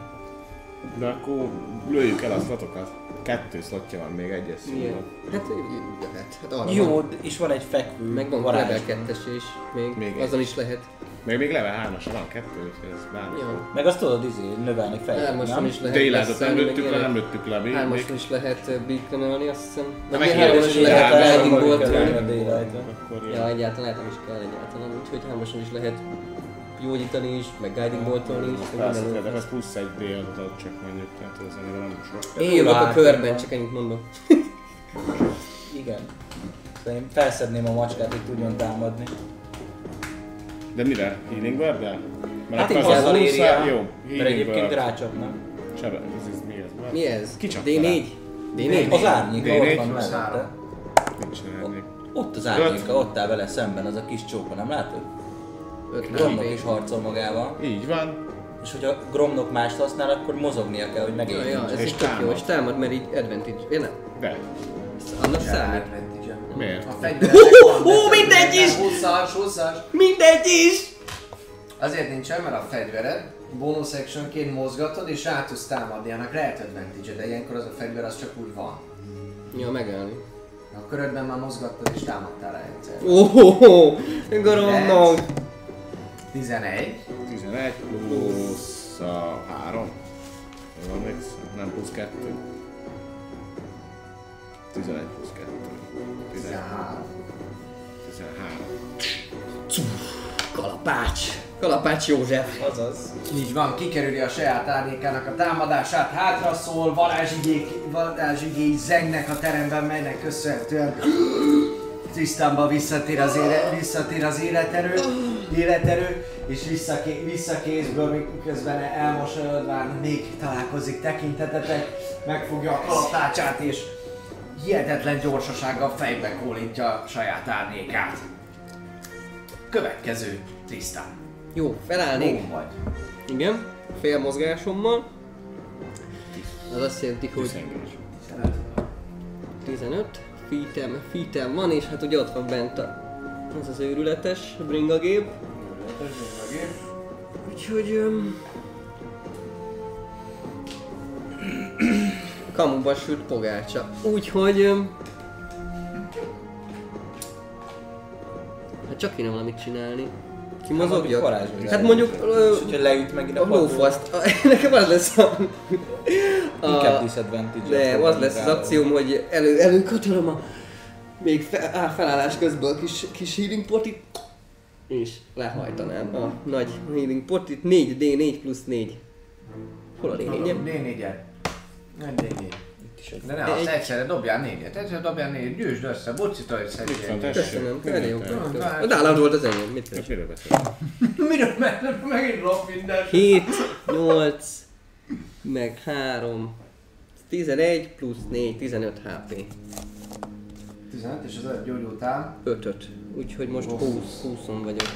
Speaker 4: De akkor lőjük el a slotokat. Kettő slotja van, még egyes szóval.
Speaker 2: Hát, jöhet. Hát arra van.
Speaker 3: Jó, d- és van egy fekvő
Speaker 2: Meg van
Speaker 3: varázs.
Speaker 2: level 2 is, még,
Speaker 4: Még
Speaker 2: még
Speaker 4: egy.
Speaker 2: azon is lehet.
Speaker 4: Még még level 3-as van, kettő, úgyhogy ez bármi.
Speaker 2: Jó.
Speaker 3: Meg azt tudod izé, növelni fel.
Speaker 2: Hármason is lehet.
Speaker 4: Daylightot nem
Speaker 2: beszélni,
Speaker 4: lőttük
Speaker 2: meg
Speaker 4: le, nem
Speaker 2: ilyenek.
Speaker 4: lőttük le. még-
Speaker 2: Hármason
Speaker 4: még-
Speaker 2: is lehet bíklenölni, azt hiszem.
Speaker 4: Na,
Speaker 2: Meg
Speaker 4: meg
Speaker 2: hármason is
Speaker 4: hármason
Speaker 2: lehet
Speaker 4: lehet
Speaker 2: Lightning Bolt
Speaker 3: Lightning
Speaker 2: lőni.
Speaker 4: Akkor
Speaker 2: Ja, egyáltalán lehet, nem is kell egyáltalán, úgyhogy hármason is lehet gyógyítani is, meg Guiding Boltolni is, meg
Speaker 4: Persze, de
Speaker 2: minden
Speaker 4: ez plusz egy d adat csak mondjuk, tehát ez annyira nem sok.
Speaker 2: Én a körben, csak ennyit mondom.
Speaker 3: Igen. Szerintem felszedném a macskát, hogy tudjon támadni.
Speaker 4: De mire? Healing word -el? Mert
Speaker 3: Hát
Speaker 4: akkor
Speaker 3: így
Speaker 4: az
Speaker 3: azzal
Speaker 4: a
Speaker 3: írja,
Speaker 4: jó,
Speaker 3: mert
Speaker 4: healing
Speaker 3: egyébként
Speaker 4: word.
Speaker 3: rácsapnak.
Speaker 4: Sebe, ez, ez mi ez?
Speaker 2: Mi ez?
Speaker 4: Kicsapta
Speaker 2: D4? D4?
Speaker 3: Az árnyéka ott
Speaker 4: D4
Speaker 3: van
Speaker 4: plusz
Speaker 3: mellette.
Speaker 4: Mit csinálnék?
Speaker 3: Ott az árnyéka, ott áll vele szemben az a kis csóka, nem látod?
Speaker 2: Öt
Speaker 3: Gromnok is harcol magával.
Speaker 4: Így van.
Speaker 3: És hogyha Gromnok mást használ, akkor mozognia kell, hogy
Speaker 2: Ja,
Speaker 3: megérjen.
Speaker 2: ja, ez
Speaker 4: És
Speaker 2: is tök jó,
Speaker 4: támad.
Speaker 2: és támad, mert így advantage. Ja, nem.
Speaker 4: De,
Speaker 2: Ez Annak számít.
Speaker 4: miért?
Speaker 1: A fegyveretek van,
Speaker 2: Hú,
Speaker 1: de
Speaker 2: hú, mindegy is!
Speaker 1: 20-as, 20-as.
Speaker 2: Mindegy is!
Speaker 1: Azért nincsen, mert a fegyvered bonus actionként mozgatod és rá tudsz támadni, annak lehet advantage de ilyenkor az a fegyver az csak úgy van.
Speaker 2: Ja, megállni.
Speaker 1: A körödben már mozgattad és támadtál rá egyszer.
Speaker 2: Óhóhó! Gromnok!
Speaker 1: 11.
Speaker 4: 11 plusz a 3. Jól emlékszem? Nem, plusz 2. 11 plusz 2.
Speaker 1: 13.
Speaker 4: 13.
Speaker 2: Kalapács! Kalapács József!
Speaker 3: Azaz.
Speaker 1: Így van, kikerüli a saját árnyékának a támadását, hátra szól, varázsigék, varázsigéi zengnek a teremben, melynek köszönhetően tisztánba visszatér az, éle, visszatér az életerő, életerő és visszaké, visszakézből, miközben elmosolyodván még találkozik tekintetetek, megfogja a kalapácsát és hihetetlen gyorsasággal fejbe kólintja a saját árnyékát. Következő tisztán.
Speaker 2: Jó, felállnék.
Speaker 1: Bum vagy.
Speaker 2: Igen, fél mozgásommal. Az azt jelenti, hogy
Speaker 4: Disengage.
Speaker 2: 15 feetem, feetem van, és hát ugye ott van bent a, az az őrületes bringagép. Úgyhogy... Um, kamuba sült pogácsa. Úgyhogy... Um, hát csak kéne valamit csinálni. Ki mozogja?
Speaker 3: Hát, varázsművel.
Speaker 2: Hát mondjuk... ö,
Speaker 3: És hogyha leüt megint
Speaker 2: a
Speaker 3: a
Speaker 2: lófaszt. Nekem az lesz a...
Speaker 3: Inkább
Speaker 2: a
Speaker 3: disadvantage.
Speaker 2: nem, az lesz az akcióm, hogy elő, előkatolom a... Még fe, á, felállás közben a kis, kis healing potit. És lehajtanám a nagy healing potit. 4D4 plusz 4. Hol a D4-em?
Speaker 1: D4-et. Egy D4. De ne,
Speaker 2: Egy.
Speaker 1: azt egyszerre dobjál négyet, egyszerre dobjál négyet, gyűjtsd össze, bucitolj össze.
Speaker 4: Itt van,
Speaker 1: gyerek.
Speaker 4: Szóval tessék.
Speaker 2: Köszönöm, elég jó.
Speaker 4: Mindent.
Speaker 2: A nálad volt az enyém, mit
Speaker 4: Most
Speaker 2: tesz?
Speaker 4: miről beszélünk?
Speaker 1: Miről mert megint lop minden.
Speaker 2: 7, 8, meg 3, 11 plusz 4, 15 HP.
Speaker 1: 15 és az öt gyógyultál.
Speaker 2: 5 Úgyhogy most 20, 20 vagyok.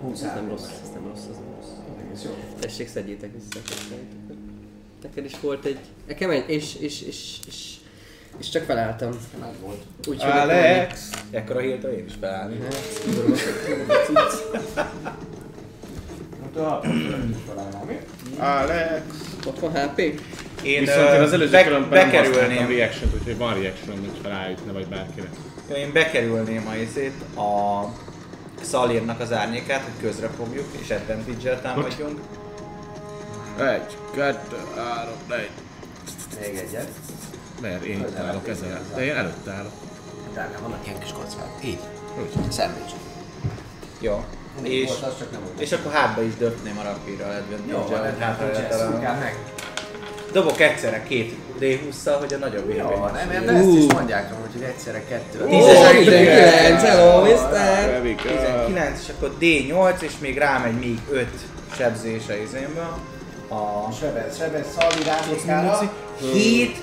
Speaker 1: 20
Speaker 2: Ez nem
Speaker 1: át.
Speaker 2: rossz, ez nem rossz, ez nem rossz.
Speaker 1: Egész jó.
Speaker 2: Tessék, szedjétek vissza. kedveiteket. Neked is volt egy... Nekem egy, és, és, és, és, és csak felálltam.
Speaker 1: Meg volt.
Speaker 2: Úgyhogy akkor ennyi.
Speaker 4: Alex!
Speaker 3: Ekkora hirtelen én is felállni.
Speaker 1: Hát a hatot találnám, mi?
Speaker 4: Alex!
Speaker 2: Ott van HP?
Speaker 3: Én,
Speaker 4: Viszont én az előző
Speaker 3: be-
Speaker 4: körömben nem használtam
Speaker 3: bekerülném,
Speaker 4: reaction úgyhogy van reaction, hogyha rájutna vagy bárkinek.
Speaker 3: én bekerülném a izét, a Szalírnak az árnyékát, hogy közre fogjuk, és advantage-el támadjunk.
Speaker 4: Egy, kettő, három, négy.
Speaker 1: Még egyet.
Speaker 4: Mert én itt állok ezzel. De én előtt állok.
Speaker 1: Dárnál vannak ilyen kis kockák. Így.
Speaker 4: Úgy.
Speaker 1: Szendvics.
Speaker 3: Jó.
Speaker 1: Mindig
Speaker 3: És,
Speaker 1: volt, az csak nem volt.
Speaker 3: és akkor hátba is döpném a rapírral
Speaker 1: Jó, van,
Speaker 3: advantage-el,
Speaker 1: ez
Speaker 3: hogy
Speaker 1: hát,
Speaker 3: hátra
Speaker 1: hogy
Speaker 3: lehet
Speaker 1: ezt
Speaker 3: találnom.
Speaker 1: szukál meg.
Speaker 3: Dobok egyszerre két D20-szal, hogy a nagyobb
Speaker 1: Jó,
Speaker 3: érvény.
Speaker 1: van, nem, mert ezt is mondják, amúgy, hogy egyszerre kettő.
Speaker 3: Tízes.
Speaker 2: Ó, 19, hello, mister!
Speaker 4: Revik, ö,
Speaker 3: 19, és akkor D8, és még rámegy még 5 sebzése izémből. A
Speaker 1: Sebez, sebez, szalvi rámékára.
Speaker 3: 7,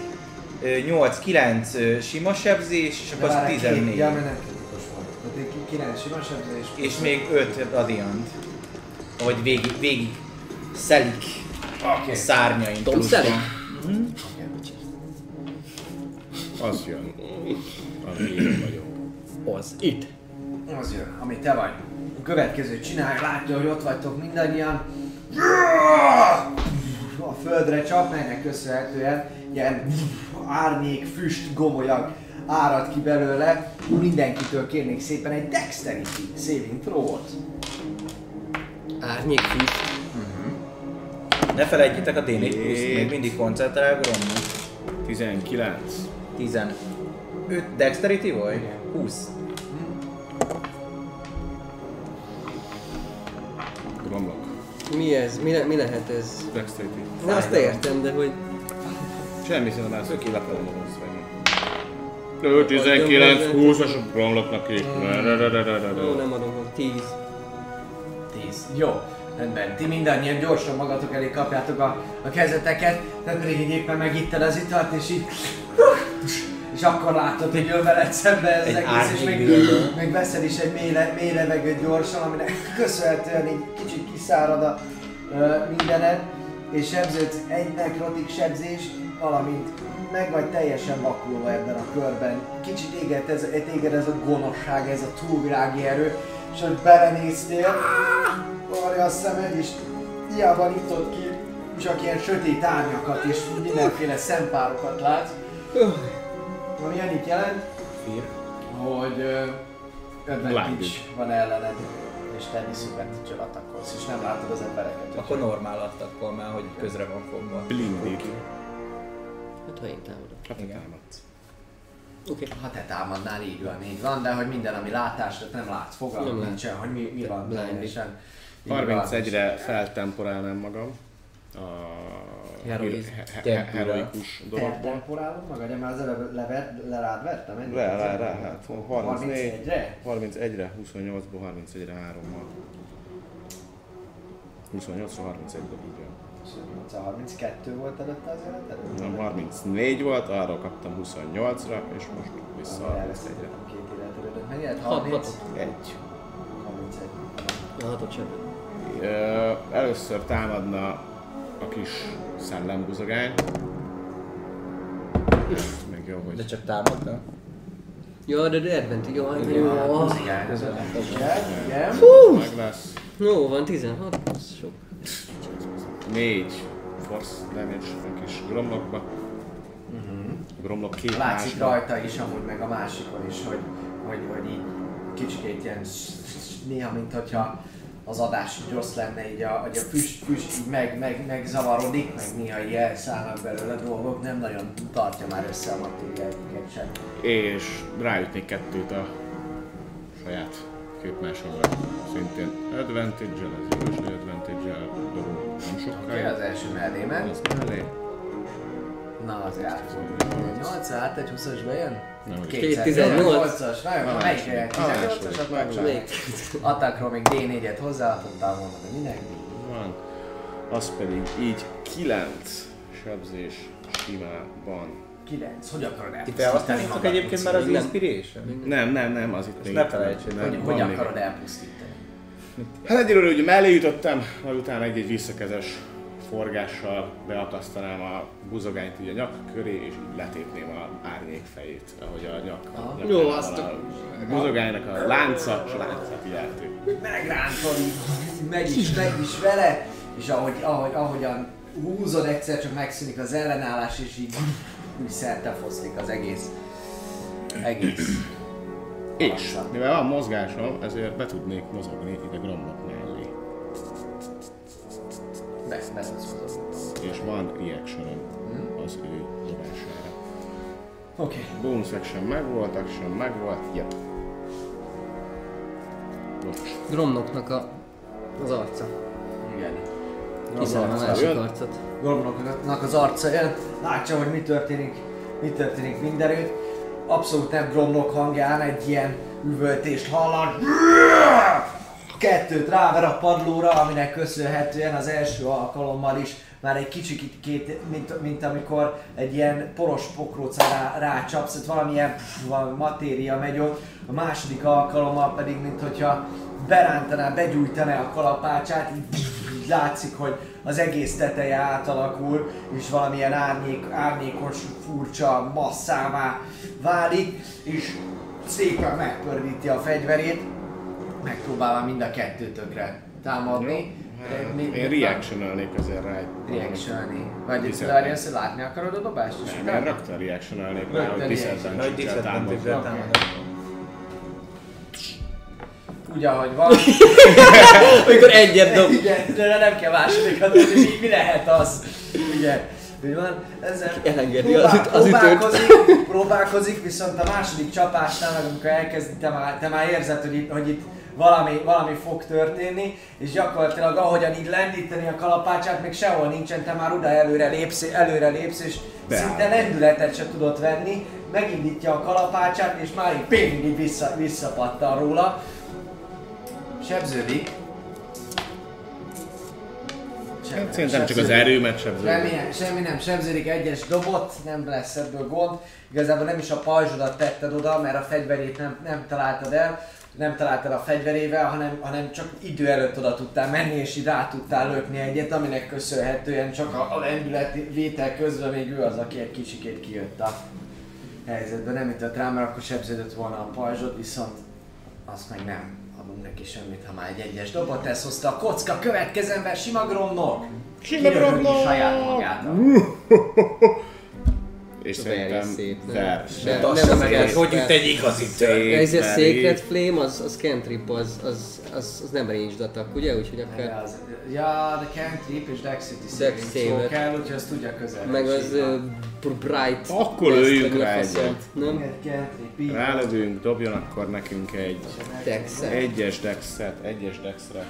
Speaker 3: 8, 9 sima sebzés, és akkor az 14.
Speaker 1: Ja, mert nem kritikus volt. Tehát ki- kilenc sima sebzés.
Speaker 3: És még 5 radiant. Hogy végig, végig szelik a szárnyain.
Speaker 2: Tom
Speaker 3: pluszban.
Speaker 2: szelik?
Speaker 3: Mhm.
Speaker 4: az jön. Ami én vagyok.
Speaker 2: Az itt.
Speaker 1: Az jön, ami te vagy. A következőt csinálja, látja, hogy ott vagytok mindannyian. A földre csap, melynek köszönhetően ilyen árnyék, füst, gomolyag árad ki belőle. Mindenkitől kérnék szépen egy dexterity saving throw-ot.
Speaker 2: Árnyék füst.
Speaker 3: Ne felejtjétek a D4 plusz, még mindig koncentrál, Grommi.
Speaker 4: 19.
Speaker 3: 15 Dexterity vagy? 20.
Speaker 4: Gromlok.
Speaker 2: Mi ez? Mi, le, mi lehet ez?
Speaker 4: Dexterity.
Speaker 2: Na azt értem, de hogy...
Speaker 4: Semmi szerintem már szöki lepelem a rossz vagy. 19, 20 as a gromloknak is.
Speaker 2: Ó, nem adom, hogy 10.
Speaker 1: 10. Jó, rendben. Ti mindannyian gyorsan magatok elé kapjátok a, a kezeteket, te pedig így éppen megitted az italt, és így... És akkor látod, hogy jön veled szembe ez az
Speaker 3: Egy
Speaker 1: egész, és
Speaker 3: árnyék
Speaker 1: még,
Speaker 3: világ.
Speaker 1: még veszel is egy mély, le- mély levegőt gyorsan, aminek köszönhetően így kicsit kiszárad a ö, mindened, és sebződsz egy nekrotik sebzést, valamint meg vagy teljesen vakulva ebben a körben. Kicsit éget ez, téged ez a gonoszság, ez a túlvilági erő, és hogy belenéztél, Varja a szemed, és hiába nyitott ki, csak ilyen sötét árnyakat és mindenféle szempárokat látsz. Ami annyit jelent, hogy ö, advantage
Speaker 4: Blinded.
Speaker 1: van ellened, és te disadvantage atakolsz, és nem látod az embereket.
Speaker 3: Akkor normál adtak akkor már, hogy közre van fogva.
Speaker 4: Blindít.
Speaker 2: Hát ha én támadok.
Speaker 4: Hát te támadsz.
Speaker 2: Oké.
Speaker 1: Ha te támadnál, így van, így van, de hogy minden, ami látás, tehát nem látsz,
Speaker 2: Nem
Speaker 1: fogalmam
Speaker 2: lát.
Speaker 1: nincsen, hogy mi, mi van
Speaker 2: Blinded.
Speaker 1: teljesen. Így van, és-
Speaker 4: 31-re feltemporálnám magam. A
Speaker 2: Heroiz-
Speaker 4: he- he-
Speaker 3: Tempura.
Speaker 4: heroikus dologból.
Speaker 1: Eltemporálod magad, de már az előbb lever, lerád vertem? ennyi?
Speaker 4: Le, le, le, hát 34,
Speaker 1: 31-re?
Speaker 4: 31-re, 28-ból 31-re, 3-mal. 28 31-ből így jön.
Speaker 1: 28 32 volt előtte az életed?
Speaker 4: Nem, 34 volt, arról kaptam 28-ra, és most vissza
Speaker 1: Szóval
Speaker 4: 31-re.
Speaker 1: elvesztettem két életedet. Mennyi lett?
Speaker 2: Hat,
Speaker 1: 30?
Speaker 2: hat.
Speaker 4: Egy.
Speaker 1: 31.
Speaker 2: Na, hatot sem.
Speaker 4: Ö, először támadna a kis szellembuzogány. Ez Meg jó,
Speaker 3: De
Speaker 4: hogy...
Speaker 3: csak támadnak?
Speaker 2: Ja, de de advantage, jó, hát jó.
Speaker 1: Igen, ez Igen, igen.
Speaker 4: Meg lesz.
Speaker 2: Jó, van 16, az sok.
Speaker 4: 4 force damage a kis gromlokba. Gromlok két
Speaker 1: Mhm. Látszik
Speaker 4: másba.
Speaker 1: rajta is, amúgy meg a másikon is, hogy, hogy, hogy így kicsikét ilyen s- s- néha, mint hogyha az adás így rossz lenne, így a, hogy a füst, füst így meg, meg, megzavarodik, meg néha így elszállnak belőle dolgok, nem nagyon tartja már össze a matériáiket sem.
Speaker 4: És ráütnék kettőt a saját két másodra. Szintén advantage-el, ez jó, és advantage-el dobunk nem
Speaker 1: Oké, az
Speaker 4: sokkal.
Speaker 1: első mellé
Speaker 4: Az mellé.
Speaker 1: Na, az járt. 8 hát egy 20-as bejön?
Speaker 4: Nem, hogy-
Speaker 2: Két 18.
Speaker 1: 18-as, nagyon
Speaker 4: Nagyon
Speaker 1: melyik
Speaker 4: jó.
Speaker 1: lehet?
Speaker 4: Nagyon
Speaker 1: 18-asat
Speaker 4: jó.
Speaker 1: megcsinálj. Attackról még D4-et hozzáadhattál volna, de mindenki.
Speaker 4: Van. Az pedig így 9 sebzés simában.
Speaker 1: 9. Hogy akarod
Speaker 3: Ti
Speaker 1: elpusztítani
Speaker 3: felhasználjátok
Speaker 1: magad?
Speaker 3: egyébként már az
Speaker 2: Nem.
Speaker 3: Inspiration?
Speaker 4: Nem, nem, nem, az itt még.
Speaker 3: ne felejtsd el.
Speaker 4: nem,
Speaker 1: Hogy,
Speaker 4: van
Speaker 1: hogy
Speaker 4: még.
Speaker 1: akarod elpusztítani?
Speaker 4: Hát egyelőre ugye mellé ütöttem, majd utána egy-egy visszakezes forgással beakasztanám a buzogányt így a nyak köré, és így letépném a árnyék fejét, ahogy a nyak.
Speaker 1: Aha.
Speaker 4: nyak
Speaker 2: Jó,
Speaker 4: a,
Speaker 2: azt
Speaker 4: a buzogánynak a lánca, és a láncát így eltép.
Speaker 1: Megrántod, így megy is, megy is vele, és ahogy, ahogy, ahogyan húzod, egyszer csak megszűnik az ellenállás, és így úgy szerte foszlik az egész. Egész.
Speaker 4: És mivel van mozgásom, ezért be tudnék mozogni ide gromlok mellé.
Speaker 1: Be, be-
Speaker 4: És van reaction az ő dobására.
Speaker 1: Oké.
Speaker 4: Bonus action megvolt, action megvolt, yep. Bocs.
Speaker 2: Gromnoknak a, az arca.
Speaker 1: Igen.
Speaker 2: Hiszen a
Speaker 1: arca
Speaker 2: másik
Speaker 4: jön.
Speaker 2: arcot.
Speaker 1: Gorbonoknak az arca jön, látja, hogy mi történik, mi történik mindenütt. Abszolút nem Gromlok hangján egy ilyen üvöltést hallan. Kettőt ráver a padlóra, aminek köszönhetően az első alkalommal is már egy kicsit két, mint, mint amikor egy ilyen poros pokróca rá, rácsapsz, tehát valamilyen pff, valami matéria megy ott, a második alkalommal pedig, mint hogyha berántaná, begyújtaná a kalapácsát, így pff, úgy látszik, hogy az egész teteje átalakul, és valamilyen árnyék, árnyékos, furcsa masszává válik, és szépen megpördíti a fegyverét, megpróbálva mind a kettőtökre támadni. De mi-
Speaker 4: Én reaction-ölnék azért rá egy...
Speaker 1: Reaction-elni. Vagy
Speaker 4: Hiszen-
Speaker 1: Larian, látni akarod a dobást? is?
Speaker 4: Én rögtön reaction-ölnék rá,
Speaker 1: Rögtön
Speaker 4: hogy
Speaker 3: Nagy
Speaker 4: disadvantage-el támadok.
Speaker 3: disadvantage-el támadok.
Speaker 1: Úgy, ahogy van.
Speaker 2: Amikor egyet dob.
Speaker 1: Igen, de nem kell másodikat, hogy mi, mi lehet az. Ugye, úgy van, ezzel
Speaker 2: Elengedi az üt- az ütőt.
Speaker 1: próbálkozik, próbálkozik, viszont a második csapásnál, meg amikor elkezd, te már, te már érzed, hogy itt, hogy itt valami, valami fog történni, és gyakorlatilag ahogyan így lendíteni a kalapácsát, még sehol nincsen, te már oda előre lépsz, előre lépsz és
Speaker 2: hát.
Speaker 4: Beáll.
Speaker 1: szinte lendületet se tudod venni, megindítja a kalapácsát, és már így pingig vissza, visszapattan róla. Sebződik. Seb-
Speaker 4: Szerintem csak az
Speaker 1: sebződik.
Speaker 4: erőmet sebződik.
Speaker 1: Semmi, semmi nem sebződik, egyes dobott, nem lesz ebből gond. Igazából nem is a pajzsodat tetted oda, mert a fegyverét nem, nem találtad el, nem találtad a fegyverével, hanem, hanem csak idő előtt oda tudtál menni, és így rá tudtál lökni egyet, aminek köszönhetően csak a, a lendületvétel közben még ő az, aki egy kicsikét kijött a helyzetben. Nem ütött rá, mert akkor sebződött volna a pajzsod, viszont azt meg nem adunk neki semmit, ha már egy egyes dobot, ezt hozta a kocka, következő ember sima gromnok!
Speaker 4: Sima
Speaker 1: Kiröhögni
Speaker 4: gromnok!
Speaker 1: saját magát.
Speaker 4: És
Speaker 2: Verje
Speaker 4: szerintem
Speaker 2: szét, nem?
Speaker 4: ver.
Speaker 2: Nem,
Speaker 3: Azt
Speaker 2: nem,
Speaker 3: hiszem,
Speaker 2: nem,
Speaker 3: hogy-
Speaker 2: ez-
Speaker 3: Hogy
Speaker 2: ez-
Speaker 3: üt egy igazi tör.
Speaker 4: Szét
Speaker 2: Ez a
Speaker 4: veri.
Speaker 2: Sacred Flame, az, az cantrip, az, az, az, az nem ranged attack, ugye? Úgyhogy akár...
Speaker 1: Ja, az- Ja, de cantrip és dexity saving throw
Speaker 2: save-et.
Speaker 1: kell, úgyhogy azt tudja közel.
Speaker 2: Meg az ö, bright...
Speaker 4: Akkor
Speaker 2: lesz,
Speaker 4: öljük
Speaker 2: meg a
Speaker 4: rá
Speaker 2: faszom,
Speaker 4: egyet.
Speaker 2: Nem?
Speaker 1: Egy cantrip, így van.
Speaker 4: Rálövünk, dobjon akkor nekünk egy
Speaker 2: Texet.
Speaker 4: egyes dexet, egyes dexre.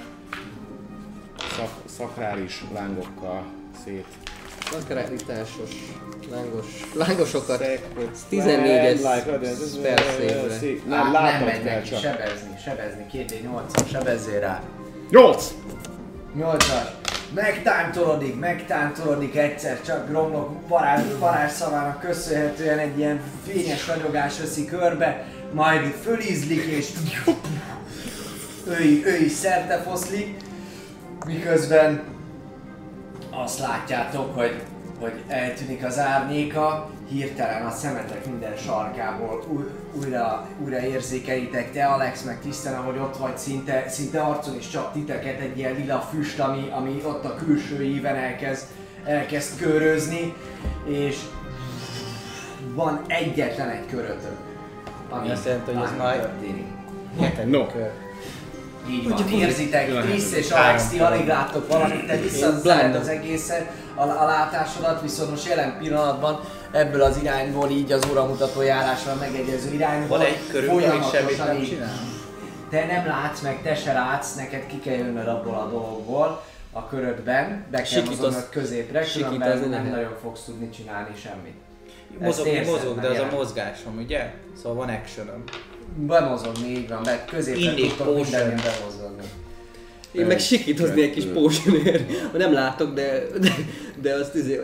Speaker 4: Szak, szakrális lángokkal szét.
Speaker 2: Akrálitásos. Lángos, lángosokat.
Speaker 4: Sacred
Speaker 2: 14-es
Speaker 4: flame, like others,
Speaker 2: spell save-re.
Speaker 4: szé-
Speaker 1: Á,
Speaker 4: Nem,
Speaker 1: nem
Speaker 4: látod
Speaker 1: megy
Speaker 4: kell
Speaker 1: neki,
Speaker 4: csak.
Speaker 1: sebezni, sebezni, 2D8-on, sebezzél rá.
Speaker 4: Nyolc!
Speaker 1: 8-as. Megtántorodik, megtántorodik egyszer csak Gromlok varázs, varázsszavának köszönhetően egy ilyen fényes ragyogás veszi körbe, majd fölízlik és ő, i- ő is szerte foszlik, miközben azt látjátok, hogy, hogy eltűnik az árnyéka, hirtelen a szemetek minden sarkából új- újra, újra érzékelitek te, Alex, meg Tisztán, ahogy ott vagy, szinte, szinte arcon is csap titeket egy ilyen lila füst, ami, ami ott a külső íven elkezd, elkezd körözni, és van egyetlen egy körötök. Ami
Speaker 3: Azt jelenti, hogy ez
Speaker 1: bármi
Speaker 3: majd-
Speaker 1: történik.
Speaker 4: No,
Speaker 1: Így van, érzitek, Krisz és Alex, ti alig láttok valamit, te visszaszállod az egészen a, a látásodat, viszont most jelen pillanatban ebből az irányból, így az óramutató járással megegyező irányból
Speaker 3: Van egy körünk, és semmit
Speaker 1: folyamatosan
Speaker 3: nem
Speaker 1: így
Speaker 3: csinál.
Speaker 1: te nem látsz, meg te se látsz, neked ki kell jönnöd abból a dologból, a körödben, be kell
Speaker 2: Sikítasz-
Speaker 1: mozognod középre, különben
Speaker 2: sikítazni
Speaker 1: nem
Speaker 2: lehet.
Speaker 1: nagyon fogsz tudni csinálni semmit. Ezt
Speaker 3: Mozogni
Speaker 1: érzed,
Speaker 3: mozog,
Speaker 1: nem
Speaker 3: de az a
Speaker 1: jelen.
Speaker 3: mozgásom, ugye? Szóval van actionom.
Speaker 1: Bemozogni, így van, be középre
Speaker 3: Inni,
Speaker 1: tudtok
Speaker 3: potion.
Speaker 1: mindenben bemozogni.
Speaker 2: Én meg sikít hozni egy kis pósonért. Ha nem látok, de, de, de azt izé...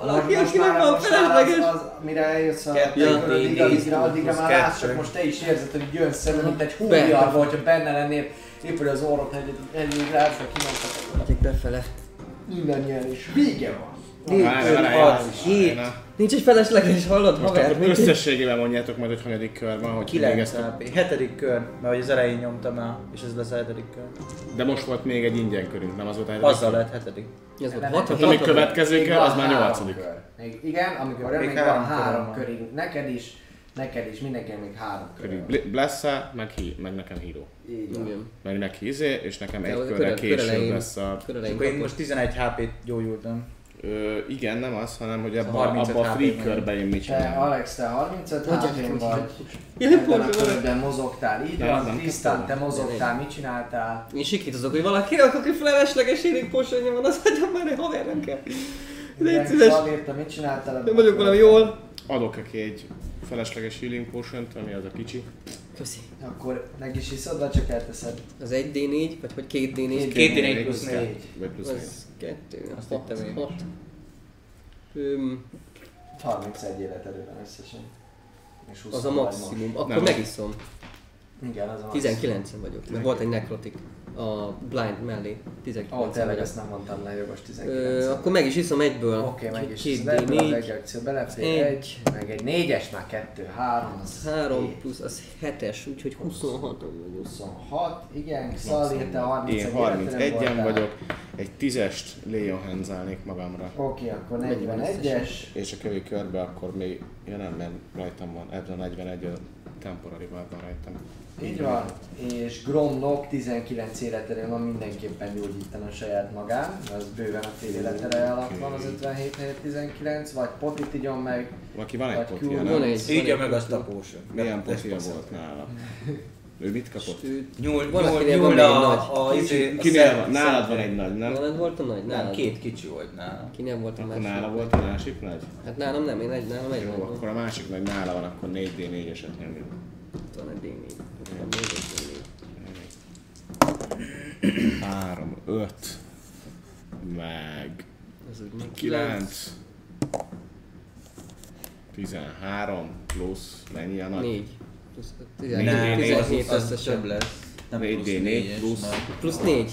Speaker 2: Valaki,
Speaker 1: most
Speaker 2: aki
Speaker 1: már,
Speaker 2: nem van
Speaker 1: most már
Speaker 2: felesleges.
Speaker 1: az, az, mire eljössz a
Speaker 3: Kettő,
Speaker 1: ja,
Speaker 3: négy,
Speaker 1: addigra,
Speaker 3: négy,
Speaker 1: addigra, addigra már
Speaker 3: plusz
Speaker 1: látsz, csak
Speaker 3: kettő.
Speaker 1: most te is érzed, hogy jön szemben, mint egy
Speaker 2: Benne.
Speaker 1: húliar volt, hogyha benne lennél, épp hogy az orrot egy, egy, egy rácra kimentek,
Speaker 2: Adjék befele.
Speaker 1: mindannyian is. Vége van.
Speaker 2: Négy,
Speaker 4: Várj,
Speaker 2: öt,
Speaker 4: várj,
Speaker 2: hat,
Speaker 4: várj,
Speaker 2: hét.
Speaker 4: várj,
Speaker 2: Nincs egy felesleges, hallod,
Speaker 4: most
Speaker 2: haver?
Speaker 4: akkor
Speaker 2: Nincs egy-
Speaker 4: összességében mondjátok majd, hogy hanyadik kör van, hogy
Speaker 3: 9
Speaker 4: végeztek.
Speaker 3: HP. Hetedik kör, mert hogy az elején nyomtam el, és ez lesz a hetedik kör.
Speaker 4: De most volt még egy ingyen körünk, nem az volt egy
Speaker 3: Azzal lett hetedik.
Speaker 2: Ez volt
Speaker 1: Nem,
Speaker 2: hat,
Speaker 1: nem,
Speaker 4: Ami
Speaker 2: hat-
Speaker 4: következő
Speaker 1: Még
Speaker 4: kör,
Speaker 1: van
Speaker 4: az már
Speaker 1: három
Speaker 4: nyolcadik.
Speaker 1: kör. Még, igen, amikor
Speaker 3: Még
Speaker 1: még, még
Speaker 3: három
Speaker 1: van három
Speaker 3: köröm van.
Speaker 1: körig, neked is, neked is, mindenkinek még három
Speaker 4: Körünk.
Speaker 1: körig.
Speaker 4: Bl- Blessa, meg, hi, meg nekem híró.
Speaker 1: Így van.
Speaker 2: Igen.
Speaker 4: Mert neki izé, és nekem egy
Speaker 2: az a
Speaker 4: körre
Speaker 2: körel-
Speaker 4: később
Speaker 2: körelején.
Speaker 4: lesz a...
Speaker 2: Kör
Speaker 3: És
Speaker 2: elején
Speaker 3: akkor én
Speaker 2: kapott.
Speaker 3: most 11 HP-t gyógyultam.
Speaker 4: Ö, igen, nem az, hanem hogy
Speaker 3: Szóval
Speaker 4: abban
Speaker 3: 35
Speaker 4: abba a free
Speaker 3: HP-ben.
Speaker 4: körben én mit
Speaker 1: Te,
Speaker 4: csinálom.
Speaker 1: Alex, te 35 hátén vagy.
Speaker 2: Jelen
Speaker 1: Ebben a
Speaker 2: pontra vagyok.
Speaker 1: körben mozogtál, így
Speaker 4: Nem,
Speaker 1: van.
Speaker 4: nem,
Speaker 1: Tisztán, te
Speaker 4: kaptam.
Speaker 1: mozogtál, mit csináltál?
Speaker 2: Én sikítozok, hogy valaki, aki felesleges érik posonja van, az hagyja már, hogy haver nem kell.
Speaker 4: hát
Speaker 2: Légy szíves.
Speaker 1: Szalírta, mit csináltál? ebben
Speaker 2: Nem
Speaker 1: a
Speaker 2: vagyok valami
Speaker 1: körben?
Speaker 2: jól.
Speaker 4: Adok neki egy felesleges healing potion ami az a kicsi.
Speaker 2: Köszi.
Speaker 1: Akkor meg is iszod, vagy csak elteszed?
Speaker 2: Az 1D4, vagy hogy 2D4?
Speaker 3: Két d plusz 4.
Speaker 1: Négy.
Speaker 4: Vagy plusz még.
Speaker 2: Az 2,
Speaker 3: Azt
Speaker 2: azt
Speaker 3: hittem én
Speaker 2: hittem
Speaker 3: is.
Speaker 2: 6. Öm,
Speaker 1: 31 életerő van összesen. És 20
Speaker 2: az a
Speaker 1: vagy most.
Speaker 2: maximum. Akkor
Speaker 4: Nem.
Speaker 2: megiszom.
Speaker 1: Igen, az a maximum.
Speaker 2: 19-en vagyok, mert volt egy nekrotik. a blind mellé. 19
Speaker 11: Ó, oh, tényleg ezt nem mondtam le, jogos 19.
Speaker 2: Ö, akkor meg is iszom egyből.
Speaker 1: Oké, meg is.
Speaker 2: Két
Speaker 1: Ez ebből az egy
Speaker 2: D4,
Speaker 1: akció belefér,
Speaker 2: Egy.
Speaker 1: egy, meg egy négyes, már kettő, három, az
Speaker 2: 3
Speaker 1: hét,
Speaker 2: plusz az 7-es, úgyhogy 26 vagyok.
Speaker 1: 26, igen, Szali, te 31
Speaker 4: Én
Speaker 1: életre
Speaker 4: 31-en
Speaker 1: voltál.
Speaker 4: vagyok, egy tízest Leonhenzálnék magamra.
Speaker 1: Oké, akkor 41-es.
Speaker 4: És a kövi körbe akkor még, ja nem, mert rajtam van, ebben a 41 a temporary van rajtam.
Speaker 1: Így van, és Gromnok 19 életerén van, mindenképpen gyógyítana saját magán, de az bőven a fél életere alatt van az 57 helyett 19, vagy Potit igyon meg,
Speaker 4: Aki van egy
Speaker 1: Vagy
Speaker 4: potja,
Speaker 1: küld-
Speaker 2: Van
Speaker 4: nem?
Speaker 2: egy. van
Speaker 3: Így
Speaker 2: egy-
Speaker 3: meg azt a potion.
Speaker 4: Milyen potja volt nála? Ő mit kapott?
Speaker 2: Sőt,
Speaker 3: Nyúl,
Speaker 2: Van,
Speaker 3: nyúl,
Speaker 2: akinél
Speaker 3: nyúl
Speaker 2: van
Speaker 3: a,
Speaker 2: még
Speaker 3: a, a, izé- a
Speaker 4: Kinél
Speaker 3: szem-
Speaker 4: van? Nálad van egy nagy, nem?
Speaker 2: Nálad volt a nagy?
Speaker 3: Nem,
Speaker 2: Nálad.
Speaker 3: két kicsi volt nálam.
Speaker 2: Ki nem volt a
Speaker 4: Akkor
Speaker 2: másik?
Speaker 4: nála volt a másik nagy?
Speaker 2: Hát nálam nem, én egy, nálam egy nagy
Speaker 4: Jó,
Speaker 2: volt.
Speaker 4: akkor a másik nagy nála van, akkor 4D4-eset nyomjuk.
Speaker 2: Ott van egy D4. Ott van még egy D4.
Speaker 4: 3, 5, meg
Speaker 2: Az úgy még 9.
Speaker 4: 9, 13 plusz mennyi a nagy?
Speaker 2: 4. Plusz
Speaker 3: Nem,
Speaker 2: 17
Speaker 3: az,
Speaker 2: 17
Speaker 3: az több
Speaker 2: összesen.
Speaker 3: lesz. Nem
Speaker 4: 4D4 plusz,
Speaker 2: Plusz 4.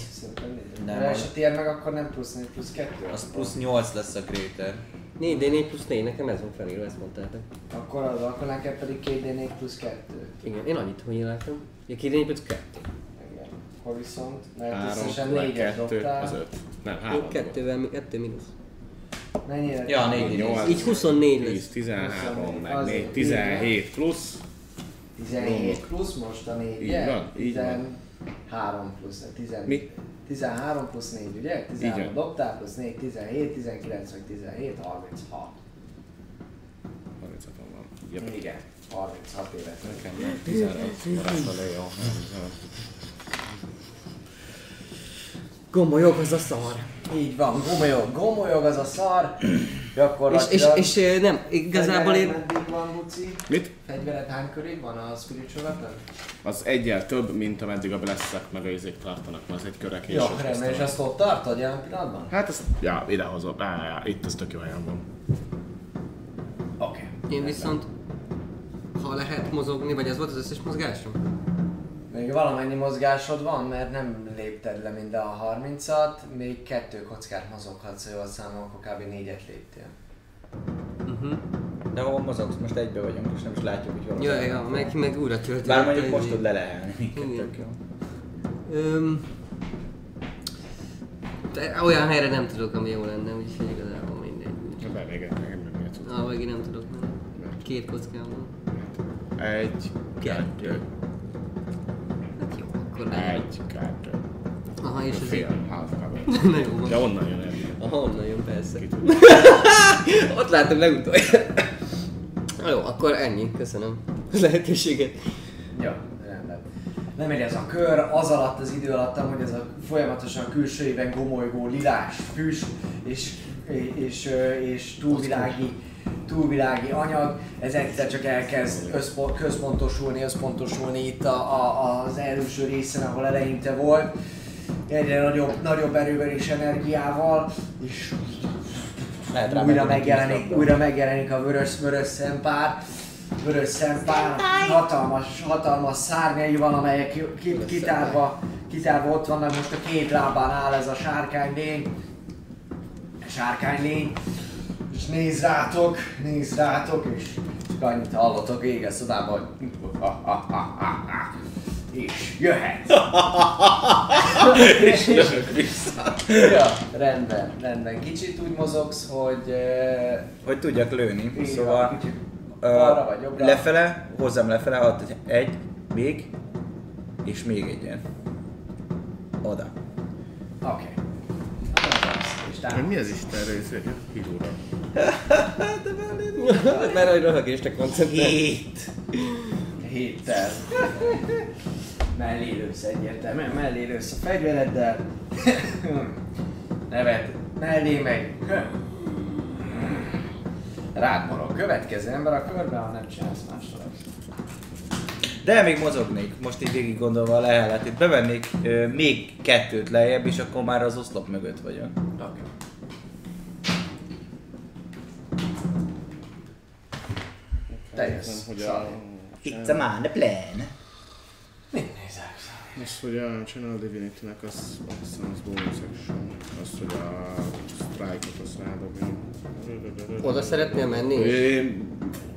Speaker 3: Nem.
Speaker 1: nem. és ha tér meg, akkor nem plusz 4, plusz 2.
Speaker 3: Az plusz 8 lesz a Greater.
Speaker 2: 4 D4 plusz 4, nekem ez van felírva, ezt mondtátok.
Speaker 1: Akkor az, akkor nekem pedig 2D4 plusz 2.
Speaker 2: Igen, én annyit, hogy én láttam. Ja, 2 D4 plusz 2.
Speaker 1: Igen. Akkor viszont, mert
Speaker 4: 3,
Speaker 1: Hát összesen
Speaker 4: meg
Speaker 1: 4-et
Speaker 4: 2, az
Speaker 1: dobtál.
Speaker 4: 5. Nem,
Speaker 2: Jó,
Speaker 4: 3
Speaker 2: kettővel, kettő mínusz.
Speaker 1: Mennyire?
Speaker 3: Ja, 4
Speaker 4: Nyolc.
Speaker 3: 8.
Speaker 2: Így 24 lesz.
Speaker 4: 10, 13, meg
Speaker 1: Az-
Speaker 4: 4, 17 plusz.
Speaker 1: 17 plusz most a 4, ugye?
Speaker 4: Így van, így van.
Speaker 1: 13 plusz, 10,
Speaker 4: Mi?
Speaker 1: 13 plusz 4, ugye? 13
Speaker 4: van.
Speaker 1: dobtál, plusz 4, 17, 19, vagy 17, 36.
Speaker 4: 36 van. Jep.
Speaker 1: Igen, 36 évet.
Speaker 4: Nekem van 15, maradva le, jó.
Speaker 2: Gomolyog az a szar.
Speaker 1: Így van, gomolyog, gomolyog az a szar.
Speaker 2: És, és,
Speaker 1: Gyakorlatilag...
Speaker 2: és ö, nem, igazából én...
Speaker 1: Fegyvered meddig van, Luci?
Speaker 4: Mit?
Speaker 1: Fegyvered hány körig van a spiritual weapon?
Speaker 4: Az egyel több, mint ameddig a blessek meg a izék tartanak, mert az egy körre
Speaker 1: Jó,
Speaker 4: később.
Speaker 1: remélem, és azt ott tartod jelen pillanatban?
Speaker 4: Hát ezt, ja, idehozom. Á, já, itt ez tök jó helyen van.
Speaker 1: Oké.
Speaker 2: Én viszont, ha lehet mozogni, vagy ez volt az összes mozgásom?
Speaker 1: Még valamennyi mozgásod van, mert nem lépted le mind a 30-at, még kettő kockát mozoghatsz, ha jól számolom, akkor kb. négyet léptél.
Speaker 3: De hol mozogsz? Most egybe vagyunk, és nem is látjuk, hogy hol az
Speaker 2: Jaj,
Speaker 3: ellenfél.
Speaker 2: ja, meg, meg újra történt.
Speaker 3: Bár Hát mondjuk most tud lelehelni minket,
Speaker 2: Igen.
Speaker 3: tök jó.
Speaker 2: Öm, te, olyan helyre nem tudok, ami jó lenne, úgyhogy igazából mindegy.
Speaker 4: Be, még egy, még egy, még egy,
Speaker 2: A végig nem tudok menni. Két kockám van.
Speaker 4: Egy,
Speaker 2: Kettő.
Speaker 4: kettő,
Speaker 2: Hát jó, akkor lehet.
Speaker 4: egy, kettő.
Speaker 2: Aha, és ez így.
Speaker 4: Fél, half cover.
Speaker 2: Na jó, van.
Speaker 4: De onnan jön el.
Speaker 2: Aha, onnan jön, persze. Ott láttam legutoljára. Na Jó, akkor ennyi. Köszönöm a lehetőséget.
Speaker 1: Ja, rendben. Nem ér ez a kör, az alatt az idő alatt, hogy ez a folyamatosan külsőjében gomolygó lilás füst és, és, és, és túlvilági, túlvilági anyag, ez egyszer csak elkezd összpo- központosulni, összpontosulni itt a, a, az első részen, ahol eleinte volt, egyre nagyobb, nagyobb erővel és energiával, és
Speaker 3: Lehet rá
Speaker 1: újra
Speaker 3: menni,
Speaker 1: megjelenik,
Speaker 3: tíz
Speaker 1: újra megjelenik a vörös, vörös szempár, vörös szempár, hatalmas, hatalmas szárnyai van, amelyek ki- ki- kitárva, kitárva ott vannak, most a két lábán áll ez a sárkánylény, a sárkánylény, és néz rátok, néz rátok, és csak annyit hallotok vége a szobában, hogy és jöhet. és Ja, rendben, rendben. Kicsit úgy mozogsz, hogy eh,
Speaker 3: Hogy tudjak lőni,
Speaker 1: így van,
Speaker 3: szóval...
Speaker 1: kicsit
Speaker 3: ö,
Speaker 1: balra vagy jobbra.
Speaker 3: Lefele, hozzám lefele, ott egy- egy, még, és még egy ilyen. Oda.
Speaker 1: Oké. És támad.
Speaker 4: Mi az Isten részé? Hidóra.
Speaker 2: Mert hogy röhögésre koncentrál.
Speaker 3: Hét! Mhm.
Speaker 1: Héttel. Mellé lősz egyértelműen, mellé lősz a fegyvereddel. Nevet. Mellé megy. Rád morog. Következő ember a körben, ha nem csinálsz másra.
Speaker 3: De még mozognék, most így végig gondolva a leheletét. Bevennék ö, még kettőt lejjebb, és akkor már az oszlop mögött vagyok.
Speaker 1: Oké. Te jössz.
Speaker 4: Hogy
Speaker 1: Szali.
Speaker 4: a...
Speaker 3: It's a man, a plan.
Speaker 1: Mit nézel? Szali?
Speaker 4: Az, hogy a Channel Divinity-nek az, azt hiszem, az bonus action. Az, hogy a strike-ot azt rádobjam.
Speaker 2: Oda szeretnél menni?
Speaker 4: Én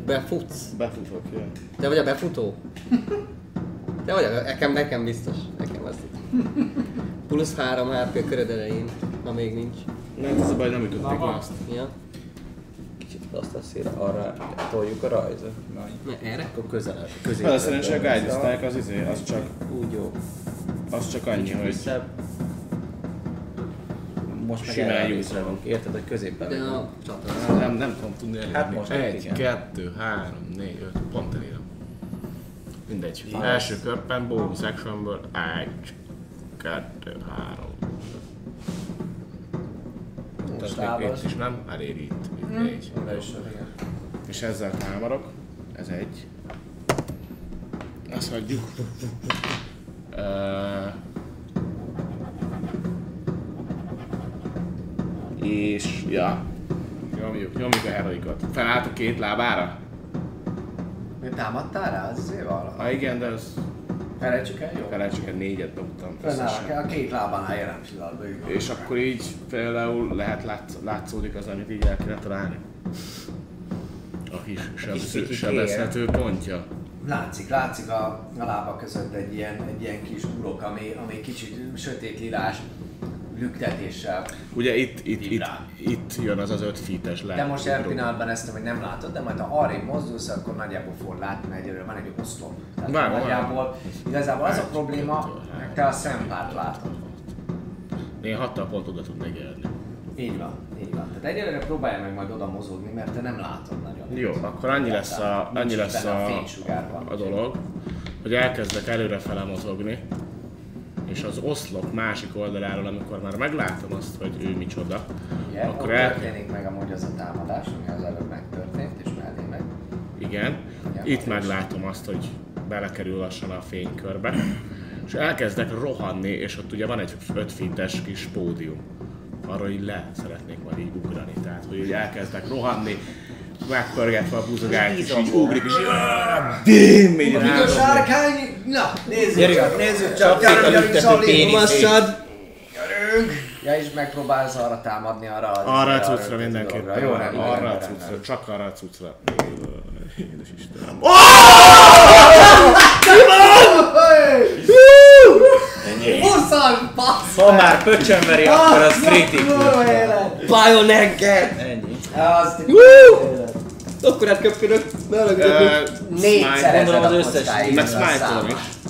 Speaker 2: Befutsz?
Speaker 4: befutok, jön.
Speaker 2: Te vagy a befutó? Te vagy a... Nekem, nekem biztos. Nekem az. Plusz 3 HP a köröd elején. Na még nincs.
Speaker 4: Nem, ez a baj, nem ütötték
Speaker 14: van.
Speaker 4: ma azt.
Speaker 2: Ja?
Speaker 3: Kicsit azt a szél, arra toljuk a rajzot. Na,
Speaker 2: Na, erre?
Speaker 3: akkor közel, közé.
Speaker 4: Hát szerencsé a Guide Strike az izé, az csak,
Speaker 3: Úgy jó.
Speaker 4: az csak annyi, hogy
Speaker 3: Vissza. Most meg
Speaker 4: Simán
Speaker 3: erre a
Speaker 4: jó.
Speaker 3: részre van. Érted, hogy középen.
Speaker 2: De
Speaker 3: van.
Speaker 2: a csata.
Speaker 4: nem, nem tudom tudni elérni.
Speaker 3: Hát most
Speaker 4: Egy,
Speaker 3: igen.
Speaker 4: kettő, három, négy, öt, pont elérem. Mindegy. Első körben, bonus actionből, egy, kettő, három. Tehát még itt is nem, elér itt, még négy. És ezzel támadok. Ez egy. Ezt hagyjuk. Ö, és, ja. Nyomjuk, nyomjuk a heroikot. Felállt a két lábára?
Speaker 1: Ő támadtál rá? Az azért valami.
Speaker 4: Ha igen, de az
Speaker 1: Felejtsük el, jó?
Speaker 4: felállt, csak négyet dobtam.
Speaker 1: Fennáll,
Speaker 4: összesen.
Speaker 1: a két lábán áll jelen pillanatban. ő.
Speaker 4: És akkor így például lehet látsz, látszódik az, amit így el kell találni. A kis sebező-
Speaker 15: kicsi
Speaker 4: sebezhető pontja.
Speaker 1: Látszik, látszik a, a lába között egy ilyen, egy ilyen kis urok, ami, ami kicsit sötét lilás lüktetéssel.
Speaker 4: Ugye itt, itt, itt,
Speaker 1: Vibrál.
Speaker 4: itt jön az az öt fites le.
Speaker 1: De most jelen pillanatban ezt még nem látod, de majd ha arrébb mozdulsz, akkor nagyjából fogod látni, mert egyelőre van egy oszlop. Tehát
Speaker 4: Vágom, vágom.
Speaker 1: nagyjából, igazából az a probléma, hogy te a szempárt látod.
Speaker 4: Én hattal pont oda tudnék érni.
Speaker 1: Így van, így van. Tehát egyelőre próbálj meg majd oda mozogni, mert te nem látod nagyon.
Speaker 4: Jó, akkor annyi lesz a,
Speaker 1: Nincs
Speaker 4: annyi
Speaker 1: így
Speaker 4: lesz
Speaker 1: benne
Speaker 4: a,
Speaker 1: a fénysugárban.
Speaker 4: a dolog, hogy elkezdek előrefele mozogni, és az oszlop másik oldaláról, amikor már meglátom azt, hogy ő micsoda,
Speaker 1: Ugye?
Speaker 4: akkor
Speaker 1: Akkor
Speaker 4: el-
Speaker 1: történik meg amúgy az a támadás, ami az előbb megtörtént, és mellé meg.
Speaker 4: Igen.
Speaker 1: Igen,
Speaker 4: Itt
Speaker 1: van
Speaker 4: meglátom azt, hogy belekerül lassan a fénykörbe. És elkezdek rohanni, és ott ugye van egy 5 fintes kis pódium. Arra így le szeretnék majd így ugrani. Tehát, hogy így elkezdek rohanni, megpörgetve a buzogányt, és így ugrik, és dém, így
Speaker 1: A
Speaker 4: rádom.
Speaker 1: sárkány! Na, nézzük csak, nézzük csak! Gyerünk,
Speaker 15: szépen
Speaker 1: gyerünk,
Speaker 15: ütött
Speaker 1: Zoli!
Speaker 15: pénisz.
Speaker 2: Masszad!
Speaker 1: Ja, és megpróbálsz arra támadni, arra az...
Speaker 4: Arra a
Speaker 1: az
Speaker 4: cuccra
Speaker 1: dologra.
Speaker 4: mindenképpen.
Speaker 1: Jó, rendben,
Speaker 4: arra a
Speaker 1: rendben, rendben.
Speaker 4: cuccra, csak arra a cuccra. Édes Istenem.
Speaker 1: Hosszan, bassz!
Speaker 15: Ha már pöcsönveri,
Speaker 1: Ah,
Speaker 15: akkor az kritikus.
Speaker 1: Kurva élet!
Speaker 2: Bajon enged!
Speaker 3: Ennyi.
Speaker 1: Azt
Speaker 2: Akkor átköpkörök! Ne rögtön!
Speaker 4: Ö,
Speaker 1: négyszerezed
Speaker 3: Gondolom,
Speaker 1: a
Speaker 3: az összes
Speaker 1: kockáidnak
Speaker 4: Meg
Speaker 1: a
Speaker 4: smite-olom
Speaker 1: számát.
Speaker 4: is.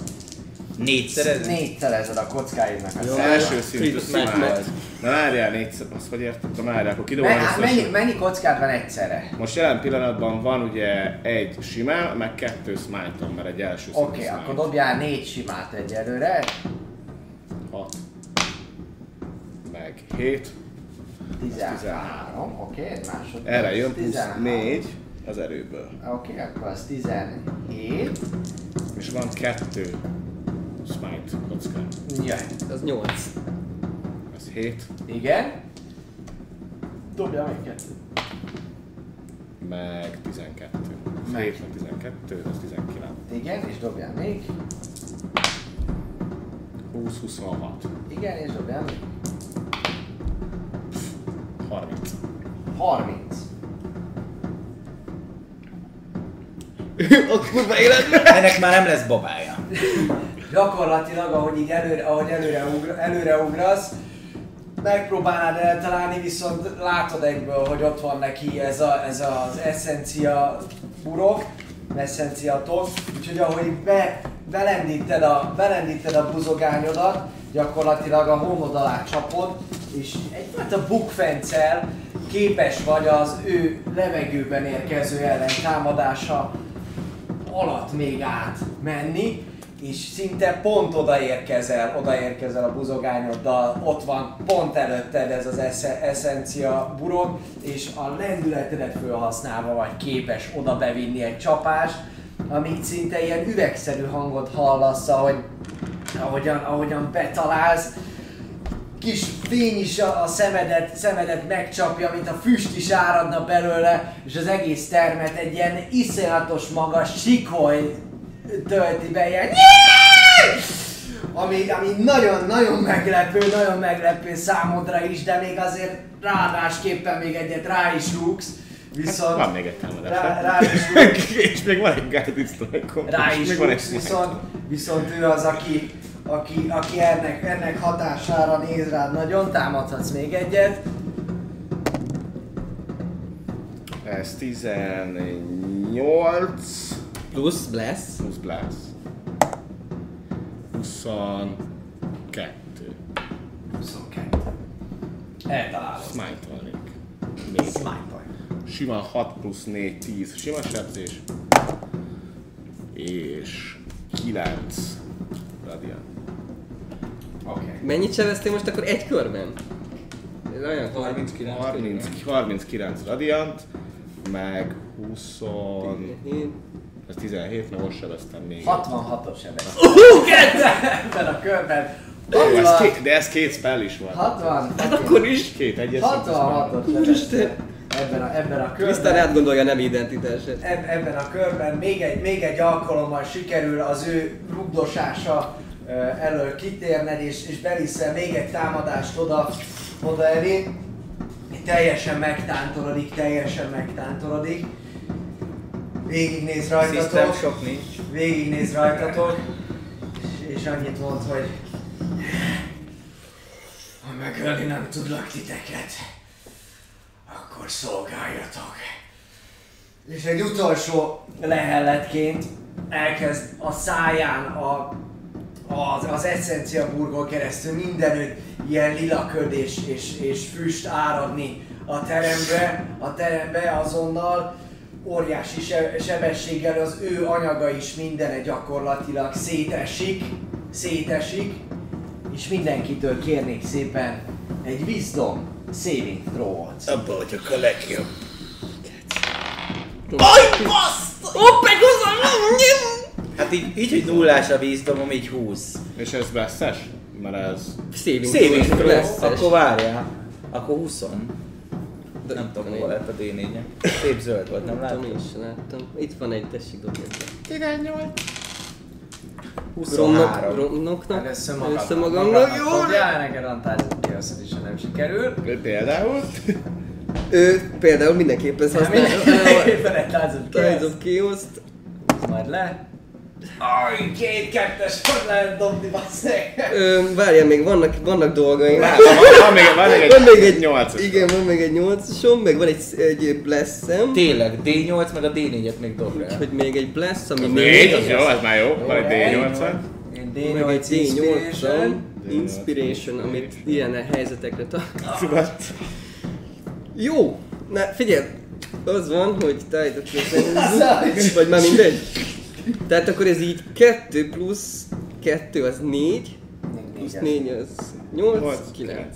Speaker 15: Négyszerező.
Speaker 1: Négyszerezed a kockáidnak a
Speaker 4: Az
Speaker 1: számát.
Speaker 4: első szintű smite. Na várjál négyszer, azt vagy értettem, várjál, akkor
Speaker 1: Me-
Speaker 4: kidobom
Speaker 1: hát Mennyi,
Speaker 4: összesen.
Speaker 1: mennyi kockád van egyszerre?
Speaker 4: Most jelen pillanatban van ugye egy simá, meg kettő smite mert egy első szintű
Speaker 1: Oké,
Speaker 4: smite.
Speaker 1: akkor dobjál négy simát egyelőre.
Speaker 4: Hat. Meg hét.
Speaker 1: 13, oké, egy másodperc.
Speaker 4: Erre jön plusz
Speaker 1: 13.
Speaker 4: négy az erőből.
Speaker 1: Oké, akkor az 17.
Speaker 4: És van kettő smite kockám.
Speaker 1: Jaj,
Speaker 2: Az 8.
Speaker 4: Ez hét.
Speaker 1: igen. Dobjál még kettőt.
Speaker 4: Meg 12. Meg. 7 meg 12, az 19.
Speaker 1: Igen, és dobjál még.
Speaker 4: 20, 26.
Speaker 1: Igen, és dobjál még.
Speaker 4: 30.
Speaker 1: 30.
Speaker 2: A kurva életben!
Speaker 15: Ennek már nem lesz babája.
Speaker 1: Gyakorlatilag, ahogy így előre, ahogy előre, ugra, előre ugrasz, megpróbálnád eltalálni, viszont látod egyből, hogy ott van neki ez, a, ez az eszencia burok, eszencia tok, úgyhogy ahogy be, belendíted, a, belendíted a buzogányodat, gyakorlatilag a homlod alá csapod, és egyfajta bukfencel képes vagy az ő levegőben érkező ellen támadása alatt még át menni, és szinte pont odaérkezel, odaérkezel a buzogányoddal, ott van pont előtted ez az esze, eszencia burok, és a lendületedet felhasználva vagy képes oda bevinni egy csapást, amit szinte ilyen üvegszerű hangot hallasz, ahogy, ahogyan, ahogyan betalálsz, kis fény is a, a szemedet, szemedet megcsapja, mint a füst is áradna belőle, és az egész termet egy ilyen iszonyatos magas sikoly tölti be, ilyen ami, ami nagyon-nagyon meglepő, nagyon meglepő számodra is, de még azért ráadásképpen még egyet rá is rúgsz, viszont...
Speaker 4: Van még egy támadás.
Speaker 1: Rá,
Speaker 4: nem?
Speaker 1: rá is rúgsz,
Speaker 4: és még van egy guided strike
Speaker 1: rá
Speaker 4: és
Speaker 1: is
Speaker 4: még van egy
Speaker 1: rúgsz,
Speaker 4: strike.
Speaker 1: viszont, viszont ő az, aki, aki, aki ennek, ennek hatására néz rád nagyon, támadhatsz még egyet.
Speaker 4: Ez 18
Speaker 2: Plusz, bless.
Speaker 4: plusz bless. 22.
Speaker 1: 22. Eltalálod.
Speaker 4: Smite-olnék. Még.
Speaker 1: Smite-olj.
Speaker 4: Sima 6 plusz 4, 10 sima sebzés. És 9 radian.
Speaker 1: Oké.
Speaker 2: Mennyit sebeztél most akkor egy körben? Ez olyan
Speaker 5: 39.
Speaker 4: 30, 39 radiant, meg 20... Ez 17, mert most sebeztem még.
Speaker 1: 66-os sebesség. Ebben a körben.
Speaker 4: De ez,
Speaker 1: 60,
Speaker 4: két, de ez két spell is van.
Speaker 1: 60,
Speaker 2: Akkor is.
Speaker 4: Két egyes.
Speaker 1: 66-os sebesség. Ebben a, ebben a
Speaker 2: Krisztán
Speaker 1: körben.
Speaker 2: átgondolja a nem identitását.
Speaker 1: eb- Ebben a körben még egy, még egy alkalommal sikerül az ő rugdosása ö, elől kitérned, és, és beliszel még egy támadást oda, oda elé. Teljesen megtántorodik, teljesen megtántorodik. Végignéz
Speaker 3: System
Speaker 1: rajtatok.
Speaker 3: sok nincs.
Speaker 1: végignéz rajtatok, és, és annyit mond, hogy ha megölni nem tudlak titeket, akkor szolgáljatok. És egy utolsó lehelletként elkezd a száján a, az, az eszencia burgol keresztül mindenütt ilyen lila köd és, és, és füst áradni a terembe, a terembe azonnal óriási se- sebességgel az ő anyaga is mindene gyakorlatilag szétesik, szétesik, és mindenkitől kérnék szépen egy wisdom saving throw-ot.
Speaker 5: Abba vagyok a legjobb.
Speaker 3: Hát így, így hogy nullás a vízdomom, így 20.
Speaker 4: És ez veszes? Mert ez...
Speaker 2: Saving
Speaker 3: Saving
Speaker 2: throw.
Speaker 3: throw,
Speaker 2: Blesses.
Speaker 3: akkor várjál. Akkor 20. Nem tudom, hol lett a d 4 Szép zöld volt, nem
Speaker 2: Láttam
Speaker 3: látod?
Speaker 2: én is, láttam. Itt van egy, tessék dobni. Romnok,
Speaker 3: 23.
Speaker 2: romnoknak.
Speaker 11: Először magadnak.
Speaker 2: Először magamnak. Jó!
Speaker 11: Jaj, neked antázni ki azt, hogy is, ha nem sikerül.
Speaker 4: Például...
Speaker 2: Ő például mindenképpen ezt használja.
Speaker 11: Mindenképpen egy lázat
Speaker 2: Tides
Speaker 11: kell.
Speaker 2: of Chaos-t.
Speaker 11: Majd le. Aj, két kettes, hogy lehet dobni, basszeg?
Speaker 2: Ö, Várjál, még vannak, vannak dolgaim.
Speaker 4: Van, van még, van még egy,
Speaker 2: Van még egy
Speaker 4: 8
Speaker 2: Igen, van még egy 8-osom, meg van egy, egy blessem.
Speaker 3: Tényleg, D8 meg a D4-et még dob rá.
Speaker 2: Úgyhogy még egy bless, ami
Speaker 4: 4,
Speaker 2: négy.
Speaker 4: az jó, az már jó. Van egy
Speaker 11: egy
Speaker 4: D8-an.
Speaker 11: Én
Speaker 2: Meg egy
Speaker 11: D8
Speaker 2: D8-om.
Speaker 11: Inspiration.
Speaker 2: Inspiration, amit ilyen helyzetekre tart.
Speaker 4: Szubott.
Speaker 2: Jó! Na figyelj! Az van, hogy Tide of Chaos- Vagy már mindegy. Tehát akkor ez így 2 plusz 2 az 4, plusz 4 az 8,
Speaker 4: Nyolc,
Speaker 2: 9.
Speaker 4: kilenc.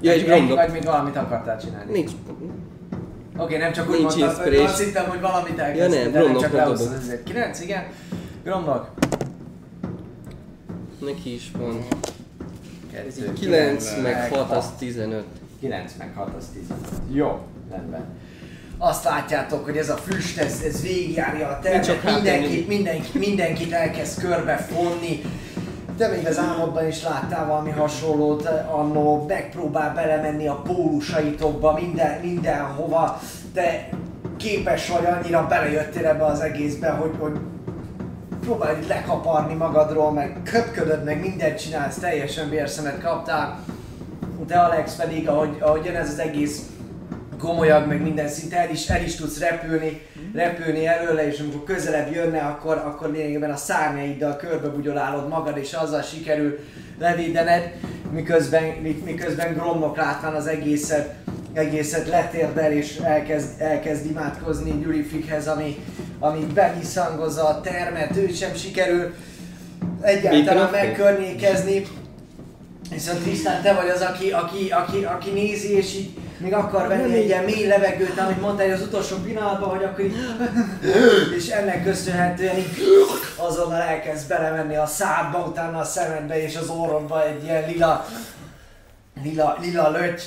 Speaker 2: Ja, és
Speaker 11: Egy,
Speaker 2: gromlok.
Speaker 11: vagy még valamit akartál csinálni.
Speaker 2: Nincs.
Speaker 11: Oké, nem csak úgy
Speaker 2: Nincs
Speaker 11: mondtad, hogy
Speaker 2: inspiration.
Speaker 11: azt hittem, hogy valamit
Speaker 2: Ja,
Speaker 11: elkezdtél,
Speaker 2: nem,
Speaker 11: de nem
Speaker 2: Gromnak
Speaker 11: csak
Speaker 2: nem
Speaker 11: leosztod
Speaker 2: dobok.
Speaker 11: ezért. 9, igen. Gromnak.
Speaker 2: Neki is van.
Speaker 11: 2,
Speaker 2: 9 meg 6 az 15.
Speaker 1: 9 meg 6 az 10. Jó, rendben. Azt látjátok, hogy ez a füst, ez, ez végigjárja a
Speaker 2: Nincs
Speaker 1: termet,
Speaker 2: csak hátra nyúl.
Speaker 1: mindenkit, mindenkit, mindenkit elkezd körbefonni. Te még az álmodban is láttál valami hasonlót, annó megpróbál belemenni a pólusaitokba, minden, mindenhova. Te képes vagy, annyira belejöttél ebbe az egészbe, hogy, hogy próbálj lekaparni magadról, meg köpködöd, meg mindent csinálsz, teljesen bérszemet kaptál. De Alex pedig, ahogy, ahogy jön ez az egész gomolyag, meg minden szinte el is, el is tudsz repülni, repülni előle, és amikor közelebb jönne, akkor, akkor lényegében a szárnyaiddal körbebugyolálod magad, és azzal sikerül levédened, miközben, mi- miközben gromlok látván az egészet, egészet letérdel, és elkezd, elkezd imádkozni Gyurifikhez, ami, ami beniszangozza a termet, őt sem sikerül egyáltalán
Speaker 2: Mikrofon?
Speaker 1: megkörnyékezni. Viszont Tisztán, te vagy az, aki, aki, aki, aki nézi, és így még akar venni egy ilyen mély levegőt, amit mondtál hogy az utolsó pillanatban, hogy akkor így... És ennek köszönhetően így azonnal elkezd belemenni a szádba, utána a szemedbe és az orrodba egy ilyen lila, lila, lila löty,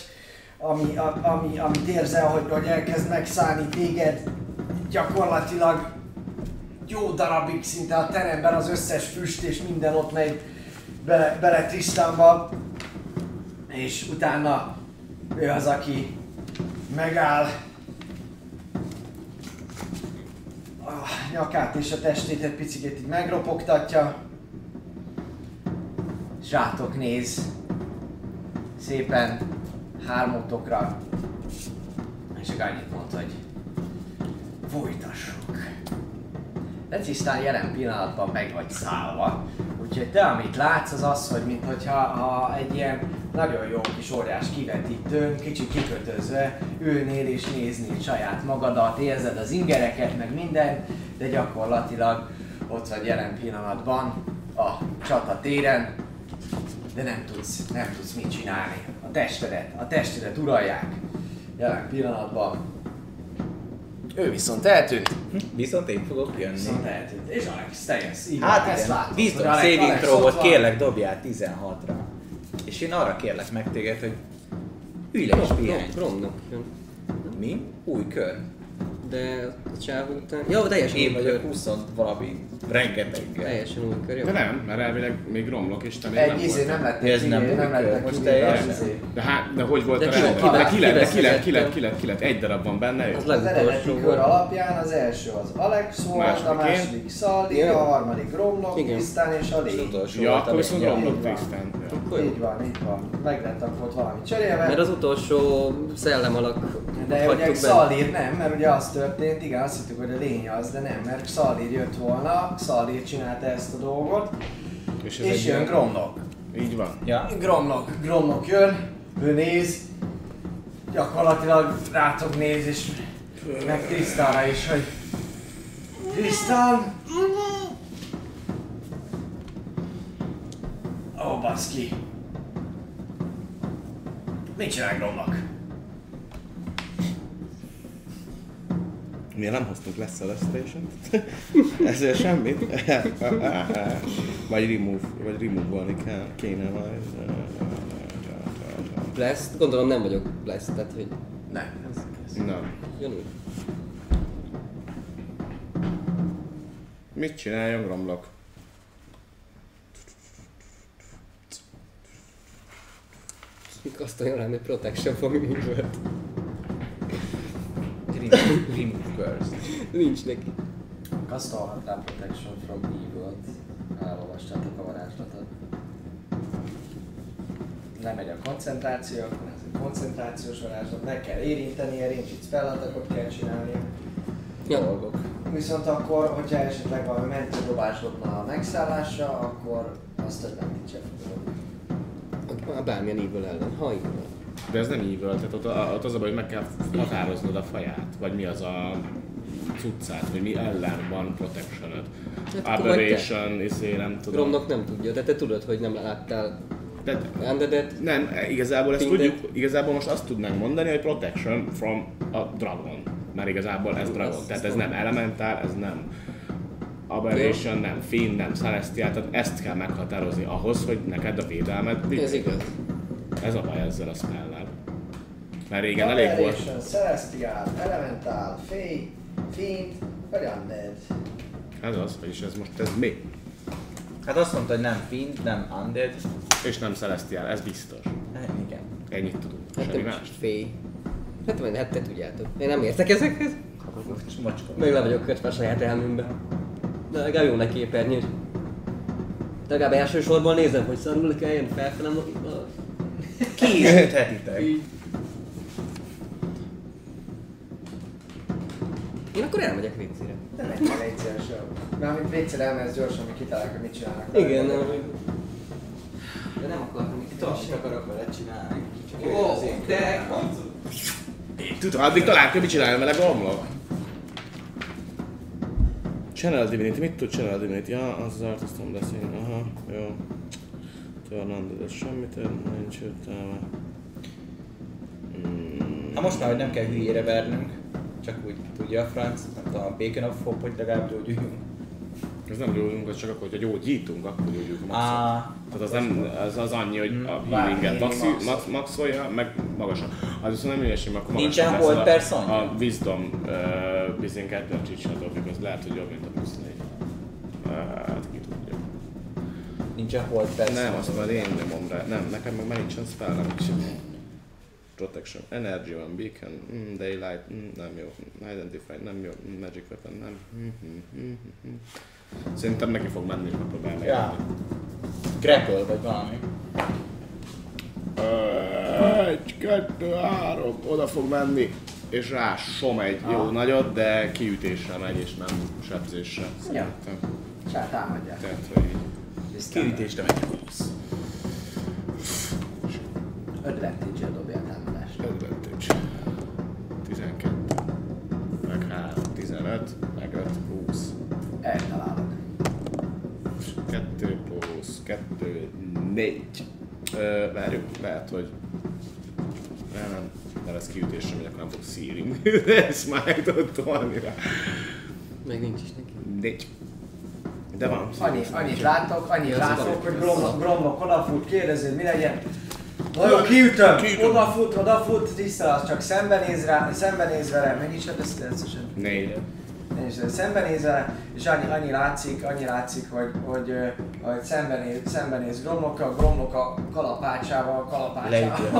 Speaker 1: ami, a- ami, amit érzel, hogy, hogy elkezd megszállni téged gyakorlatilag jó darabig szinte a teremben az összes füst és minden ott megy bele, bele Tristanba. És utána ő az, aki megáll, a nyakát és a testét egy picit így megropogtatja. És rátok néz. Szépen hármótokra. És csak annyit mond, hogy folytassuk. De tisztán jelen pillanatban meg vagy szállva. Úgyhogy te, amit látsz, az az, hogy mintha ha egy ilyen nagyon jó kis óriás kivetítőn, kicsit kikötözve ülnél és néznéd saját magadat, érzed az ingereket, meg mindent, de gyakorlatilag ott vagy jelen pillanatban a csatatéren, de nem tudsz, nem tudsz mit csinálni. A testedet, a testedet uralják. Jelen pillanatban
Speaker 9: Ő viszont eltűnt.
Speaker 3: Hm? Viszont én fogok jönni.
Speaker 1: viszont eltűnt. És Alex, te jössz. Így van,
Speaker 3: Hát
Speaker 1: ezt
Speaker 3: igen,
Speaker 1: látod,
Speaker 3: biztos
Speaker 1: hogy Alex-
Speaker 3: saving
Speaker 1: Alex ott
Speaker 3: throw-ot
Speaker 1: van.
Speaker 3: kérlek dobjál 16-ra. És én arra kérlek meg téged, hogy ülj le és pihenj.
Speaker 2: Romnak jön.
Speaker 3: Mi? Új kör.
Speaker 2: De a csávó után... Jó, teljesen
Speaker 3: Én
Speaker 2: új
Speaker 3: vagyok
Speaker 2: kör.
Speaker 3: 20 valami rengeteggel.
Speaker 2: Teljesen új kör, jó.
Speaker 4: De nem, mert elvileg még romlok, és te még nem
Speaker 1: Egy izé
Speaker 4: voltál.
Speaker 1: nem lettek
Speaker 3: Ez
Speaker 1: ez
Speaker 3: nem
Speaker 1: nem, nem
Speaker 3: működik.
Speaker 1: lettek
Speaker 3: Most
Speaker 1: Most
Speaker 3: teljesen.
Speaker 1: izé.
Speaker 4: De, hát, de hogy volt
Speaker 2: De
Speaker 4: a
Speaker 2: ki-
Speaker 4: rendben?
Speaker 2: ki-
Speaker 4: De
Speaker 2: ki
Speaker 4: ki lett, de ki lett,
Speaker 2: veszítette?
Speaker 4: ki lett, ki lett, ki lett, egy darab van benne, jó?
Speaker 2: Az
Speaker 1: Az eredeti
Speaker 2: legutolsó
Speaker 1: kör
Speaker 2: volt.
Speaker 1: alapján az első az Alex volt, a
Speaker 4: Második én.
Speaker 1: második Szalli,
Speaker 2: Igen.
Speaker 1: a harmadik Romlok,
Speaker 2: Igen.
Speaker 1: Tisztán és a Lé.
Speaker 3: Utolsó
Speaker 4: Ja,
Speaker 3: volt,
Speaker 4: akkor
Speaker 3: ami-
Speaker 4: viszont
Speaker 3: ja.
Speaker 4: romlok tisztán. Ja.
Speaker 2: Akkor jó.
Speaker 1: Így van, így van. Meg lett akkor valami cserélve.
Speaker 2: Mert az utolsó szellemalak
Speaker 1: De ugye
Speaker 2: hagytuk benne.
Speaker 1: Xalir nem, mert ugye az történt, igen, azt hittük, hogy a lény az, de nem, mert Xalir jött volna, Xalir csinálta ezt a dolgot,
Speaker 4: És ez
Speaker 1: és
Speaker 4: egy
Speaker 1: jön Gromlok.
Speaker 4: Így van.
Speaker 3: Ja,
Speaker 1: Gromlok, Gromlok jön, ő néz, gyakorlatilag rátok néz, és meg Trisztára is, hogy Trisztán! Ó, oh, baszki! Mit csinál Gromlok?
Speaker 12: Miért nem hoztunk lesz a lesztésent? Ezért semmit? vagy remove, vagy remove-olni kell, kéne majd.
Speaker 2: Blast, gondolom nem vagyok Blast, tehát hogy
Speaker 1: Nem.
Speaker 12: Nem.
Speaker 2: jön úgy.
Speaker 12: Mit csináljon, romlok?
Speaker 2: Mik azt olyan rám, hogy protection valami nincs volt.
Speaker 3: remove remove curse.
Speaker 2: Nincs neki.
Speaker 11: Kasztolhat rá Protection from Evil-t. Elolvastátok a varázslatot.
Speaker 1: nem megy a koncentráció, akkor ez egy koncentrációs varázslat, meg kell érintenie, rincsít feladatot kell csinálni.
Speaker 2: Ja,
Speaker 1: Viszont akkor, hogyha esetleg valami mentődobásodna a megszállásra, akkor azt többet nincs
Speaker 2: már bármilyen evil ellen, ha evil.
Speaker 4: De ez nem evil, tehát ott, ott az a baj, hogy meg kell határoznod a faját, vagy mi az a cuccát, vagy mi ellen van protection
Speaker 2: Hát akkor vagy te.
Speaker 4: Aberration, izé, nem tudom.
Speaker 2: Gromnak nem tudja, de te tudod, hogy nem láttál
Speaker 4: Tehát
Speaker 2: Undeadet.
Speaker 4: Nem, igazából ezt
Speaker 2: Mindegy.
Speaker 4: tudjuk, igazából most azt tudnánk mondani, hogy protection from a dragon. Mert igazából ez dragon, tehát ez nem elementál, ez nem aberration, nem fin, nem celestial, tehát ezt kell meghatározni ahhoz, hogy neked a védelmet
Speaker 2: Ez
Speaker 4: vigy.
Speaker 2: igaz.
Speaker 4: Ez a baj ezzel a spellel. Mert régen elég volt.
Speaker 1: Celestial, Elemental, Fey, Fiend, vagy Undead.
Speaker 4: Ez az, vagyis ez most ez mi?
Speaker 3: Hát azt mondta, hogy nem fiend, nem undead.
Speaker 4: És nem celestial, ez biztos.
Speaker 3: Hát igen.
Speaker 4: Ennyit tudunk,
Speaker 2: Hát
Speaker 4: semmi
Speaker 2: nem
Speaker 4: más.
Speaker 2: most fél. Hát majd, hát te tudjátok. Én nem értek ezekhez.
Speaker 3: Bocs, Mocska.
Speaker 2: Meg le vagyok kötve a saját elműmbe. De legalább jó neki képernyős. De legalább elsősorban nézem, hogy szarul kell jön felfelem. a- a-
Speaker 3: Ki is üthetitek?
Speaker 2: Így. Én akkor elmegyek viccire.
Speaker 1: Nem egy kell egyszer sem. Mármint végszer elmehetsz gyorsan, hogy kitalálják, hogy mit csinálnak.
Speaker 2: Igen, nem.
Speaker 11: De nem akartam itt
Speaker 2: tartsd,
Speaker 11: akarok vele csinálni. Csak
Speaker 2: de...
Speaker 4: Tudom, addig találjuk, hogy mit csináljon vele gomlok.
Speaker 12: Channel Divinity, mit tud Channel Divinity? Ja, azzal tudtam beszélni, aha, jó. Törnand, de semmit eh, nincs értelme.
Speaker 3: Na Hát most már, hogy nem kell hülyére vernünk, csak úgy tudja a franc, nem tudom, a Bacon of Hope, hogy legalább gyógyuljunk.
Speaker 4: Ez nem gyógyulunk, az csak akkor, hogyha gyógyítunk, akkor gyógyulunk maxot.
Speaker 3: Á, Hmm,
Speaker 4: Tehát az, nem, az, az annyi, hogy a healinget maxi, max, maxolja, meg magasan. Az viszont nem ügyes, mert akkor
Speaker 3: Nincsen
Speaker 4: magasabb lesz
Speaker 3: hold
Speaker 4: a, eh,
Speaker 3: person?
Speaker 4: a wisdom uh, bizinket, nem csicsadok, az lehet, hogy jobb, mint a plusz négy. Hát ki tudja.
Speaker 3: Nincsen hold fest.
Speaker 4: Nem, azt már én nyomom rá. Nem, nekem meg már nincsen spellem. úgyhogy- Protection, Energy van, Beacon, mm, Daylight, mm, nem jó, mm, Identify, nem jó, mm, Magic Weapon, nem. Mm, mm, mm, mm, mm. Szerintem neki fog menni, és megpróbál meg.
Speaker 3: Ja. Grapple vagy valami.
Speaker 4: Egy, kettő, három, oda fog menni. És rá som egy jó nagyot, de kiütésre megy, és nem sebzésre. Szerintem.
Speaker 1: És hát támadják.
Speaker 4: Tehát, hogy így.
Speaker 3: Kiütésre megy 20.
Speaker 1: Advantage-el dobja a támadást.
Speaker 4: Advantage. 12. Meg 3. 15. Meg 5. 20.
Speaker 1: Eltalálod.
Speaker 4: 2 plusz 2. 4. Ö, várjuk, lehet, hogy... Nem, nem. Mert ez kiütésre megy, akkor nem fog szíring. Ezt már tudtam annyira.
Speaker 2: Meg nincs is neki.
Speaker 4: 4. De van.
Speaker 1: Annyi, annyit látok, annyit látok, hogy Bromlok, Bromlok odafut, kérdező, mi legyen. Na jó, kiütöm, odafut, odafut, tiszta az csak szembenéz rá, szembenéz vele, mennyi is ez természetesen?
Speaker 4: 4.
Speaker 1: Én is szembenéz vele, és annyi, annyi látszik, annyi látszik, hogy, hogy, ö, hogy szembenéz, szembenéz Gromlokkal, Gromlok a kalapácsával, kalapácsával,
Speaker 3: Leüti a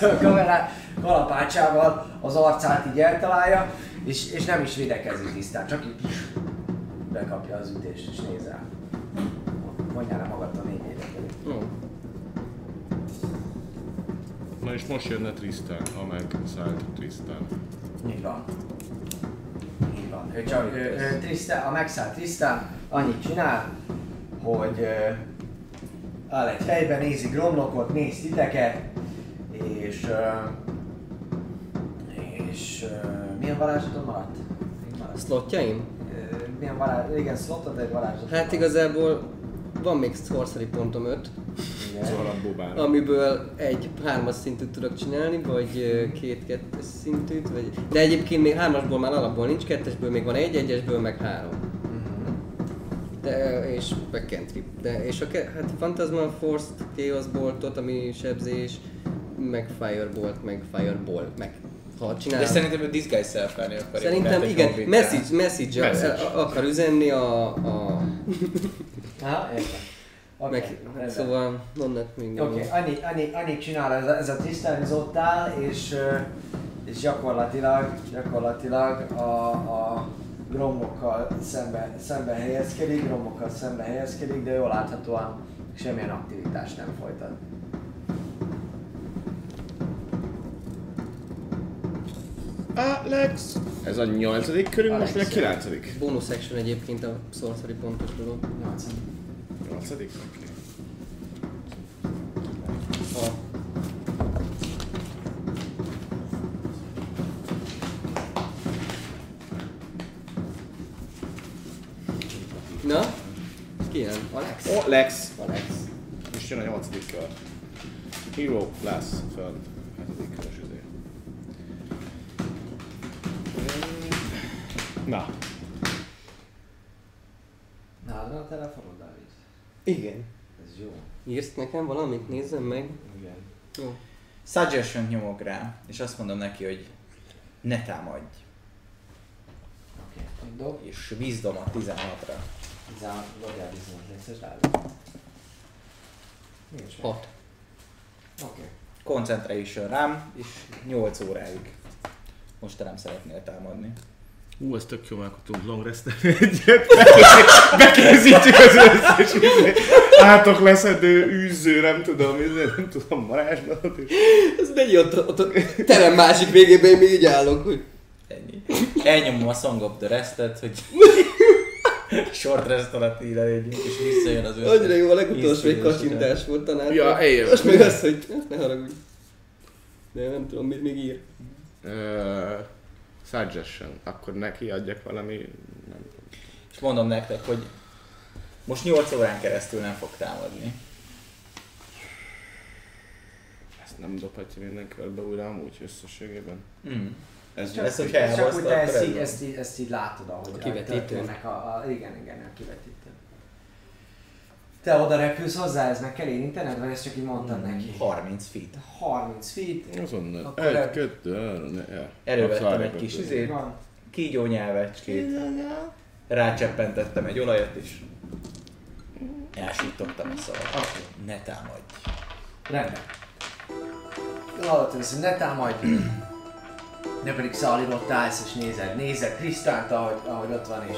Speaker 1: Leüti a kamerát, kalapácsával az arcát így eltalálja, és, és nem is védekezik tisztán, csak így bekapja az ütést, és néz rá. Mondjál le magad a négy védekezik.
Speaker 4: Na és most jönne Tristan, ha megszállt Tristan.
Speaker 1: Így van. Így van. Ő csak, ő, ő, Tristan, a megszállt Tristan annyit csinál, hogy ö, áll egy helyben, nézi Gromlokot, néz titeket, és... Ö, és... Ö, milyen varázslatom maradt? Még maradt?
Speaker 2: Slotjaim?
Speaker 1: Ö, Milyen varázs... Igen, szlottad egy varázslatot?
Speaker 2: Hát igazából van még sorcery pontom 5,
Speaker 4: Szóval a bubán.
Speaker 2: amiből egy hármas szintűt tudok csinálni, vagy ö, két kettes szintűt, vagy... De egyébként még hármasból már alapból nincs, kettesből még van egy, egyesből meg három.
Speaker 1: Mhm.
Speaker 2: De, és meg cantrip. De, és a ke- hát Phantasmal Force, Chaos Boltot, ami sebzés, meg Firebolt, meg Fireball, meg ha csinálom.
Speaker 5: De szerintem ő disguise self akkor
Speaker 2: Szerintem igen, message, message, message. akar üzenni a, a
Speaker 1: Ha, értem. Oké,
Speaker 2: meg,
Speaker 1: rendben.
Speaker 2: szóval mondnak
Speaker 1: Oké,
Speaker 2: még
Speaker 1: okay, annyi, annyi, annyit csinál ez a, ez a tisztelni, az ott áll, és, ö, és gyakorlatilag, gyakorlatilag a, a gromokkal szembe, szembe helyezkedik, gromokkal szembe helyezkedik, de jól láthatóan semmilyen aktivitást nem folytat.
Speaker 4: Alex! Ez a nyolcadik körünk, most vagy a kilencedik?
Speaker 2: Bonus action egyébként a sorcery pontos dolog.
Speaker 1: 80.
Speaker 4: Nyolcadik? Oké.
Speaker 2: Na? Ki jön? Alex?
Speaker 4: Ó, Lex! Alex. Most jön a nyolcadik kör. Hero lesz föl. Hetedik körös izé. Na,
Speaker 1: Nálad van a telefonod, Dávid?
Speaker 2: Igen.
Speaker 1: Ez jó.
Speaker 2: Írsz nekem valamit? Nézzem meg.
Speaker 1: Igen.
Speaker 2: Jó.
Speaker 3: Suggestion nyomok rá, és azt mondom neki, hogy ne támadj.
Speaker 1: Oké, okay. dob.
Speaker 3: És wisdom a 16-ra.
Speaker 1: Zá- Dobjál viszont részes Dávid. Nincs meg.
Speaker 2: Hat.
Speaker 1: Oké.
Speaker 3: Concentration rám, és 8 óráig. Most te nem szeretnél támadni.
Speaker 12: Ú, ez tök jó, mert akkor tudunk long rest egyet. Bekészítjük az összes izé.
Speaker 4: átok leszedő, űző, nem tudom, izé, nem tudom, varázslatot és...
Speaker 2: Ez megy ott, ott a terem másik végében, én még így állok, hogy...
Speaker 3: Ennyi. Elnyomom a Song of the Rest-et, hogy short rest alatt így legyünk, és visszajön az összes.
Speaker 2: Annyira jó, a legutolsó egy
Speaker 3: íztudós
Speaker 2: kacsintás volt tanár.
Speaker 12: Ja, eljön.
Speaker 2: Most meg az, hogy hát ne haragudj. De nem tudom, mit még ír.
Speaker 4: Ö, suggestion. Akkor neki adjak valami... Nem tudom.
Speaker 3: És mondom nektek, hogy most 8 órán keresztül nem fog támadni.
Speaker 4: Ezt nem dobhatja minden körbe újra amúgy összességében.
Speaker 3: Mm.
Speaker 4: Ez
Speaker 3: Ezt, hogyha
Speaker 1: Ez csak
Speaker 3: elhozta,
Speaker 1: úgy, de
Speaker 3: akkor
Speaker 1: ezt így,
Speaker 3: ez
Speaker 1: ezt, így, ezt így látod, ahogy a
Speaker 2: kivetítő.
Speaker 1: történnek a, a, igen, igen, a kivetítő. Te oda repülsz hozzá, ez meg kell érintened, vagy ezt csak így mondtad
Speaker 3: Hmm.
Speaker 1: neki?
Speaker 3: 30 feet.
Speaker 1: 30 feet.
Speaker 4: Azonnal.
Speaker 1: Akkor el-
Speaker 4: Egy, kettő, három, ne, el.
Speaker 3: Elővettem
Speaker 4: Abszolút
Speaker 3: egy kis
Speaker 4: elkötő.
Speaker 3: izét,
Speaker 1: Van.
Speaker 3: kígyó nyelvecskét. rácseppentettem egy olajat is. Elsítottam a szavat. Okay. Ne támadj.
Speaker 1: Rendben. Alatt ez ne támadj. Ne pedig Szalid ott állsz és nézed, nézed Krisztánt, ahogy, ahogy ott van és...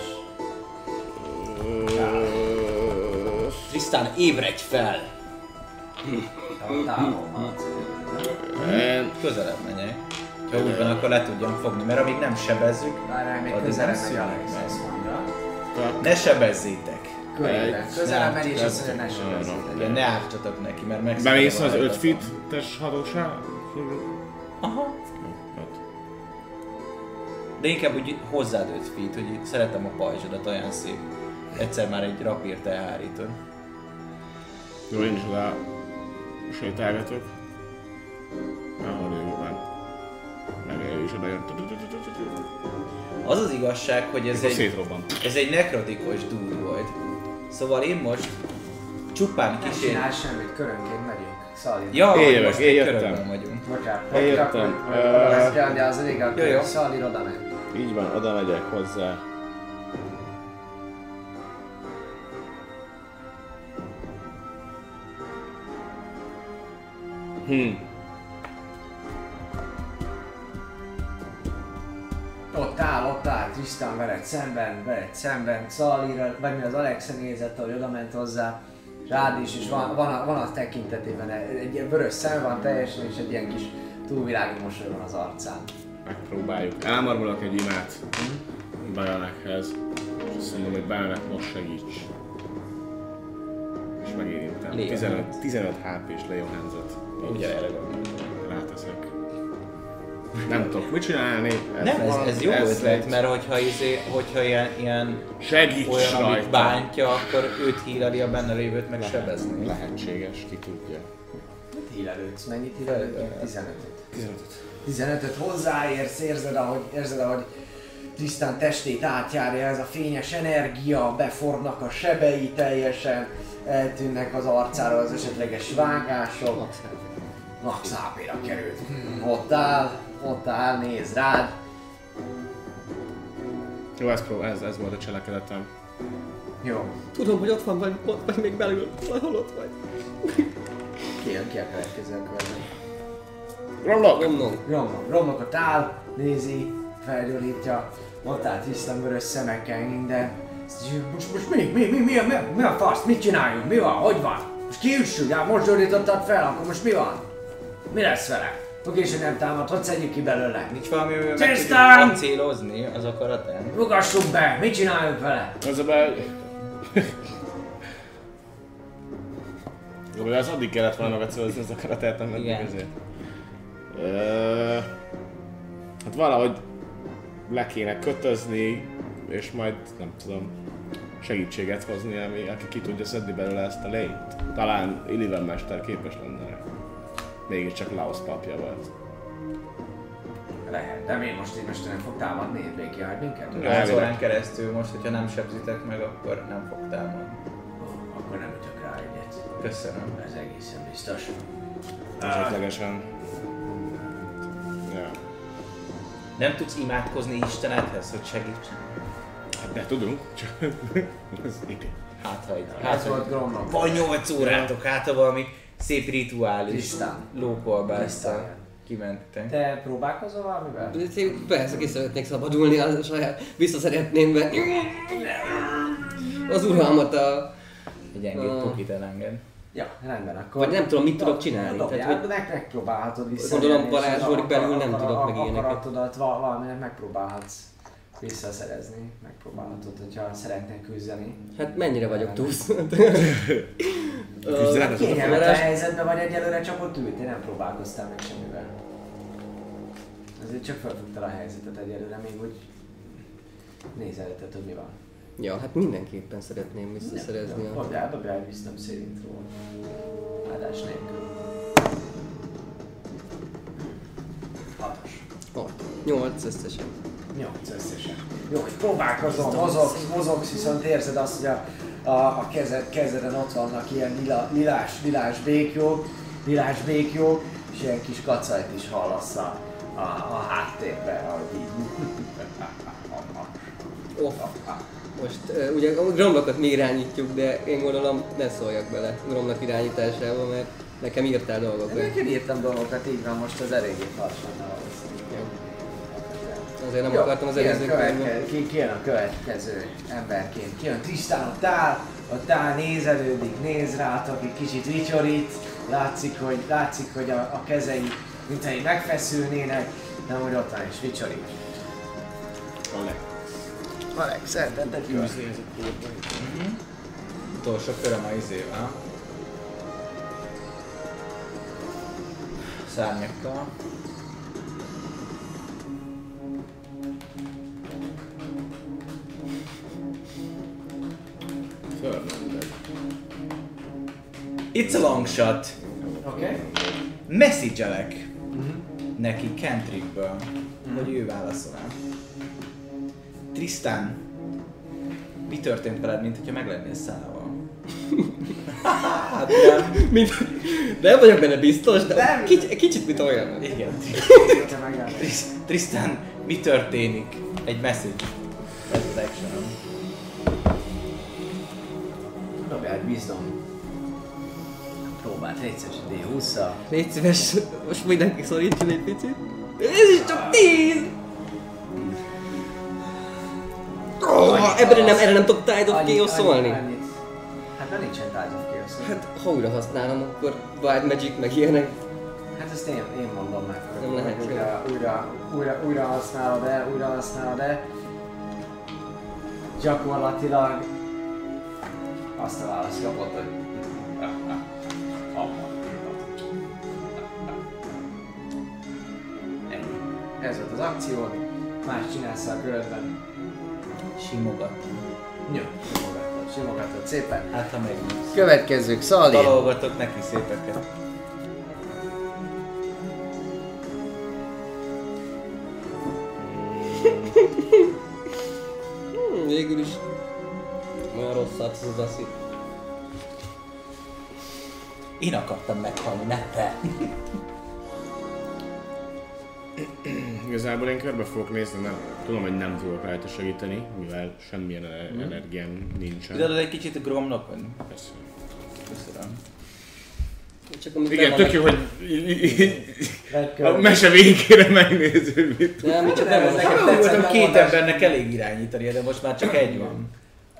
Speaker 3: Krisztán, ébredj fel!
Speaker 1: Távol, távol van.
Speaker 3: Közelebb menjek. Ha úgy van, akkor le tudjam fogni, mert amíg nem sebezzük,
Speaker 1: Várjál, még
Speaker 3: Addig
Speaker 1: közelebb
Speaker 3: nem
Speaker 1: megy
Speaker 3: szűnik
Speaker 1: Alex,
Speaker 3: meg.
Speaker 1: azt mondja.
Speaker 3: ne sebezzétek.
Speaker 1: Körében. Közelebb
Speaker 3: nem,
Speaker 1: megy és
Speaker 3: nem,
Speaker 1: azt mondja, ne sebezzétek.
Speaker 3: De ne ártsatok neki, mert meg.
Speaker 4: Bemész az 5 feet-es hatóság?
Speaker 3: Aha. De inkább úgy hozzád 5 feet, hogy így szeretem a pajzsodat, olyan szép. Egyszer már egy rapírt elhárítod.
Speaker 4: Jó, én is oda sétálgatok. Ahol ő van. Meg ő is oda jön.
Speaker 3: Az az igazság, hogy ez
Speaker 4: Akkor
Speaker 3: egy,
Speaker 4: szétrobban.
Speaker 3: ez egy nekrotikus dúd volt. Szóval én most csupán
Speaker 1: Nem
Speaker 3: kísérem.
Speaker 1: csinál semmit, körönként megyünk. Szalid.
Speaker 3: Ja,
Speaker 4: Én
Speaker 3: hogy
Speaker 4: jövök,
Speaker 3: most
Speaker 4: én
Speaker 3: egy
Speaker 4: jöttem.
Speaker 3: körökben vagyunk.
Speaker 1: Bocsánat,
Speaker 4: Eljöttem.
Speaker 1: akkor- akkor-
Speaker 4: Ö-
Speaker 1: Azt kell, de az elég,
Speaker 3: Jó, jó.
Speaker 1: akkor Szalid oda ment.
Speaker 4: Így van, oda megyek hozzá.
Speaker 1: Ott áll, ott áll, Tristan veled szemben, veled szemben, Szalira, vagy mi az Alexa nézett, hogy oda ment hozzá, rád is, és van, van, a, van a tekintetében egy egy ilyen vörös szem van teljesen, és egy ilyen kis túlvilági mosoly van az arcán.
Speaker 4: Megpróbáljuk. Elmarmolok egy imát. Belenekhez. És azt mondom, hogy Belenek most segíts. És megérintem.
Speaker 3: Léon.
Speaker 4: 15, 15 HP-s Leonhenzet.
Speaker 3: Ugye erre gondolom.
Speaker 4: Ráteszek. Nem tudok mit csinálni.
Speaker 3: Nem, ez,
Speaker 4: van,
Speaker 3: ez jó ötlet,
Speaker 4: egy-
Speaker 3: mert hogyha, izé, hogyha ilyen, ilyen
Speaker 4: Segíts
Speaker 3: olyan, amit
Speaker 4: rajta.
Speaker 3: bántja, akkor őt híreli a benne lévőt, meg sebezni.
Speaker 4: Lehetséges, ki tudja.
Speaker 1: Mit hílelődsz? Mennyit hílelődsz? 15-öt. 15 15-öt hozzáérsz, érzed, ahogy, érzed, ahogy tisztán testét átjárja ez a fényes energia, befornak a sebei teljesen, eltűnnek az arcára az esetleges vágások. Max HP-ra került. Hm, Ott áll, ott áll, néz rád.
Speaker 4: Jó, ez, pró- ez, ez volt a cselekedetem.
Speaker 1: Jó,
Speaker 2: Tudom, hogy ott van, vagy ott vagy még belül, valahol ott vagy.
Speaker 1: kijön ki a következő körben.
Speaker 4: Romlok!
Speaker 2: Gondolom.
Speaker 1: Romlok, romlok ott áll, nézi, felgyújtja, ott áll tisztán vörös szemekkel minden. Azt mondja, Most, most mi, mi, mi, mi, a- mi, a- mi a fasz, mit csináljunk, mi van, hogy van? Most kiüssük, hát most gyógyítottad fel, akkor most mi van? Mi lesz vele? Oké, és nem támad, hogy szedjük ki belőle?
Speaker 3: Nincs valami, amivel meg tudjuk
Speaker 1: Tisztán!
Speaker 3: pancélozni az akaratán?
Speaker 1: Rugassuk be, mit csináljunk vele?
Speaker 4: Az a baj... Jó, de az addig kellett volna megcélozni az akaratát, nem eddig
Speaker 3: Igen.
Speaker 4: ezért. Ö, hát valahogy le kéne kötözni, és majd nem tudom, segítséget hozni, ami, aki ki tudja szedni belőle ezt a lényt. Talán Illiven Mester képes lenne rá. Mégiscsak Laos papja volt.
Speaker 1: Lehet, de mi most én most nem fog támadni, én végigjárt minket?
Speaker 3: Az órán keresztül most, hogyha nem sebzitek meg, akkor nem fog támadni.
Speaker 1: Akkor nem ütök rá egyet.
Speaker 3: Köszönöm.
Speaker 1: Ez egészen biztos.
Speaker 4: Esetlegesen. Ja.
Speaker 3: Nem tudsz imádkozni Istenedhez, hogy segítsen?
Speaker 4: Hát de tudunk, csak ez idő.
Speaker 3: Hát ha itt.
Speaker 1: Ez
Speaker 3: Hát,
Speaker 1: volt Gromnak.
Speaker 3: van 8 órátok, hát ha valami szép rituális
Speaker 1: Tisztán.
Speaker 3: lókolbásztal
Speaker 1: Tisztán.
Speaker 3: kimentek.
Speaker 1: Te próbálkozol valamivel?
Speaker 2: Én persze ki szeretnék szabadulni, az saját, vissza szeretném venni az uralmat a...
Speaker 3: Egy gyengét
Speaker 2: Ah.
Speaker 3: pukit elenged.
Speaker 1: Ja, rendben, akkor...
Speaker 2: Vagy nem tudom, mit tudok csinálni.
Speaker 1: Dobjál,
Speaker 2: Tehát, hogy
Speaker 1: meg, megpróbálhatod vissza.
Speaker 2: Gondolom, varázsból belül nem tudok meg ilyeneket.
Speaker 1: Akaratodat val- valaminek megpróbálhatsz visszaszerezni, megpróbálhatod, hogyha szeretnél küzdeni.
Speaker 2: hát mennyire vagyok túsz.
Speaker 4: Küzdelem, ez az a
Speaker 1: Kényelmetlen
Speaker 2: varázs-
Speaker 1: helyzetben vagy egyelőre csak ott ültél, nem próbálkoztál meg semmivel. Azért csak felfogtál a helyzetet egyelőre, még úgy nézelted, hogy mi van.
Speaker 2: Ja, hát mindenképpen szeretném visszaszerezni a...
Speaker 1: Dobjál, dobjál egy wisdom saving throw. Áldás nélkül. Hatos.
Speaker 2: Hat, nyolc összesen.
Speaker 1: Nyolc összesen. Jó, hogy próbálkozom, mozogsz, mozogsz, viszont érzed azt, hogy a, a, a kezed, kezeden ott vannak ilyen lila, lilás, lilás békjók, lilás békjók, és ilyen kis kacajt is hallasz a, a, a háttérben, ahogy így.
Speaker 2: Off, most ö, ugye a gromlokat mi irányítjuk, de én gondolom ne szóljak bele gromlak irányításába, mert nekem írtál dolgokat.
Speaker 1: Nekem írtam dolgokat, így van, most az eléggé farsannal valószínűleg.
Speaker 2: Azért nem
Speaker 1: Jó,
Speaker 2: akartam az
Speaker 1: kijön
Speaker 2: előző
Speaker 1: követke-
Speaker 2: körben.
Speaker 1: ki- Kijön a következő emberként. Kijön Trisztán, ott áll, ott áll, nézelődik, néz rátok, egy kicsit vicsorít, látszik, hogy, látszik, hogy a, a kezei mintha így megfeszülnének, de úgy ott van és vicsorít.
Speaker 9: Marek,
Speaker 1: Hát
Speaker 9: szerinted te
Speaker 1: Jó.
Speaker 5: Utolsó köröm a izével. Szárnyakkal.
Speaker 3: It's a long shot.
Speaker 1: Oké? Okay?
Speaker 3: Message-elek Mhm. neki Kentrickből, hogy ő válaszol el. Tristan, mi történt veled, mint hogyha meg lennél szával? hát nem.
Speaker 2: Mint, nem vagyok benne biztos, de
Speaker 1: Nem.
Speaker 2: Kicsit, kicsit mint olyan.
Speaker 3: Igen.
Speaker 1: Te megállsz.
Speaker 3: Tris- Tristan, mi történik? Egy message. Ez az action.
Speaker 1: Dobjál egy bizdom. Próbált egyszer, D20-szal.
Speaker 2: Légy szíves, most mindenki szorítson egy picit. Ez is csak tíz! Oh, ebben nem, erre nem tudok Tide of
Speaker 1: Annyit-
Speaker 2: Chaos szólni.
Speaker 1: annyit- Hát de nincsen Tide of Chaos.
Speaker 2: Hát, ha újra használom, akkor Wild Magic meg ilyenek.
Speaker 1: Hát ezt én, én mondom meg.
Speaker 2: Nem lehet,
Speaker 1: Újra,
Speaker 2: igen.
Speaker 1: újra, újra, újra használod el, újra használod el. Gyakorlatilag azt a választ kapod, hogy Ennyi. ez volt az akció, más csinálsz a körödben.
Speaker 3: Simogat.
Speaker 1: Jó, simogatod, simogatod szépen.
Speaker 3: Hát ha meg
Speaker 9: Következzük, Szali.
Speaker 3: Dalolgatok neki szépeket.
Speaker 2: Hmm, végül is olyan rosszat hozzaszik.
Speaker 3: Én akartam meghalni, ne te.
Speaker 4: Hm, Igazából én körbe fogok nézni, mert tudom, hogy nem tudok rajta segíteni, mivel semmilyen e- energiám nincsen.
Speaker 3: Tudod, egy kicsit gromlokon.
Speaker 4: Persze.
Speaker 3: Köszönöm.
Speaker 2: Csak amikor
Speaker 4: Igen,
Speaker 2: nem vannak-
Speaker 4: tök jó, hogy í- í- í-
Speaker 1: Vedd
Speaker 4: a
Speaker 1: körbe.
Speaker 4: mese végére megnézzük, hogy mit tud.
Speaker 2: Nem, csak nem
Speaker 1: Nem, ez
Speaker 2: vannak.
Speaker 1: nekem
Speaker 3: Nem
Speaker 1: tetszett,
Speaker 3: voltam
Speaker 1: nem
Speaker 3: két
Speaker 1: mondás.
Speaker 3: embernek elég irányítani, de most már csak egy van.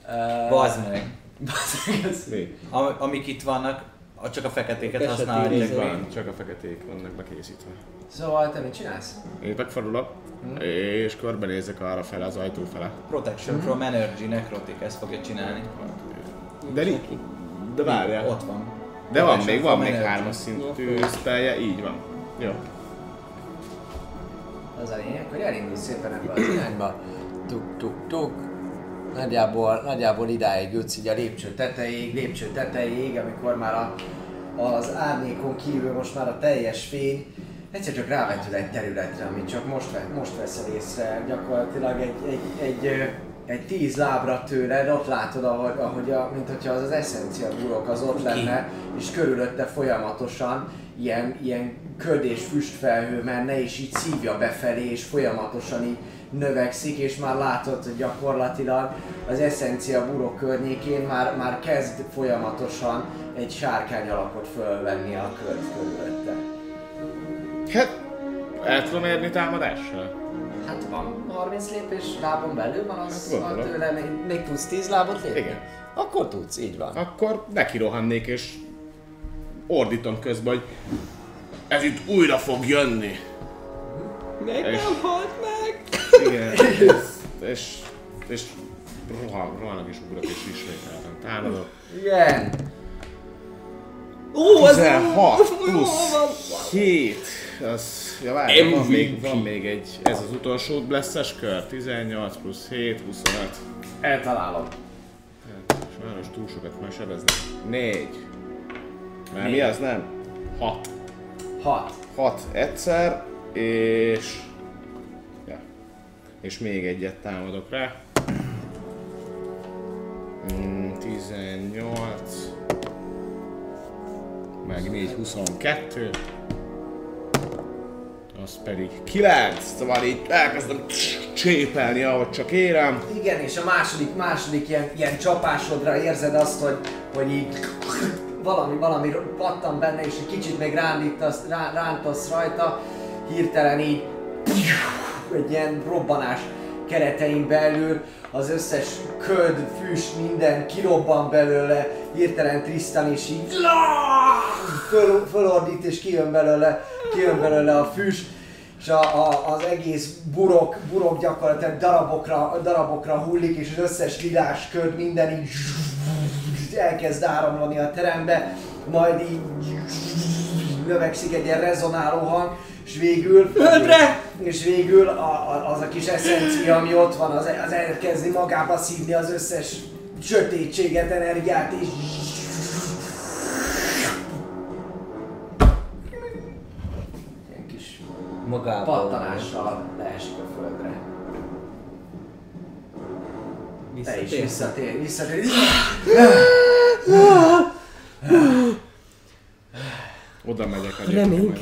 Speaker 1: Ö,
Speaker 3: Bazd meg.
Speaker 1: bazd meg,
Speaker 4: Mi?
Speaker 3: Am- amik itt vannak, a- csak a feketéket
Speaker 2: Fekete
Speaker 3: használják.
Speaker 2: tízek.
Speaker 4: Van, csak a feketék vannak bekészítve. Hm.
Speaker 1: Szóval te mit csinálsz?
Speaker 4: Én megfordulok, és körbenézek arra fele, az ajtó fele.
Speaker 3: Protection from Energy Necrotic, ezt fogja csinálni.
Speaker 4: De, ni- de várjál.
Speaker 3: Ott van.
Speaker 4: De van
Speaker 3: Protection
Speaker 4: még, van
Speaker 3: from
Speaker 4: még
Speaker 3: Energy.
Speaker 4: hármas szintű spellje, így van. Jó.
Speaker 1: Az a lényeg, hogy elindulsz szépen ebbe az irányba. Tuk, tuk, tuk. Nagyjából, nagyjából idáig jutsz így a lépcső tetejéig, lépcső tetejéig, amikor már a, az árnyékon kívül most már a teljes fény egyszer csak rávetül egy területre, amit csak most, ve- most veszel észre, gyakorlatilag egy, egy, egy, ö, egy tíz lábra tőled, ott látod, ahogy, ahogy a, mint hogyha az az eszencia burok az ott lenne, és körülötte folyamatosan ilyen, ilyen köd és füstfelhő menne, és így szívja befelé, és folyamatosan így növekszik, és már látod, hogy gyakorlatilag az eszencia burok környékén már, már kezd folyamatosan egy sárkány alakot fölvenni a köd körülötte.
Speaker 4: Hát, el tudom érni támadással?
Speaker 1: Hát van 30 lépés lábon belül, van az,
Speaker 4: Hát
Speaker 1: van
Speaker 4: gondolom.
Speaker 1: tőle, még, még tudsz 10 lábot lépni?
Speaker 4: Igen.
Speaker 1: Akkor tudsz, így van.
Speaker 4: Akkor neki rohannék, és ordítom közben, hogy ez itt újra fog jönni.
Speaker 2: Meg
Speaker 4: És-
Speaker 2: nem halt meg!
Speaker 4: Igen. és, és rohan, rohanok és ugrok, és ismételten támadok.
Speaker 1: Igen.
Speaker 2: Ó, ez
Speaker 4: 16
Speaker 2: jó
Speaker 4: plusz
Speaker 2: van.
Speaker 4: 7, az, ja várj, van még, van még egy, ez az utolsó blesses kör, 18 plusz 7, 25.
Speaker 1: Eltalálom.
Speaker 4: Sajnos túl sokat már sebeznek. 4. Már mi az nem? 6.
Speaker 1: 6.
Speaker 4: 6 egyszer, és... Ja. És még egyet támadok rá. Mm, 18... Meg 4, 22. az pedig 9, szóval így elkezdem csépelni, ahogy csak érem.
Speaker 1: Igen, és a második, második ilyen, ilyen csapásodra érzed azt, hogy, hogy így valami, valami pattan benne, és egy kicsit még rándítasz, rá, rántasz rajta, hirtelen így egy ilyen robbanás keretein belül, az összes köd, füst, minden kirobban belőle, hirtelen Tristan is így föl, fölordít és kijön belőle, kijön belőle a füst, és a, a, az egész burok, burok gyakorlatilag darabokra, darabokra hullik, és az összes lilás köd minden így elkezd áramlani a terembe, majd így növekszik egy ilyen rezonáló hang, és végül... Földre! És végül a, a, az a kis eszencia, ami ott van, az, az elkezdi magába szívni az összes sötétséget, energiát, és ilyen kis
Speaker 3: Magával.
Speaker 1: pattanással leesik a földre. Te is visszatér,
Speaker 2: Visszatér.
Speaker 1: visszatér.
Speaker 4: Oda megyek a
Speaker 2: A
Speaker 4: gyerekemmel.
Speaker 2: remény,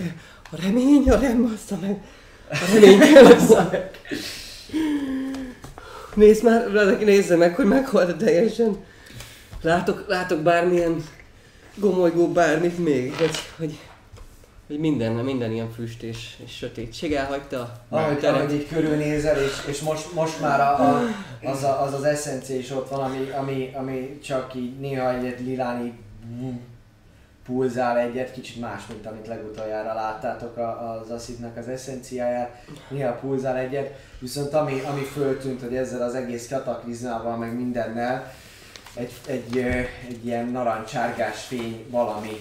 Speaker 2: a remény, a rem, bassza meg. A remény kell, bassza meg. Nézd már, valaki nézze meg, hogy meghalt teljesen. Látok, látok bármilyen gomolygó bármit még, hogy, hogy, hogy minden, minden ilyen füst és, és sötétség elhagyta a
Speaker 1: Ahogy,
Speaker 2: teret.
Speaker 1: ahogy így körülnézel, és, és most, most már a, a, az, a, az az eszencia is ott van, ami, ami, ami csak így néha egyet lilán így pulzál egyet, kicsit más, mint amit legutoljára láttátok a, az asszidnak az eszenciáját, néha pulzál egyet, viszont ami, ami föltűnt, hogy ezzel az egész kataklizmával, meg mindennel, egy, egy, ö, egy ilyen narancsárgás fény valami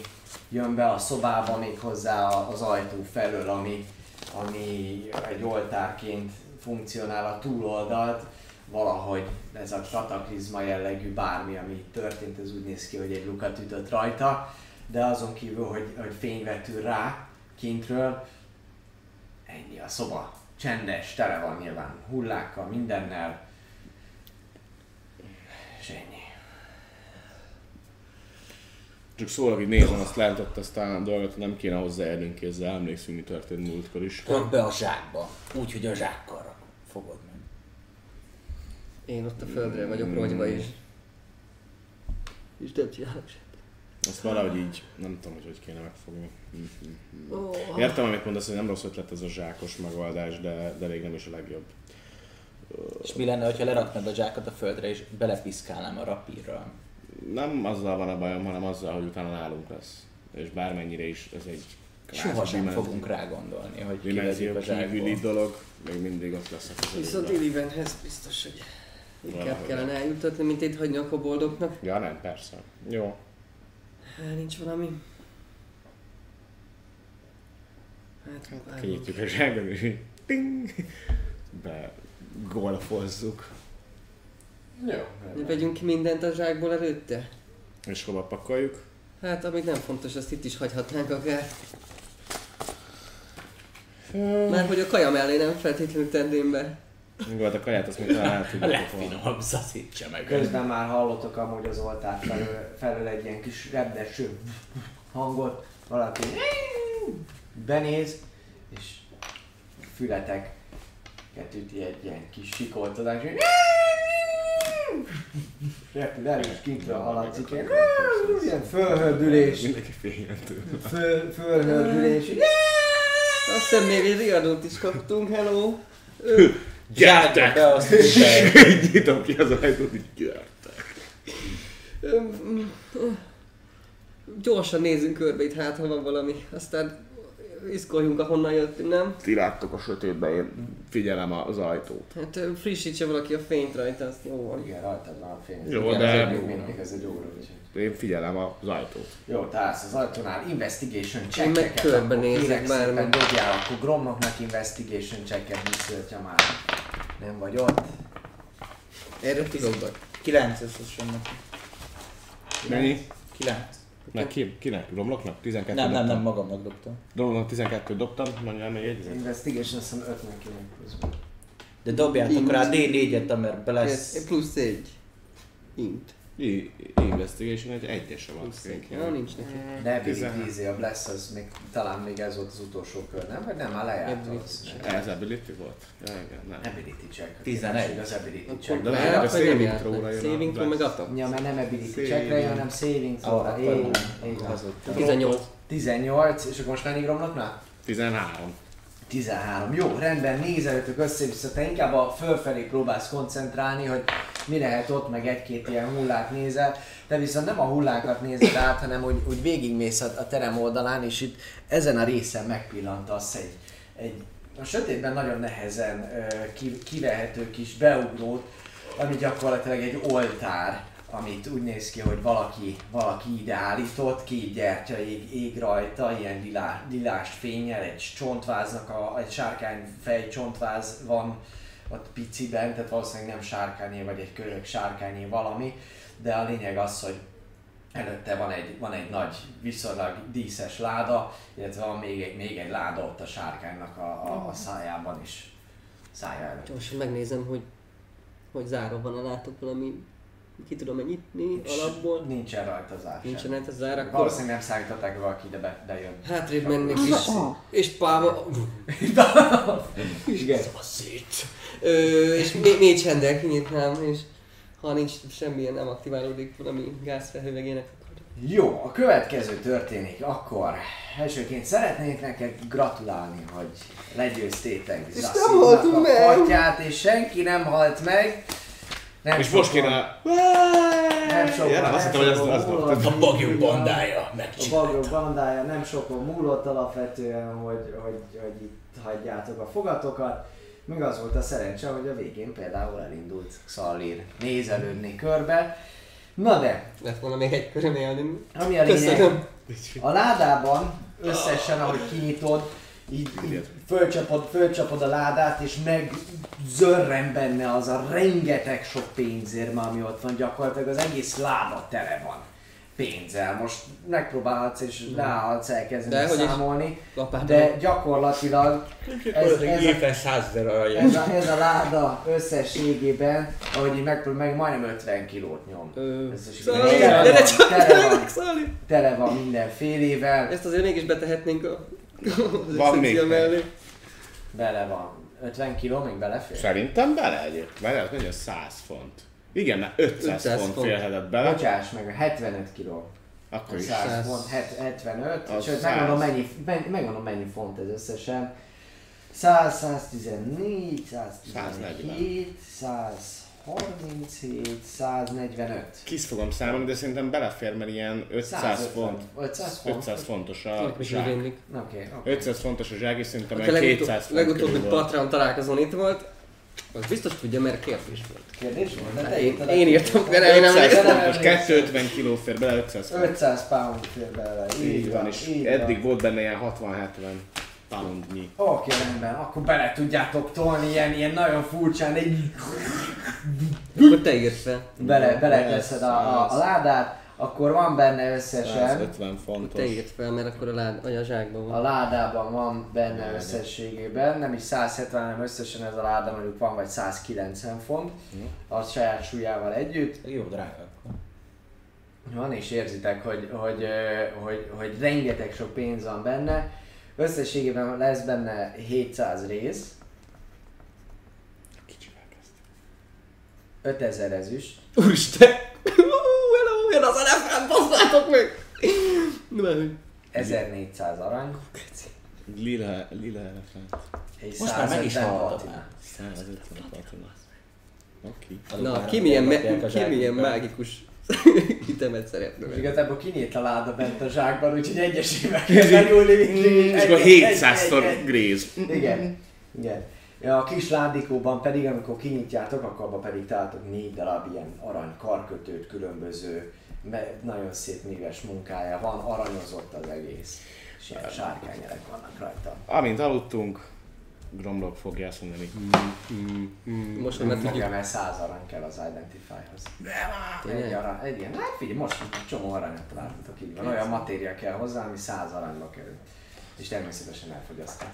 Speaker 1: jön be a szobába még hozzá a- az ajtó felől, ami, ami egy oltárként funkcionál a túloldalt, valahogy ez a kataklizma jellegű bármi, ami itt történt, ez úgy néz ki, hogy egy lukat ütött rajta, de azon kívül, hogy, hogy fényvetül rá kintről, ennyi a szoba. Csendes, tele van nyilván hullákkal, mindennel, és ennyi.
Speaker 4: Csak szólok, hogy nézem azt lent ott azt a dolgot, nem kéne hozzáérnünk kézzel, emlékszünk, mi történt múltkor is.
Speaker 5: Rakd be a zsákba. Úgy, hogy a zsákkal rak- fogod meg.
Speaker 2: Én ott a földre vagyok rogyva is. És nem csinálok semmit.
Speaker 4: Azt valahogy így, nem tudom, hogy hogy kéne megfogni. Értem, amit mondasz, hogy nem rossz ötlet ez a zsákos megoldás, de, de még nem is a legjobb.
Speaker 5: És mi lenne, ha leraknád a zsákat a földre és belepiszkálnám a rapírra?
Speaker 4: Nem azzal van a bajom, hanem azzal, hogy utána nálunk lesz. És bármennyire is ez egy kvázi
Speaker 5: Soha sem
Speaker 4: dimen-
Speaker 5: fogunk rá gondolni, hogy kivegyük
Speaker 4: dimenzió
Speaker 5: a zsákból.
Speaker 4: kívüli dolog, még mindig ott lesz a
Speaker 2: Viszont
Speaker 4: közelében.
Speaker 2: Illivenhez biztos, hogy inkább
Speaker 4: Valahogy.
Speaker 2: kellene eljutatni, mint itt hagyni a koboldoknak.
Speaker 4: Ja nem, persze. Jó.
Speaker 2: Hát nincs valami. Hát, hát
Speaker 4: Kinyitjuk a zsákot, és így ting! Be golfozzuk.
Speaker 1: Jó.
Speaker 2: Vegyünk ki mindent a zsákból előtte?
Speaker 4: És hova pakoljuk?
Speaker 2: Hát, amit nem fontos, azt itt is hagyhatnánk akár. Már hogy a kaja mellé nem feltétlenül tenném be.
Speaker 4: Mi volt a kaját, azt hát, még talán el tudjuk volna.
Speaker 5: Legfinomabb szaszítsa meg.
Speaker 1: Közben már hallottok amúgy az oltár felől, felől egy ilyen kis rebdeső hangot, valaki benéz, és a fületek ketüti egy ilyen kis sikoltozás, és repül el, és kintről haladszik, ilyen ilyen fölhördülés,
Speaker 4: Mindenki féljen tőle.
Speaker 1: föl, fölhördülés, így
Speaker 2: Azt hiszem még egy riadót is kaptunk, hello!
Speaker 5: Zsákba be azt hiszem.
Speaker 4: Nyitom ki az ajtót, így gyertek.
Speaker 2: Öm, mm, öh. Gyorsan nézzünk körbe itt, hát ha van valami. Aztán iszkoljunk, ahonnan jöttünk, nem?
Speaker 4: Ti láttok a sötétben, én figyelem az ajtót.
Speaker 2: Hát ö, frissítse valaki a fényt rajta, azt jó van.
Speaker 1: igen, rajtad van a fény.
Speaker 4: Jó,
Speaker 1: Igen,
Speaker 4: de-
Speaker 1: ez egy jó, mindig ez egy óra, úgyhogy.
Speaker 4: Én figyelem az ajtót.
Speaker 1: Jó, tehát az ajtónál investigation
Speaker 2: Én meg
Speaker 1: check-eket,
Speaker 2: körbenézek
Speaker 1: kérek
Speaker 2: bármi.
Speaker 1: szépen dobjál, akkor Gromnoknak investigation check-et visszöltje már. Nem vagy ott.
Speaker 2: Erre tizodnak.
Speaker 5: 9 összesen neki.
Speaker 4: Mennyi?
Speaker 5: 9.
Speaker 4: Neki? Kinek? Romloknak? 12
Speaker 5: Nem, nem,
Speaker 4: dobtam.
Speaker 5: nem, magamnak dobtam.
Speaker 4: Romloknak 12 dobtam, mondjál még egy
Speaker 1: Investigation azt hiszem 5 neki még pluszban.
Speaker 5: De dobjátok rá D4-et, mert be
Speaker 2: Ez
Speaker 5: lesz
Speaker 2: plusz egy. Int.
Speaker 12: I- Investigation egy egyesre van.
Speaker 2: Ja, nincs neki.
Speaker 1: Ne ability a Bless az még, talán még ez volt az utolsó kör, nem? Vagy nem, már lejárt az.
Speaker 12: Ez ability volt? Ja, igen, nem.
Speaker 1: Ability check.
Speaker 3: 11.
Speaker 1: Képesség Az ability
Speaker 2: Csak
Speaker 1: check.
Speaker 12: De
Speaker 2: be-
Speaker 12: lehet, a
Speaker 2: vagy
Speaker 12: saving
Speaker 2: nem járt?
Speaker 12: throw-ra jön a
Speaker 2: Saving throw
Speaker 12: Bless.
Speaker 2: meg attack.
Speaker 1: Ja, mert nem ability
Speaker 12: Saving.
Speaker 1: checkre jön, hanem saving szóra.
Speaker 3: akkor
Speaker 1: Így,
Speaker 3: nem.
Speaker 1: így van.
Speaker 2: 18.
Speaker 1: 18, és akkor most mennyit romloknál?
Speaker 12: 13.
Speaker 1: 13. Jó, rendben, nézelőtök össze-vissza, te inkább a fölfelé próbálsz koncentrálni, hogy mi lehet ott, meg egy-két ilyen hullát nézel. De viszont nem a hullákat nézed át, hanem úgy, úgy végigmész a, a terem oldalán, és itt ezen a részen megpillantasz egy, egy a sötétben nagyon nehezen ö, ki, kivehető kis beugrót, ami gyakorlatilag egy oltár, amit úgy néz ki, hogy valaki, valaki ide állított, két gyertya ég, ég rajta, ilyen lilá, lilás fényel, egy csontváznak, a, egy sárkányfej csontváz van ott piciben, tehát valószínűleg nem sárkányé, vagy egy körök sárkányé valami, de a lényeg az, hogy előtte van egy, van egy nagy, viszonylag díszes láda, illetve van még egy, még egy láda ott a sárkánynak a, a, a szájában is. Szája előtt.
Speaker 2: Gyorsan megnézem, hogy hogy zárva van-e látok valami, ki tudom -e nyitni alapból.
Speaker 1: Nincsen rajta zár. sem.
Speaker 2: Nincsen rajta zár, akkor-
Speaker 1: Valószínűleg nem szállították valaki ide be, de jön.
Speaker 2: Hátrébb mennék is,
Speaker 1: Ah.
Speaker 2: és pálma...
Speaker 1: Igen.
Speaker 2: Szét. Ö, és né- négy hendel kinyitnám, és ha nincs semmilyen, nem aktiválódik valami gázfelhővegének, akkor
Speaker 1: Jó, a következő történik, akkor elsőként szeretnék neked gratulálni, hogy legyőztétek Zasszidnak
Speaker 2: haltunk
Speaker 1: a
Speaker 2: meg!
Speaker 1: Atyát, és senki nem halt meg. Nem
Speaker 12: És
Speaker 1: sokan-
Speaker 12: most kéne...
Speaker 1: Nem sokan,
Speaker 12: Ja, nem, azt hittem, hogy
Speaker 1: sokan
Speaker 12: azt- azt
Speaker 1: múlott.
Speaker 12: dobtad.
Speaker 5: A bagyok bandája
Speaker 1: A
Speaker 5: megcsinálta.
Speaker 1: bagyok bandája nem sokon múlott alapvetően, hogy, hogy, hogy itt hagyjátok a fogatokat. Még az volt a szerencse, hogy a végén például elindult Szallír nézelődni körbe. Na de,
Speaker 2: lett volna még egy köröm élni.
Speaker 1: ami a lényeg,
Speaker 2: Köszönöm.
Speaker 1: a ládában összesen, ahogy kinyitod, így, így fölcsapod, fölcsapod a ládát, és megzörren benne az a rengeteg sok pénzérme, ami ott van. Gyakorlatilag az egész láda tele van pénzzel. Most megpróbálhatsz és ráhatsz elkezdeni
Speaker 2: Mhm. De hogy is? Hát
Speaker 1: számolni,
Speaker 2: Lapátolom.
Speaker 1: de gyakorlatilag ez, ez, a,
Speaker 5: Éppen 100 ezer aranyja.
Speaker 1: ez, a, ez a láda összességében, ahogy így megpróbál, meg majdnem 50 kilót nyom.
Speaker 2: Ö,
Speaker 1: Összességében.
Speaker 2: Szali,
Speaker 1: Tele
Speaker 2: de ne
Speaker 1: van,
Speaker 2: csak,
Speaker 1: tele van,
Speaker 2: Szali!
Speaker 1: tele van mindenfélével.
Speaker 2: Ezt azért mégis betehetnénk a... az
Speaker 12: Van még.
Speaker 2: excepció mellé.
Speaker 1: Bele van. 50 kiló még belefér?
Speaker 12: Szerintem bele egyébként. Mert ez mennyi a 100 font. Igen, mert 500,
Speaker 2: 500
Speaker 12: font
Speaker 2: font.
Speaker 12: félhetett bele.
Speaker 1: Bocsáss meg, 75 kiló.
Speaker 12: Akkor is.
Speaker 1: 100
Speaker 2: száz.
Speaker 1: font, het- 75,
Speaker 12: Az
Speaker 1: sőt
Speaker 12: száz.
Speaker 1: megmondom mennyi, men- megmondom mennyi font ez összesen. 100, 114, 117, 137, 145.
Speaker 12: Kis fogom számolni, de szerintem belefér, mert ilyen 500 font.
Speaker 1: 500 font.
Speaker 12: 500 fontos a
Speaker 2: Meg is izé úgy
Speaker 12: zsák.
Speaker 2: rémlik.
Speaker 1: Oké, oké.
Speaker 12: 500 fontos a zsák, és
Speaker 2: A
Speaker 12: szerintem egy 200
Speaker 2: legutóbbi,
Speaker 12: font
Speaker 2: legutóbbi
Speaker 12: körül volt.
Speaker 2: Patreon találkozón itt volt, az biztos tudja, mert kérdés volt.
Speaker 1: Kérdés volt? De te
Speaker 2: Én,
Speaker 1: írtad a
Speaker 2: én írtam, de nem, én nem
Speaker 12: 500
Speaker 2: emlékszem.
Speaker 12: fontos, 250 kiló fér bele, 500 font.
Speaker 1: 500 pound fér bele.
Speaker 12: Így van, és
Speaker 1: így
Speaker 12: eddig volt benne ilyen 60-70 poundnyi.
Speaker 1: Oké, rendben, akkor bele tudjátok tolni ilyen, ilyen nagyon furcsán, egy
Speaker 2: Akkor te írt fel.
Speaker 1: bele, beleteszed a, a, a
Speaker 12: ez-
Speaker 1: ládát, akkor van benne összesen,
Speaker 12: 150
Speaker 2: Te
Speaker 12: fontos.
Speaker 2: írt fel, mert akkor a lád, vagy a zsákban
Speaker 1: a
Speaker 2: van.
Speaker 1: ládában van benne összességében, nem is 170, hanem összesen ez a láda mondjuk van vagy 190 font,
Speaker 3: Hm.
Speaker 1: a saját súlyával együtt.
Speaker 3: Jó drága.
Speaker 1: Van, és érzitek, hogy, hogy, ö, hogy, hogy rengeteg sok pénz van benne. Összességében lesz benne 700 rész. 5000 ezüst.
Speaker 2: Úristen! Hú, Hello, jön az elefánt, basszátok meg! Nem.
Speaker 1: 1400 arany.
Speaker 12: Lila, lila elefánt.
Speaker 1: És
Speaker 3: Most már meg is
Speaker 1: 150
Speaker 3: hallottad
Speaker 1: platina.
Speaker 3: már.
Speaker 12: 150 platina. Oké.
Speaker 2: Na, ki milyen, me- ki milyen mágikus ütemet szeretne
Speaker 1: És
Speaker 2: venni?
Speaker 1: Igazából kinyílt a láda bent a zsákban, úgyhogy egyesével kell benyúlni mindig.
Speaker 12: Mm, És
Speaker 1: Egy-
Speaker 12: akkor
Speaker 1: egy-
Speaker 12: 700-szor
Speaker 1: egy-
Speaker 12: gréz.
Speaker 1: egy- Igen, igen. Ja, A kis ládikóban pedig, amikor kinyitjátok, akkor abban pedig találtok négy darab ilyen arany karkötőt, különböző, me- nagyon szép műves munkája van, aranyozott az egész. És ilyen sárkányelek vannak rajta.
Speaker 12: Amint aludtunk, Gromlok fogja azt mondani.
Speaker 2: Most, hogy
Speaker 1: Nem
Speaker 2: már tudjuk,
Speaker 1: fogja, mert száz arany kell az Identify-hoz. Egy arany, egy ilyen, hát figyelj, most egy csomó aranyat láttok, így van. Olyan matéria kell hozzá, ami száz aranyba kerül. És természetesen elfogyasztják.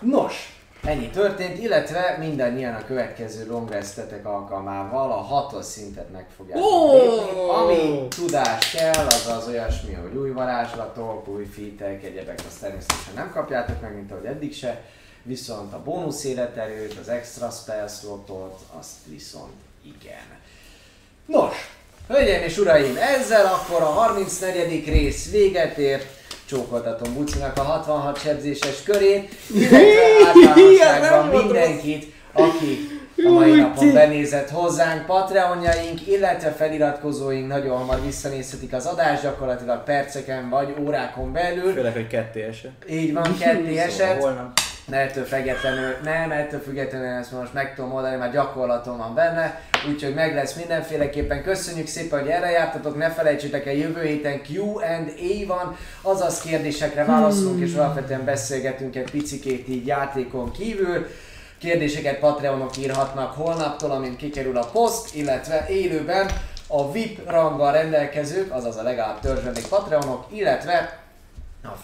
Speaker 1: Nos, Ennyi történt, illetve mindannyian a következő long restetek alkalmával a hatos szintet meg fogják
Speaker 2: Ó!
Speaker 1: lépni. Ami tudás kell, az az olyasmi, hogy új varázslatok, új fitek, egyebek, azt természetesen nem kapjátok meg, mint ahogy eddig se. Viszont a bónusz életerőt, az extra spell slotot, azt viszont igen. Nos, hölgyeim és uraim, ezzel akkor a 34. rész véget ért. Csókoltatom Bucinak a 66 sebzéses körét, illetve általánosságban mindenkit, aki a mai napon benézett hozzánk. Patreonjaink, illetve feliratkozóink nagyon hamar visszanézhetik az adást, gyakorlatilag perceken vagy órákon belül.
Speaker 3: Főleg, hogy ketté esett.
Speaker 1: Így van, ketté
Speaker 3: Szóval
Speaker 1: eset.
Speaker 3: Holnap.
Speaker 1: Ne ettől függetlenül, nem, ettől függetlenül ezt most meg tudom oldani, mert gyakorlatom van benne, úgyhogy meg lesz mindenféleképpen. Köszönjük szépen, hogy erre jártatok, ne felejtsétek el, jövő héten Q&A van, azaz kérdésekre válaszolunk, és alapvetően beszélgetünk egy picikét így játékon kívül. Kérdéseket Patreonok írhatnak holnaptól, amint kikerül a poszt, illetve élőben a VIP ranggal rendelkezők, azaz a legalább törzsben még Patreonok, illetve a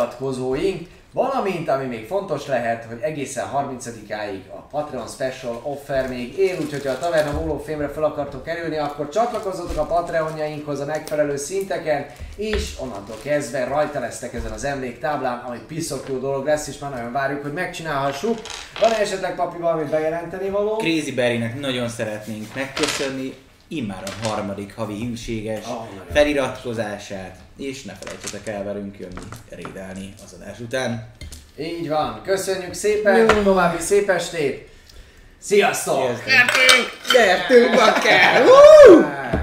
Speaker 1: feliratkozóink, valamint, ami még fontos lehet, hogy egészen 30-áig a Patreon Special Offer még él, úgyhogy ha a Taverna Hólófémre fel akartok kerülni, akkor csatlakozzatok a Patreonjainkhoz a megfelelő szinteken, és onnantól kezdve rajta lesztek ezen az emléktáblán, ami piszok jó dolog lesz, és már nagyon várjuk, hogy megcsinálhassuk. Van esetleg papi valamit bejelenteni való?
Speaker 3: Crazy Berrynek nagyon szeretnénk megköszönni immár a harmadik havi hűséges
Speaker 1: Ah, nagyon.
Speaker 3: feliratkozását, és ne felejtsetek el velünk jönni rédelni az adás után.
Speaker 1: Így van, köszönjük szépen, további szép estét! Sziasztok!
Speaker 3: Sziasztok!
Speaker 2: Nyertünk, bakker!
Speaker 1: Ah.